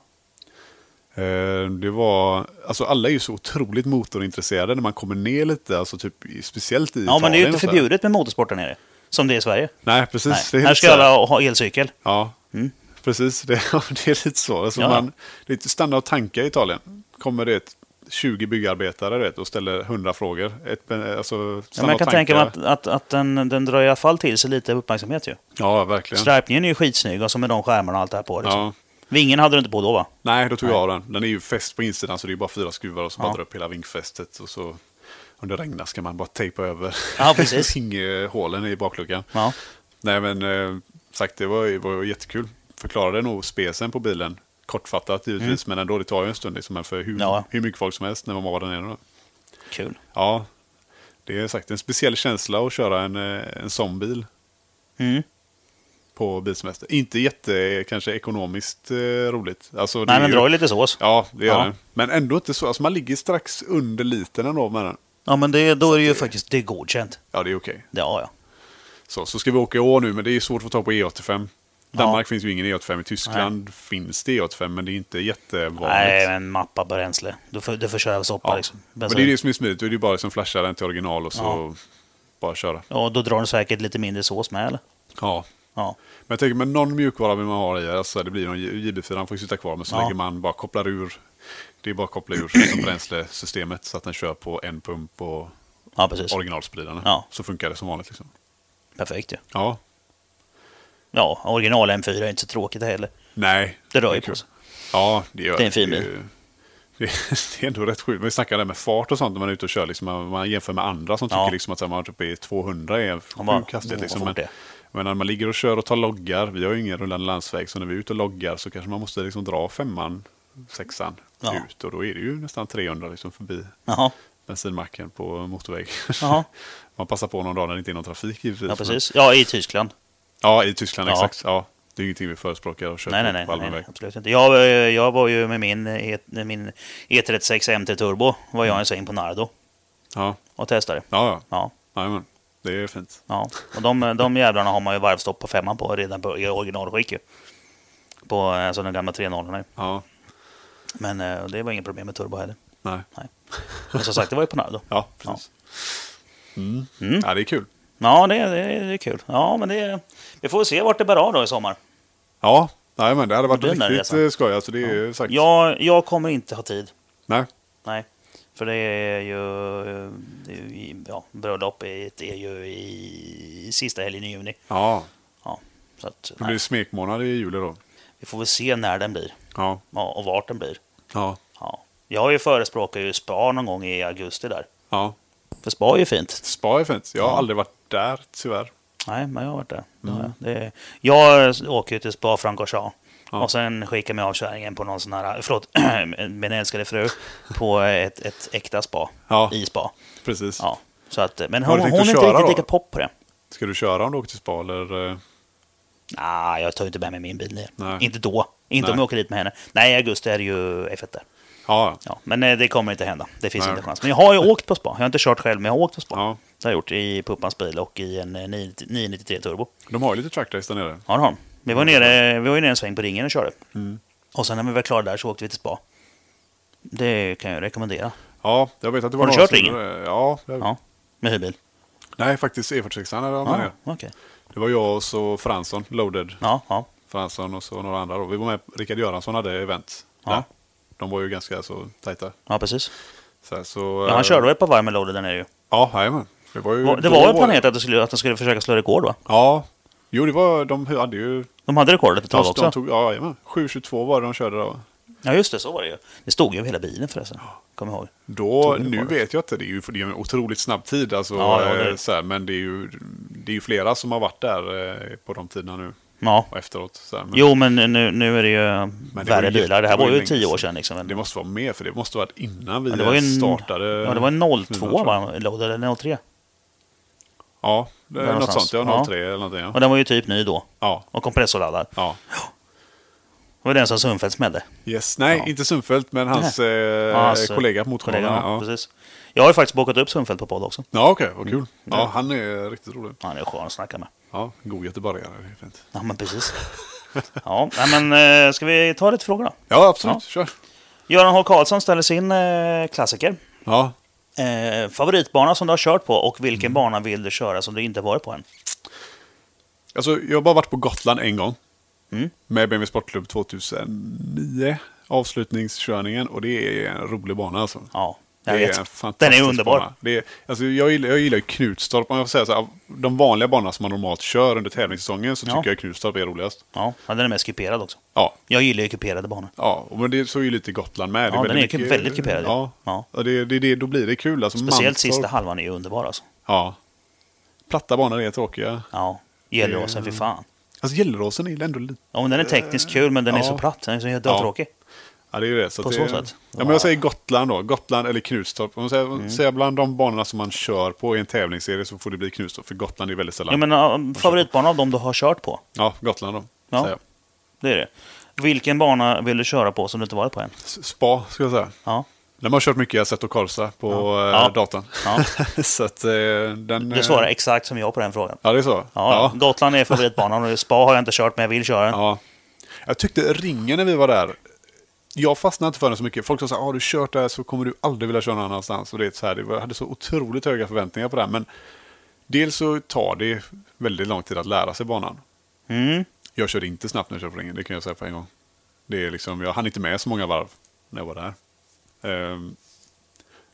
Speaker 1: Eh, Det var, alltså alla är ju så otroligt motorintresserade när man kommer ner lite, alltså typ, i- speciellt i
Speaker 2: ja,
Speaker 1: Italien.
Speaker 2: men det är ju inte
Speaker 1: och så här.
Speaker 2: förbjudet med motorsport där nere. Som det är i Sverige.
Speaker 1: Nej, precis.
Speaker 2: Nej.
Speaker 1: Det är
Speaker 2: Här
Speaker 1: lite
Speaker 2: ska
Speaker 1: så här-
Speaker 2: alla ha elcykel.
Speaker 1: Ja, precis. Det, det är lite så. Alltså
Speaker 2: Ja.
Speaker 1: man, det är lite stanna och tanka i Italien. Kommer det ett 20 byggarbetare du vet, och ställer 100 frågor. Ett, alltså,
Speaker 2: Ja,
Speaker 1: stanna
Speaker 2: men jag kan
Speaker 1: och
Speaker 2: tänka mig
Speaker 1: tanka.
Speaker 2: att, att, att den, den drar i alla fall till sig lite uppmärksamhet ju.
Speaker 1: Ja, verkligen.
Speaker 2: Stripningen är ju skitsnygg och så med de skärmarna och allt det här på. Liksom.
Speaker 1: Ja.
Speaker 2: Vingen hade du inte på då va?
Speaker 1: Nej, då tog jag av den. Den är ju fäst på insidan så det är bara fyra skruvar och så bara
Speaker 2: Ja.
Speaker 1: drar upp hela vingfästet. Och så, om det regnar ska man bara tejpa över
Speaker 2: Ja, precis.
Speaker 1: vinghålen i bakluckan.
Speaker 2: Ja.
Speaker 1: Nej, men eh, sagt, det var, ju- var ju jättekul. Förklarade nog specen på bilen. Kortfattat givetvis, men ändå, det tar ju en stund. Liksom, men för hur,
Speaker 2: Mm. Ja.
Speaker 1: hur mycket folk som helst när man var där nere. Då.
Speaker 2: Kul.
Speaker 1: Ja, det är sagt en speciell känsla att köra en, eh, en sån bil
Speaker 2: Mm.
Speaker 1: på bilsemester. Inte jätte, kanske ekonomiskt eh, roligt. Alltså, det
Speaker 2: Nej,
Speaker 1: är
Speaker 2: men
Speaker 1: ju-
Speaker 2: drar ju lite sås. Ja,
Speaker 1: Ja, det gör
Speaker 2: Ja.
Speaker 1: den. Men ändå inte så. Alltså man ligger strax under liten ändå med den.
Speaker 2: men det, då är det ju faktiskt det är godkänt.
Speaker 1: Ja, det är okej.
Speaker 2: Ja, ja.
Speaker 1: Så, så ska vi åka i år nu, men det är svårt att få tag på E85. Danmark finns ju ingen E85. I Tyskland finns det E85, men det är inte jättevanligt.
Speaker 2: Nej, men mappa bränsle. Du får, du får köra soppa
Speaker 1: ja.
Speaker 2: liksom.
Speaker 1: Men det är det som är smidigt. Då är det ju bara liksom flasha den till original och så
Speaker 2: Ja.
Speaker 1: bara köra.
Speaker 2: Ja, då drar den säkert lite mindre sås med eller?
Speaker 1: Ja.
Speaker 2: Ja.
Speaker 1: Men jag tänker, men någon mjukvara vill man ha i. Alltså, det blir någon JB4, han får ju sitta kvar. Men så
Speaker 2: Ja.
Speaker 1: lägger man, bara kopplar ur. Det är bara att koppla ur liksom, bränslesystemet så att den kör på en pump och
Speaker 2: Ja, precis.
Speaker 1: originalspridarna.
Speaker 2: Ja.
Speaker 1: Så funkar det som vanligt. Liksom.
Speaker 2: Perfekt ju.
Speaker 1: Ja,
Speaker 2: Ja, original M4 är inte så tråkigt heller.
Speaker 1: Nej.
Speaker 2: Det rör
Speaker 1: är
Speaker 2: ju
Speaker 1: kul.
Speaker 2: på sig.
Speaker 1: Ja, det gör
Speaker 2: Det är en fin
Speaker 1: är
Speaker 2: bil.
Speaker 1: ju- Det är, det är ändå rätt sjukt. Men Vi snackar det med fart och sånt när man är ute och kör. Liksom, man, man jämför med andra som tycker
Speaker 2: Ja.
Speaker 1: liksom att så här, man typ är 200 är en sjuk
Speaker 2: bara,
Speaker 1: hastighet.
Speaker 2: "Åh,
Speaker 1: Liksom.
Speaker 2: vad
Speaker 1: Men,
Speaker 2: fort det är."
Speaker 1: men när man ligger och kör och tar loggar. Vi har ju ingen rullande landsväg. Så när vi är ute och loggar så kanske man måste liksom dra femman, sexan
Speaker 2: Ja.
Speaker 1: ut. Och då är det ju nästan 300 liksom förbi
Speaker 2: Jaha.
Speaker 1: bensinmacken på motorväg.
Speaker 2: Jaha.
Speaker 1: man passar på någon dag när det inte är någon trafik givetvis.
Speaker 2: Ja,
Speaker 1: men-
Speaker 2: precis. Ja, i Tyskland.
Speaker 1: Ja, i Tyskland
Speaker 2: Ja.
Speaker 1: exakt. Ja. Det är ingenting vi förespråkar att köra
Speaker 2: Nej, nej,
Speaker 1: på
Speaker 2: nej.
Speaker 1: allmän
Speaker 2: nej, nej
Speaker 1: väg.
Speaker 2: absolut inte. Jag, eh, jag var ju med min, E- min E36 MT Turbo. var jag en sån imponado
Speaker 1: Ja,
Speaker 2: och testade.
Speaker 1: ja, ja.
Speaker 2: Ja.
Speaker 1: Jajamän. Det är fint.
Speaker 2: Ja, och de, eh, de jävlarna har man ju varvstopp på femman på redan på, i originalskick ju. På alltså den gamla 3.0 nu.
Speaker 1: Ja,
Speaker 2: Men eh, det var inget problem med turbo heller.
Speaker 1: nej.
Speaker 2: Men som sagt, det var ju på nöd då.
Speaker 1: Ja, precis. Mm.
Speaker 2: Mm.
Speaker 1: Ja, det är kul.
Speaker 2: Ja, det, det, det är kul. Ja, men det, vi får se vart det bär av då i sommar.
Speaker 1: Ja, nej, men det hade varit
Speaker 2: Det blir den där
Speaker 1: riktigt
Speaker 2: resan.
Speaker 1: eh, skoj. Alltså, det är ju sagt.
Speaker 2: Jag, jag kommer inte ha tid.
Speaker 1: Nej.
Speaker 2: Nej. För det är ju... Det är ju ja, bröllopet är ju i, i sista helgen i juni.
Speaker 1: Ja,
Speaker 2: Ja, så att,
Speaker 1: det blir
Speaker 2: nej,
Speaker 1: smekmånad i juli då.
Speaker 2: vi får väl se när den blir
Speaker 1: Ja,
Speaker 2: ja, och vart den blir.
Speaker 1: ja,
Speaker 2: Ja. Jag har ju förespråkar ju spa någon gång i augusti där.
Speaker 1: ja.
Speaker 2: För spa är ju fint.
Speaker 1: Spa är fint. Jag har aldrig varit där tyvärr.
Speaker 2: Nej, men jag har varit där. Det har jag. Det, jag åker ju till Spa Francorchamps.
Speaker 1: Ja.
Speaker 2: Och sen skickar mig av kärringen på någon sån här, eh, förlåt, min älskade fru, på ett, ett äkta spa.
Speaker 1: Ja,
Speaker 2: I spa.
Speaker 1: precis.
Speaker 2: Ja. Så att, eh, men
Speaker 1: Har
Speaker 2: hon,
Speaker 1: du
Speaker 2: hon
Speaker 1: tänkt
Speaker 2: är
Speaker 1: att
Speaker 2: inte
Speaker 1: köra
Speaker 2: riktigt
Speaker 1: då?
Speaker 2: lika pop på det.
Speaker 1: Ska du köra om du åker till spa eller? eh,
Speaker 2: Nej, jag tar ju inte med mig min bil ner.
Speaker 1: Nej.
Speaker 2: Inte då. Inte om
Speaker 1: Nej.
Speaker 2: jag åker dit med henne. Nej, i augusti är det ju F1 där.
Speaker 1: Ja,
Speaker 2: Ja, men eh, det kommer inte hända. Det finns
Speaker 1: Nej.
Speaker 2: inte chans. Men jag har ju åkt på spa. Jag har inte kört själv, men jag har åkt på spa.
Speaker 1: ja.
Speaker 2: Det har jag gjort i Puppans bil och i en eh, 9- 993 Turbo.
Speaker 1: De har ju lite trackrace där nere.
Speaker 2: Ja, det har de. Vi var, nere, vi var ju nere en sväng på ringen och körde.
Speaker 1: Mm.
Speaker 2: Och sen när vi var klara där så åkte vi till spa. Det kan jag rekommendera.
Speaker 1: Ja, jag vet att det var
Speaker 2: Har du
Speaker 1: några
Speaker 2: kört
Speaker 1: som- Ja, jag...
Speaker 2: Ja, med hyrbil.
Speaker 1: nej faktiskt E46 hade de
Speaker 2: Ja,
Speaker 1: med.
Speaker 2: okej.
Speaker 1: Det var jag och så Fransson, Loaded
Speaker 2: Ja, ja.
Speaker 1: Fransson och så några andra. Då. Vi var med, Rickard Göransson hade event.
Speaker 2: Ja.
Speaker 1: där. De var ju ganska så tajta.
Speaker 2: ja, precis.
Speaker 1: Så, här, så,
Speaker 2: Ja, han körde väl ett par varv med loader där nere ju.
Speaker 1: Ja, jajamän. Det var ju...
Speaker 2: Va- Det
Speaker 1: Eh. då
Speaker 2: var väl planerat att de skulle, att de skulle försöka slå rekord va?
Speaker 1: Ja. Jo, det var, de hade ju...
Speaker 2: De hade rekordet ett tag
Speaker 1: De, de
Speaker 2: också.
Speaker 1: tog, ja, jajamän. 7.22 var det de körde då.
Speaker 2: Ja, just det. Så var det ju. Det stod ju över hela bilen förresten. Kommer ihåg.
Speaker 1: Då,
Speaker 2: Tog det
Speaker 1: nu
Speaker 2: bara.
Speaker 1: vet jag inte, det är ju det är en otroligt snabb tid. Alltså,
Speaker 2: Ja, ja, det-
Speaker 1: eh, så här, men det är, ju, det är ju flera som har varit där eh, på de tiderna nu
Speaker 2: Ja.
Speaker 1: och efteråt. Så här, men
Speaker 2: Jo, men nu, nu är det ju
Speaker 1: var
Speaker 2: värre
Speaker 1: ju-
Speaker 2: bilar. Det här
Speaker 1: det
Speaker 2: var
Speaker 1: var ju
Speaker 2: ju
Speaker 1: länge
Speaker 2: tio år
Speaker 1: sedan.
Speaker 2: sedan. Liksom.
Speaker 1: Det måste vara mer, för det måste ha varit innan vi
Speaker 2: Ja, det var ju en-
Speaker 1: startade.
Speaker 2: ja, det var en 02
Speaker 1: tror
Speaker 2: va? Loader eller 03.
Speaker 1: Ja, det
Speaker 2: Där
Speaker 1: är något
Speaker 2: någonstans.
Speaker 1: sånt. Ja,
Speaker 2: Ja.
Speaker 1: 03 eller någonting. Ja.
Speaker 2: Och den var ju typ ny då.
Speaker 1: ja.
Speaker 2: Och kompressorladdad.
Speaker 1: ja.
Speaker 2: Det var den som Sundfeldt smällde.
Speaker 1: Yes. Nej,
Speaker 2: Ja.
Speaker 1: inte Sundfeldt, men hans eh,
Speaker 2: alltså,
Speaker 1: kollega på motorbanan.
Speaker 2: kollega, ja,
Speaker 1: Ja, ja.
Speaker 2: Precis. Mm. Jag har ju faktiskt bokat upp Sundfeldt på podd också.
Speaker 1: okej, vad kul. Ja, han är riktigt rolig.
Speaker 2: Han är skön att snacka med.
Speaker 1: Ja, god göteborgare. det är fint.
Speaker 2: Ja, men precis. ja, nej, men eh, ska vi ta lite frågor då?
Speaker 1: Ja, absolut.
Speaker 2: Ja.
Speaker 1: Kör.
Speaker 2: Göran H. Karlsson ställer sin eh, klassiker.
Speaker 1: Ja.
Speaker 2: Eh, favoritbana som du har kört på och vilken
Speaker 1: Mm.
Speaker 2: bana vill du köra som du inte varit på än?
Speaker 1: Alltså, jag har bara varit på Gotland en gång.
Speaker 2: Mm.
Speaker 1: Med BMW Sportklubb 2009. Avslutningskörningen och det är en rolig bana alltså.
Speaker 2: Ja, jag
Speaker 1: Det är en
Speaker 2: vet.
Speaker 1: fantastisk
Speaker 2: Den är underbar.
Speaker 1: Bana. Det är, alltså, jag, gillar, jag gillar ju Knutstorp. Om jag får säga så här, av de vanliga banorna som man normalt kör under tävlingssäsongen så
Speaker 2: Ja.
Speaker 1: tycker jag Knutstorp är roligast.
Speaker 2: Ja, ja, den är mest kuperad också.
Speaker 1: Ja,
Speaker 2: Jag gillar ju kuperade banor.
Speaker 1: ja och men det så är ju lite Gotland med.
Speaker 2: Ja, den är
Speaker 1: mycket-
Speaker 2: ju väldigt kuperad.
Speaker 1: Ja,
Speaker 2: Ja.
Speaker 1: Och det, det, det, då blir det kul. Alltså,
Speaker 2: Speciellt
Speaker 1: Mantorp-
Speaker 2: sista halvan är ju underbar alltså.
Speaker 1: Ja. Platta banor är tråkiga.
Speaker 2: Ja, Gelleråsen, fy fan.
Speaker 1: Alltså Gelleråsen är ändå lite...
Speaker 2: Ja, men den är tekniskt kul, men den är
Speaker 1: Ja.
Speaker 2: så platt. Den är så jävla
Speaker 1: Ja.
Speaker 2: tråkig.
Speaker 1: Ja, det är ju det. Så
Speaker 2: På
Speaker 1: att
Speaker 2: så
Speaker 1: det,
Speaker 2: sätt. Mm.
Speaker 1: Ja, men jag säger Gotland då. Gotland eller Knutstorp. Om jag säger, säger bland de banorna som man kör på i en tävlingsserie så får det bli Knutstorp. För Gotland är väldigt sällan.
Speaker 2: Ja, men uh, favoritbana av dem du har kört på?
Speaker 1: Ja, Gotland då.
Speaker 2: Ja.
Speaker 1: säger jag.
Speaker 2: Det är det. Vilken bana vill du köra på som du inte varit på än?
Speaker 1: S- Spa, skulle jag säga.
Speaker 2: Ja.
Speaker 1: De har kört mycket Assetto Corsa på eh,
Speaker 2: Ja.
Speaker 1: datorn.
Speaker 2: Ja.
Speaker 1: så att eh, den...
Speaker 2: Du svarar exakt som jag på den frågan.
Speaker 1: Ja, det är så.
Speaker 2: Ja, Gotland är favoritbanan och spa har jag inte kört men jag vill köra den.
Speaker 1: Ja. Jag tyckte ringen när vi var där. Jag fastnade inte för den så mycket. Folk sa så här, har du kört där så kommer du aldrig vilja köra någon annanstans. Och det är så här, det var- jag hade så otroligt höga förväntningar på den. Men dels så tar det väldigt lång tid att lära sig banan.
Speaker 2: Mm.
Speaker 1: Jag körde inte snabbt när jag körde på ringen, det kan jag säga på en gång. Det är liksom, jag hann inte med så många varv när jag var där. Ehm,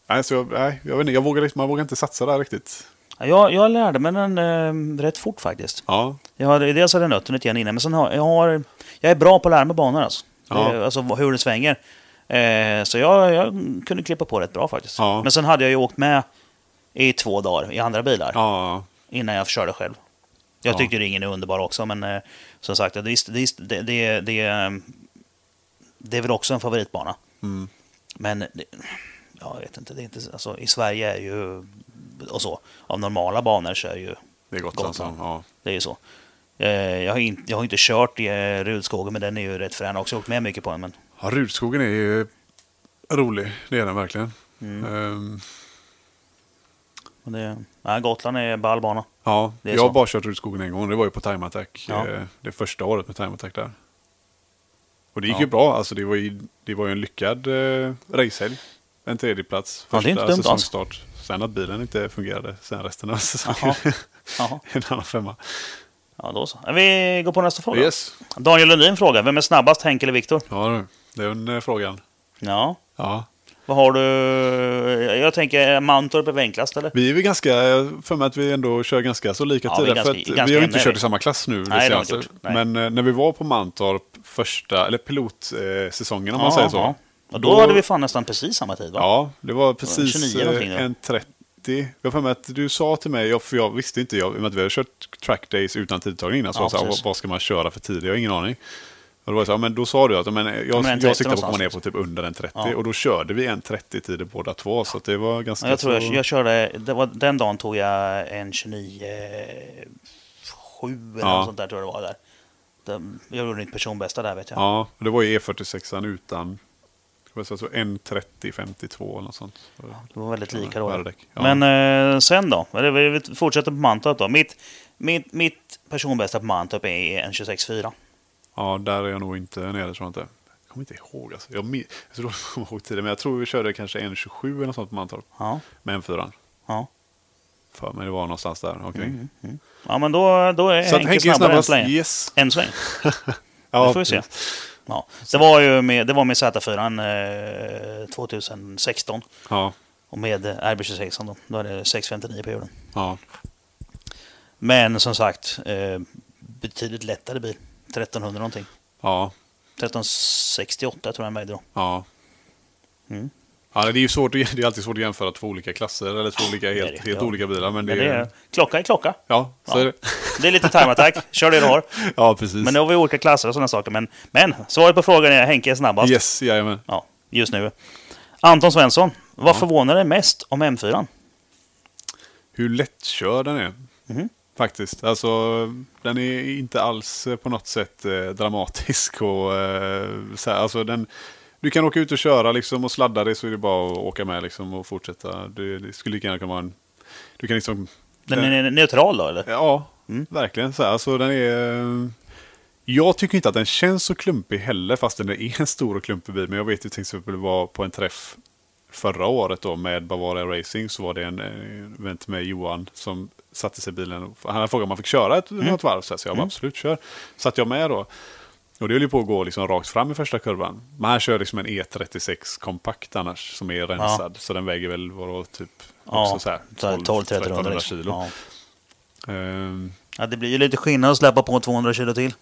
Speaker 1: nej, så jag, nej, jag vet inte, jag vågar, liksom- man vågar inte satsa där riktigt.
Speaker 2: Ja, Jag, jag lärde mig den eh, rätt fort faktiskt.
Speaker 1: Ja,
Speaker 2: Jag har, dels hade jag nött den lite grann innan, men sen har jag... Har, jag är bra på att lära mig banor alltså.
Speaker 1: Ja.
Speaker 2: Det, alltså hur det svänger. Eh, så jag, jag kunde klippa på rätt bra faktiskt.
Speaker 1: Ja.
Speaker 2: Men sen hade jag ju åkt med i två dagar i andra bilar.
Speaker 1: ja,
Speaker 2: innan jag körde själv. Jag
Speaker 1: Ja.
Speaker 2: tyckte ringen är underbar också, men eh, som sagt, det, visst- det, visst- det, det, det, eh, det är väl också en favoritbana.
Speaker 1: Mm.
Speaker 2: Men det, ja, jag vet inte, det är inte alltså, i Sverige är ju, och så, av normala banor så är ju,
Speaker 1: det är Gotland.
Speaker 2: Gotland.
Speaker 1: som- Ja.
Speaker 2: det är ju så. Eh, Jag har, in, jag har inte kört i eh, Rudskogen, men den är ju rätt frän också. Jag har åkt med mycket på den, men
Speaker 1: Ja, Rudskogen är ju
Speaker 2: Mm.
Speaker 1: rolig. Det är den verkligen. Ehm,
Speaker 2: men det, Nej, Gotland är ballbana.
Speaker 1: Ja,
Speaker 2: Det är
Speaker 1: jag har
Speaker 2: så.
Speaker 1: bara kört ut skogen en gång. Det var ju på Time Attack.
Speaker 2: Ja.
Speaker 1: eh, Det första året med Time Attack där. Och det gick
Speaker 2: Ja.
Speaker 1: ju bra. Alltså det var ju, det var ju en lyckad eh, racehelg. En tredjeplats.
Speaker 2: Ja,
Speaker 1: Första
Speaker 2: det är inte dumt alltså. alls.
Speaker 1: säsongsstart. Sen att bilen inte fungerade sen resten av säsongen.
Speaker 2: Jaha. Jaha.
Speaker 1: en annan femma.
Speaker 2: Ja, då så. Vi går på nästa fråga.
Speaker 1: Yes.
Speaker 2: Daniel Lundin frågar, vem är snabbast, Henke eller Viktor?
Speaker 1: Ja, du. det är den eh, frågan.
Speaker 2: Ja.
Speaker 1: Ja.
Speaker 2: Vad har du? Jag tänker Mantorp är väl enklast, eller?
Speaker 1: Vi är väl ganska, jag har för mig att vi ändå kör ganska så lika
Speaker 2: Ja, vi är
Speaker 1: tider.
Speaker 2: ganska-
Speaker 1: för att
Speaker 2: ganska
Speaker 1: vi har ju
Speaker 2: jämna
Speaker 1: inte
Speaker 2: är
Speaker 1: kört
Speaker 2: vi.
Speaker 1: i samma klass nu. det
Speaker 2: Nej, det har vi
Speaker 1: senaste.
Speaker 2: inte gjort. Nej.
Speaker 1: Men eh, när vi var på Mantorp första, eller pilotsäsongen om man
Speaker 2: Ja,
Speaker 1: säger så.
Speaker 2: ja. Och då, hade vi fan nästan precis samma tid, va?
Speaker 1: Ja, det var precis
Speaker 2: 29 någonting,
Speaker 1: eh,
Speaker 2: ja.
Speaker 1: en 30. Jag har för mig att du sa till mig, jag- för jag visste inte, jag, i och med att vi hade kört track days utan tidtagning innan, så
Speaker 2: Ja,
Speaker 1: jag sa,
Speaker 2: precis.
Speaker 1: vad- vad ska man köra för tid? Jag har ingen aning. Och då, var jag så, här, men då sa du att men, jag,
Speaker 2: men en 30
Speaker 1: jag siktar på att komma ner
Speaker 2: någonstans, liksom.
Speaker 1: på typ under en 30
Speaker 2: Ja.
Speaker 1: och då körde vi en 30 tider båda två, så att det var ganska
Speaker 2: Ja, jag tror jag,
Speaker 1: så...
Speaker 2: jag körde, det var, den dagen tog jag en 29, eh, sju eller
Speaker 1: Ja.
Speaker 2: något sånt där tror jag det var där. Den- Jag gjorde mitt personbästa där vet jag.
Speaker 1: Ja, och det var ju E46an utan, alltså en 30-52 eller något sånt.
Speaker 2: Det var väldigt lika
Speaker 1: Ja,
Speaker 2: då.
Speaker 1: värdedäck. Ja.
Speaker 2: Men eh, sen då? Eller vi vi fortsätter på Mantorp då. Mitt, mitt, mitt personbästa på Mantorp är en 26-4.
Speaker 1: Ja, där är jag nog inte nere tror jag inte. Jag kommer inte ihåg alltså. Jag, min- jag tror jag kommer ihåg tiden, men jag tror vi körde kanske 1.27 eller något sånt på Mantorp.
Speaker 2: Ja,
Speaker 1: Med M4.
Speaker 2: ja.
Speaker 1: För mig det var någonstans där omkring.
Speaker 2: ja, men då, då är
Speaker 1: Så att
Speaker 2: Henke,
Speaker 1: Henke är
Speaker 2: Mm. snabbare
Speaker 1: snabbast.
Speaker 2: än så länge.
Speaker 1: Yes.
Speaker 2: Än så länge.
Speaker 1: Ja,
Speaker 2: det får vi se. Ja. Det var ju med, det var med Z4 eh, 2016
Speaker 1: Ja,
Speaker 2: och med eh, RB26 då. Då är det 6.59 på hjulen.
Speaker 1: ja.
Speaker 2: Men som sagt, eh, betydligt lättare bil. 1300 någonting.
Speaker 1: ja,
Speaker 2: 1368 tror jag den vägde då.
Speaker 1: ja.
Speaker 2: Mm.
Speaker 1: ja det, är ju svårt, att- det är alltid svårt att jämföra två olika klasser eller två olika,
Speaker 2: det är
Speaker 1: helt,
Speaker 2: det.
Speaker 1: helt
Speaker 2: Ja.
Speaker 1: olika bilar. Men det,
Speaker 2: Men det är, klocka är klocka.
Speaker 1: Ja, så
Speaker 2: Ja.
Speaker 1: är det.
Speaker 2: Det är lite time attack. Kör det du har.
Speaker 1: Ja, precis.
Speaker 2: Men nu har vi olika klasser och sådana saker. Men, men svaret på frågan är Henke är snabbast.
Speaker 1: Yes, jajamän.
Speaker 2: Ja, just nu. Anton Svensson. Vad förvånar dig mest om M4?
Speaker 1: hur lättkörd den är.
Speaker 2: Mhm.
Speaker 1: Faktiskt. Alltså, den är inte alls eh, på något sätt eh, dramatisk. Och, eh, så här, alltså, den, du kan åka ut och köra liksom, och sladda dig så är det bara att åka med liksom, och fortsätta. Det, det skulle lika gärna kunna vara en... Du kan liksom...
Speaker 2: Den är neutral då eller?
Speaker 1: Ja,
Speaker 2: Mm.
Speaker 1: verkligen. Så här, alltså, den är... eh, Jag tycker inte att den känns så klumpig heller, fast den är en stor och klumpig bil. Men jag vet ju till exempel var på en träff förra året då med Bavaria Racing så var det en eh, vän till mig, Johan, som satte sig i bilen. och- Han hade frågat om man fick köra ett,
Speaker 2: Mm.
Speaker 1: något varv, så, här, så jag bara absolut kör. Satt jag med då. Och det höll ju på att gå liksom rakt fram i första kurvan. Men han kör liksom en E36 kompakt annars som är rensad. Så den väger väl vadå, typ också så här,
Speaker 2: 12-1300
Speaker 1: 1300
Speaker 2: liksom.
Speaker 1: kilo.
Speaker 2: Ja.
Speaker 1: Ehm,
Speaker 2: ja, det blir ju lite skillnad att släppa på 200 kilo till.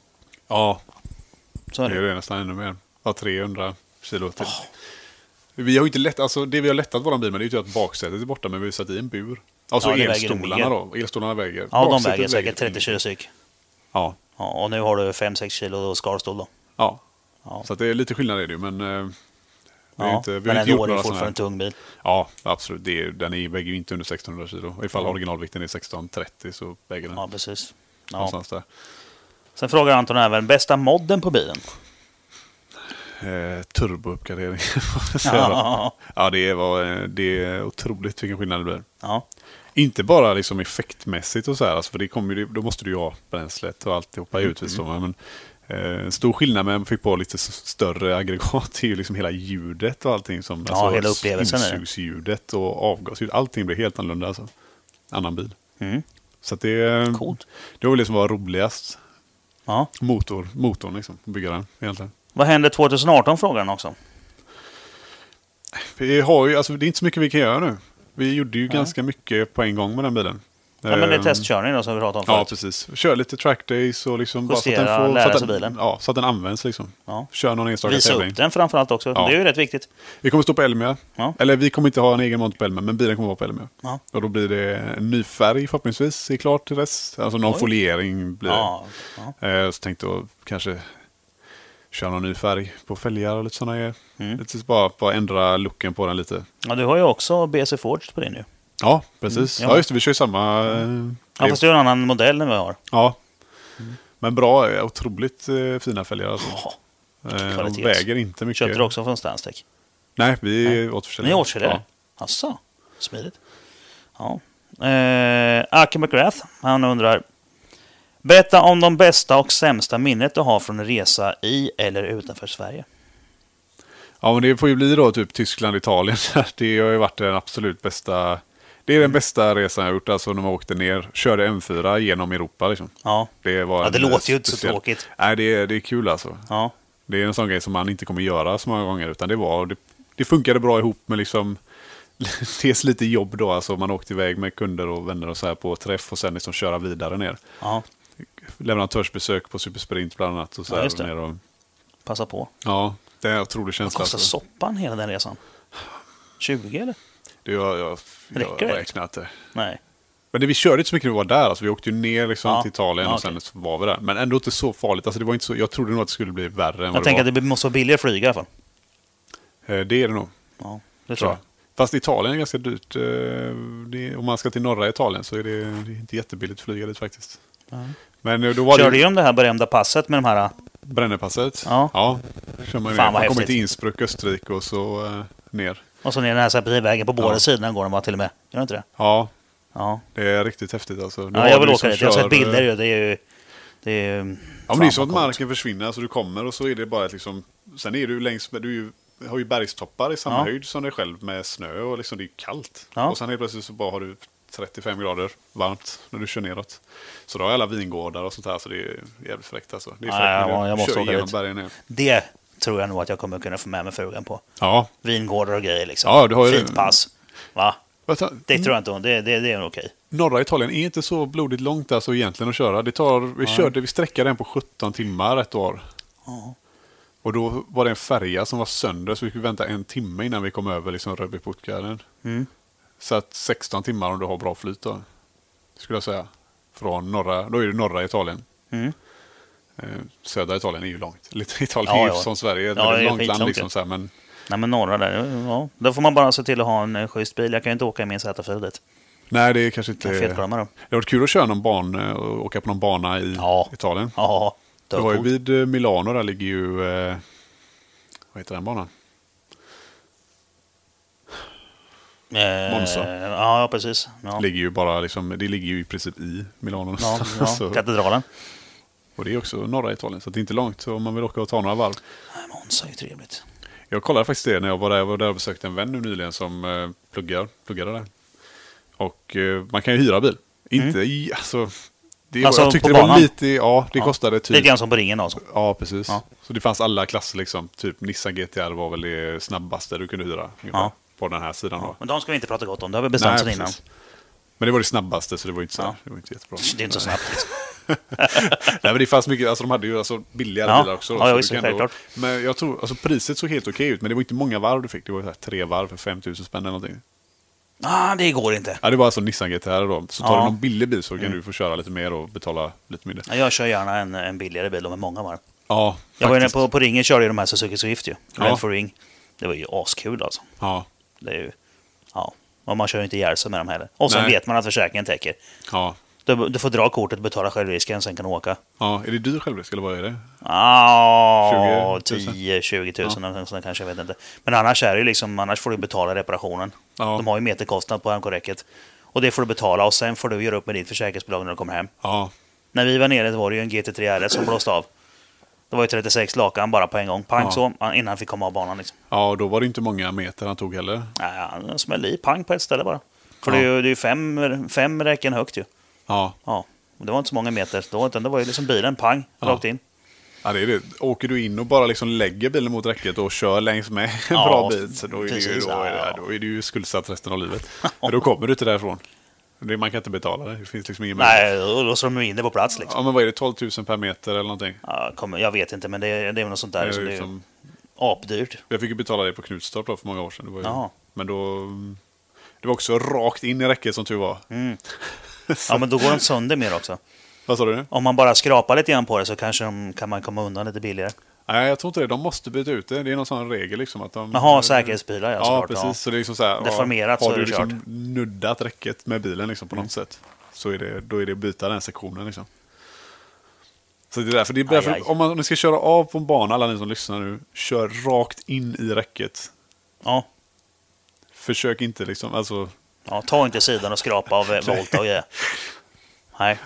Speaker 1: Ja,
Speaker 2: Så är
Speaker 1: det är
Speaker 2: det.
Speaker 1: det nästan ännu mer. Ja, 300 kilo till.
Speaker 2: Ah.
Speaker 1: Vi har ju inte lätt, alltså det vi har lättat våran bil med det är ju typ att baksätet är borta men vi har satt i en bur. Alltså
Speaker 2: Ja, det väger
Speaker 1: elstolarna
Speaker 2: mer.
Speaker 1: då. Elstolarna väger.
Speaker 2: Ja, de
Speaker 1: baksätet
Speaker 2: väger säkert 30 kilo styck.
Speaker 1: Ja,
Speaker 2: Ja, och nu har du 5-6 kilo skalstol då.
Speaker 1: ja.
Speaker 2: Ja.
Speaker 1: Så att det är lite skillnad är det ju men... eh, Vi har
Speaker 2: Ja,
Speaker 1: inte, vi har
Speaker 2: men ändå
Speaker 1: inte gjort
Speaker 2: är det
Speaker 1: några sådana
Speaker 2: fortfarande
Speaker 1: här.
Speaker 2: en tung bil.
Speaker 1: Ja, absolut. Det är, den är, väger ju inte under 1600 kilo. Ifall originalvikten är 1630 så väger den
Speaker 2: Ja, precis. Ja.
Speaker 1: någonstans där.
Speaker 2: Sen frågar Anton även, bästa modden på bilen?
Speaker 1: Eh, turbouppgradering. får man säga då.
Speaker 2: Ja,
Speaker 1: ja, det, var, eh, det är otroligt vilken skillnad det blir.
Speaker 2: ja,
Speaker 1: Inte bara liksom effektmässigt och så här, alltså för det kommer ju, då måste du ju ha bränslet och alltihopa givetvis. Mm. Men, eh, stor skillnad med att man fick på lite s- större aggregat är ju liksom hela ljudet och allting. Som,
Speaker 2: Ja, hela upplevelsen är det.
Speaker 1: Insugsljudet och avgasljudet, allting blir helt annorlunda. Alltså. Annan bil.
Speaker 2: Mm.
Speaker 1: Så att det,
Speaker 2: Coolt.
Speaker 1: det var väl det som var roligast.
Speaker 2: ja.
Speaker 1: Motor, motorn liksom, att bygga den egentligen.
Speaker 2: Vad händer 2018 frågar han också.
Speaker 1: Vi har ju, alltså, det är inte så mycket vi kan göra nu. Vi gjorde ju ganska mycket på en gång med den bilen.
Speaker 2: Ja, men det är
Speaker 1: Ehm,
Speaker 2: testkörning då som vi pratade om
Speaker 1: Ja,
Speaker 2: förut.
Speaker 1: precis. Kör lite trackdays och liksom
Speaker 2: Justera, lära
Speaker 1: så att
Speaker 2: sig
Speaker 1: den,
Speaker 2: bilen.
Speaker 1: Ja, så att den används liksom.
Speaker 2: Ja.
Speaker 1: Kör någon enstaka
Speaker 2: Visa
Speaker 1: tävling.
Speaker 2: upp den framförallt också.
Speaker 1: Ja.
Speaker 2: Det är ju rätt viktigt.
Speaker 1: Vi kommer stå på Elmia.
Speaker 2: Ja.
Speaker 1: Eller vi kommer inte ha en egen monter på Elmia, men bilen kommer vara på Elmia.
Speaker 2: Ja.
Speaker 1: Och då blir det en ny färg förhoppningsvis, är klart till dess. Alltså någon
Speaker 2: Oj.
Speaker 1: foliering blir
Speaker 2: Ja, ja.
Speaker 1: det. Eh, Så tänkte jag kanske köra någon ny färg på fälgar och lite sådana grejer.
Speaker 2: Mm.
Speaker 1: Lite så bara, bara ändra looken på den lite.
Speaker 2: ja, du har ju också BC Forged på din nu.
Speaker 1: Ja, precis.
Speaker 2: Mm, ja.
Speaker 1: ja. just det. Vi kör ju samma... eh,
Speaker 2: Ja, fast det är en annan modell än vad jag har.
Speaker 1: Ja.
Speaker 2: Mm.
Speaker 1: Men bra, eh, otroligt eh, fina fälgar. Alltså.
Speaker 2: Ja.
Speaker 1: Eh, de
Speaker 2: kvalitet.
Speaker 1: väger inte mycket.
Speaker 2: Köpte du också från Stantec?
Speaker 1: Nej, vi
Speaker 2: Nej.
Speaker 1: är återförsäljare.
Speaker 2: Ni årsförsäljare?
Speaker 1: Ja.
Speaker 2: Jaså, smidigt. Ja. Eh, Aki McGrath, han undrar. Berätta om de bästa och sämsta minnet du har från en resa i eller utanför Sverige.
Speaker 1: Ja, men det får ju bli då typ Tyskland, Italien. Det har ju varit den absolut bästa. Det är den bästa resan jag gjort, alltså när man åkte ner, körde M4 genom Europa. Liksom.
Speaker 2: Ja,
Speaker 1: Det, var
Speaker 2: ja det
Speaker 1: en eh,
Speaker 2: låter ju inte så
Speaker 1: speciell-
Speaker 2: tråkigt.
Speaker 1: Nej, det är, det är kul alltså.
Speaker 2: Ja.
Speaker 1: Det är en sån grej som man inte kommer göra så många gånger, utan det var, det, det funkade bra ihop med liksom, dels lite jobb då, alltså man åkte iväg med kunder och vänner och så här på träff och sen liksom köra vidare ner.
Speaker 2: ja,
Speaker 1: Leverantörsbesök på Supersprint bland annat och så
Speaker 2: Ja,
Speaker 1: här
Speaker 2: just det.
Speaker 1: ner och,
Speaker 2: passa på.
Speaker 1: Ja, det är en otrolig känsla.
Speaker 2: Kostar
Speaker 1: alltså.
Speaker 2: soppan hela den resan? 20 eller?
Speaker 1: Det, jag, jag, jag
Speaker 2: Räcker det?
Speaker 1: räknar inte.
Speaker 2: Nej.
Speaker 1: Men det, vi körde inte så mycket när vi var där. Alltså, vi åkte ju ner liksom
Speaker 2: Ja.
Speaker 1: till Italien
Speaker 2: Ja,
Speaker 1: och sen så var vi där. Men ändå inte så farligt. Alltså, det var inte så, jag trodde nog att det skulle bli värre än
Speaker 2: Jag
Speaker 1: vad det
Speaker 2: tänker
Speaker 1: var.
Speaker 2: att det måste vara billigare att flyga i alla fall.
Speaker 1: Eh, Det är det nog.
Speaker 2: Ja, det tror
Speaker 1: Tror
Speaker 2: jag.
Speaker 1: jag. Fast Italien är ganska dyrt. eh, Det, om man ska till norra Italien så är det, det är inte jättebilligt att flyga dit faktiskt. Men eh, då var
Speaker 2: Körde
Speaker 1: det ju
Speaker 2: igenom det här berömda passet med de här...
Speaker 1: Brännepasset.
Speaker 2: Ja.
Speaker 1: kör man,
Speaker 2: Fan,
Speaker 1: ner.
Speaker 2: vad
Speaker 1: man kommer
Speaker 2: häftigt.
Speaker 1: till Innsbruck, Österrike och så eh, ner.
Speaker 2: Och så ner den här Serpentinvägen på båda
Speaker 1: Ja.
Speaker 2: sidorna går de va, till och med. Gör de inte det?
Speaker 1: Ja,
Speaker 2: Ja.
Speaker 1: det är riktigt häftigt alltså. Då
Speaker 2: ja
Speaker 1: har
Speaker 2: jag
Speaker 1: du
Speaker 2: vill
Speaker 1: liksom
Speaker 2: åka dit. Jag har
Speaker 1: kör,
Speaker 2: sett bilder
Speaker 1: eh,
Speaker 2: ju. Det är ju... Det är ju...
Speaker 1: Ja,
Speaker 2: fan,
Speaker 1: men det är
Speaker 2: vad
Speaker 1: så att
Speaker 2: coolt.
Speaker 1: marken försvinner, så du kommer och så är det bara ett liksom... Sen är du längs med... Du är ju, har ju bergstoppar i samma
Speaker 2: Ja.
Speaker 1: höjd som dig själv med snö och liksom det är ju kallt.
Speaker 2: Ja.
Speaker 1: Och sen helt plötsligt så bara har du 35 grader varmt när du kör neråt. Så då har alla vingårdar och sånt här så det är jävligt fräckt alltså. Det är
Speaker 2: Ja,
Speaker 1: fräckt
Speaker 2: ja,
Speaker 1: miljö.
Speaker 2: ja, jag måste
Speaker 1: kör
Speaker 2: åka
Speaker 1: igenom
Speaker 2: dit.
Speaker 1: bergen ner.
Speaker 2: Det tror jag nog att jag kommer kunna få med mig frugan på.
Speaker 1: Ja,
Speaker 2: Vingårdar och grejer liksom.
Speaker 1: Ja, du har ju- Mm.
Speaker 2: Fint pass. Va?
Speaker 1: vänta.
Speaker 2: Det tror jag inte hon... Det, det, det är nog okej.
Speaker 1: Norra Italien är inte så blodigt långt alltså egentligen att köra. Det tar, vi körde, vi sträckade den på 17 timmar ett år.
Speaker 2: Ja.
Speaker 1: Och då var det en färja som var sönder så vi skulle vänta en timme innan vi kom över liksom Röbäcksputtgarden.
Speaker 2: Mm.
Speaker 1: Så att 16 timmar om du har bra flyt då. Skulle jag säga. Från norra, då är det norra Italien.
Speaker 2: Mm.
Speaker 1: Eh, södra Italien är ju långt. Lite Italien
Speaker 2: Ja,
Speaker 1: är ju
Speaker 2: ja.
Speaker 1: som Sverige.
Speaker 2: Ja,
Speaker 1: men det
Speaker 2: det
Speaker 1: är
Speaker 2: är
Speaker 1: långt land
Speaker 2: skitlångt
Speaker 1: liksom.
Speaker 2: ju.
Speaker 1: Så här, men
Speaker 2: Nej, men norra där. Ja. Då får man bara se till att ha en eh, schysst bil. Jag kan ju inte åka i min Z4 dit.
Speaker 1: nej, det är kanske inte...
Speaker 2: Kan
Speaker 1: Det hade
Speaker 2: fetglömma dem.
Speaker 1: varit kul att köra någon ban eh, och åka på någon bana i
Speaker 2: Ja.
Speaker 1: Italien.
Speaker 2: Ja,
Speaker 1: Det var ju
Speaker 2: dörrkort.
Speaker 1: vid eh, Milano, där ligger ju... Eh, vad heter den banan? Monza.
Speaker 2: Eh, ja, precis. Ja.
Speaker 1: Ligger ju bara liksom, det ligger ju i princip i Milano
Speaker 2: Ja,
Speaker 1: någonstans.
Speaker 2: ja.
Speaker 1: Så-
Speaker 2: Katedralen.
Speaker 1: Och det är också norra Italien, så det är inte långt så om man vill åka och ta några varv.
Speaker 2: Nej, Monza är ju trevligt.
Speaker 1: Jag kollade faktiskt det när jag var där. Jag var där och besökte en vän nu nyligen som eh, pluggar, pluggade där. Och eh, man kan ju hyra bil. Inte i, alltså... Det,
Speaker 2: Mm. Alltså,
Speaker 1: jag tyckte
Speaker 2: på
Speaker 1: det var
Speaker 2: banan?
Speaker 1: lite, ja det
Speaker 2: Ja.
Speaker 1: kostade typ...
Speaker 2: Lite grann som på ringen alltså.
Speaker 1: Ja, precis.
Speaker 2: Ja.
Speaker 1: Så det fanns alla klasser liksom. Typ Nissan GTR var väl det snabbaste du kunde hyra. ungefär,
Speaker 2: Ja.
Speaker 1: På den här sidan då.
Speaker 2: Men de ska vi inte prata gott om. Det har vi bestämt sedan innan.
Speaker 1: precis. Men det var det snabbaste så det var ju inte, så här,
Speaker 2: Ja.
Speaker 1: det var ju inte jättebra.
Speaker 2: Det är inte så snabbt. Liksom.
Speaker 1: Nej men det fanns mycket, alltså de hade ju alltså billigare
Speaker 2: Ja.
Speaker 1: bilar också. då,
Speaker 2: Ja,
Speaker 1: så
Speaker 2: ja,
Speaker 1: du
Speaker 2: visst,
Speaker 1: kan ändå-
Speaker 2: självklart.
Speaker 1: Men jag tror, alltså priset såg helt okej ut, men det var inte många varv du fick. Det var så här tre varv för 5000 spänn eller någonting.
Speaker 2: Ah, det går inte.
Speaker 1: Ja, det var alltså Nissan GTR då. Så tar
Speaker 2: Ja. Mm.
Speaker 1: du någon billig bil så kan du få köra lite mer och betala lite mindre.
Speaker 2: Ja, Jag kör gärna en, en billigare bil med många varv.
Speaker 1: Ja,
Speaker 2: Jag var inne
Speaker 1: faktiskt.
Speaker 2: på, på ringen körde ju de här Suzuki Swift ju.
Speaker 1: Ja.
Speaker 2: Rent for ring. Det var ju askul alltså.
Speaker 1: Ja,
Speaker 2: Det är ju... Ja. Och man kör ju inte ihjäl sig med dem heller. Och sen
Speaker 1: Nej.
Speaker 2: vet man att försäkringen täcker.
Speaker 1: ja.
Speaker 2: Du, du får dra kortet, betala självrisken, sen kan du åka.
Speaker 1: Ja, är det dyr självrisk eller vad är det?
Speaker 2: Ah,
Speaker 1: 20 000.
Speaker 2: 10 20 000 någonting sånt kanske, jag vet inte. Men annars är det ju liksom, annars får du betala reparationen.
Speaker 1: Ja.
Speaker 2: De har ju meterkostnad på MK-räcket. Och det får du betala och sen får du göra upp med ditt försäkringsbolag när du kommer hem.
Speaker 1: Ja,
Speaker 2: När vi var nere var det ju en GT3 RS som blåste av. Det var ju 36 lakan bara på en gång. Pang
Speaker 1: Ja.
Speaker 2: så, innan han fick komma av banan liksom.
Speaker 1: ja och då var det inte många meter han tog heller.
Speaker 2: Nej, han smällde i pang på ett ställe bara. För
Speaker 1: Ja.
Speaker 2: det är ju det är ju fem, fem räcken högt ju.
Speaker 1: Ja,
Speaker 2: Ja. Och det var inte så många meter då, utan det var ju liksom bilen, pang,
Speaker 1: Ja.
Speaker 2: rakt in.
Speaker 1: ja det är det. Åker du in och bara liksom lägger bilen mot räcket och kör längs med en
Speaker 2: Ja,
Speaker 1: bra bit, så då är, det ju,
Speaker 2: precis,
Speaker 1: då,
Speaker 2: ja,
Speaker 1: är
Speaker 2: ja.
Speaker 1: det, då är du ju skuldsatt resten av livet. Men då kommer du inte därifrån. Det- Man kan inte betala det. Det finns liksom ingen möjlighet.
Speaker 2: Nej, då låser de ju in det på plats liksom.
Speaker 1: Ja, men vad är det? 12 000 per meter eller någonting?
Speaker 2: Ja, kommer, jag vet inte, men det, är- det är väl något sånt där.
Speaker 1: Det är
Speaker 2: så
Speaker 1: ju
Speaker 2: det är ju
Speaker 1: som-
Speaker 2: apdyrt.
Speaker 1: Jag fick ju betala det på Knutstorp då för många år sedan. Det var ju,
Speaker 2: Jaha.
Speaker 1: Men då... Det var också rakt in i räcket som tur var.
Speaker 2: Mm. Ja, men då går de sönder mer också.
Speaker 1: Vad sa du nu?
Speaker 2: Om man bara skrapar lite grann på det så kanske de, kan man komma undan lite billigare.
Speaker 1: Nej, jag tror inte det. De måste byta ut det. Det är någon sån regel liksom. Att de,
Speaker 2: Jaha, säkerhetsbilar ja,
Speaker 1: Ja,
Speaker 2: såklart.
Speaker 1: precis. Så det är liksom så här, ja,
Speaker 2: Deformerat
Speaker 1: har
Speaker 2: så är
Speaker 1: du
Speaker 2: det
Speaker 1: liksom
Speaker 2: kört. Mm.
Speaker 1: nuddat räcket med bilen liksom på något sätt. Så är det, då är det att byta den sektionen liksom. Så det är därför, det är
Speaker 2: Aj,
Speaker 1: därför
Speaker 2: aj.
Speaker 1: om man om ni ska köra av på en bana, alla ni som lyssnar nu, kör rakt in i räcket.
Speaker 2: Ja.
Speaker 1: Försök inte liksom, alltså,
Speaker 2: Ja, ta inte sidan och skrapa av eh, Volta och grejer. Nej.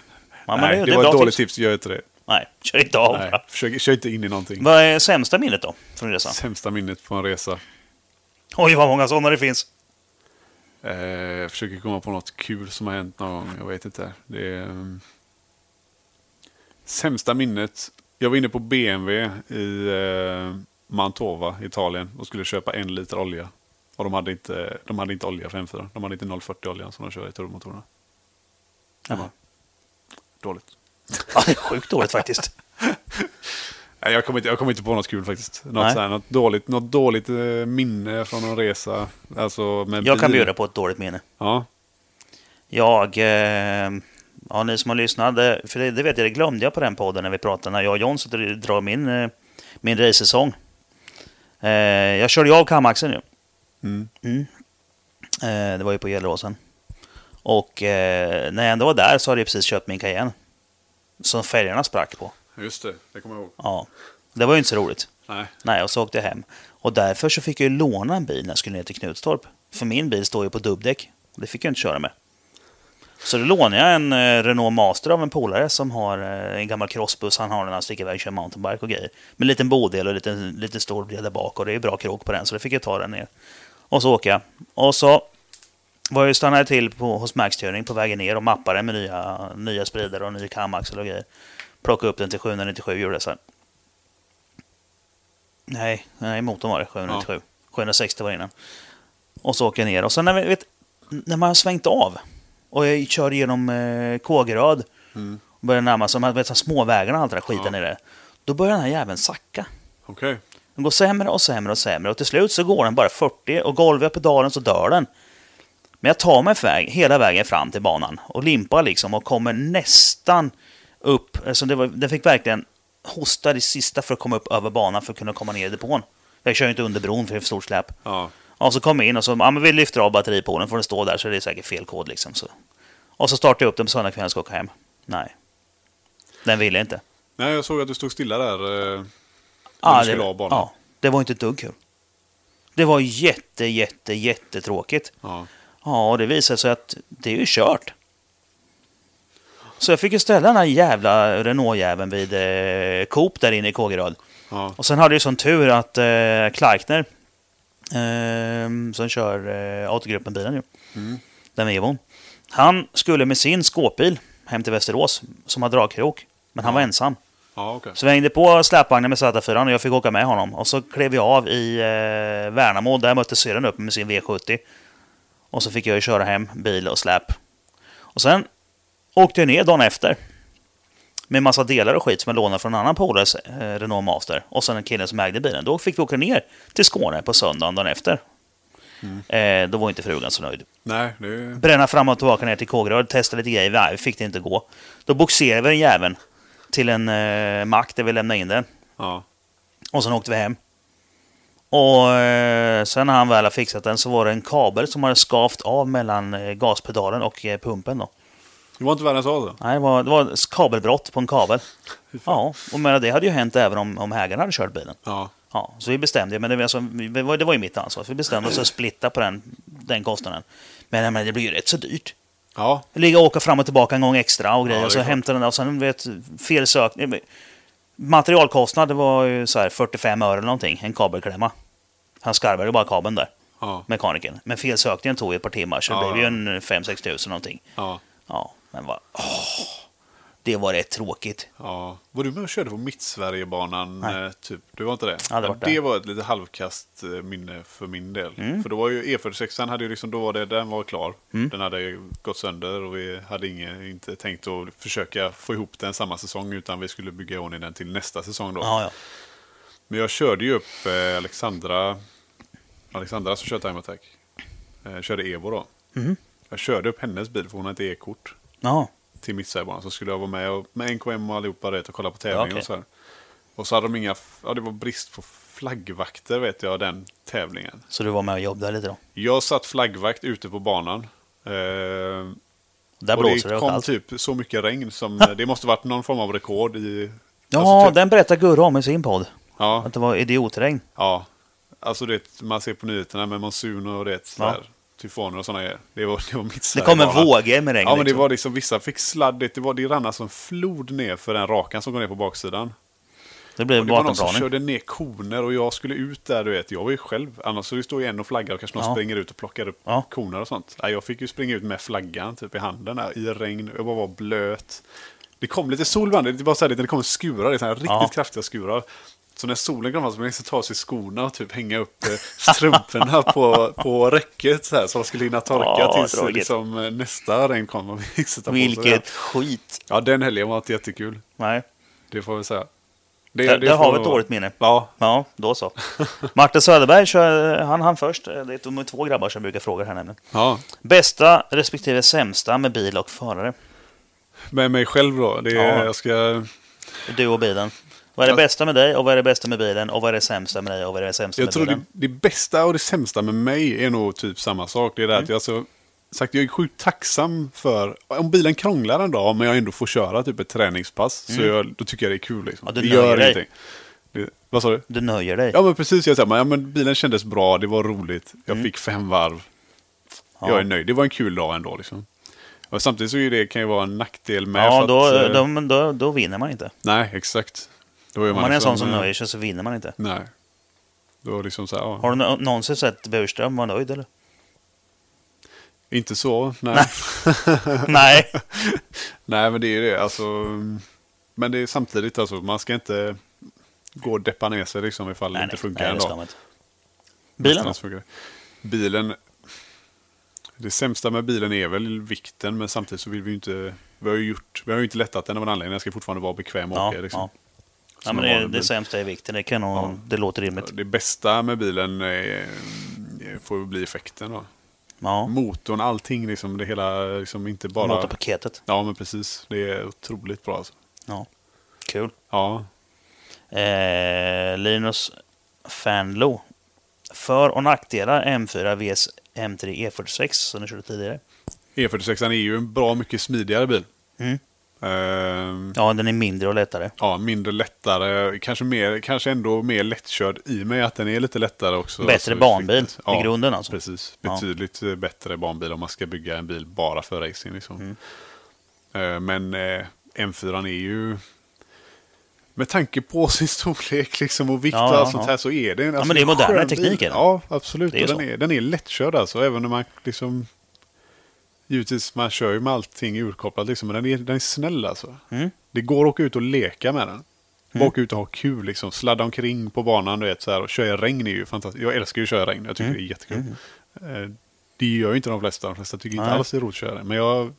Speaker 2: Ja, men
Speaker 1: Nej,
Speaker 2: det,
Speaker 1: det,
Speaker 2: det är
Speaker 1: var
Speaker 2: bra
Speaker 1: ett dåligt
Speaker 2: tips.
Speaker 1: tips. Gör inte det.
Speaker 2: Nej, kör inte av
Speaker 1: Nej,
Speaker 2: bara.
Speaker 1: försök, kör inte in i någonting.
Speaker 2: Vad är sämsta minnet då? Från resan?
Speaker 1: Sämsta minnet på en resa.
Speaker 2: Oj, vad många sådana det finns.
Speaker 1: Eh, jag försöker komma på något kul som har hänt någon gång. Jag vet inte. Det är, ehm, Sämsta minnet. Jag var inne på BMW i eh, Mantova, Italien och skulle köpa en liter olja. Och de hade inte, de hade inte olja för M4. De hade inte 0,40 oljan som de kör i turbomotorerna. Hemma. Dåligt.
Speaker 2: Ja, det är sjukt dåligt faktiskt.
Speaker 1: Nej, jag kommer inte, jag kommer inte på något kul faktiskt.
Speaker 2: Nej.
Speaker 1: Något, så här, något dåligt, något dåligt eh, minne från en resa. Alltså med
Speaker 2: Jag kan
Speaker 1: bil.
Speaker 2: bjuda på ett dåligt minne.
Speaker 1: Ja,
Speaker 2: Jag... Eh, ja, ni som har lyssnat. det- För det, det vet jag, det glömde jag på den podden när vi pratade. När jag och John sitter och drar min, eh, min racesäsong. Eh, jag körde ju av kamaxeln ju.
Speaker 1: Mm.
Speaker 2: Eh, det var ju på Gelleråsen. Och eh, när jag ändå var där så hade jag precis köpt min Cayenne. Som fälgarna sprack på.
Speaker 1: just det. Det kommer jag ihåg.
Speaker 2: Ja. Det var ju inte så roligt.
Speaker 1: Nej.
Speaker 2: Nej, och så åkte jag hem. Och därför så fick jag ju låna en bil när jag skulle ner till Knutstorp. För min bil står ju på dubbdäck. Och det fick jag inte köra med. Så då lånade jag en eh, Renault Master av en polare som har eh, en gammal crossbuss. Han har den när han sticker iväg och kör mountainbike och grejer. Med en liten bodel och en liten, liten stor del där bak. Och det är ju bra krok på den, så det fick jag ta den ner. Och så åker jag. Och så var jag ju stannade till på, hos Max Turing på vägen ner och mappade med nya, nya spridare och ny kamaxel och grejer. Plockade upp den till 797 gjorde jag så här. Nej, nej, motorn var det. 797. 760 var det innan. Och så åker jag ner. Och sen när, vi, vet, när man har svängt av och jag kör genom eh, Kågeröd och börjar närma sig de här vet, småvägarna och allt det där skiten i det. Då börjar den här jäveln sacka.
Speaker 1: Okej.
Speaker 2: Den går sämre och sämre och sämre och till slut så går den bara 40 och golvar jag pedalen så dör den. Men jag tar mig väg, hela vägen fram till banan och limpar liksom och kommer nästan upp. Alltså det var, den fick verkligen hosta det sista för att komma upp över banan för att kunna komma ner i depån. Jag kör ju inte under bron för det är för stort släp.
Speaker 1: Ja.
Speaker 2: Och så kom jag in och så, ja men vi lyfter av batteripoolen, får den stå där så är det säkert fel kod liksom. Så. Och så startade jag upp den på söndagskvällen och ska åka hem. Nej. Den ville inte.
Speaker 1: Nej, jag såg att du stod stilla där. Eh,
Speaker 2: Ja,
Speaker 1: du skulle av banan.
Speaker 2: ja, det var inte ett dugg kul. Det var jätte, jätte, jättetråkigt.
Speaker 1: ja.
Speaker 2: Ja, och det visade sig att det är ju kört. Så jag fick ju ställa den här jävla Renault-jäveln vid eh, Coop där inne i Kågeröd.
Speaker 1: ja.
Speaker 2: Och sen hade jag ju sån tur att eh, Clarkner, eh, som kör eh, Autogruppen-bilen ju,
Speaker 1: Mm.
Speaker 2: den med Evon, han skulle med sin skåpbil hem till Västerås, som har dragkrok. Men han var ensam.
Speaker 1: Ja, okej.
Speaker 2: Så vi hängde på släpvagnen med Z4 och jag fick åka med honom. Och så klev jag av i eh, Värnamo. Där mötte syrran upp med sin V70. Och så fick jag ju köra hem bil och släp. Och sen åkte jag ner dagen efter. Med massa delar och skit som jag lånade från en annan polares eh, Renault Master. Och sen en kille som ägde bilen. Då fick vi åka ner till Skåne på söndagen dagen efter. Eh, då var inte frugan så nöjd
Speaker 1: Nej, det är...
Speaker 2: bränna fram och tillbaka ner till Kågeröd, testa lite grejer. Nej, vi fick det inte gå. Då boxerade vi den jäveln till en eh, mack där vi lämnade in den.
Speaker 1: Ja.
Speaker 2: Och sen åkte vi hem. Och eh, sen när han väl har fixat den så var det en kabel som hade skavt av mellan eh, gaspedalen och eh, pumpen. Då.
Speaker 1: Det var inte värre än så alltså?
Speaker 2: Nej, det, var, det var ett kabelbrott på en kabel. Ja, och menar, det hade ju hänt även om, om ägaren hade kört bilen.
Speaker 1: Ja.
Speaker 2: Ja, så vi bestämde, men det var, alltså, vi- var- det var ju mitt ansvar, så vi bestämde oss att splitta på den, den kostnaden. Men jag menar, det blir ju rätt så dyrt.
Speaker 1: Ja.
Speaker 2: Ligga och åka fram och tillbaka en gång extra och grejer.
Speaker 1: Ja, det är
Speaker 2: och så
Speaker 1: klart.
Speaker 2: hämta den där och sen vet, felsök... Materialkostnad det var ju så här 45 öre eller någonting, en kabelklämma. Han skarvade ju bara kabeln där,
Speaker 1: Ja.
Speaker 2: mekanikern. Men felsökningen tog ju ett par timmar, så det
Speaker 1: Ja,
Speaker 2: blev ju
Speaker 1: ja.
Speaker 2: en 5-6 tusen någonting.
Speaker 1: Ja.
Speaker 2: Ja, men vad... Åh, det var rätt tråkigt.
Speaker 1: Ja. Var du med och körde på Mittsverigebanan?
Speaker 2: Nej.
Speaker 1: eh, Typ? Du var inte det?
Speaker 2: Jag hade varit
Speaker 1: det Mm.
Speaker 2: där.
Speaker 1: var ett lite halvkast eh, minne för min del. För då var ju E46, hade ju liksom, då var det, den var klar. Den hade ju gått sönder och vi hade inge, inte tänkt att försöka få ihop den samma säsong utan vi skulle bygga i ordning den till nästa säsong då.
Speaker 2: Ja, ja.
Speaker 1: Men jag körde ju upp eh, Alexandra, Alexandra som kör Time Attack. Eh, körde Evo då.
Speaker 2: Mhm.
Speaker 1: Jag körde upp hennes bil för hon har inte E-kort
Speaker 2: Ja,
Speaker 1: till Mittsverigebanan. Så skulle jag vara med och, med NKM och allihopa rätt och kolla på tävlingen
Speaker 2: Ja, okej.
Speaker 1: och så här. Och så hade de inga, f- ja det var brist på flaggvakter vet jag den tävlingen.
Speaker 2: så du var med och jobbade lite då.
Speaker 1: Jag satt flaggvakt ute på banan. Eh,
Speaker 2: Där
Speaker 1: och
Speaker 2: blåser
Speaker 1: det
Speaker 2: det åt
Speaker 1: kom
Speaker 2: allt.
Speaker 1: typ så mycket regn som, det måste varit någon form av rekord i...
Speaker 2: Ja,
Speaker 1: alltså typ-
Speaker 2: den berättar Gurra om i sin podd.
Speaker 1: ja,
Speaker 2: Att det var idiotregn.
Speaker 1: Ja, alltså det, man ser på nyheterna med monsun och det sådär. tyfoner och sådana grejer. Det var, det var mitt
Speaker 2: Det
Speaker 1: Sverige
Speaker 2: kom en
Speaker 1: bara.
Speaker 2: våg med regn.
Speaker 1: Ja, men det
Speaker 2: liksom.
Speaker 1: var liksom vissa fick sladdigt. Det, var, det rann alltså en flod ner för den rakan som går ner på baksidan.
Speaker 2: det blev
Speaker 1: Och det var någon som
Speaker 2: vattenplaning.
Speaker 1: körde ner koner och jag skulle ut där, du vet. Jag var ju själv. Annars så står ju en och flaggar och kanske någon
Speaker 2: Ja.
Speaker 1: springer ut och plockar upp
Speaker 2: Ja.
Speaker 1: koner och sånt. Nej, jag fick ju springa ut med flaggan typ i handen här, i regn. Jag bara var blöt. Det kom lite sol ibland. Det var så här, lite- det kom skurar, det är så här, riktigt
Speaker 2: Ja.
Speaker 1: kraftiga skurar. Så när solen kom fram så ville jag liksom ta av sig skorna och typ hänga upp eh, strumporna på, på räcket så, här, så de skulle hinna torka
Speaker 2: Ja,
Speaker 1: tills eh,
Speaker 2: tråkigt.
Speaker 1: liksom, eh, nästa regn kom. Och vi fick sätta på oss det.
Speaker 2: Vilket skit.
Speaker 1: Ja, den helgen var inte jättekul.
Speaker 2: Nej.
Speaker 1: Det får vi säga.
Speaker 2: Där, där
Speaker 1: får
Speaker 2: har vi
Speaker 1: man-
Speaker 2: ett dåligt minne.
Speaker 1: Ja,
Speaker 2: Ja, då så. Martin Söderberg, kör, eh, han han först. Det är de två grabbar som brukar fråga här nämligen.
Speaker 1: ja.
Speaker 2: Bästa respektive sämsta med bil och förare?
Speaker 1: Med mig själv då. Det är,
Speaker 2: Ja.
Speaker 1: jag ska,
Speaker 2: Du och bilen. Vad är det
Speaker 1: Alltså-
Speaker 2: bästa med dig och vad är det bästa med bilen och vad är det sämsta med dig och vad är det sämsta
Speaker 1: jag
Speaker 2: med
Speaker 1: tror det,
Speaker 2: bilen?
Speaker 1: det bästa och det sämsta med mig är nog typ samma sak. Det är det
Speaker 2: Mm.
Speaker 1: att jag, alltså, sagt, jag är sjukt tacksam för, om bilen krånglar en dag, men jag ändå får köra typ ett träningspass, så jag, då tycker jag det är kul. Liksom.
Speaker 2: Mm. Ja, du
Speaker 1: det
Speaker 2: nöjer
Speaker 1: gör
Speaker 2: dig.
Speaker 1: ingenting. Det, vad sa du?
Speaker 2: Du nöjer dig.
Speaker 1: Ja, men precis. Jag sa, men, ja, men bilen kändes bra, det var roligt, jag fick fem varv.
Speaker 2: Mm. Ja.
Speaker 1: Jag är nöjd, det var en kul dag ändå. Liksom. Och samtidigt så är det, kan ju vara en nackdel med.
Speaker 2: Ja,
Speaker 1: för
Speaker 2: då,
Speaker 1: att, eh,
Speaker 2: då, då, då vinner man inte.
Speaker 1: Nej, exakt. Då är
Speaker 2: Om man är en
Speaker 1: liksom,
Speaker 2: sån som
Speaker 1: eh,
Speaker 2: nöjer sig så vinner man inte.
Speaker 1: Nej. Då liksom så här, ja.
Speaker 2: Har du nå- någonsin sett Burström vara nöjd eller?
Speaker 1: Inte så, nej.
Speaker 2: Nej.
Speaker 1: nej, men det är ju det. Alltså, mm, men det är samtidigt, alltså, man ska inte gå och deppa ner sig liksom, ifall det
Speaker 2: nej,
Speaker 1: inte
Speaker 2: nej,
Speaker 1: funkar
Speaker 2: nej,
Speaker 1: en
Speaker 2: det ska
Speaker 1: dag.
Speaker 2: man inte. Bilen då?
Speaker 1: Någonstans funkar det. Bilen. Det sämsta med bilen är väl vikten, men samtidigt så vill vi ju inte... Vi har ju, gjort, vi har ju inte lättat den av en anledning. Den ska fortfarande vara bekväm och
Speaker 2: Ja,
Speaker 1: åka. Liksom.
Speaker 2: ja. ja
Speaker 1: Som
Speaker 2: men
Speaker 1: en
Speaker 2: det,
Speaker 1: vanlig
Speaker 2: det
Speaker 1: bil.
Speaker 2: sämsta är vikten. Det, kan nog, det låter rimligt.
Speaker 1: Det bästa med bilen är, får ju bli effekten. Då.
Speaker 2: Ja.
Speaker 1: Motorn, allting, liksom, det hela, liksom, inte bara...
Speaker 2: Motorpaketet.
Speaker 1: Ja, men precis. Det är otroligt bra. Alltså.
Speaker 2: Ja. Kul.
Speaker 1: Ja,
Speaker 2: Eh, Linus Fanlo. För och nackdelar M4 vs M3 E46 som du körde tidigare.
Speaker 1: E46 E är ju en bra mycket smidigare bil.
Speaker 2: Mm.
Speaker 1: Ehm,
Speaker 2: Ja, den är mindre och lättare.
Speaker 1: ja, mindre lättare, kanske, mer, kanske ändå mer lättkörd i mig att den är lite lättare också.
Speaker 2: Bättre
Speaker 1: Så-
Speaker 2: banbil
Speaker 1: Ja,
Speaker 2: i grunden alltså.
Speaker 1: Precis,
Speaker 2: Ja.
Speaker 1: betydligt eh, bättre banbil om man ska bygga en bil bara för racing. Liksom.
Speaker 2: Mm.
Speaker 1: Ehm, men eh, M4 är ju... Med tanke på sin storlek liksom och vikt
Speaker 2: Ja,
Speaker 1: och
Speaker 2: ja,
Speaker 1: allt sånt
Speaker 2: ja.
Speaker 1: här så är det en alltså,
Speaker 2: men det är
Speaker 1: en
Speaker 2: moderna
Speaker 1: skön bil.
Speaker 2: tekniker.
Speaker 1: Ja, absolut.
Speaker 2: Det är
Speaker 1: Och
Speaker 2: ju
Speaker 1: den,
Speaker 2: så.
Speaker 1: är, den är lättkörd alltså, även när man liksom... Givetvis, man kör ju med allting urkopplat liksom, men den är, den är snäll alltså.
Speaker 2: Mm.
Speaker 1: Det går att åka ut och leka med den. Bara Åka ut och ha kul, liksom. sladda omkring på banan du vet, så här, och köra i regn är ju fantastiskt. Jag älskar ju att köra i regn, jag
Speaker 2: Mm.
Speaker 1: tycker det är jättekul. Eh, Det gör ju inte de flesta, de flesta tycker inte
Speaker 2: Nej.
Speaker 1: alls det är roligt att köra i regn. Men jag,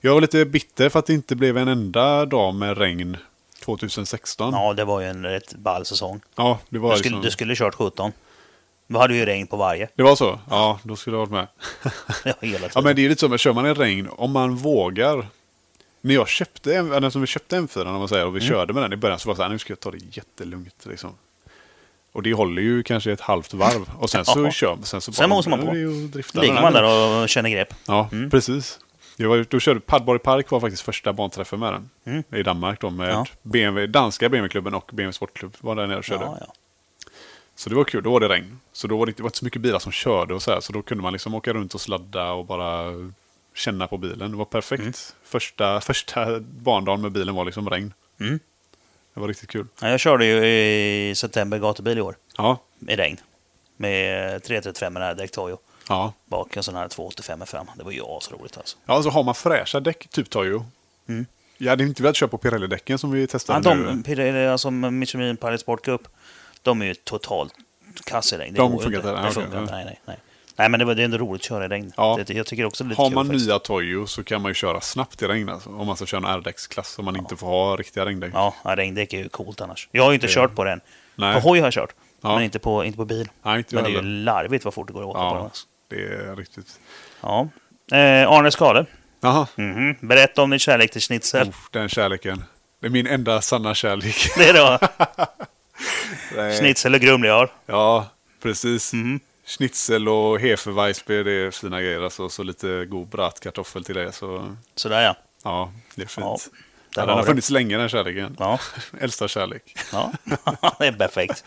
Speaker 1: jag var lite bitter för att det inte blev en enda dag med regn 2016. Ja,
Speaker 2: Ja, det var ju en rätt ball säsong.
Speaker 1: det
Speaker 2: Du
Speaker 1: var
Speaker 2: skulle,
Speaker 1: liksom...
Speaker 2: du skulle kört 17. Då hade du ju regn på varje.
Speaker 1: Det var så? Ja, då skulle jag ha varit med.
Speaker 2: Ja, hela tiden.
Speaker 1: Ja, men det är lite som att kör man i regn, om man vågar. När jag köpte, en- eller som vi köpte M4 om man säger, och
Speaker 2: Mm.
Speaker 1: vi körde med den i början så var det så här, nu ska jag ta det jättelugnt. Liksom. Och det håller ju kanske ett halvt varv. Och sen så
Speaker 2: Ja.
Speaker 1: kör man. Sen, så
Speaker 2: Sen
Speaker 1: bara-
Speaker 2: mosar man på.
Speaker 1: nu är det ju att drifta
Speaker 2: Ligger
Speaker 1: med
Speaker 2: man
Speaker 1: den.
Speaker 2: där och Mm. känner grepp.
Speaker 1: Ja, precis. Jag var, ute och körde Padborg Park var faktiskt första banträffen med den. I Danmark då med
Speaker 2: Mm. Ja.
Speaker 1: BMW, danska BMW-klubben och BMW Sportklubb var där nere och körde.
Speaker 2: Ja, ja.
Speaker 1: Så det var kul, då var det regn. Så då var det, inte- det var inte så mycket bilar som körde och så här. Så då kunde man liksom åka runt och sladda och bara känna på bilen. Det var perfekt.
Speaker 2: Mm.
Speaker 1: Första, första barndagen med bilen var liksom regn.
Speaker 2: Mm.
Speaker 1: Det var riktigt kul.
Speaker 2: Ja, jag körde ju i september gatubil i år.
Speaker 1: Ja,
Speaker 2: I regn. Med 335 här direkt Toyo.
Speaker 1: ja.
Speaker 2: Bak en sån här 285 fram. Det var ju asroligt alltså.
Speaker 1: Ja, så har man fräscha däck, typ Toyo.
Speaker 2: Mm.
Speaker 1: Jag hade inte velat köra på Pirelli-däcken som vi
Speaker 2: Ja,
Speaker 1: testade nu.
Speaker 2: de, Pirelli, alltså Michelin Pirate Sport Cup, de är ju totalt kass i regn. Det
Speaker 1: De
Speaker 2: går ju
Speaker 1: funkar
Speaker 2: inte.
Speaker 1: inte,
Speaker 2: Det
Speaker 1: ja,
Speaker 2: funkar
Speaker 1: okej,
Speaker 2: inte. Nej, nej, nej. Nej, men det, var, det är ändå roligt att köra i regn.
Speaker 1: Ja.
Speaker 2: Det, jag tycker också det är lite
Speaker 1: Har
Speaker 2: kul
Speaker 1: man
Speaker 2: faktiskt.
Speaker 1: nya Toyo så kan man ju köra snabbt i regn alltså, Om man ska köra en R-däcksklass, om man inte får ha riktiga regndäck.
Speaker 2: Ja, ja, regndäck är ju coolt annars. Jag har ju inte kört på den.
Speaker 1: Nej.
Speaker 2: På hoj har jag kört,
Speaker 1: Ja.
Speaker 2: men inte på, inte på bil.
Speaker 1: Nej, inte jag
Speaker 2: men det är ju
Speaker 1: heller.
Speaker 2: larvigt vad fort det går att åka på den.
Speaker 1: Ja,
Speaker 2: Alltså.
Speaker 1: det är riktigt.
Speaker 2: Ja. Eh, Arne Skale,
Speaker 1: Jaha,
Speaker 2: Mhm. berätta om din kärlek till schnitzel.
Speaker 1: Uff, den kärleken. Det är min enda sanna kärlek.
Speaker 2: Det är då
Speaker 1: Nej.
Speaker 2: schnitzel och grumligar.
Speaker 1: Ja, precis.
Speaker 2: Mhm.
Speaker 1: Schnitzel och hefeweißbier, det är fina grejer. Alltså, och så lite god bratkartoffel till det. Så
Speaker 2: Sådär ja.
Speaker 1: ja, det är fint.
Speaker 2: Ja,
Speaker 1: Ja,
Speaker 2: där
Speaker 1: den
Speaker 2: har
Speaker 1: har
Speaker 2: du.
Speaker 1: funnits länge den kärleken.
Speaker 2: ja.
Speaker 1: Äldsta kärlek.
Speaker 2: Ja, det är perfekt.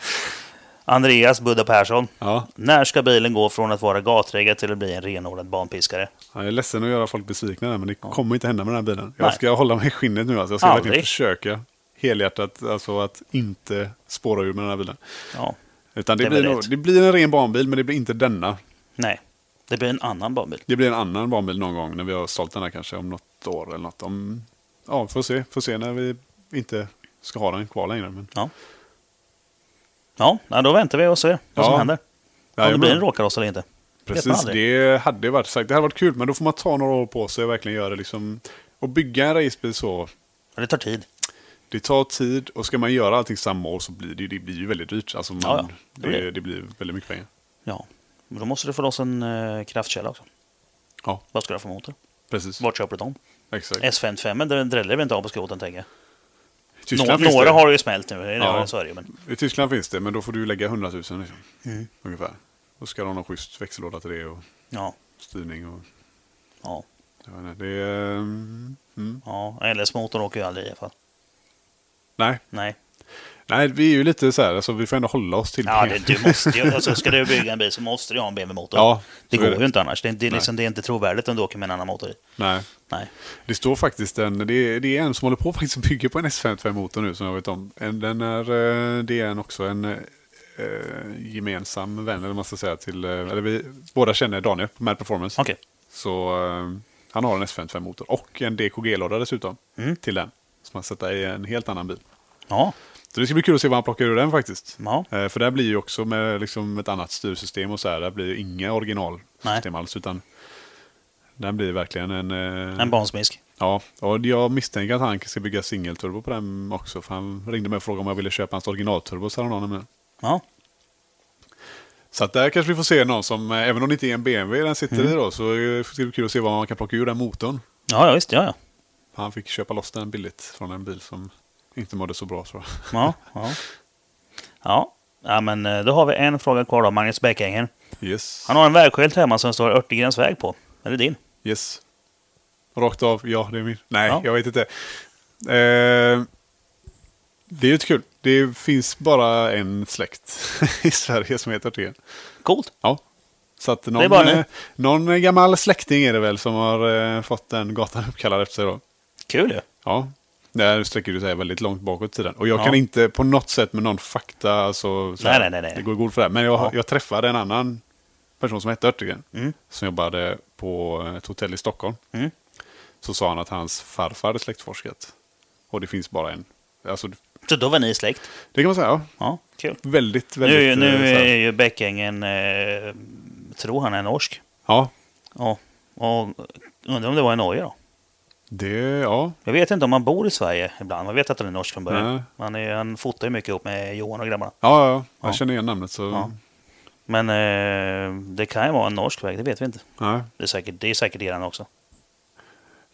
Speaker 2: Andreas Budda Persson.
Speaker 1: Ja,
Speaker 2: När ska bilen gå från att vara gatreggad till att bli en renodlad banpiskare?
Speaker 1: jag är ledsen att göra folk besvikna där, men det kommer inte hända med den här bilen. Jag
Speaker 2: Nej.
Speaker 1: ska hålla mig i skinnet nu alltså. Jag ska verkligen
Speaker 2: Aldrig.
Speaker 1: försöka helhjärtat alltså, att inte spåra ur med den här bilen.
Speaker 2: Ja,
Speaker 1: Utan det,
Speaker 2: Det är
Speaker 1: blir
Speaker 2: väl
Speaker 1: nog,
Speaker 2: rätt.
Speaker 1: det blir en ren barnbil, men det blir inte denna.
Speaker 2: nej. Det blir en annan banbil.
Speaker 1: Det blir en annan barnbil någon gång när vi har sålt den här kanske om något år eller något. Om, ja, får se. Får se när vi inte ska ha den kvar längre. Men,
Speaker 2: Ja, ja, då väntar vi och ser vad
Speaker 1: Ja.
Speaker 2: som händer. Om det
Speaker 1: Jajamän.
Speaker 2: blir en råkaross eller inte. vet man
Speaker 1: Precis,
Speaker 2: aldrig.
Speaker 1: det hade ju varit sagt. Det hade varit kul, men då får man ta några år på sig och verkligen göra det liksom. Och bygga en racebil så,
Speaker 2: Ja, Det tar tid.
Speaker 1: det tar tid och ska man göra allting samma år så blir det, ju- det blir ju väldigt dyrt. Alltså man,
Speaker 2: Ja, ja. Det
Speaker 1: det,
Speaker 2: blir
Speaker 1: det.
Speaker 2: det.
Speaker 1: blir väldigt mycket pengar.
Speaker 2: Ja, men då måste du få loss en eh, kraftkälla också.
Speaker 1: Ja.
Speaker 2: Vad ska du ha för motor?
Speaker 1: Precis,
Speaker 2: Vart köper du dem?
Speaker 1: exakt.
Speaker 2: S55 där dräller vi inte av på skroten tänker jag.
Speaker 1: I
Speaker 2: Nå-
Speaker 1: Tyskland finns
Speaker 2: några
Speaker 1: det.
Speaker 2: har ju smält nu, det
Speaker 1: Ja.
Speaker 2: har- så är det ju. Men...
Speaker 1: I Tyskland finns det, men då får du ju lägga 100 000 liksom,
Speaker 2: Mm.
Speaker 1: ungefär. Då ska du ha någon schysst växellåda till det och
Speaker 2: Ja,
Speaker 1: styrning och...
Speaker 2: ja,
Speaker 1: Jag vet inte, det är... mm, Mm,
Speaker 2: ja. LS-motorn åker ju aldrig i alla fall.
Speaker 1: nej.
Speaker 2: Nej,
Speaker 1: nej, vi är ju lite så här, alltså, vi får ändå hålla oss till
Speaker 2: ja, det, du måste ju, alltså, ska du bygga en bil så måste du ha en BMW-motor.
Speaker 1: Ja,
Speaker 2: det
Speaker 1: så är
Speaker 2: går ju inte annars. Det är, det, är
Speaker 1: Nej.
Speaker 2: liksom, det är inte trovärdigt om du åker med en annan motor i.
Speaker 1: Nej.
Speaker 2: Nej,
Speaker 1: Det står faktiskt en, det är, det är en som håller på faktiskt att bygga på en S55-motor nu som jag vet om. En, den är, eh, det är en också en eh, gemensam vän, eller man ska säga, till, eh, eller vi båda känner Daniel på Mad Performance.
Speaker 2: okej.
Speaker 1: Så eh, han har en S55-motor och en DKG-låda dessutom
Speaker 2: Mm.
Speaker 1: till den. Som man sätter i en helt annan bil.
Speaker 2: Ja,
Speaker 1: Så det ska bli kul att se vad han plockar ur den faktiskt.
Speaker 2: ja,
Speaker 1: Eh, För där blir ju också med liksom ett annat styrsystem och så här, där blir ju inga originalsystem alls utan den blir verkligen en... eh,
Speaker 2: en barnsmisk.
Speaker 1: Ja, och jag misstänker att han ska bygga singelturbo på den också. För han ringde mig och frågade om jag ville köpa hans originalturbo häromdagen. men-
Speaker 2: Ja,
Speaker 1: Så att där kanske vi får se någon som, eh, även om det inte är en BMW den
Speaker 2: Mm.
Speaker 1: sitter i då, så eh, ska det bli kul att se vad man kan plocka ur den motorn.
Speaker 2: ja, ja visst, ja, ja.
Speaker 1: Han fick köpa loss den billigt från en bil som inte mådde så bra tror jag.
Speaker 2: Ja, ja. ja. ja men eh, då har vi en fråga kvar då, Magnus Bäckänger.
Speaker 1: Yes.
Speaker 2: Han har en vägskylt hemma som står Örtegrens väg på. Är det din?
Speaker 1: yes. Rakt av, ja det är min. Nej,
Speaker 2: Ja.
Speaker 1: jag vet inte. Eh, det är ju inte kul. Det finns bara en släkt i Sverige som heter Örtegen.
Speaker 2: Coolt.
Speaker 1: Ja. Så att
Speaker 2: är
Speaker 1: någon,
Speaker 2: bara nu.
Speaker 1: eh, någon gammal släkting är det väl som har eh, fått den gatan uppkallad efter sig då.
Speaker 2: Kul ju.
Speaker 1: Ja. Där sträcker du sig väldigt långt bakåt i tiden. Och jag
Speaker 2: Ja.
Speaker 1: kan inte på något sätt med någon fakta, alltså, så
Speaker 2: Nej,
Speaker 1: här,
Speaker 2: nej, nej, nej.
Speaker 1: det går god för det. här. Men jag,
Speaker 2: Ja.
Speaker 1: jag träffade en annan person som hette Örtegen.
Speaker 2: Mm.
Speaker 1: Som jobbade på ett hotell i Stockholm.
Speaker 2: Mm.
Speaker 1: Så sa han att hans farfar hade släktforskat. Och det finns bara en. Alltså,
Speaker 2: Så då var ni släkt.
Speaker 1: det kan man säga, ja.
Speaker 2: Ja, kul.
Speaker 1: Väldigt, väldigt...
Speaker 2: Nu,
Speaker 1: eh,
Speaker 2: nu
Speaker 1: så här.
Speaker 2: är ju Bäckängen, eh, tror han är norsk.
Speaker 1: Ja,
Speaker 2: Ja. Och undrar om det var i Norge då?
Speaker 1: det... Ja.
Speaker 2: Jag vet inte om han bor i Sverige ibland. Man vet att han är norsk från
Speaker 1: Nej.
Speaker 2: början. Han, är, han fotar ju mycket ihop med Johan och grabbarna.
Speaker 1: Ja, ja, jag
Speaker 2: Ja.
Speaker 1: känner igen namnet så...
Speaker 2: Ja. Men eh, det kan ju vara en norsk väg, det vet vi inte.
Speaker 1: Nej,
Speaker 2: Det är säkert, det är säkert eran också.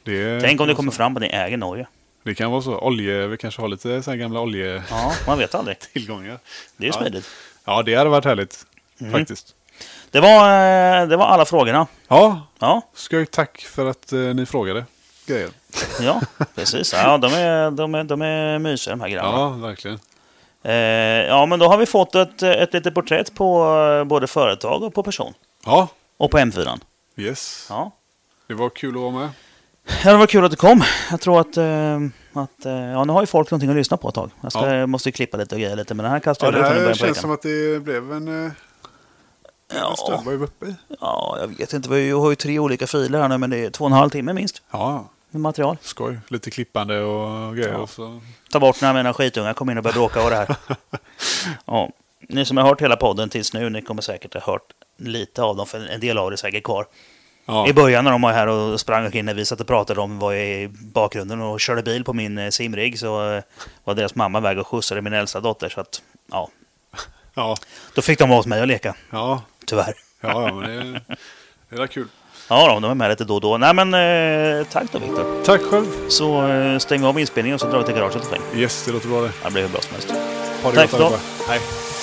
Speaker 1: det,
Speaker 2: Tänk om det kommer fram att ni äger Norge.
Speaker 1: det kan vara så. Olje, vi kanske har lite så här gamla oljetillgångar.
Speaker 2: Ja, man vet aldrig. Det är ju
Speaker 1: Ja.
Speaker 2: smidigt.
Speaker 1: Ja, det hade varit härligt
Speaker 2: Mm.
Speaker 1: faktiskt.
Speaker 2: Det, var, eh, det var alla frågorna.
Speaker 1: Ja,
Speaker 2: Ja,
Speaker 1: ska ju tack för att eh, ni frågade grejer.
Speaker 2: ja precis. Ja, de, är, de, är, de är mysiga de här grabbarna.
Speaker 1: Ja, verkligen.
Speaker 2: Eh, ja, men då har vi fått ett, ett litet porträtt på eh, både företag och på person.
Speaker 1: Ja,
Speaker 2: Och på M4.
Speaker 1: yes.
Speaker 2: Ja.
Speaker 1: Det var kul att vara med.
Speaker 2: Ja, det var kul att du kom. Jag tror att, eh, att eh, ja, nu har ju folk någonting att lyssna på ett tag. Jag ska, måste ju klippa lite och greja lite, men den här
Speaker 1: Ja,
Speaker 2: kastade
Speaker 1: det
Speaker 2: jag ut i
Speaker 1: här
Speaker 2: början på
Speaker 1: känns
Speaker 2: veckan.
Speaker 1: som att det blev en, eh, en
Speaker 2: Ja,
Speaker 1: stund. Vad är vi uppe i?
Speaker 2: ja, jag vet inte. Vi har ju tre olika filer här nu, men det är två och en halv timme minst
Speaker 1: Ja,
Speaker 2: med material.
Speaker 1: skoj. Lite klippande och grejer.
Speaker 2: Ja.
Speaker 1: Och så.
Speaker 2: Ta bort när mina skitungar kommer in och börjar bråka och det här. Ja, ni som har hört hela podden tills nu, ni kommer säkert ha hört lite av dem, för en del av det är säkert kvar.
Speaker 1: Ja.
Speaker 2: I början när de var här och sprang omkring när vi satt och pratade om vad i bakgrunden och körde bil på min eh, simrigg så eh, var deras mamma väg och skjutsade min äldsta dotter. Så att, ja,
Speaker 1: Ja.
Speaker 2: då fick de vara hos mig och leka,
Speaker 1: Ja.
Speaker 2: tyvärr.
Speaker 1: ja, ja, men det, det är kul.
Speaker 2: Ja, då, de är med lite då och då. Nej, men eh, tack då, Viktor.
Speaker 1: Tack själv.
Speaker 2: Så eh, stänger vi av inspelningen och så drar vi till garaget och slänger.
Speaker 1: Yes, det låter bra det.
Speaker 2: Det blir hur bra som helst.
Speaker 1: Ha det
Speaker 2: Tack
Speaker 1: gott
Speaker 2: då.
Speaker 1: allihopa. Hej.